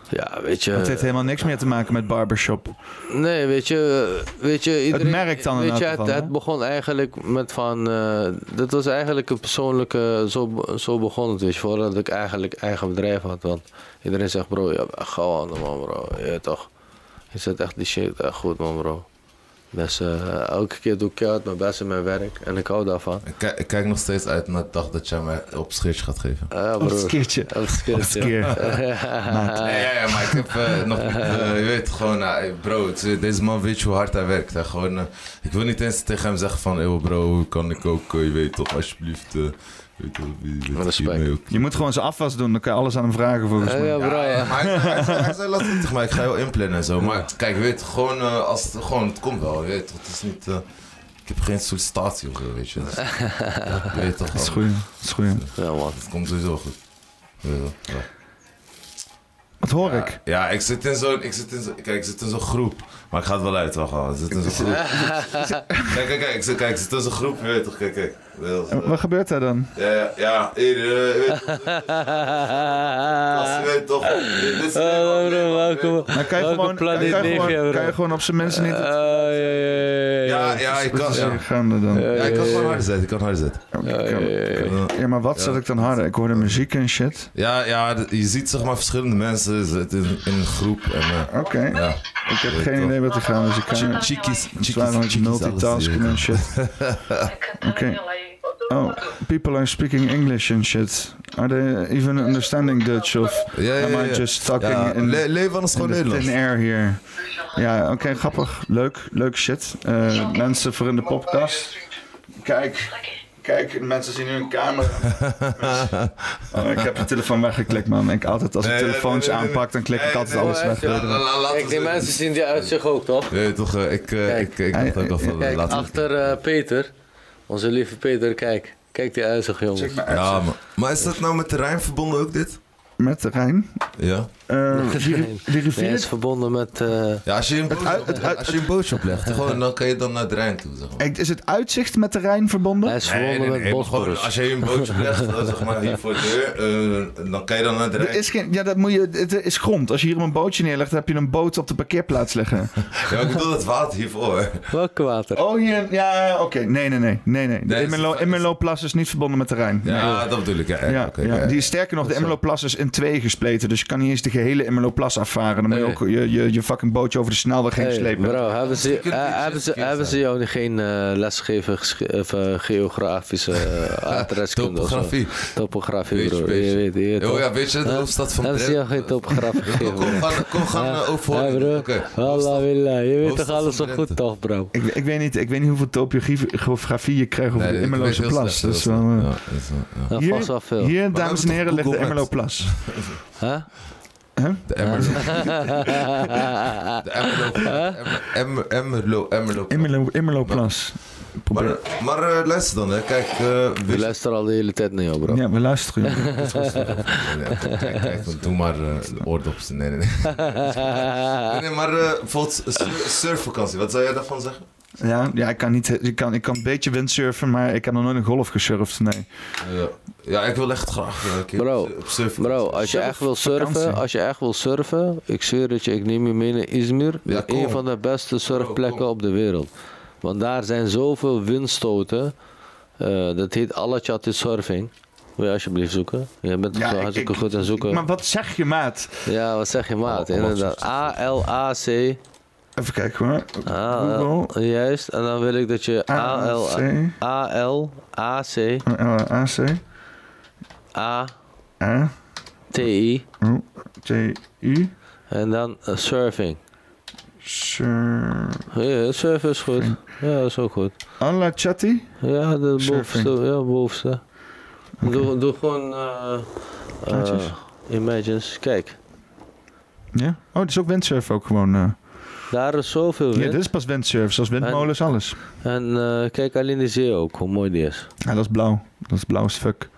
Ja, weet je.
Het heeft helemaal niks meer te maken met barbershop.
Nee, weet je, weet je iedereen,
merk dan in
weet
elk
je,
geval,
het,
hè?
het begon eigenlijk met van, eh, dat was eigenlijk een persoonlijke, zo, be- zo begon het, weet je, voordat ik eigenlijk eigen bedrijf had, want iedereen zegt, bro, je hebt echt gauw aan de man, bro, je weet toch, je zet echt die shit echt goed, man, bro. Dus eh, elke keer doe ik keihard mijn best in mijn werk en ik hou daarvan.
Ik kijk, ik kijk nog steeds uit naar de dag dat jij mij op scheertje gaat geven.
Ja,
Op het
broer.
keertje.
Op het
Op het
keertje.
keer.
Ja, ja, ja, maar ik heb eh, nog niet, eh, je weet gewoon, eh, hey, bro, het is- deze man weet je hoe hard hij werkt. Hij gewoon, eh, ik wil niet eens tegen hem zeggen van, eeuw bro, kan ik ook, eh, je weet toch, alsjeblieft, eh, je weet toch, wie- weet toch,
Respect.
hiermee ook.
Je moet gewoon zijn afwas doen, dan kan je alles aan hem vragen volgens
Eh,
mij.
ja, bro.
Ja, ja, maar hij, hij, zei- hij zei, laat het maar ik ga je wel inplannen en zo. Maar kijk, je weet gewoon, eh, als het, gewoon, het komt wel, je weet toch, het is niet, eh, ik heb geen sollicitatie of zo, weet je. Dus, ja, je weet toch,
Dat is
wel,
goed, dat is goed.
Ja, man.
het komt sowieso goed. Je weet toch, ja.
Wat hoor
Ja,
ik?
Ja, ik zit in zo'n. Ik zit in zo'n. Kijk, ik zit in zo'n groep. Maar ik ga het wel uit, wacht wel. Ik zit in zo'n groep. kijk, kijk, kijk, ik zit, kijk, ik zit in zo'n groep. Je weet toch, kijk, kijk. Wel,
Eh, Wat gebeurt daar dan?
Ja, ja, ja. Hier, eh, je weet toch, je weet toch. Dit is
Hallo,
Nederland,
bro,
Nederland, je weet
welkom.
toch.
Dan kan je,
Welke
gewoon, dan kan,
planeet
je
lig je,
gewoon,
bro?
kan je gewoon op zijn mensen niet...
Ah, ja, ja, ja,
Ja, ja, ik kan.
Wat is
Ja,
hier gaande dan?
Ja, ik kan gewoon harder zetten. Ik kan harder zetten.
Ja, maar wat zat ik dan harder? Ik hoorde muziek en shit.
Ja, ja, d- je ziet zeg maar verschillende mensen zitten in, in een groep. En, eh,
Oké.
ja.
Ik heb geen idee wat er gaande is. Ik kan het
Chickies,
zwaar
chickies,
met
chickies. alles, je
multitasking en
weet
shit. Oké. Oh, people are speaking English and shit. Are they even understanding Dutch of
Ja, ja,
am I
ja.
just talking
Ja,
in,
le- leven anders
in
gewoon
the
Nederlands.
thin air here? Ja, oké, grappig. Leuk, leuk shit. Eh, mensen voor in de podcast. Kijk. Kijk, mensen zien nu een camera. Oh, ik heb de telefoon weggeklikt, man. Ik altijd als ik
Nee, nee,
telefoons
nee, nee, nee.
aanpak, dan klik ik
Nee,
altijd
nee,
alles
nee,
weg.
ja.
La- la- la- laten
Kijk,
we
die
zitten.
mensen zien die uit zich ook, toch?
Je weet toch, eh, ik, eh,
Kijk.
ik, ik dacht ook al van,
Kijk,
laten we-
achter eh, Peter. Onze lieve Peter, kijk. Kijk die uit zich, jongen.
Check mijn app.
Ja, maar, maar is dat nou met terrein verbonden ook dit?
Met de Rijn.
Ja.
Eh, die, ri- die rivier.
Nee, hij is verbonden met... eh,
Ja, als je een bootje,
uit- het uit-
als je een bootje oplegt, gewoon, dan kan je dan naar het Rijn toe, zeg maar.
Ik- is het uitzicht met de Rijn verbonden?
hij is verbonden met
maar gewoon,
Bosporus.
als je een bootje legt, dan zeg maar hier voor de deur, eh, dan kan je dan naar het
Er
Rijn.
is geen, ja, dat moet je, het is grond. Als je hier een bootje neerlegt, dan heb je een boot op de parkeerplaats liggen.
Ja, ik bedoel het water hiervoor.
Welk water?
Oh, hier, ja, oké. Nee, nee, nee. nee, nee. De
Nee,
Imelo,
het is-
Imeloplas is niet verbonden met de Rijn.
Ja, dat bedoel ik. Ja,
Ja,
oké,
ja.
ja.
Die is sterker nog, de Immeloplas is in twee gespleten. Dus je kan niet eens de gehele Immerloo-plas afvaren. Dan moet je
Nee.
ook je, je, je fucking bootje over de snelweg heen
Hey,
slepen.
Bro, hebben ze, eh, hebben ze, hebben ze jou geen eh, les gegeven gesche- of, eh, geografische eh, adreskunde? of zo?
Topografie.
Topografie,
Beetje,
bro.
beetje.
Je weet, je weet
Oh
toch?
ja, weet je, de
Huh?
hoofdstad van
Hebben ze jou geen topografie gegeven?
Kom,
bro?
gaan, kom, gaan
Ja.
eh, overhoren.
Ja, bro.
Oké.
Wallah, willah. Je weet toch
hoofdstad
alles
van
zo goed,
Drenthe.
toch, bro?
Ik, ik, weet niet, ik weet niet hoeveel topografie je krijgt over
Nee,
de
ik weet
Immerlose
heel
plas.
slecht,
Dat is
heel
wel, eh,
slecht. Ja, dat is wel- ja.
Ja, vast wel veel.
hier, hier, dames en
toch
heren, ligt de
Google Maps?
Immerloo-plas.
Huh?
De Emmerlo. Emmerlo. Emmerlo.
Immerlo- Immerloo-plas. Probeer-
Maar, maar eh, luister dan, hè. kijk, eh
We
weet je-
luisteren al de hele tijd naar jou, bro.
Ja, we luisteren. joh.
Ja, kijk, kijk, dan doe maar eh, de oordopjes. Nee, nee, nee. Nee, nee, maar eh bijvoorbeeld sur- surfvakantie, wat zou jij daarvan zeggen?
Ja, ja ik, kan niet, eh, ik, kan, ik kan een beetje windsurfen, maar ik kan nog nooit een golf gesurfd. Nee.
Ja, ja ik wil echt graag eh, een keer
Bro,
op surfen.
Bro, als je
Surf,
echt wil surfen,
vakantie.
als je echt wil surfen, ik zweer het je, ik neem je mee naar Izmir.
Ja, kom.
een van de beste surfplekken
kom.
op de wereld. Want daar zijn zoveel windstoten. Eh, dat heet Alachati Surfing. Wil je alsjeblieft zoeken? Je bent
Ja,
zo
ik-
hartstikke
ik-
goed aan zoeken.
Maar wat zeg je, maat?
Ja, wat zeg je maat?
Oh,
Inderdaad. A-L-A-C.
Even kijken hoor.
Ah,
Google.
Juist, en dan wil ik dat je
A-L-C.
A-L-A-C.
AC.
A-T-I.
A. O. T. U.
En dan eh, surfing.
Sur.
Ja, surfen is goed. Ja, dat is ook goed.
Alla Chatti.
Ja, de
Surfing.
bovenste. Ja, bovenste. Doe, doe gewoon eh
Plaatjes?
eh, Imagines. Kijk,
Ja. Oh, dit is ook windsurf ook gewoon. eh.
daar is zoveel
Ja, dus?
wind.
dit is pas windsurf. Zoals windmolens, alles.
En eh, kijk alleen die zee ook, hoe mooi die is.
Ja, dat is blauw. Dat is blauw as fuck.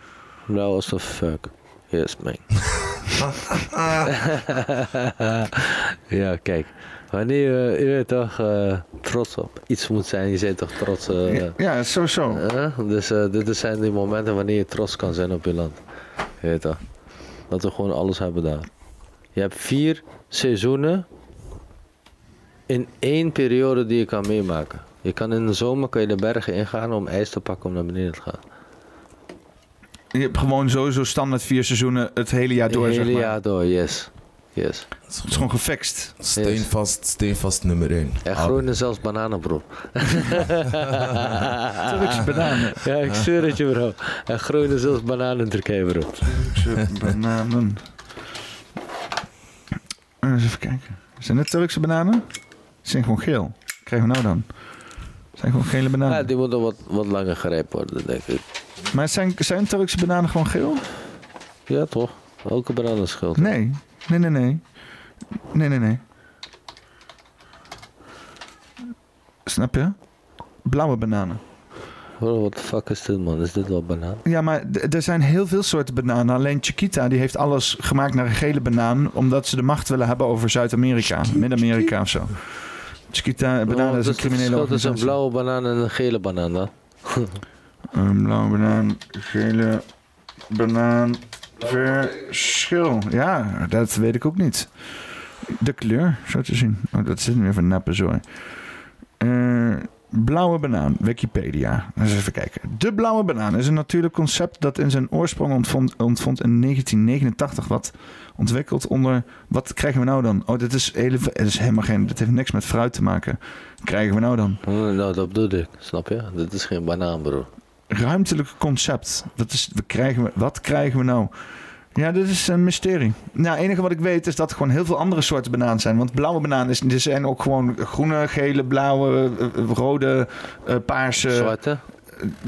Nou, als de fuck. Yes, man. ja, kijk. Wanneer je, je weet toch eh, trots op iets moet zijn, je bent toch trots. eh,
Ja, ja, sowieso.
Eh, dus eh, dit is- zijn die momenten wanneer je trots kan zijn op je land. Je weet toch? Dat we gewoon alles hebben daar. Je hebt vier seizoenen in één periode die je kan meemaken. Je kan in de zomer kan je de bergen ingaan om ijs te pakken om naar beneden te gaan.
Je hebt gewoon sowieso standaard vier seizoenen het hele jaar door,
het hele
zeg maar.
jaar door, yes. yes.
Het is gewoon gefixt.
Steenvast, steenvast nummer 1.
En
Ah,
groen is zelfs bananen, bro.
Turkse bananen.
Ja, ik zweer het je, bro. En groen is zelfs bananen in Turkije, bro.
Turkse bananen. Eh, Eens even kijken. Zijn dit Turkse bananen? Ze zijn gewoon geel. Wat krijgen we nou dan? Het zijn gewoon gele
Ja,
bananen.
die moeten wat, wat langer gerijpt worden, denk ik.
Maar zijn, zijn Turkse bananen gewoon geel?
Ja, toch? Elke banaan is geel.
Nee. Nee, nee, nee. Nee, nee, nee. Snap je? Blauwe bananen.
Bro, what the fuck is dit man? Is dit wel banaan?
Ja, maar d- er zijn heel veel soorten bananen. Alleen Chiquita die heeft alles gemaakt naar een gele banaan. Omdat ze de macht willen hebben over Zuid-Amerika. Midden-Amerika of zo. Chiquita, bananen is een criminele
Oh, Dat is een
organisatie.
blauwe banaan en een gele banaan dan.
Een blauwe banaan, gele banaan, verschil. Ja, dat weet ik ook niet. De kleur, zo te zien. Oh, dat zit weer van nappe zooi. Eh, blauwe banaan, Wikipedia. Eens even kijken. De blauwe banaan is een natuurlijk concept dat in zijn oorsprong ontvond, ontvond in 1989. Wat ontwikkeld onder... Wat krijgen we nou dan? Oh, dit is, hele, dit is helemaal geen... Dit heeft niks met fruit te maken. Krijgen we nou dan?
Hm, Nou, dat bedoel ik. Snap je? Dit is geen banaan, bro.
ruimtelijk concept. Dat is, we krijgen, we- wat krijgen we nou? Ja, dit is een mysterie. Nou, het enige wat ik weet is dat er gewoon heel veel andere soorten banaan zijn. Want blauwe banaan is, er zijn ook gewoon groene, gele, blauwe, eh, eh, rode, eh, paarse.
Zwarte,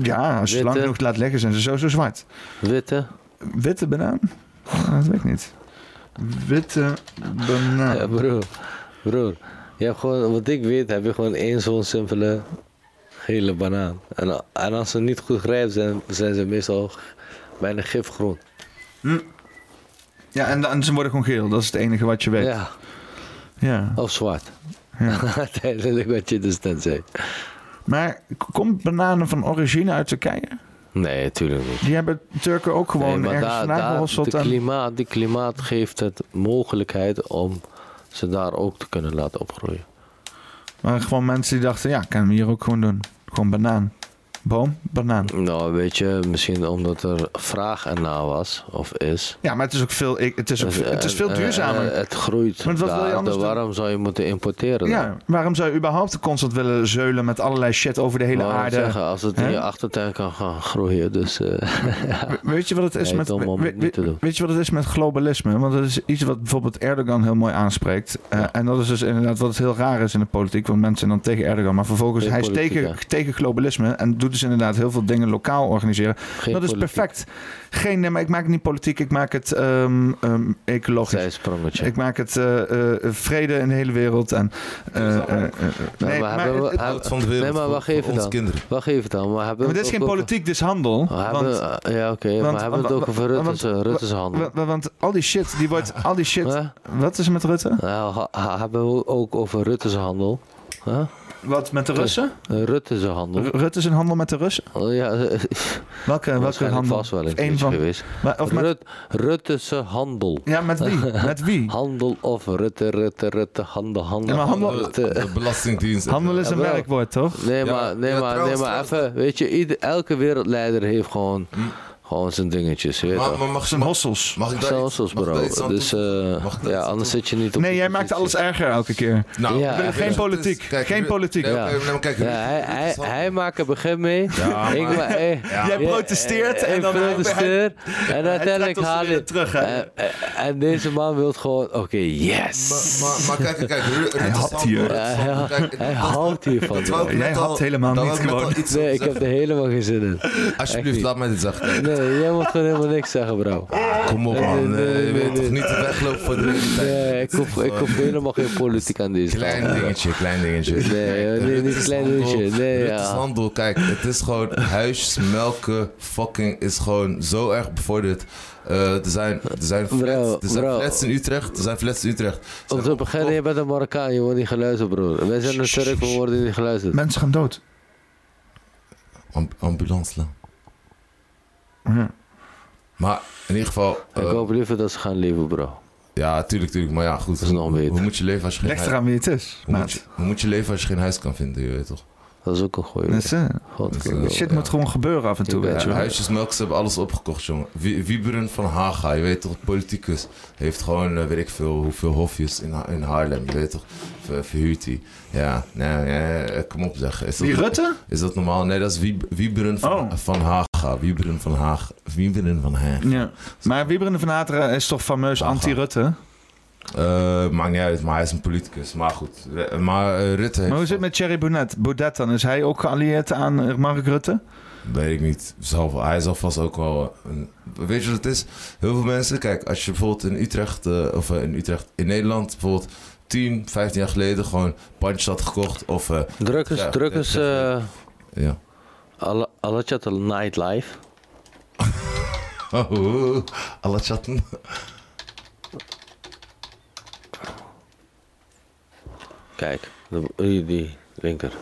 Ja, als je het lang
Witte.
genoeg laat liggen zijn ze sowieso zwart.
witte.
Witte banaan? Ah, Dat weet ik niet. Witte banaan.
Ja, bro. Bro. Je hebt gewoon, wat ik weet, heb je gewoon één zo'n simpele gele banaan. En, en als ze niet goed grijpt zijn, zijn ze meestal bijna gifgroen.
Ja, en, dan- ze worden gewoon geel. Dat is het enige wat je weet. Ja.
Ja, of zwart. Tijdelijk wat je dus net zei.
Maar k- komt bananen van origine uit Turkije?
Nee, tuurlijk niet.
Die hebben Turken ook
Nee,
gewoon
maar
ergens
daar-
vandaan
daar-
gehosseld.
de
en-
klimaat, die klimaat geeft het mogelijkheid om ze daar ook te kunnen laten opgroeien.
Maar gewoon mensen die dachten, ja, kunnen we hier ook gewoon doen. Gewoon banaan. Boom, banaan.
Nou, weet je, misschien omdat er vraag erna was of is.
Ja, maar het is ook veel, ik- het is ook,
Dus,
het is
eh,
veel
eh,
duurzamer.
eh, het groeit.
Maar wat wil je
daar,
anders
dan
doen?
waarom zou je moeten importeren? dan?
Ja, waarom zou je überhaupt constant willen zeulen met allerlei shit over de hele
Waarom
aarde?
Zeggen, als het in
Hè?
je achtertuin kan gaan groeien. Dus, eh,
We- Weet je wat het is
Nee,
met
dom om
we-
het niet te
we-
doen.
Weet je wat het is met globalisme? Want dat is iets wat bijvoorbeeld Erdogan heel mooi aanspreekt. Eh, En dat is dus inderdaad wat heel raar is in de politiek. Want mensen zijn dan tegen Erdogan. Maar vervolgens
Geen
hij is
politiek,
tegen,
hè?
tegen globalisme. En doet dus inderdaad heel veel dingen lokaal organiseren. dat is
politiek.
perfect. Geen, nee, maar ik maak het niet politiek. Ik maak het ehm, ehm, ecologisch.
Zij sprongetje.
Ik maak het eh, eh, vrede in de hele wereld. En, eh, eh, eh, nee, maar
Nou, hebben
het-
we-
het-
Houdt van de wereld.
Nee, maar
voor-
wacht
voor
even
onze
dan.
kinderen.
Wacht even dan. Maar hebben
maar
we
dit
het
is geen
ook over-
politiek, dit is handel.
Hebben,
want-
eh, ja, oké.
want-
maar hebben we het
want-
ook over Rutte's,
want-
eh, Rutte's handel?
Wa- wa- Want al die shit, die wordt. Al die shit.
Huh?
Wat is er met Rutte?
Nou, ha- ha- hebben we ook over Rutte's handel? Huh?
Wat met de Russen?
Eh, Rutte's handel.
Rutte is een handel met de Russen?
Oh, ja, eh,
Welke, welke
waarschijnlijk
handel?
vast wel
Of
een
één
keertje
van.
geweest.
Maar, of met,
Rut, Rutte's handel.
ja, met wie? Met wie?
Handel of Rutte, Rutte, Rutte, handel, handel.
Ja, maar handel-
De,
Rutte.
de belastingdienst.
Handel is een
Jawel.
werkwoord, toch?
Nee,
Ja,
maar, nee,
ja,
maar, nee,
trouwens,
maar
trouwens.
even, weet je, ieder, elke wereldleider heeft gewoon, gewoon zijn dingetjes, weet je
Maar,
toch?
maar mag,
Zijn
mag,
hossels.
mag ik daar
Zelfs
iets-
zoals
mag ik
bro.
daar iets aan
Dus
toevoegen?
eh,
Mag ik daar
ja,
iets aan
anders zit je niet op
Nee,
die
jij maakt
positie.
alles erger elke keer.
Nou,
Ja,
weet
echt.
je
Geen
wat het
politiek,
is?
geen
je weet-
politiek.
Nee,
Ja.
oké, nee, maar kijk, je
Ja,
weet-
hij, hij, hij maakt een begin mee. ik, ma- eh,
Jij protesteert en
ik
dan-
protesteer. en
trekt
uiteindelijk
ons
haal
weer
je...
terug, hè?
en, en- en deze man wil gewoon... Oké, yes!
Maar, maar, maar kijk, kijk, Rutte
Hij had
zal-
hier.
Rutte
Ja,
zal-
hij-
kijk,
hij
dat-
houdt hiervan.
dat wou
bro.
ik net
Jij
al-
had helemaal
dat
niet
wou ik net al
gewoon.
iets
Nee, ik
zeggen.
heb er helemaal geen zin in.
Alsjeblieft,
niet.
laat mij dit zeggen.
Nee, jij moet gewoon helemaal niks zeggen, bro.
Kom op,
Nee,
man.
nee,
Eh, Je
nee,
weet
nee.
toch niet te weglopen voor de realiteit?
Nee, ik hoef, ik hoef helemaal geen politiek aan deze
Klein
tafel.
dingetje, klein dingetje.
Nee, eh, nee, niet
is
klein
handel.
dingetje. Nee,
Dit is
ja.
handel. Kijk, het is gewoon huismelken. Fucking is gewoon zo erg bevorderd. Eh, er zijn, er zijn,
Bro,
flats, er zijn
bro.
flats in Utrecht. Er zijn flats in Utrecht. Er zijn
Om te beginnen, je bent een Marokkaan, je wordt niet geluisterd, broer. Wij zijn een Turk, we worden niet geluisterd.
Mensen gaan dood.
am- ambulance lang.
Ja.
Maar in ieder geval, eh,
Ik hoop liever dat ze gaan leven, bro.
ja, tuurlijk, tuurlijk. Maar ja, goed.
is nog beter.
Hoe moet je leven als je geen
Ligt
huis,
eraan wie het is.
hoe moet je, hoe moet je leven als je geen huis kan vinden, je weet toch?
Dat is ook een goeie.
Mensen,
God,
Dus,
kijk,
eh,
bro.
shit
ja.
moet gewoon gebeuren af en toe,
Ja,
weet je
Ja,
wel.
huisjesmelk, ze hebben alles opgekocht, jongen. Wie- Wieberen van Haga, je weet toch, politicus. Heeft gewoon, eh, weet ik veel, hoeveel hofjes in, Ha- in Haarlem, je weet toch. Ver- verhuurt hij. Ja, nee, nee, eh, kom op zeg. Is dat,
Die Rutte?
Is dat normaal? Nee, dat is Wieb- Wieberen van,
Oh.
van Haga. Wieberen van Haag. Wieberen van Haag.
Ja. Maar Wieberen van Ateren eh, is toch fameus
Lachen.
anti-Rutte?
Eh, maakt niet uit, maar hij is een politicus. Maar goed, eh, maar eh, Rutte heeft...
Maar hoe zit het met Thierry Baudet? Baudet dan? Is hij ook geallieerd aan eh, Mark Rutte?
Weet ik niet. Zal, hij zal vast ook wel. Een, weet je wat het is? Heel veel mensen, kijk, als je bijvoorbeeld in Utrecht, eh, of eh, in Utrecht, in Nederland bijvoorbeeld 10, 15 jaar geleden gewoon pandjes had gekocht. Of eh,
Drukkers,
Ja,
drukkers,
dat is echt
eh
ja.
Al- Alachat Nightlife.
Oh, oh, oh. alle chatten.
Kijk, de- die, die linker.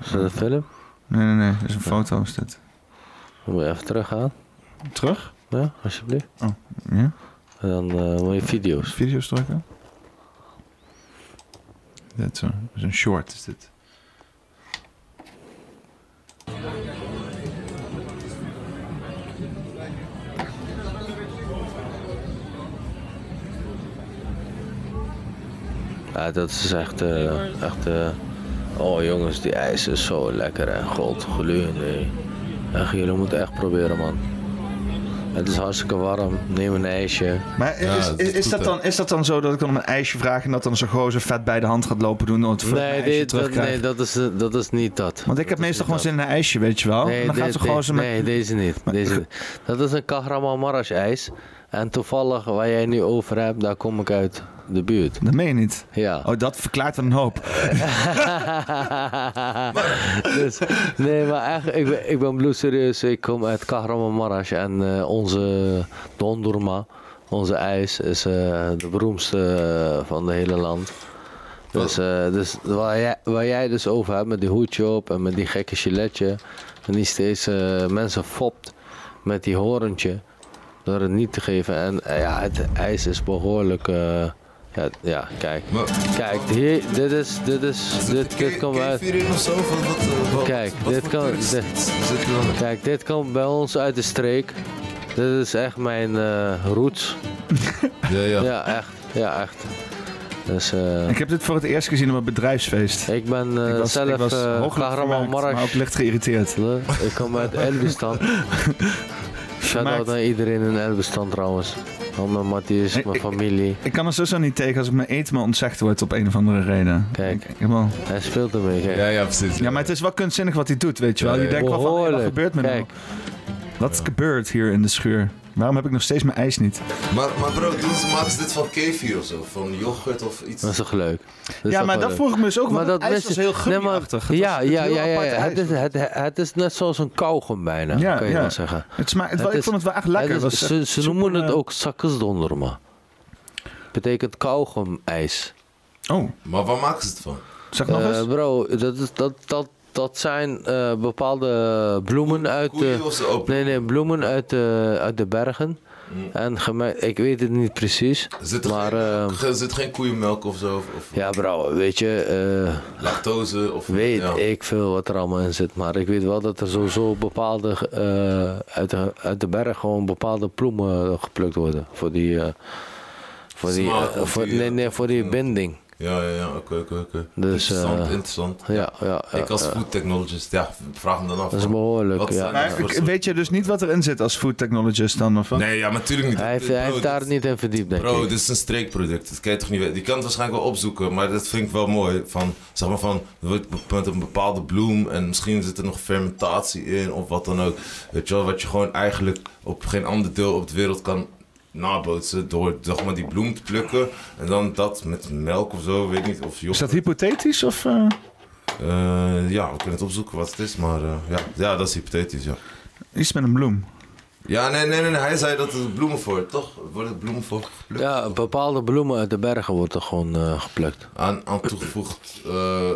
Is dat een film?
Nee, nee, nee. Dat is een foto, is dit.
Dan moet je even teruggaan.
Terug?
Ja, alsjeblieft.
Oh,
Ja.
En dan eh moet je video's.
Video's drukken. Dit zo. Dat is een short, is dit.
Ja, dat is echt. eh, echt eh, oh jongens, die ijs is zo lekker en god nee. Echt, jullie moeten echt proberen, man. Het is hartstikke warm. Neem een ijsje.
Maar
Ja,
is,
dat
is,
is
is
goed,
dat
hè.
dan, is dat dan zo dat ik dan om een ijsje vraag en dat dan zo'n gozer vet bij de hand gaat lopen doen om het voor
Nee,
een ijsje
dit, dat,
terugkrijgt?
nee dat, is, dat is niet dat.
Want ik heb meestal gewoon zin in een ijsje, weet je wel.
Nee,
en dan gaat
dit-
zo'n
dit-
gozer met...
nee, deze niet. Deze, niet. dat is een Kahraman Marash ijs. En toevallig waar jij nu over hebt, daar kom ik uit de buurt.
Dat meen je niet.
Ja.
Oh, dat verklaart dan een hoop.
dus, nee, maar echt, ik ben, ik ben bloedserieus. Ik kom uit Kahramanmaraş en eh, onze dondurma, onze ijs, is eh, de beroemdste eh, van het hele land. Dus, eh, dus waar, jij, waar jij dus over hebt met die hoedje op en met die gekke giletje en die steeds eh, mensen fopt met die horentje door het niet te geven. En eh, ja, het ijs is behoorlijk eh, Ja, ja kijk. Kijk, hier, dit is, dit is, dit, dit komt uit.
Vier of zo van wat, eh, wat-
Kijk,
wat
dit
voor
kan,
toerist
dit-
zit er dan in?
kijk, dit kan bij ons uit de streek. Dit is echt mijn eh, roots.
Ja, ja.
echt. Ja, echt. Dus, eh,
Ik heb dit voor het eerst gezien op een bedrijfsfeest.
ik ben eh,
ik was,
zelf
ik was
eh,
hooglijk
Kahraman
vermaakt, maar ook
Marks.
licht geïrriteerd.
Ik kom uit Elbistan. Shout-out
Vermaakt.
naar iedereen in Elbistan trouwens. Al mijn Matthias,
Ik-
mijn
ik-
familie.
Ik kan er sowieso niet tegen als ik mijn eten maar ontzegd wordt op een of andere reden.
Kijk.
Ik heb wel-
Hij speelt ermee, kijk.
Ja, ja, precies.
Ja, maar het is wel kunstzinnig wat hij doet, weet je wel. Je denkt wel van, hey, wat
Behoorlijk.
gebeurt met hem?
Kijk,
Wat gebeurt hier in de schuur? Waarom heb ik nog steeds mijn ijs niet?
Maar, maar bro, doen ze, maken ze dit van kefir of zo? Van yoghurt of iets?
dat is toch leuk? Dat is
ja,
toch
maar
wel
dat
leuk?
vroeg ik me dus ook,
Maar
want het
dat
ijs
wist
was
ik-
heel
Nee, maar-
gummiachtig. Het
ja,
was
ja,
heel
ja, ja,
apart
ja.
ijs.
Het, is, het, eh, het is net zoals een kauwgom bijna,
Ja,
kan je
ja.
wel zeggen.
Het smaakt, het,
Het
ik
is-
vond het wel echt lekker.
Het
Het
is-
was
ze
echt
ze
super,
noemen het
eh,
ook zakkersdonderma. Betekent kauwgom-ijs.
Oh,
Maar waar maken ze het van?
zeg nog
Eh,
eens.
bro, dat, is- dat, dat, dat zijn eh, bepaalde bloemen uit
Koeien
de,
of zo? Oh,
nee, nee, bloemen uit de, uit de bergen. En geme- ik weet het niet precies.
Mm. Zit er
Maar
geen,
eh,
ge- zit geen koeienmelk of zo? Of, of
ja, bro, weet je, eh,
lactose? Of,
weet
ja.
ik veel wat er allemaal in zit. Maar ik weet wel dat er sowieso bepaalde eh, uit, de, uit de berg gewoon bepaalde bloemen geplukt worden. Voor die. eh, voor die,
Smaak
eh,
of
voor,
die,
nee,
eh,
nee, voor die binding.
Ja, ja, ja, oké, oké, oké.
Dus, eh,
interessant, interessant.
Ja, ja. ja,
ik als
ja.
food technologist, ja, vraag me dan af.
Dat is
van,
behoorlijk,
wat
ja.
zijn
Maar
dat
Ik-
voor soort-
Weet je dus niet wat erin zit als food technologist dan? Of wat?
Nee, ja, natuurlijk niet.
Hij heeft,
Bro,
hij heeft
dit-
daar niet in verdiept, denk
Bro,
ik.
dit is een streekproduct. Dat kan je toch niet weten. Je kan het waarschijnlijk wel opzoeken, maar dat vind ik wel mooi. Van, zeg maar van, er wordt be- met een bepaalde bloem en misschien zit er nog fermentatie in of wat dan ook. Weet je wel, wat je gewoon eigenlijk op geen ander deel op de wereld kan nabootsen door zeg maar, die bloem te plukken en dan dat met melk of zo, weet ik niet. Of
Is dat
yoghurt.
hypothetisch of... eh?
Eh, ja, we kunnen het opzoeken wat het is, maar eh, ja. ja, dat is hypothetisch, ja.
Iets met een bloem.
Ja, nee, nee, nee, nee, hij zei dat het bloemen voor, toch? Wordt het bloemen voor geplukt?
Ja, bepaalde bloemen uit de bergen worden gewoon eh, geplukt.
Aan, aan toegevoegd. eh,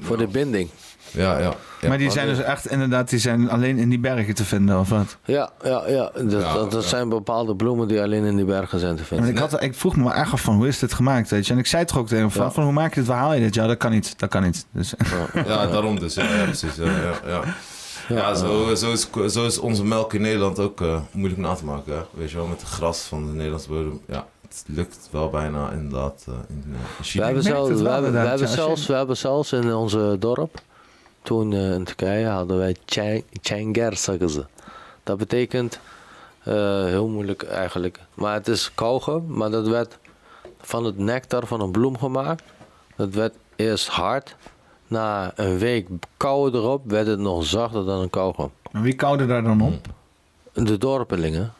Voor de binding.
ja, ja, ja.
maar die zijn dus echt inderdaad die zijn alleen in die bergen te vinden of wat?
Ja, ja, ja. Dat, dat, dat zijn bepaalde bloemen die alleen in die bergen zijn te
Want
vinden.
ik, had, ik vroeg me wel echt af van hoe is dit gemaakt, weet je? En ik zei toch ook tegen hem van,
Ja.
van hoe maak je dit, waar haal je dit? Ja, dat kan niet, dat kan niet. Dus,
Ja, daarom dus. Ja, ja precies. Ja, ja, ja. Ja, zo, zo, is, zo is onze melk in Nederland ook eh, moeilijk na te maken. Hè? Weet je wel, met het gras van de Nederlandse bodem. Ja, het lukt wel bijna inderdaad eh, in, eh, in
We
China.
hebben,
merk
zelf,
het
we,
wel
hebben, we,
inderdaad,
hebben
ja, als je-
zelfs, we hebben zelfs in ons eh, dorp, toen eh, in Turkije, hadden wij Cheng- Çenger, zeggen ze. Dat betekent, eh, heel moeilijk eigenlijk, maar het is kauwgum, maar dat werd van het nectar van een bloem gemaakt. Dat werd eerst hard, na een week kauwen erop, werd het nog zachter dan een kauwgum.
maar wie koude daar dan op?
De dorpelingen.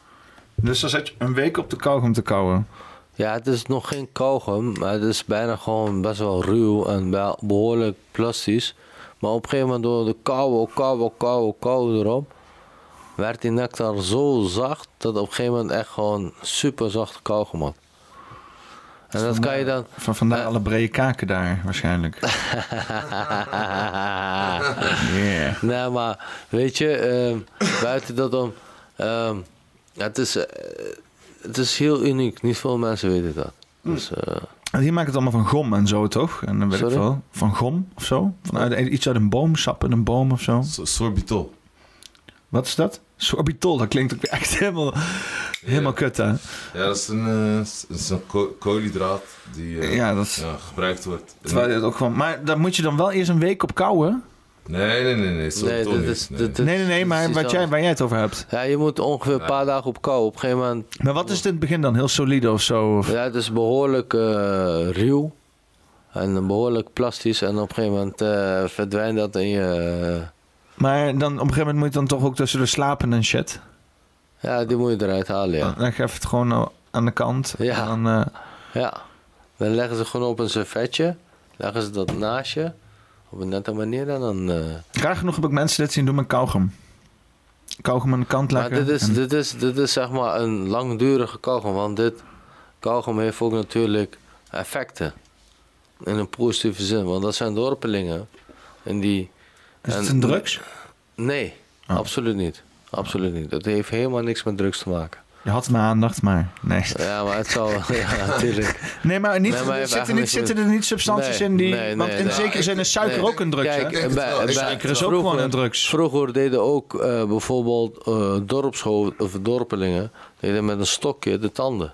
Dus dan zat je een week op de kauwgom te kauwen.
Ja, het is nog geen kauwgom, maar het is bijna gewoon best wel ruw en wel behoorlijk plastisch. Maar op een gegeven moment door de oh, koude, koude, koude, koude erop, werd die nectar zo zacht dat op een gegeven moment echt gewoon super zacht kauwgom had. En dat kan je dan...
Van vandaar alle brede kaken daar waarschijnlijk. Yeah.
Nee, maar weet je, ehm, buiten dat om... ehm, het, is, eh, het is heel uniek, niet veel mensen weten dat. Dus, eh,
En Hier maken het allemaal van gom en zo toch? En dan weet
Sorry?
ik veel. Van gom of zo? Vanuit, iets uit een boom, sap in een boom of zo.
So- Sorbitol.
Wat is dat? Sorbitol, dat klinkt ook echt helemaal, helemaal kut hè?
Ja, dat is een, eh, s- is een ko- koolhydraat die eh,
Ja, dat is...
ja, gebruikt wordt.
Terwijl je het ook gewoon, maar daar moet je dan wel eerst een week op kouwen.
Nee, nee, nee, nee. Sorbitol
dit
niet.
is-
nee.
dit is-
Nee, nee, nee,
dit is
maar
iets
wat jij,
anders.
waar jij het over hebt.
Ja, je moet ongeveer een paar dagen op kou. Op een gegeven moment,
Maar wat is het in het begin dan? Heel solide of zo? Of...
ja, het is behoorlijk eh, ruw en behoorlijk plastisch. En op een gegeven moment eh, verdwijnt dat in je... eh,
Maar dan, op een gegeven moment moet je dan toch ook tussen de slapen en shit.
Ja, die moet je eruit halen, ja.
Dan Dan geef je het gewoon eh, aan de kant.
Ja.
En dan, eh,
ja. Dan leggen ze gewoon op een servetje. Leggen ze dat naast je. Op een nette manier en dan... eh,
raar genoeg heb ik mensen dit zien doen met kauwgom. Kauwgom aan de kant
maar
leggen.
dit is,
en-
dit, is, dit is zeg maar een langdurige kauwgom. Want dit kauwgom heeft ook natuurlijk effecten. In een positieve zin. Want dat zijn dorpelingen. En die...
Is het
en-
een Oh. drugs?
Nee, absoluut niet. Absoluut niet. Dat heeft helemaal niks met drugs te maken.
Je had mijn aandacht, maar nee.
Ja, maar het zal... Ja, natuurlijk.
Nee, maar niet,
Nee, maar heeft
zitten, niet,
eigenlijk
zitten er niet substanties
Nee,
in die...
nee,
want
nee,
in
nee.
zekere zin is suiker
Nee.
ook een drugs,
Kijk,
hè?
eh, bij- bij-
Suiker is ook
vroeger-
gewoon een drugs.
Vroeger deden ook eh, bijvoorbeeld eh dorpshoofd of dorpelingen deden met een stokje de tanden.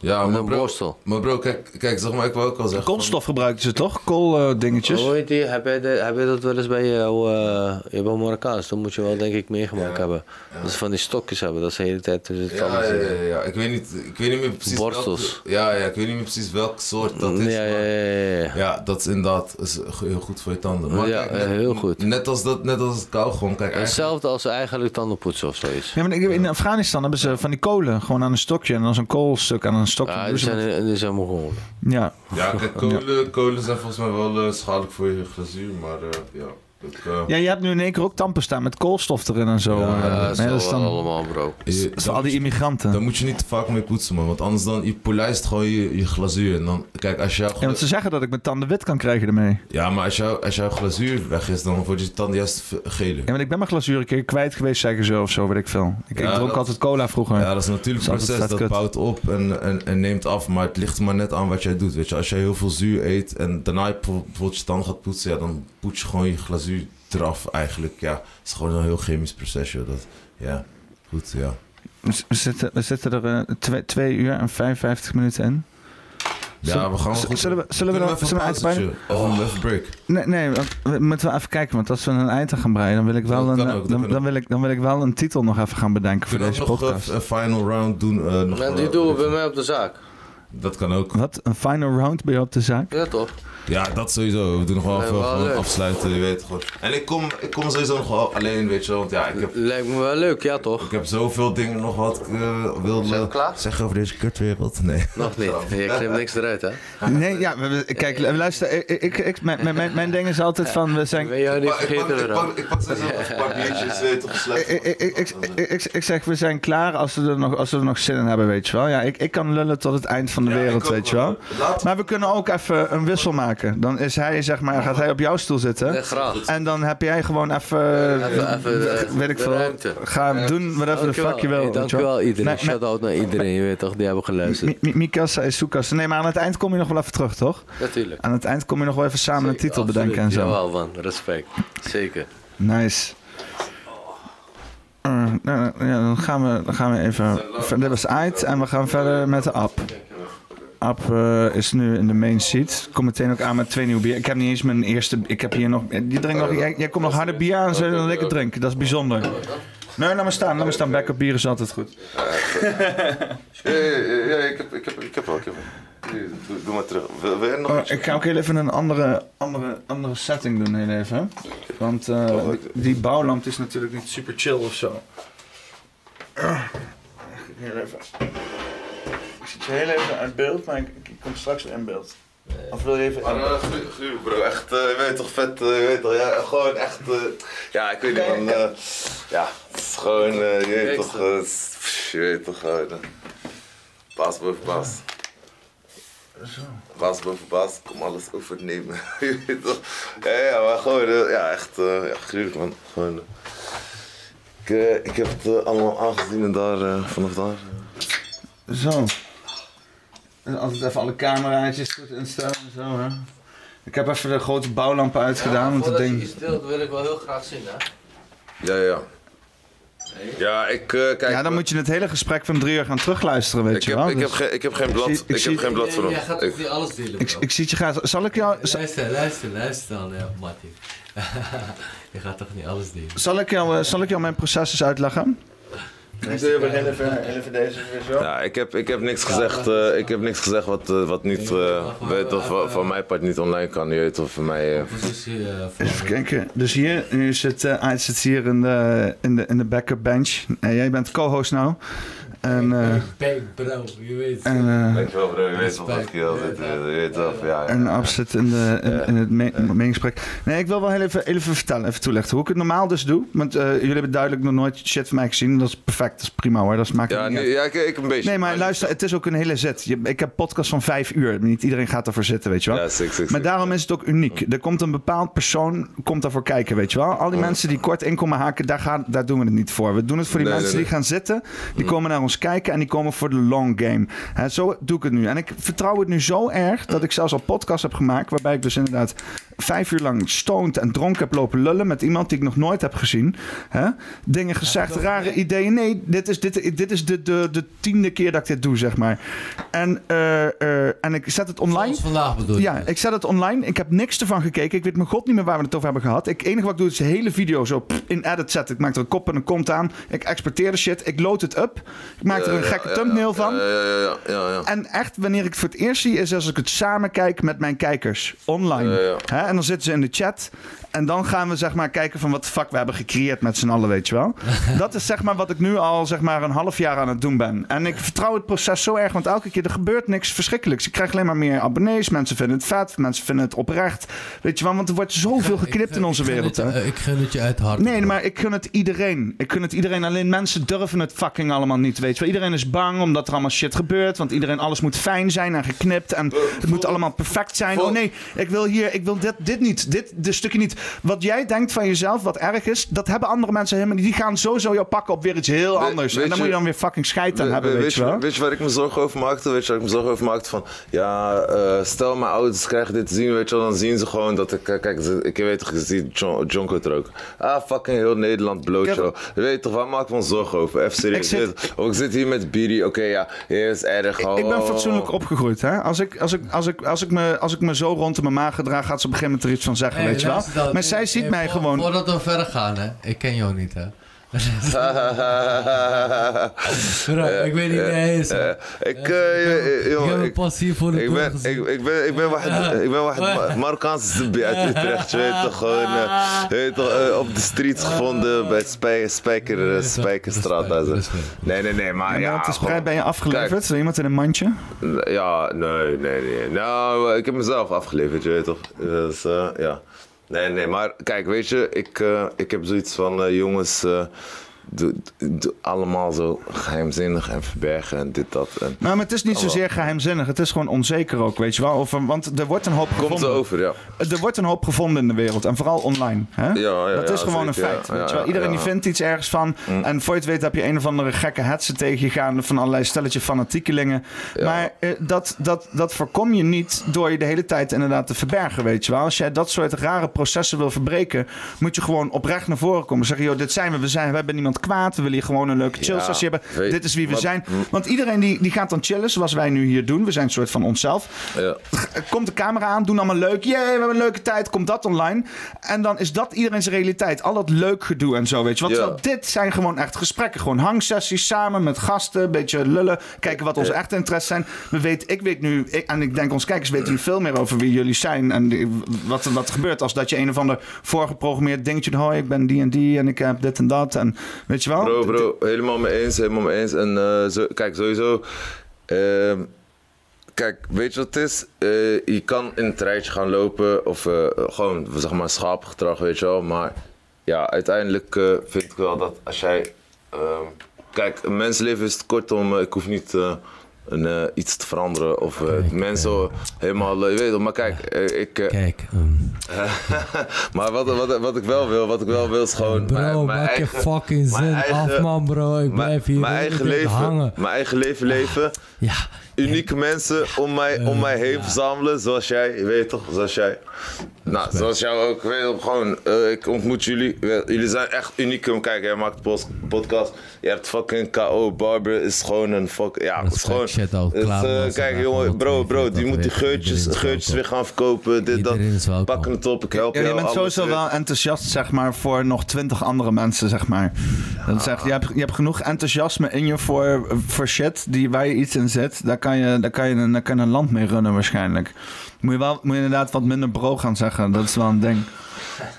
Ja,
Met
maar
een
bro,
borstel.
maar bro kijk, kijk, zeg maar, ik wil ook wel zeggen...
Koolstof gebruikten ze toch? Kool eh,
Dus?
dingetjes.
Hoe heet die? Heb jij, de- heb jij dat wel eens bij jou? eh, je bent Marokkaans, dan moet je wel denk ik meegemaakt hebben. Dat ze van die stokjes hebben, dat ze de hele tijd tussen de
Ja,
tanden
ja, ja,
zitten.
ja. Ik weet niet, ik weet niet meer precies
Borstels.
welk- ja, ja, ik weet niet meer precies welk soort dat is.
Ja, ja, ja, ja.
Ja, dat is inderdaad is go- heel goed voor je tanden. Maar
Ja,
kijk, net-
eh, heel goed.
Net als, dat, net als het kauwgom, kijk, eigenlijk...
Hetzelfde als eigenlijk tandenpoetsen of zoiets.
Ja, maar ik- in Afghanistan hebben ze van die kolen gewoon aan een stokje en dan zo'n koolstuk aan een stokje.
Ja, die
Dus-
zijn, die zijn Mongolen.
ja.
Ja, kijk, kolen, kolen zijn volgens mij wel eh, schadelijk voor je glazuur, maar eh, ja... Ik, eh,
ja, je hebt nu in één keer ook tampen staan met koolstof erin en zo. eh,
Ja,
nee,
dat
dat is
is
dan-
wel allemaal bro.
je-
dat is al die immigranten.
Daar moet je niet te vaak mee poetsen, man. Want anders dan, je polijst gewoon je, je glazuur. En dan, kijk, als jouw,
Ja, want ze zeggen dat ik mijn tanden wit kan krijgen ermee.
ja, maar als jouw, als jouw glazuur weg is, dan wordt je tanden juist v- geler.
Ja, want ik ben mijn glazuur een keer kwijt geweest, zeggen ze of zo, weet ik veel. Ik, ik
Ja,
dronk
dat-
altijd cola vroeger.
Ja, dat is natuurlijk een
Dat is altijd vet
proces. Dat
kut.
bouwt op en, en, en neemt af. Maar het ligt er maar net aan wat jij doet. Weet je, als jij heel veel zuur eet en daarna je bijvoorbeeld- bijvoorbeeld je tanden gaat poetsen, ja, dan poets je gewoon je glazuur eraf eigenlijk. Ja, het is gewoon een heel chemisch proces, joh. Dat, ja, goed, ja.
We- We, zitten, we zitten er eh, twee, twee uur en 55 minuten in.
Ja, we gaan
Z-
goed.
zullen we- zullen we
Doen
dan-
even
zullen we
een
uitbreiden?
pauzetje? Even een even break.
Nee, nee, want we moeten wel even kijken, want als we een eind aan gaan breien, dan wil ik wel
Dat
een,
kan ook, dat
dan,
kan
dan
ook.
wil ik, dan wil ik wel een titel nog even gaan bedenken voor
Kunnen
deze
we nog eh,
podcast.
een final round doen? eh, nog
Maar
wel-
die doen we bij mij op de zaak.
Dat kan ook.
Wat? Een final round bij jou op de zaak?
Ja toch?
Ja, dat sowieso. We doen nog wel
Nee,
even
wel
gewoon
leuk.
afsluiten, je weet gewoon. En ik kom, ik kom sowieso nog wel alleen, weet je wel. Want ja, ik heb,
Lijkt me wel leuk, ja toch?
ik heb zoveel dingen nog wat ik eh,
Zijn
wilde
we klaar?
zeggen over deze kutwereld. Nee.
Nog niet. Je knipt niks eruit hè?
Nee, ja, we- we- kijk, eh, luister, ik, ik, ik- mijn, mijn, mijn ding is altijd van, we zijn...
Ben jou niet
Maar ik pak,
vergeten
ik,
bro.
pak, ik pak sowieso nog een paar biertjes, weet je toch,
Ik,
slecht.
ik, ik, ik, ik, ik zeg, we zijn klaar als we, er nog, als we er nog zin in hebben, weet je wel. Ja, ik, ik kan lullen tot het eind van de
Ja, ik
wereld,
ook
weet je
wel.
wel.
Laat-
Maar we kunnen ook even een wissel maken. Dan is hij, zeg maar, gaat hij op jouw stoel
Ja,
zitten.
graag.
En dan heb jij gewoon even,
Even- even, eh,
weet ik
de
veel,
ruimte.
ga doen whatever the fuck je wil.
Hey,
weet je
dankjewel iedereen.
Nee, maar-
Shout-out naar iedereen, je weet toch? Die hebben geluisterd.
Mi- Mi- Mikasa is Soekas. Nee, maar aan het eind kom je nog wel even terug, toch?
Natuurlijk.
Aan het eind kom je nog wel even samen een titel bedenken en zo.
Jawel man, respect. Zeker.
Nice. Eh, nou, nou, ja, dan, gaan we, dan gaan we even. ver- Dit was uit en we gaan verder met de app. App eh, is nu in de main seat. Kom meteen ook aan met twee nieuwe bier. Ik heb niet eens mijn eerste. Ik heb hier nog. Je drinkt nog jij, jij komt nog harder bier aan zo dan ik het drink. Dat is bijzonder. Nee, laat maar staan. Laat maar staan. Backup bier is altijd goed.
Ja, ja, ja, ja, ik heb, ik heb, ik heb wel, ik heb wel. Hier, Doe, doe maar terug. Wil, wil jij nog
Oh,
iets?
ik ga ook heel even een andere, andere, andere setting doen, heel even. Want eh,
Oh,
die bouwlamp is natuurlijk niet super chill of zo. Heel even. Ik zit je heel even uit beeld, maar ik, ik kom straks weer in beeld. Of wil je even.
Maar eh, glu- glu, bro, echt, eh, je weet toch, vet, eh, je weet toch, ja, gewoon echt, eh, ja, ik weet niet, man, eh, ja, het is gewoon, eh, je weet toch, eh, het is- pff, je weet toch, gewoon, eh, baas boven baas. Baas boven baas, kom alles overnemen, je weet toch, ja, ja, maar gewoon, eh, ja, echt, eh, ja, gruwelijk, man, gewoon, eh. ik, eh, ik heb het eh, allemaal aangezien en daar, eh, vanaf daar.
Zo. En Altijd even alle cameraatjes goed instellen en zo, hè. Ik heb even de grote bouwlampen uitgedaan, want het ding.
deelt, wil ik wel heel graag zien hè.
Ja, ja. Ja, ik, eh, kijk...
Ja, dan moet je het hele gesprek van drie uur gaan terugluisteren, weet
Ik
je
heb,
wel.
ik,
Dus
heb geen, ik heb geen blad,
zie-
ik
ik zie-
heb geen blad voor hem. Ik-
niet alles delen
ik, ik zie het je graag. Zal ik jou. zal-
Luister, luister, luister dan ja, Martin. je gaat toch niet alles delen?
Zal ik jou, eh, zal ik jou mijn proces eens uitleggen?
Ja, ik heb, ik heb niks gezegd, eh, ik heb niks gezegd wat, eh, wat niet, eh, weet of wa- van mijn part niet online kan, je weet of van mij... eh.
Positie uh,
Even kijken. Dus hier, nu zit, eh Aad zit hier in de, in de, in de backup bench. En jij bent Eh, co-host nou. En, eh,
Bang, bro, je weet.
En, eh,
Dankjewel bro, je weet toch wat ik hier altijd, eh, je weet zelf, ja. ja.
En absoluut in, de, in, in het me- meegesprek. Nee, ik wil wel heel even, heel even vertellen, even toelichten hoe ik het normaal dus doe. Want eh, jullie hebben duidelijk nog nooit shit van mij gezien. Dat is perfect, dat is prima hoor. Dat maakt
Ja,
het niet
nee,
uit.
ja, ik, ik een beetje.
Nee, maar luister, het is ook een hele zet. Je- ik heb podcast van vijf uur. Niet iedereen gaat daarvoor zitten, weet je wel.
Ja, sick, sick,
Maar daarom is het ook uniek. Er komt een bepaald persoon komt daarvoor kijken, weet je wel. Al die mensen die kort in komen haken, daar, gaan, daar doen we het niet voor. We doen het voor die
Nee,
mensen
nee, Mm.
die gaan zitten. Die komen naar ons kijken en die komen voor de long game. Hè, zo doe ik het nu. En ik vertrouw het nu zo erg dat ik zelfs al podcast heb gemaakt... waarbij ik dus inderdaad vijf uur lang stoned en dronken heb lopen lullen... met iemand die ik nog nooit heb gezien. Hè? Dingen gezegd, rare ideeën. Nee, dit is, dit, dit is de, de, de tiende keer dat ik dit doe, zeg maar. En, eh, eh, en ik zet het online.
vandaag bedoel je?
Ja, ik zet het online. Ik heb niks ervan gekeken. Ik weet mijn god niet meer waar we het over hebben gehad. Het enige wat ik doe is de hele video zo pff, in edit zetten. Ik maak er een kop en een kont aan. Ik exporteer de shit. Ik load het up. Ik maak er een
Ja,
gekke
ja,
thumbnail
ja,
van.
Ja, ja, ja, ja, ja.
En echt, wanneer ik het voor het eerst zie, is als ik het samen kijk met mijn kijkers online.
Ja, ja.
Hè? En dan zitten ze in de chat. En dan gaan we zeg maar kijken van wat de fuck we hebben gecreëerd met z'n allen, weet je wel. Dat is zeg maar wat ik nu al zeg maar een half jaar aan het doen ben. En ik vertrouw het proces zo erg, want elke keer er gebeurt niks verschrikkelijks. Ik krijg alleen maar meer abonnees. Mensen vinden het vet, mensen vinden het oprecht. Weet je wel, want er wordt zoveel geknipt in onze wereld. hè.
Ik gun het je uit hart.
Nee, maar ik gun het iedereen. Ik gun het iedereen. Alleen mensen durven het fucking allemaal niet. Weet je wel. Iedereen is bang omdat er allemaal shit gebeurt. Want iedereen, alles moet fijn zijn en geknipt. En
Eh,
het moet allemaal perfect zijn. Oh nee, ik wil hier, ik wil dit, dit niet. Dit, dit stukje niet. Wat jij denkt van jezelf, wat erg is, dat hebben andere mensen helemaal niet. Die gaan sowieso jou pakken op weer iets heel
We-
anders. En
weet
dan
je-
moet je dan weer fucking scheid aan hebben,
We-
weet, je wel.
Weet je waar ik me zorgen over maakte? Weet je waar ik me zorgen over maakte? Van, ja, eh, stel mijn ouders krijgen dit te zien, weet je wel, dan zien ze gewoon dat ik... eh, Kijk, ze- ik weet toch, je ziet John, Jonko er ook. Ah, fucking heel Nederland bloot,
Ja.
joh. Je weet toch, waar maken we ons zorgen over? Even serieus.
Ik
Ik
zit-
zit, oh, ik zit hier met Biri, oké, ja, hier is erg.
Ik ben
oh.
fatsoenlijk opgegroeid. Hè? Als, ik, als, ik, als, ik, als, ik me, als ik me zo rond in mijn maag gedraag, gaat ze op een gegeven moment er iets van zeggen.
Hey,
weet je wel?
luister dan.
Maar zij
Hey,
ziet
hey,
mij
voor-
gewoon.
Voordat we verder gaan, hè. Ik ken jou niet, hè. Bro, Eh, ik weet niet wie hij is. hè.
Ik, eh, eh,
ik heb
jongen,
een
ik...
passie voor de
Ik ben, ik, ik ben, ik ben Wahid, ik ben Wahid Marokkaanse zombie uit Utrecht. Je weet toch gewoon, eh, je weet toch, eh, op de streets gevonden bij Spij, Spijker, eh, Spijkerstraat. daar zo. Nee, nee, nee, maar Ah, ja.
Ja, het is
gewoon-
vrij ben je afgeleverd
Kijk.
door iemand in een mandje.
Ja, nee, nee, nee. Nou, ik heb mezelf afgeleverd, je weet toch? Dus, eh, ja. Nee, nee, maar kijk, weet je, ik, eh, ik heb zoiets van, eh, jongens, eh, doe, doe allemaal zo geheimzinnig en verbergen en dit, dat. En...
Nou, maar het is
Oh,
niet zozeer geheimzinnig. Het is gewoon onzeker ook, weet je wel. Of, eh, want er wordt een hoop
Komt
gevonden.
zo over, ja.
Eh, Er wordt een hoop gevonden in de wereld. En vooral online. Hè?
Ja, ja,
dat is
ja,
gewoon
zeker,
een feit.
ja,
weet je
ja,
wel.
ja,
Iedereen
ja. Mm.
die vindt iets ergens van. En voor je het weet heb je een of andere gekke hetsen tegengegaan. Van allerlei stelletje fanatiekelingen. Maar eh, dat, dat, dat voorkom je niet door je de hele tijd inderdaad te verbergen, weet je wel. Als jij dat soort rare processen wil verbreken, moet je gewoon oprecht naar voren komen. Zeggen, joh, dit zijn we. We, zijn, we hebben niemand kwaad. We willen hier gewoon een leuke chill
Ja,
sessie hebben.
weet- mm.
dit is wie we
maar-
zijn. Want iedereen die, die gaat dan chillen, zoals wij nu hier doen. We zijn een soort van onszelf.
ja.
eh, Komt de camera aan, doen allemaal leuk. Jee, we hebben een leuke tijd. Komt dat online. En dan is dat iedereen zijn realiteit. Al dat leuk gedoe en zo, weet je. Want
Ja.
terwijl dit zijn gewoon echt gesprekken. Gewoon hangsessies samen met gasten. Een beetje lullen. Kijken wat onze echte interesses zijn. We weten, ik weet nu, ik- en ik denk ons kijkers weten nu veel meer over wie jullie zijn. En die- wat, wat er gebeurt als dat je een of ander voorgeprogrammeerd dingetje. Hoi, ik ben die en die en ik heb dit en dat. En weet je wel?
Oh,
Bro, bro, helemaal mee eens, helemaal mee eens. En eh, zo, kijk, sowieso. ehm, kijk, weet je wat het is? Eh, je kan in het rijtje gaan lopen of eh, gewoon, zeg maar, schaapgedrag, weet je wel. Maar ja, uiteindelijk eh, vind ik wel dat als jij. ehm, kijk, een mensleven is te kort om. eh, ik hoef niet. eh, een, eh, iets te veranderen of eh, mensen helemaal, eh, je weet het, maar kijk, eh, ik, eh,
Kijk, ehm,
maar wat, wat, wat ik wel wil, wat ik wel wil is gewoon
bro,
mijn, mijn
maak je
eigen,
fucking
mijn
zin
eigen-
af, man, bro. Ik
mijn,
blijf hier
mijn
de hele
eigen
tijd
leven,
hangen.
Mijn eigen leven leven.
Ja, Eh,
Unieke mensen om mij, om mij heen verzamelen, zoals jij, je weet je toch, zoals jij. Nou, zoals jou ook, ik weet je, gewoon, eh, ik ontmoet jullie, We- jullie zijn echt unicum. Kijk, jij maakt pos- podcast, je hebt fucking KO, Barber is gewoon een fuck, ja, het is
Respect,
gewoon...
shit ook,
het is,
klaar,
eh,
man,
kijk
vandaag
jongen,
moet
bro,
iedereen
bro, die
dat
moet die
weten,
geurtjes,
iedereen is
geurtjes
welkom.
weer gaan verkopen, dit, dat,
Iedereen is welkom.
pak het op, ik help
Ja, je
jou,
bent
alles,
sowieso
je weet-
wel enthousiast, zeg maar, voor nog twintig andere mensen, zeg maar. Dat is echt, je, hebt, je hebt genoeg enthousiasme in je voor, voor shit die, waar je iets in zit. Daar kan je, daar kan je, een- daar kan je een land mee runnen waarschijnlijk. Moet je, wel, moet je inderdaad wat minder bro gaan zeggen. Dat is wel een ding.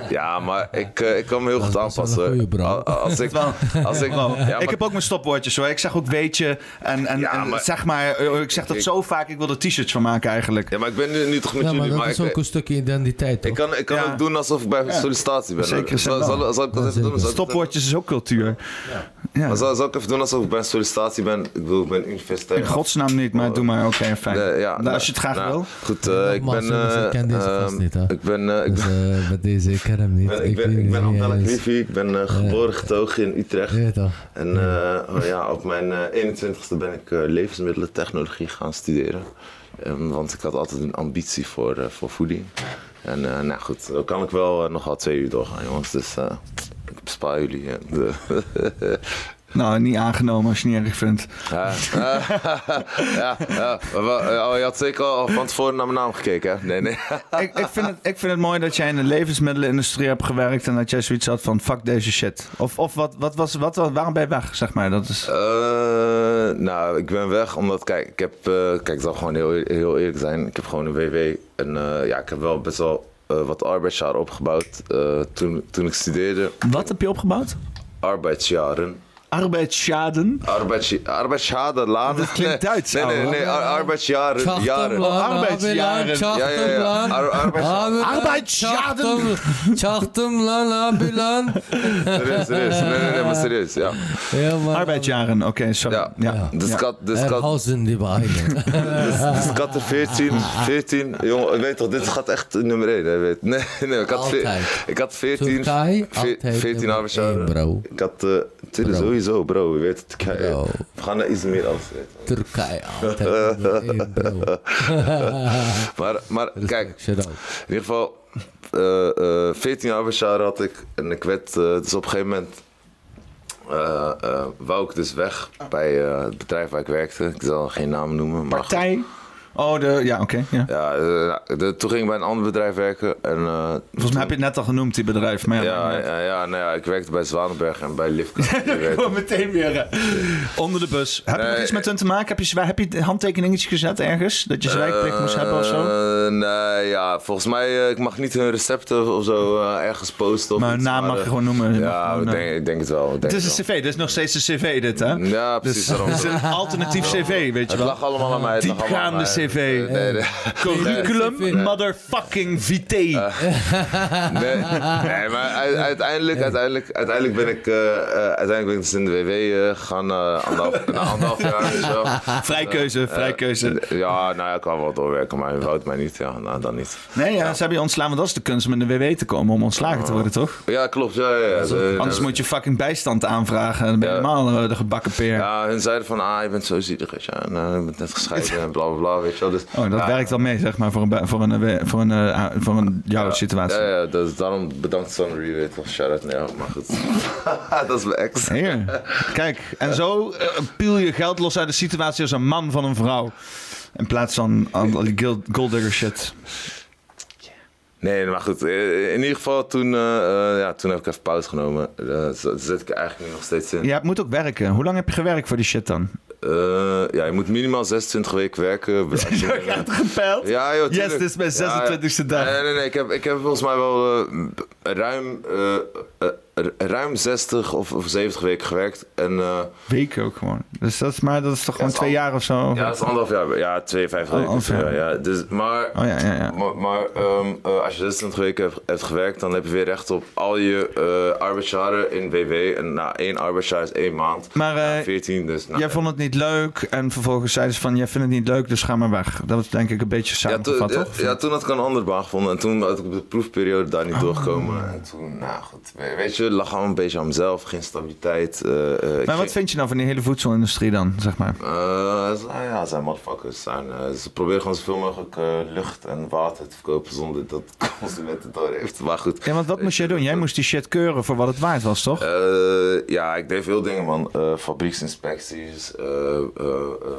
Ja, maar ik, eh, ik kan me heel goed aanpassen. Al- al- Als ik, als ik,
Bro,
ja,
ik
maar
heb ook mijn stopwoordjes hoor. Ik zeg ook weet je. En, en, en
maar-
zeg maar, eh, ik zeg dat
Ik-
zo vaak. Ik wil er t-shirts van maken eigenlijk.
Ja, maar ik ben nu, nu toch met
Ja, maar
jullie,
dat
maar
is
ik-
ook een stukje identiteit, toch?
Ik kan, ik kan ook doen alsof ik bij
Ja.
sollicitatie ben.
Zeker,
zal,
zeker.
zal, zal ik dat even doen? Zal ik dat-
Stopwoordjes is ook cultuur.
Maar zal, zal ik even doen alsof ik bij sollicitatie ben? Ik bedoel, ik ben universitair.
In godsnaam niet, maar doe maar. Oké, fijn.
Nee, ja,
Nou, als je het graag
nou,
wil.
Goed, eh, ik ben...
Nogmaals, jongens, ik ken deze
eh,
gast niet, hè.
Ik ben... eh, ik
Dus eh, met deze, ik ken hem niet.
ben- ik ben, ik ben
niet
Abdelak
eens.
Lifi, ik ben eh, geboren getogen in Utrecht.
Ja, toch.
En eh, oh ja, op mijn eh, 21ste ben ik eh, levensmiddelentechnologie gaan studeren. Ehm, want ik had altijd een ambitie voor, eh, voor voeding. En eh, nou goed, zo kan ik wel eh, nog wel twee uur doorgaan, jongens. Dus eh, ik bespaar jullie. eh, de-
Nou, niet aangenomen als je het niet erg vindt.
Ja, eh, ja, ja, maar wel, eh, oh, je had zeker al van tevoren naar mijn naam gekeken, hè? Nee, nee.
ik, ik, vind het, ik vind het mooi dat jij in de levensmiddelenindustrie hebt gewerkt en dat jij zoiets had van fuck deze shit. Of, of wat, wat was, wat, wat- waarom ben je weg, zeg maar? Dat is...
Eh, nou, ik ben weg omdat, kijk, ik heb, eh, kijk, ik zal gewoon heel, heel eerlijk zijn. Ik heb gewoon een WW en eh, ja, ik heb wel best wel eh, wat arbeidsjaren opgebouwd eh, toen, toen ik studeerde.
Wat heb je opgebouwd?
Arbeidsjaren.
Arbeidsschaden.
Arbeids, arbeidsjaren, laden.
Dat klinkt Duits,
Nee, nee,
ouwe.
nee, ar- arbeidsjaren. Jaren.
Schachtenplan,
arbeidsjaren.
Abelan,
Ja, ja, ja. Ar- arbeidsjaren.
Arbeidsjaden. Schachtenplan, Abelan.
Serieus, serieus. Nee, nee, nee, maar serieus, ja.
Ja, maar...
Arbeidsjaren, oké, sorry. Ja.
Dus ik had,
Eh,
dus ik had-
Herhausen, die behind.
Dus, dus ik had er 14, 14. Jongen, ik weet toch, dit gaat echt nummer 1. Hè, weet. Nee, nee, ik had, veer-
Altijd.
ik had 14.
Turkije,
veer-
altijd
14
nummer één,
arbeidsjaren.
bro.
Ik had. eh tuurlijk,
Bro.
sowieso, bro. Je weet het. Turkije.
Bro.
We gaan naar Izmir af. weet je.
Turkije, altijd nummer één, bro.
Maar, maar
Dus
kijk, in
Shout out.
ieder geval. eh, eh, 14 arbeidsjaren had ik. En ik werd. eh, dus op een gegeven moment. eh, eh, wou ik dus weg bij eh, het bedrijf waar ik werkte. Ik zal geen naam noemen. Maar goed.
Partij. Oh, de, ja, oké. ja.
Ja, eh, nou, de- toen ging ik bij een ander bedrijf werken. En, eh,
Volgens mij heb je het net al genoemd, die bedrijf. Maar ja,
Ja, ja, ja, nou ja, ik werkte bij Zwanenberg en bij Lifka. Je weet het.
Gewoon meteen weer eh, onder de bus. Heb je nog
Nee.
iets met hun te maken? Heb je, zwa- heb je handtekeningetjes gezet ergens? Dat je zwijgplicht moest hebben of zo?
Eh, nee, ja, volgens mij, eh, ik mag niet hun recepten of zo eh, ergens posten. Of
Maar hun
iets,
naam mag
eh,
je gewoon noemen. Je mag
Ja,
gewoon,
ik
eh,
denk, ik denk het wel. ik Denk
Het is
het
een cv, dit is nog steeds een cv dit, hè?
wel. Ja, precies.
Dus
daarom.
het is een alternatief cv, weet je
Het
wel.
lag allemaal aan mij. het lag allemaal aan
Diepgaande
mij.
cv.
Nee, nee. Eh,
Curriculum motherfucking vitae.
Nee, nee maar u- uiteindelijk, uiteindelijk, uiteindelijk ben ik, eh, eh, uiteindelijk ben ik dus in de WW eh, gegaan eh, anderhalf, na anderhalf jaar. en zo. eh,
Vrijkeuze, vrijkeuze.
Ja, nou ja, ik kan wel doorwerken, maar je houdt mij niet. Ja, nou, dan niet.
Nee, ja, ze hebben je ontslaan, want dat is de kunst om in de WW te komen om ontslagen te worden, toch?
Oh. Ja, klopt. Ja, ja, ja. Ze-
Anders moet je fucking bijstand aanvragen en dan ben je
Ja.
helemaal eh, de gebakken peer.
Ja, hun zeiden van, ah, je bent zo zielig, weet je. En, eh, je bent net gescheiden en bla, bla, bla, weet je wel. Dus,
Oh, dat
ja,
werkt wel mee, zeg maar, voor een, bij- voor een, eh, voor een, eh, ah, voor een jouw situatie.
Ja, ja, dus daarom bedankt Sunry, weet je wel. Shout-out naar jou, maar goed. dat is mijn ex.
Hier, kijk. En zo eh, piel je geld los uit de situatie als een man van een vrouw. In plaats van eh, al die guild- gold digger shit.
Nee, maar goed. eh, In ieder geval, toen, eh, eh, ja, toen heb ik even pauze genomen. Eh, Dat dat zit ik er eigenlijk nu nog steeds in.
Je hebt- moet ook werken. Hoe lang heb je gewerkt voor die shit dan?
Eh, ja, je moet minimaal 26 weken werken. Als je-
Gepeld?
Ja, joh, tuurlijk.
Yes, dit is mijn
Ja, ja.
26e dag.
Nee, nee, nee. Ik heb, ik heb volgens mij wel eh, ruim, eh, eh, eh, ruim 60 of, of 70 weken gewerkt. En eh,
Weken ook gewoon. Dus dat is, maar dat is toch gewoon
is
twee
al-
jaar of zo?
ja, dat is anderhalf jaar. Ja, 52
Oh,
weken. of zo,
anderhalf
ja, dus, maar
Oh ja, ja, ja.
maar, maar, ehm, eh, als je 26 weken hebt, hebt gewerkt, dan heb je weer recht op al je eh arbeidsjaren in WW. En na één arbeidsjaar is één maand.
Maar eh,
14, dus nou,
jij vond het niet leuk en vervolgens zeiden ze van... jij vindt het niet leuk, dus ga maar weg. Dat was denk ik een beetje
Ja, toen,
samengevat,
ja,
toch?
ja, toen had ik een andere baan gevonden en toen had ik op de proefperiode daar niet
Oh.
doorgekomen. En toen, nou goed, we- weet je, het lag allemaal een beetje aan mezelf, geen stabiliteit. eh, eh,
Maar
ik
wat
ging-
vind je nou van die hele voedselindustrie dan, zeg maar?
Eh, ze- ah ja, ze zijn motherfuckers. ze Zijn, eh, ze proberen gewoon zoveel mogelijk eh, lucht en water te verkopen zonder dat de consument het door heeft. Maar goed.
Ja, want wat moest jij doen? Jij moest die shit keuren voor wat het waard was, toch?
Eh, ja, ik deed veel dingen, man. Eh, fabrieksinspecties, eh, eh, eh,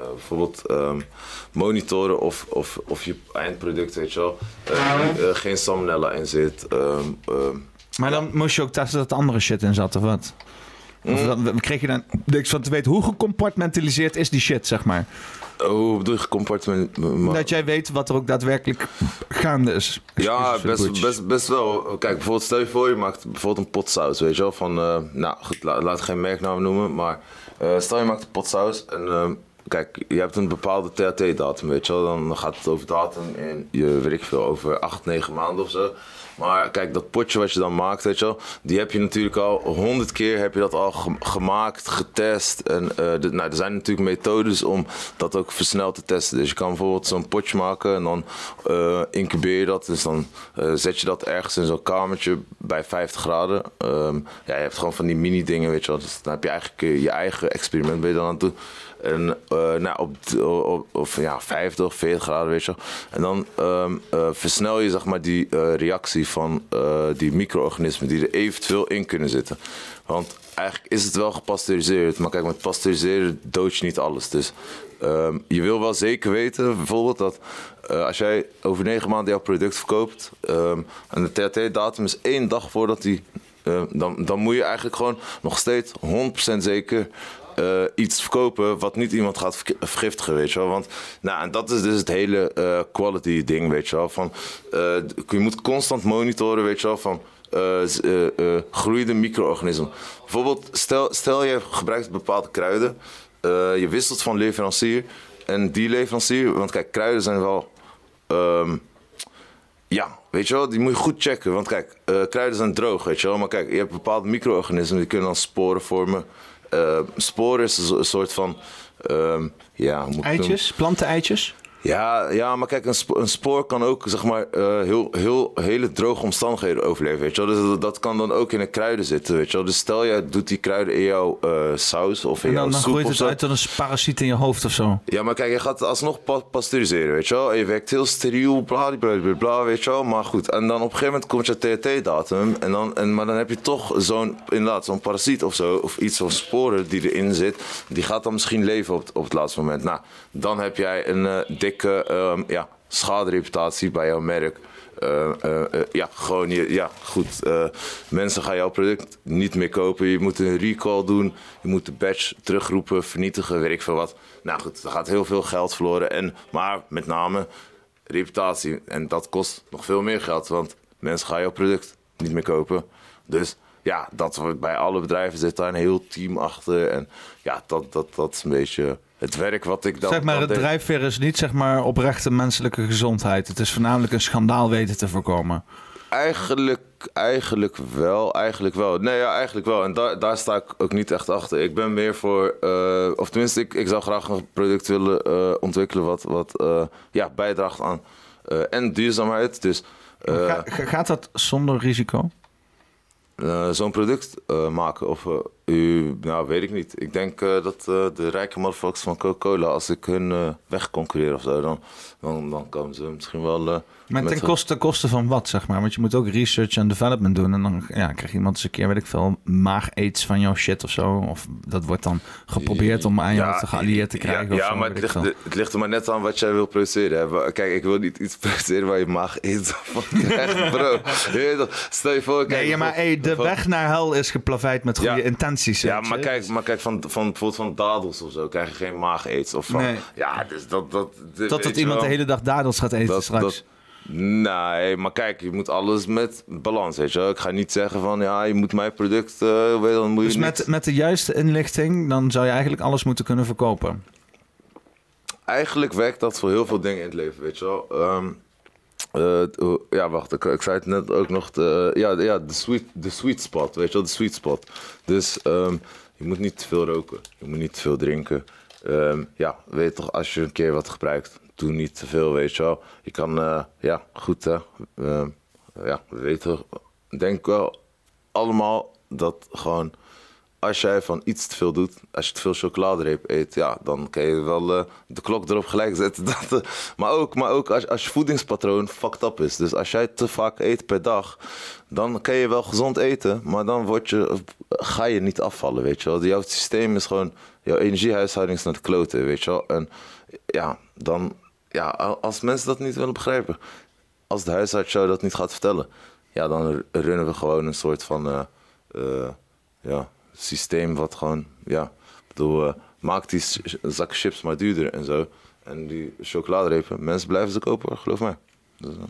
eh, bijvoorbeeld ehm, monitoren of, of, of je eindproduct, weet je wel, eh, eh, geen salmonella in zit. ehm, ehm,
Maar dan moest je ook testen dat er andere shit in zat, of wat?
Mm.
Of dan, dan kreeg je dan niks van te weten. Hoe gecompartmentaliseerd is die shit, zeg maar?
eh, Hoe bedoel je gecompartment?
Dat jij weet wat er ook daadwerkelijk gaande is.
Ja,
Excuses voor de
best,
boertjes.
best, best wel. Kijk, bijvoorbeeld stel je voor, je maakt bijvoorbeeld een potsaus, weet je wel. Van, eh, nou goed, la- laat ik geen merknaam noemen, maar eh, stel je maakt een potsaus en eh, kijk, je hebt een bepaalde THT-datum, weet je wel. Dan gaat het over datum en je, weet ik veel, over 8, 9 maanden of zo. Maar kijk, dat potje wat je dan maakt, weet je wel, die heb je natuurlijk al honderd keer heb je dat al ge- gemaakt, getest. En eh, de- nou, er zijn natuurlijk methodes om dat ook versneld te testen. Dus je kan bijvoorbeeld zo'n potje maken en dan eh, incubeer je dat. Dus dan eh, zet je dat ergens in zo'n kamertje bij 50 graden. Ehm, ja, je hebt gewoon van die mini dingen, weet je wel. Dus dan heb je eigenlijk eh, je eigen experiment ben je dan aan het doen. En eh, nou, op, op, of, ja, 50 of 40 graden, weet je wel. En dan ehm, eh, versnel je zeg maar, die eh, reactie van eh, die micro-organismen die er eventueel in kunnen zitten. Want eigenlijk is het wel gepasteuriseerd, maar kijk, met pasteuriseren dood je niet alles. Dus ehm, je wil wel zeker weten, bijvoorbeeld, dat eh, als jij over 9 maanden jouw product verkoopt ehm, en de THT-datum is één dag voordat die. eh, dan, dan moet je eigenlijk gewoon nog steeds 100% zeker eh, iets verkopen wat niet iemand gaat verk- vergiftigen, weet je wel. Want nou, en dat is dus het hele eh, quality ding, weet je wel. Van, eh, je moet constant monitoren, weet je wel, van eh, z- eh, eh, groeiende micro-organismen. Bijvoorbeeld, stel, stel je gebruikt bepaalde kruiden, eh, je wisselt van leverancier en die leverancier, want kijk, kruiden zijn wel... ehm, ja, weet je wel, die moet je goed checken. Want kijk, eh, kruiden zijn droog, weet je wel. Maar kijk, je hebt bepaalde micro-organismen die kunnen dan sporen vormen. Eh, sporen is een zo- een soort van. ehm, ja, hoe moet ik het noemen?
Eitjes, planten-eitjes.
Ja, ja, maar kijk, een, spo- een spoor kan ook zeg maar, eh, heel, heel, hele droge omstandigheden overleven. Weet je wel? Dus dat, dat kan dan ook in de kruiden zitten. Weet je wel? Dus stel jij doet die kruiden in jouw eh, saus of in
En
jouw
dan, dan
soep.
groeit
of
het
zo.
uit tot een parasiet in je hoofd of zo.
Ja, maar kijk, je gaat alsnog pa- pasteuriseren, weet je wel. En je werkt heel steriel, bla, bla, bla, bla, weet je wel. Maar goed, en dan op een gegeven moment komt je THT-datum. En dan, en, maar dan heb je toch zo'n, inderdaad, zo'n parasiet of zo. Of iets van sporen die erin zit. Die gaat dan misschien leven op, het- op het laatste moment. Nou, dan heb jij een eh, dikke ehm, ja, schadereputatie bij jouw merk. Eh, eh, eh, ja, gewoon, je, ja, goed. eh, mensen gaan jouw product niet meer kopen. Je moet een recall doen. Je moet de badge terugroepen, vernietigen, weet ik veel wat. Nou goed, er gaat heel veel geld verloren. En, maar met name reputatie. En dat kost nog veel meer geld, want mensen gaan jouw product niet meer kopen. Dus ja, dat wordt bij alle bedrijven zit daar een heel team achter. En ja, dat, dat, dat is een beetje het werk wat ik dan...
zeg maar,
dan
het
deed.
drijfveer is niet zeg maar, oprechte menselijke gezondheid. Het is voornamelijk een schandaal weten te voorkomen.
Eigenlijk, eigenlijk wel, eigenlijk wel. Nee, ja, eigenlijk wel. En daar daar sta ik ook niet echt achter. Ik ben meer voor, eh, of tenminste, ik, ik zou graag een product willen eh, ontwikkelen wat, wat eh, ja, bijdraagt aan eh, en duurzaamheid. Dus eh,
Ga- ga- gaat dat zonder risico?
eh, zo'n product eh, maken of eh, u, nou weet ik niet. Ik denk eh, dat eh, de rijke motherfuckers van Coca-Cola, als ik hun eh, wegconcurreer of zo, dan, dan, dan komen ze misschien wel. eh,
Maar
met
ten
hun-
koste, ten koste van wat, zeg maar? Want je moet ook research en development doen. En dan ja, krijgt iemand eens een keer, weet ik veel, maag-aids van jouw shit of zo. Of dat wordt dan geprobeerd om aan jou te geallieerd te krijgen.
Ja,
of
ja,
zo,
maar het
weet ik
ligt,
veel.
het ligt er maar net aan wat jij wil produceren. hè. Wa- Kijk, ik wil niet iets produceren waar je maag eet van krijgt, bro. Je weet toch, Stel je voor, kijk...
Nee, ja, maar hey, de
bijvoorbeeld-
weg naar hel is geplaveid met goede intenties.
Ja,
weet je.
maar kijk, maar kijk van, van, bijvoorbeeld van dadels of zo krijg je geen maag eet. Of van,
Nee.
Ja, dus dat... Dat, dit-
Totdat
weet je
iemand de
wel.
hele dag dadels gaat eten straks.
Nee, maar kijk, je moet alles met balans, weet je wel. Ik ga niet zeggen van, ja, je moet mijn product... eh, weet je, dan moet je
dus
niet-
met, met de juiste inlichting, dan zou je eigenlijk alles moeten kunnen verkopen.
eigenlijk werkt dat voor heel veel dingen in het leven, weet je wel. Ehm, eh, t- oh, ja, wacht, ik, ik zei het net ook nog. De, ja, de- ja de, sweet, de sweet spot, weet je wel, de sweet spot. Dus ehm, je moet niet te veel roken, je moet niet te veel drinken. Ehm, ja, weet toch, als je een keer wat gebruikt, doe niet te veel, weet je wel. Je kan, eh, ja, goed hè. Ehm, ja, weet toch, denk wel allemaal dat gewoon als jij van iets te veel doet, als je te veel chocoladereep eet, ja, dan kan je wel eh, de klok erop gelijk zetten. Dat, eh, maar ook, maar ook als, als je voedingspatroon fucked up is. Dus als jij te vaak eet per dag, dan kan je wel gezond eten, maar dan word je, ga je niet afvallen, weet je wel. Jouw systeem is gewoon, jouw energiehuishouding is naar de kloten, weet je wel. En ja, dan, ja, als mensen dat niet willen begrijpen, als de huisarts jou dat niet gaat vertellen, ja, dan r- runnen we gewoon een soort van, eh, eh, ja, systeem wat gewoon, ja, ik bedoel, eh, maak die s- zak chips maar duurder en zo. En die chocoladerepen, mensen blijven ze kopen, hoor, geloof mij. Dus, eh,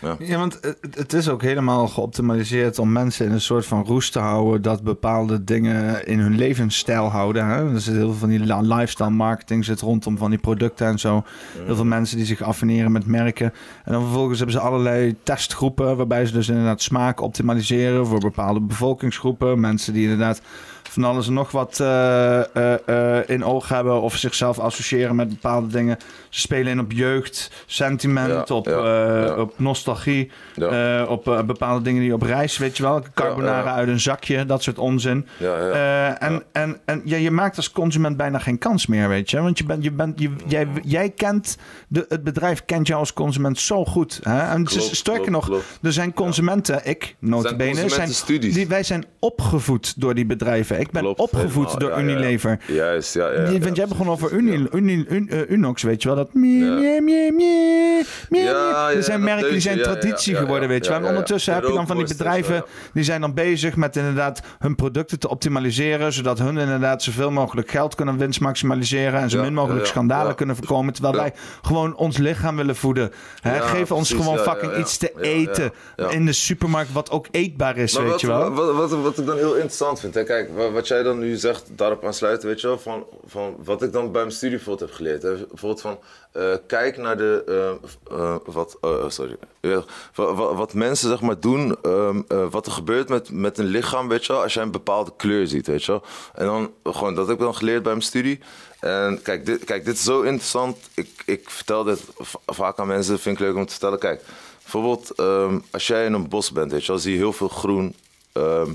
ja.
Ja, want het, het is ook helemaal geoptimaliseerd om mensen in een soort van roest te houden. Dat bepaalde dingen in hun levensstijl houden. Hè? Er zit heel veel van die la- lifestyle marketing zit rondom van die producten en zo. Heel veel mensen die zich affineren met merken. En dan vervolgens hebben ze allerlei testgroepen. Waarbij ze dus inderdaad smaak optimaliseren voor bepaalde bevolkingsgroepen. Mensen die inderdaad van alles en nog wat eh, eh, eh, in oog hebben. Of zichzelf associëren met bepaalde dingen. Ze spelen in op jeugd, sentiment, op, eh, op nostalgie. eh, op eh, bepaalde dingen die op reis, weet je wel. Carbonara
ja, ja.
uit een zakje, dat soort onzin.
Ja, ja.
Eh, en en, en ja, je maakt als consument bijna geen kans meer, weet je. Want je bent, je bent, je, jij,
Mm.
jij kent, de, het bedrijf kent jou als consument zo goed. Hè? En het is-
Klopt,
sterker
klopt,
nog,
klopt.
er zijn consumenten, ik, notabene, zijn,
consumentenstudies.
die, wij zijn opgevoed door die bedrijven. Ik ben opgevoed
helemaal,
door
ja, ja, ja.
Unilever.
Juist, ja, ja.
Die-
ja.
want jij begon over Uni, Uni- Un- eh, Unox, weet je wel. Dat mie, mie, mie, mie, mie,
Ja,
mie.
ja,
Er zijn
dat
merken die
deuntje,
zijn
ja, ja,
traditie
ja, ja,
geworden, weet je wel.
ja,
En
ja, ja.
ondertussen
De
heb je dan van die
rookworst en zo,
bedrijven... die zijn dan bezig met inderdaad hun producten te optimaliseren... zodat hun inderdaad zoveel mogelijk geld kunnen winst maximaliseren... en zo
Ja,
min mogelijk
ja, ja,
schandalen
ja.
kunnen voorkomen... terwijl wij gewoon ons lichaam willen voeden. Hè,
Ja,
Geef ons
precies,
gewoon
ja, ja,
fucking
ja.
iets te
Ja, ja,
eten
ja.
in de supermarkt... wat ook eetbaar is,
Maar
weet
wat,
je wel.
Wat, wat, wat ik dan heel interessant vind, hè? kijk, wa- wat jij dan nu zegt, daarop aansluiten, weet je wel, van, van wat ik dan bij mijn studie bijvoorbeeld heb geleerd. Hè? Bijvoorbeeld van, eh, kijk naar de, eh, v- eh, wat, eh, sorry, Ja, wa- wa- wat mensen zeg maar doen, ehm, eh, wat er gebeurt met, met een lichaam, weet je wel, als jij een bepaalde kleur ziet, weet je wel. En dan, gewoon, dat heb ik dan geleerd bij mijn studie. En kijk, dit, kijk, dit is zo interessant. Ik, ik vertel dit va- vaak aan mensen, vind ik leuk om te vertellen. Kijk, Bijvoorbeeld, ehm, als jij in een bos bent, weet je, wel, zie je heel veel groen. Ehm,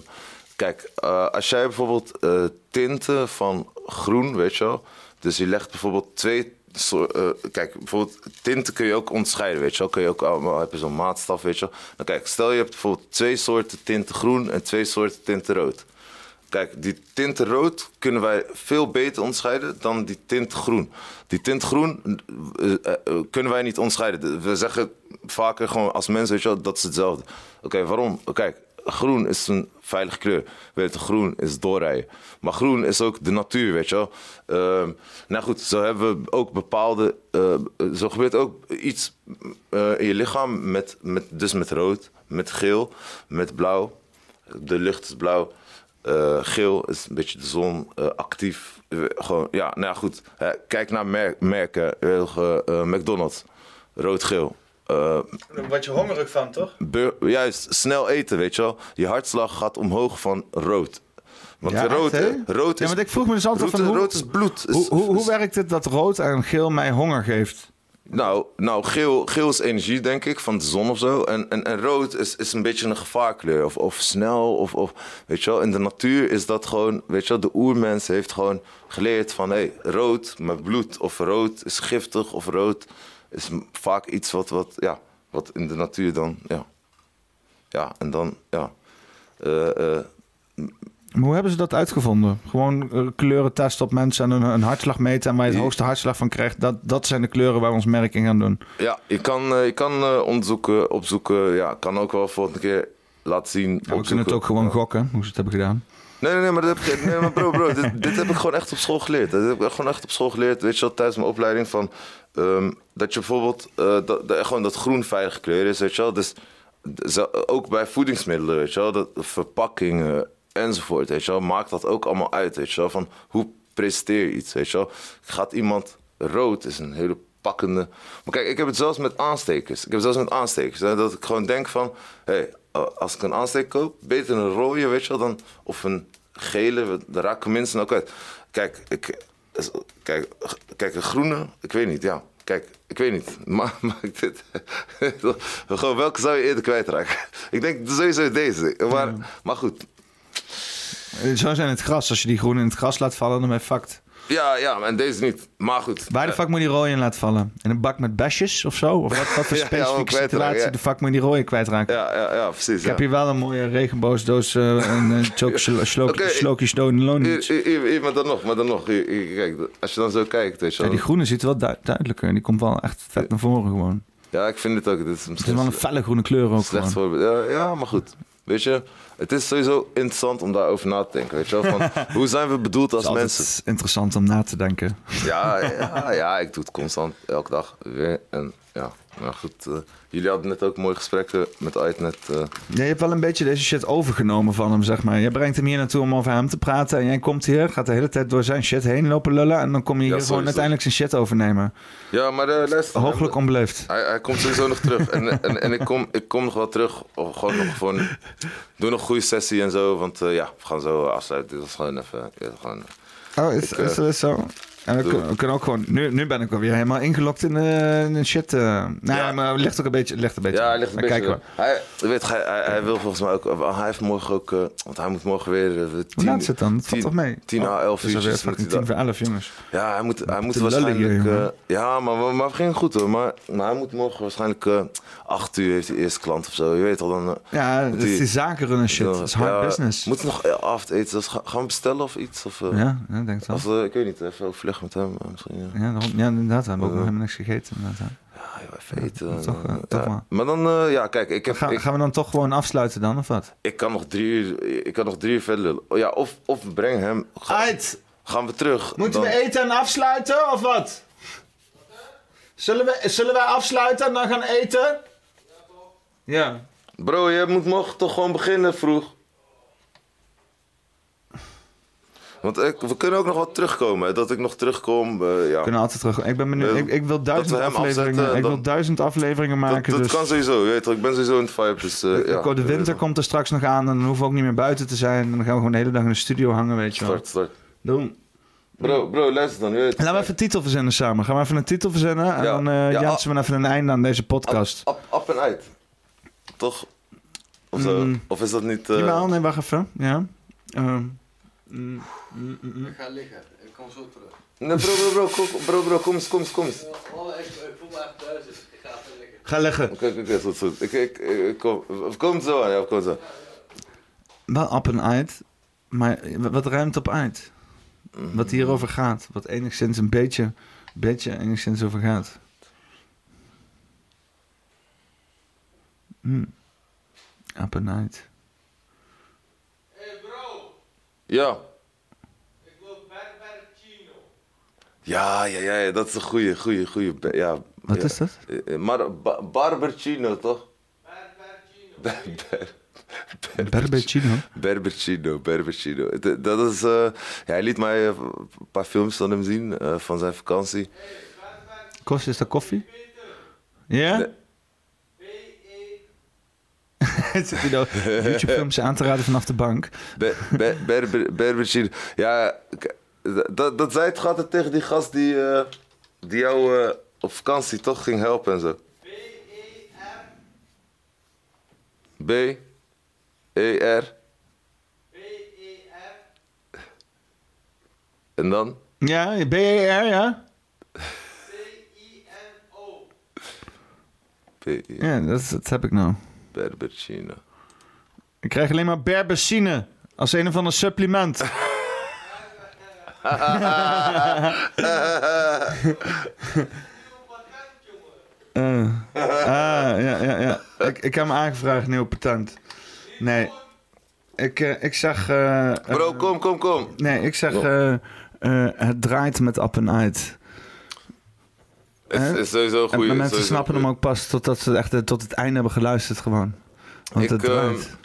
kijk, eh, als jij bijvoorbeeld eh, tinten van groen, weet je wel. Dus je legt bijvoorbeeld twee. soor- eh, kijk, bijvoorbeeld tinten kun je ook onderscheiden, weet je wel. Kun je ook allemaal, heb je zo'n maatstaf, weet je wel. Dan kijk, stel je hebt bijvoorbeeld twee soorten tinten groen en twee soorten tinten rood. Kijk, die tint rood kunnen wij veel beter onderscheiden dan die tint groen. Die tint groen eh, eh, eh, kunnen wij niet onderscheiden. De- We zeggen vaker gewoon als mensen, weet je wel, dat is hetzelfde. Oké, waarom? Kijk, groen is een veilige kleur. We weten, groen is doorrijden. Maar groen is ook de natuur, weet je wel. Ehm, nou goed, zo hebben we ook bepaalde... eh, zo gebeurt ook iets eh, in je lichaam, met, met, dus met rood, met geel, met blauw. De lucht is blauw. Eh, geel is een beetje de zon, eh, actief. Eh, gewoon, ja, nou ja, goed. Hè, kijk naar mer- merken. Eh, ge- eh, McDonald's, rood-geel. Eh,
Daar word je hongerig van, toch?
bur- juist, snel eten, weet je wel. Je hartslag gaat omhoog van rood. Want
Ja,
rood,
echt, hè?
eh, rood is...
Ja, want ik vroeg me dus altijd
rood,
van hoe-
rood is bloed. Is-
Hoe, hoe, hoe werkt het dat rood en geel mij honger geeft?
Nou, nou geel, geel is energie, denk ik, van de zon of zo. En, en, en rood is, is een beetje een gevaarkleur. Of, of snel, of, of weet je wel. In de natuur is dat gewoon, weet je wel, de oermens heeft gewoon geleerd van... hé, rood, mijn bloed, of rood is giftig, of rood is m- vaak iets wat, wat, ja, wat in de natuur dan, ja. Ja, en dan, ja. Eh, eh,
Maar hoe hebben ze dat uitgevonden? Gewoon eh, kleuren testen op mensen en een, een hartslag meten. En waar je het hoogste hartslag van krijgt, dat, dat zijn de kleuren waar we ons merk in gaan doen.
Ja, je kan, eh, je kan eh, onderzoeken, opzoeken. Ja, kan ook wel volgende keer laten zien.
we kunnen het ook gewoon gokken, hoe ze het hebben gedaan.
Nee, nee, nee, maar, dat heb ik, nee, maar bro, bro, dit, dit heb ik gewoon echt op school geleerd. Dat heb ik gewoon echt op school geleerd, weet je wel, tijdens mijn opleiding. Van, ehm, dat je bijvoorbeeld, eh, dat, dat- gewoon dat groen veilige kleur is, weet je wel. Dus d- zo- ook bij voedingsmiddelen, weet je wel, dat, verpakkingen enzovoort, weet je wel. Maakt dat ook allemaal uit, weet je wel, van hoe presenteer je iets, weet je wel. Gaat iemand rood, is een hele pakkende... Maar kijk, ik heb het zelfs met aanstekers. Ik heb het zelfs met aanstekers, hè, dat ik gewoon denk van, hé... Eh, als ik een aansteek koop, beter een rode, weet je wel, dan, of een gele, we- daar raken mensen ook uit. Kijk, ik, is- kijk, g- kijk, een groene, ik weet niet, ja. Kijk, ik weet niet, maar maakt dit... Gewoon, welke zou je eerder kwijtraken? Ik denk sowieso deze, maar, maar goed.
Eh, Zo zijn het gras. Als je die groen in het gras laat vallen, dan ben je fucked.
Ja, ja, en deze niet, maar goed.
Waar de
Eh,
fuck moet je die rode in laten vallen? In een bak met besjes of zo? Of wat, wat voor
Ja, ja, om
specifieke
kwijt te raken,
situatie
ja.
de fuck moet je die rode kwijtraken?
Ja, ja, ja, precies.
Ik heb
ja.
hier wel een mooie regenboogdoos eh, en een choc- slo- slok-
Oké.
slokjes doden loon.
Hier, hier, hier, hier, eh, maar dan nog, maar dan nog. Hier, hier, kijk, als je dan zo kijkt, weet je
Ja,
wel.
die groene ziet er wel du- duidelijker. en Die komt wel echt vet naar voren gewoon.
Ja, ik vind het ook. Dit is
Het
misschien
is wel een felle groene kleur ook
Slecht
gewoon.
voorbeeld. Ja, ja, maar goed. Weet je, het is sowieso interessant om daarover na te denken. Weet je wel? Van, hoe zijn we bedoeld als
altijd
mensen?
interessant om na te denken.
Ja, ja, ja, ik doe het constant, elke dag weer. En ja, maar goed. eh, jullie hadden net ook mooie gesprekken met Ait net. eh,
Ja, je hebt wel een beetje deze shit overgenomen van hem, zeg maar. Je brengt hem hier naartoe om over hem te praten. En jij komt hier, gaat de hele tijd door zijn shit heen lopen lullen. En dan kom je hier
sowieso.
gewoon uiteindelijk zijn shit overnemen.
ja, maar eh, luister.
Hooglijk onbeleefd.
Hij, hij komt sowieso nog terug. En, en, en ik, kom, ik kom nog wel terug. Of gewoon nog voor een, doe nog een goede sessie en zo. Want eh, ja, we gaan zo afsluiten. Dit was gewoon even. dit was gewoon,
Oh, is,
Ik, eh,
is dat zo? En we,
doe
kunnen, we kunnen ook gewoon... Nu, nu ben ik alweer helemaal ingelokt in, eh, in shit. eh. nou ja, maar het ligt ook een beetje... het Ligt een beetje
ja, hij ligt een
Maar
beetje.
kijken we.
Hij, je weet, hij, hij, hij wil volgens mij ook. Hij heeft morgen ook. eh, want hij moet morgen weer. eh,
Hoe
tien-
laat zit dan? Dat valt
tien-
toch mee?
Tien à
Oh,
elf
het is alweer
uurtjes moet
fucking
hij
tien
dan-
voor elf, jongens.
Ja, hij moet, hij moet
te lullen
waarschijnlijk.
hier, jongen.
eh, ja, maar, maar, maar het ging goed hoor. Maar, maar hij moet morgen waarschijnlijk eh, acht uur heeft hij eerste klant of zo. Je weet al dan. eh,
Ja,
moet
het is
hij-
die zakenrunnen shit.
Ja,
Dat is hard
ja,
business.
Moet nog eh, avondeten? Dat is- Dus ga- gaan we bestellen of iets? Of, eh,
Ja, ja, ik denk het wel.
Als, eh, ik weet niet, even overleg met hem eh, misschien. Ja.
Ja, daarom- ja, inderdaad. We hebben ook nog helemaal niks gegeten. Inderdaad, hè.
Even eten,
Ja, toch,
eh,
eh, toch
ja.
maar.
dan, eh, ja, kijk, ik, heb,
Ga-
ik,
gaan we dan toch gewoon afsluiten dan, of wat?
ik kan nog drie uur, ik kan nog drie uur verder lullen. Oh, Ja, of, of we brengen hem.
Uit!
Gaan we terug.
Moeten
dan-
we eten en afsluiten of wat? Zullen, we, zullen wij afsluiten en dan gaan eten? Ja.
Bro, je moet morgen toch gewoon beginnen vroeg. Want ik, we kunnen ook nog wat terugkomen. hè, Dat ik nog terugkom. eh, ja.
We kunnen altijd terug. Ik ben benieuwd.
Nee,
Ik, ik wil
dat
duizend
we hem
afleveringen.
afzetten,
ik wil
dan-
duizend afleveringen
dat
maken.
dat
dus
kan sowieso. Je weet toch, ik ben sowieso in het vibe. Dus, eh, ja.
de winter komt er straks nog aan en dan hoeven we ook niet meer buiten te zijn. En dan gaan we gewoon de hele dag in de studio hangen, weet je wel.
Start, start.
Doe.
Bro, bro, luister dan. Je weet,
Laten we even een titel verzinnen samen. Gaan we even een titel verzinnen en
Ja.
dan eh
Ja, ah.
jansen we even een einde aan deze podcast.
Up, up en uit. Toch? Of, zo?
Mm.
of is dat niet... eh,
Jawel, nee, wacht even. Ja. Ehm,
Ik ga liggen. Ik kom zo terug.
Nee, bro, bro, bro, kom- bro, bro, kom eens, kom eens, kom eens.
Oh, ik, voel me echt thuis, dus ik ga even liggen.
Ga leggen.
Oké, oké, oké, goed, goed. Ik, ik, ik kom, we komen zo aan, ja, we komen zo.
wel up en uit, maar wat ruimt op uit?
Mm.
Wat hierover gaat, wat enigszins een beetje, beetje enigszins over gaat. Hmm. Up en uit.
Ja. Ja, ja, ja, ja, dat is een goeie, goeie, goeie. be- Ja,
Wat
ja.
is dat?
Eh, eh, Mar ba Barbercino, toch? Barbercino.
Berbecino.
Berbercino, Berbercino. D- Dat is, eh, ja, hij liet mij eh, een paar films van hem zien eh, van zijn vakantie.
Kost is dat koffie? Ja? Zit hij nou YouTube-films aan te raden vanaf de bank?
Be- Be- Berber- Berbercino. Ja, k- d- dat, dat zei het gaat het tegen die gast die, eh, die jou eh, op vakantie toch ging helpen en zo. B. E. R. En dan?
Ja, BER, ja?
B. E.
Ja, dat, dat heb ik nou.
Berbercino.
Ik krijg alleen maar berbecine als een of ander supplement. Eh, ah, ja, ja, ja. Ik, ik heb hem aangevraagd, nieuw patent. Nee. Ik, eh, ik zag... eh, eh,
Bro, kom, kom, kom.
nee, ik zag... eh, eh, het draait met app en uit.
Het is,
Hè?
is sowieso een
eh, En
goeie.
mensen
sowieso
snappen
een
hem ook pas totdat ze echt eh, tot het einde hebben geluisterd gewoon. Want
ik,
het
ehm,
draait.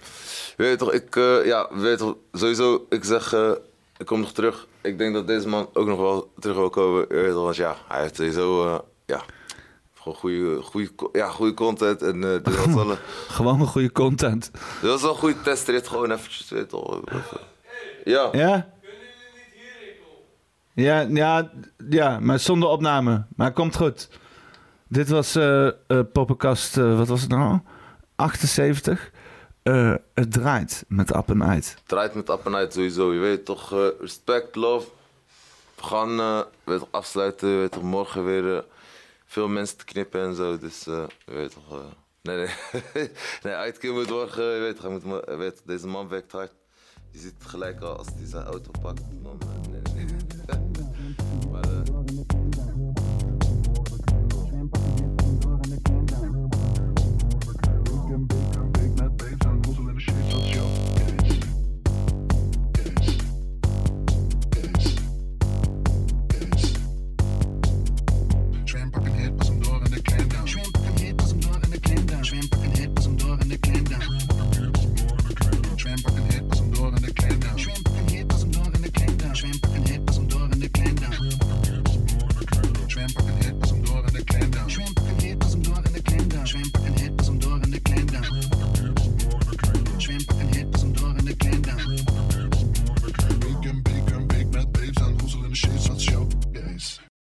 weet je toch, ik, eh, ja, weet je toch, sowieso, ik zeg, eh, ik kom nog terug. Ik denk dat deze man ook nog wel terug wil komen. Je weet toch, want ja, hij heeft sowieso, eh, ja, gewoon goede, goede, co- ja, goede content. En eh, dit was wel een,
Gewoon goede content.
dit was wel een goede testrit, gewoon eventjes, weet je toch. even- Ja,
Ja? Ja, ja, ja, maar zonder opname. Maar komt goed. Dit was eh eh, Poppenkast, eh, wat was het nou? 78. Eh, het draait met app en uit.
draait met app en uit sowieso, je weet toch, eh, respect, love. We gaan, eh, weet je toch, afsluiten, je weet toch, morgen weer eh, veel mensen te knippen en zo, dus, eh, je weet toch... eh, Nee, nee. nee, uitkeer moet morgen, je weet, hij moet, mo- je weet, deze man werkt hard. Je ziet gelijk al, als hij zijn auto pakt, dan... eh, Nee, eh,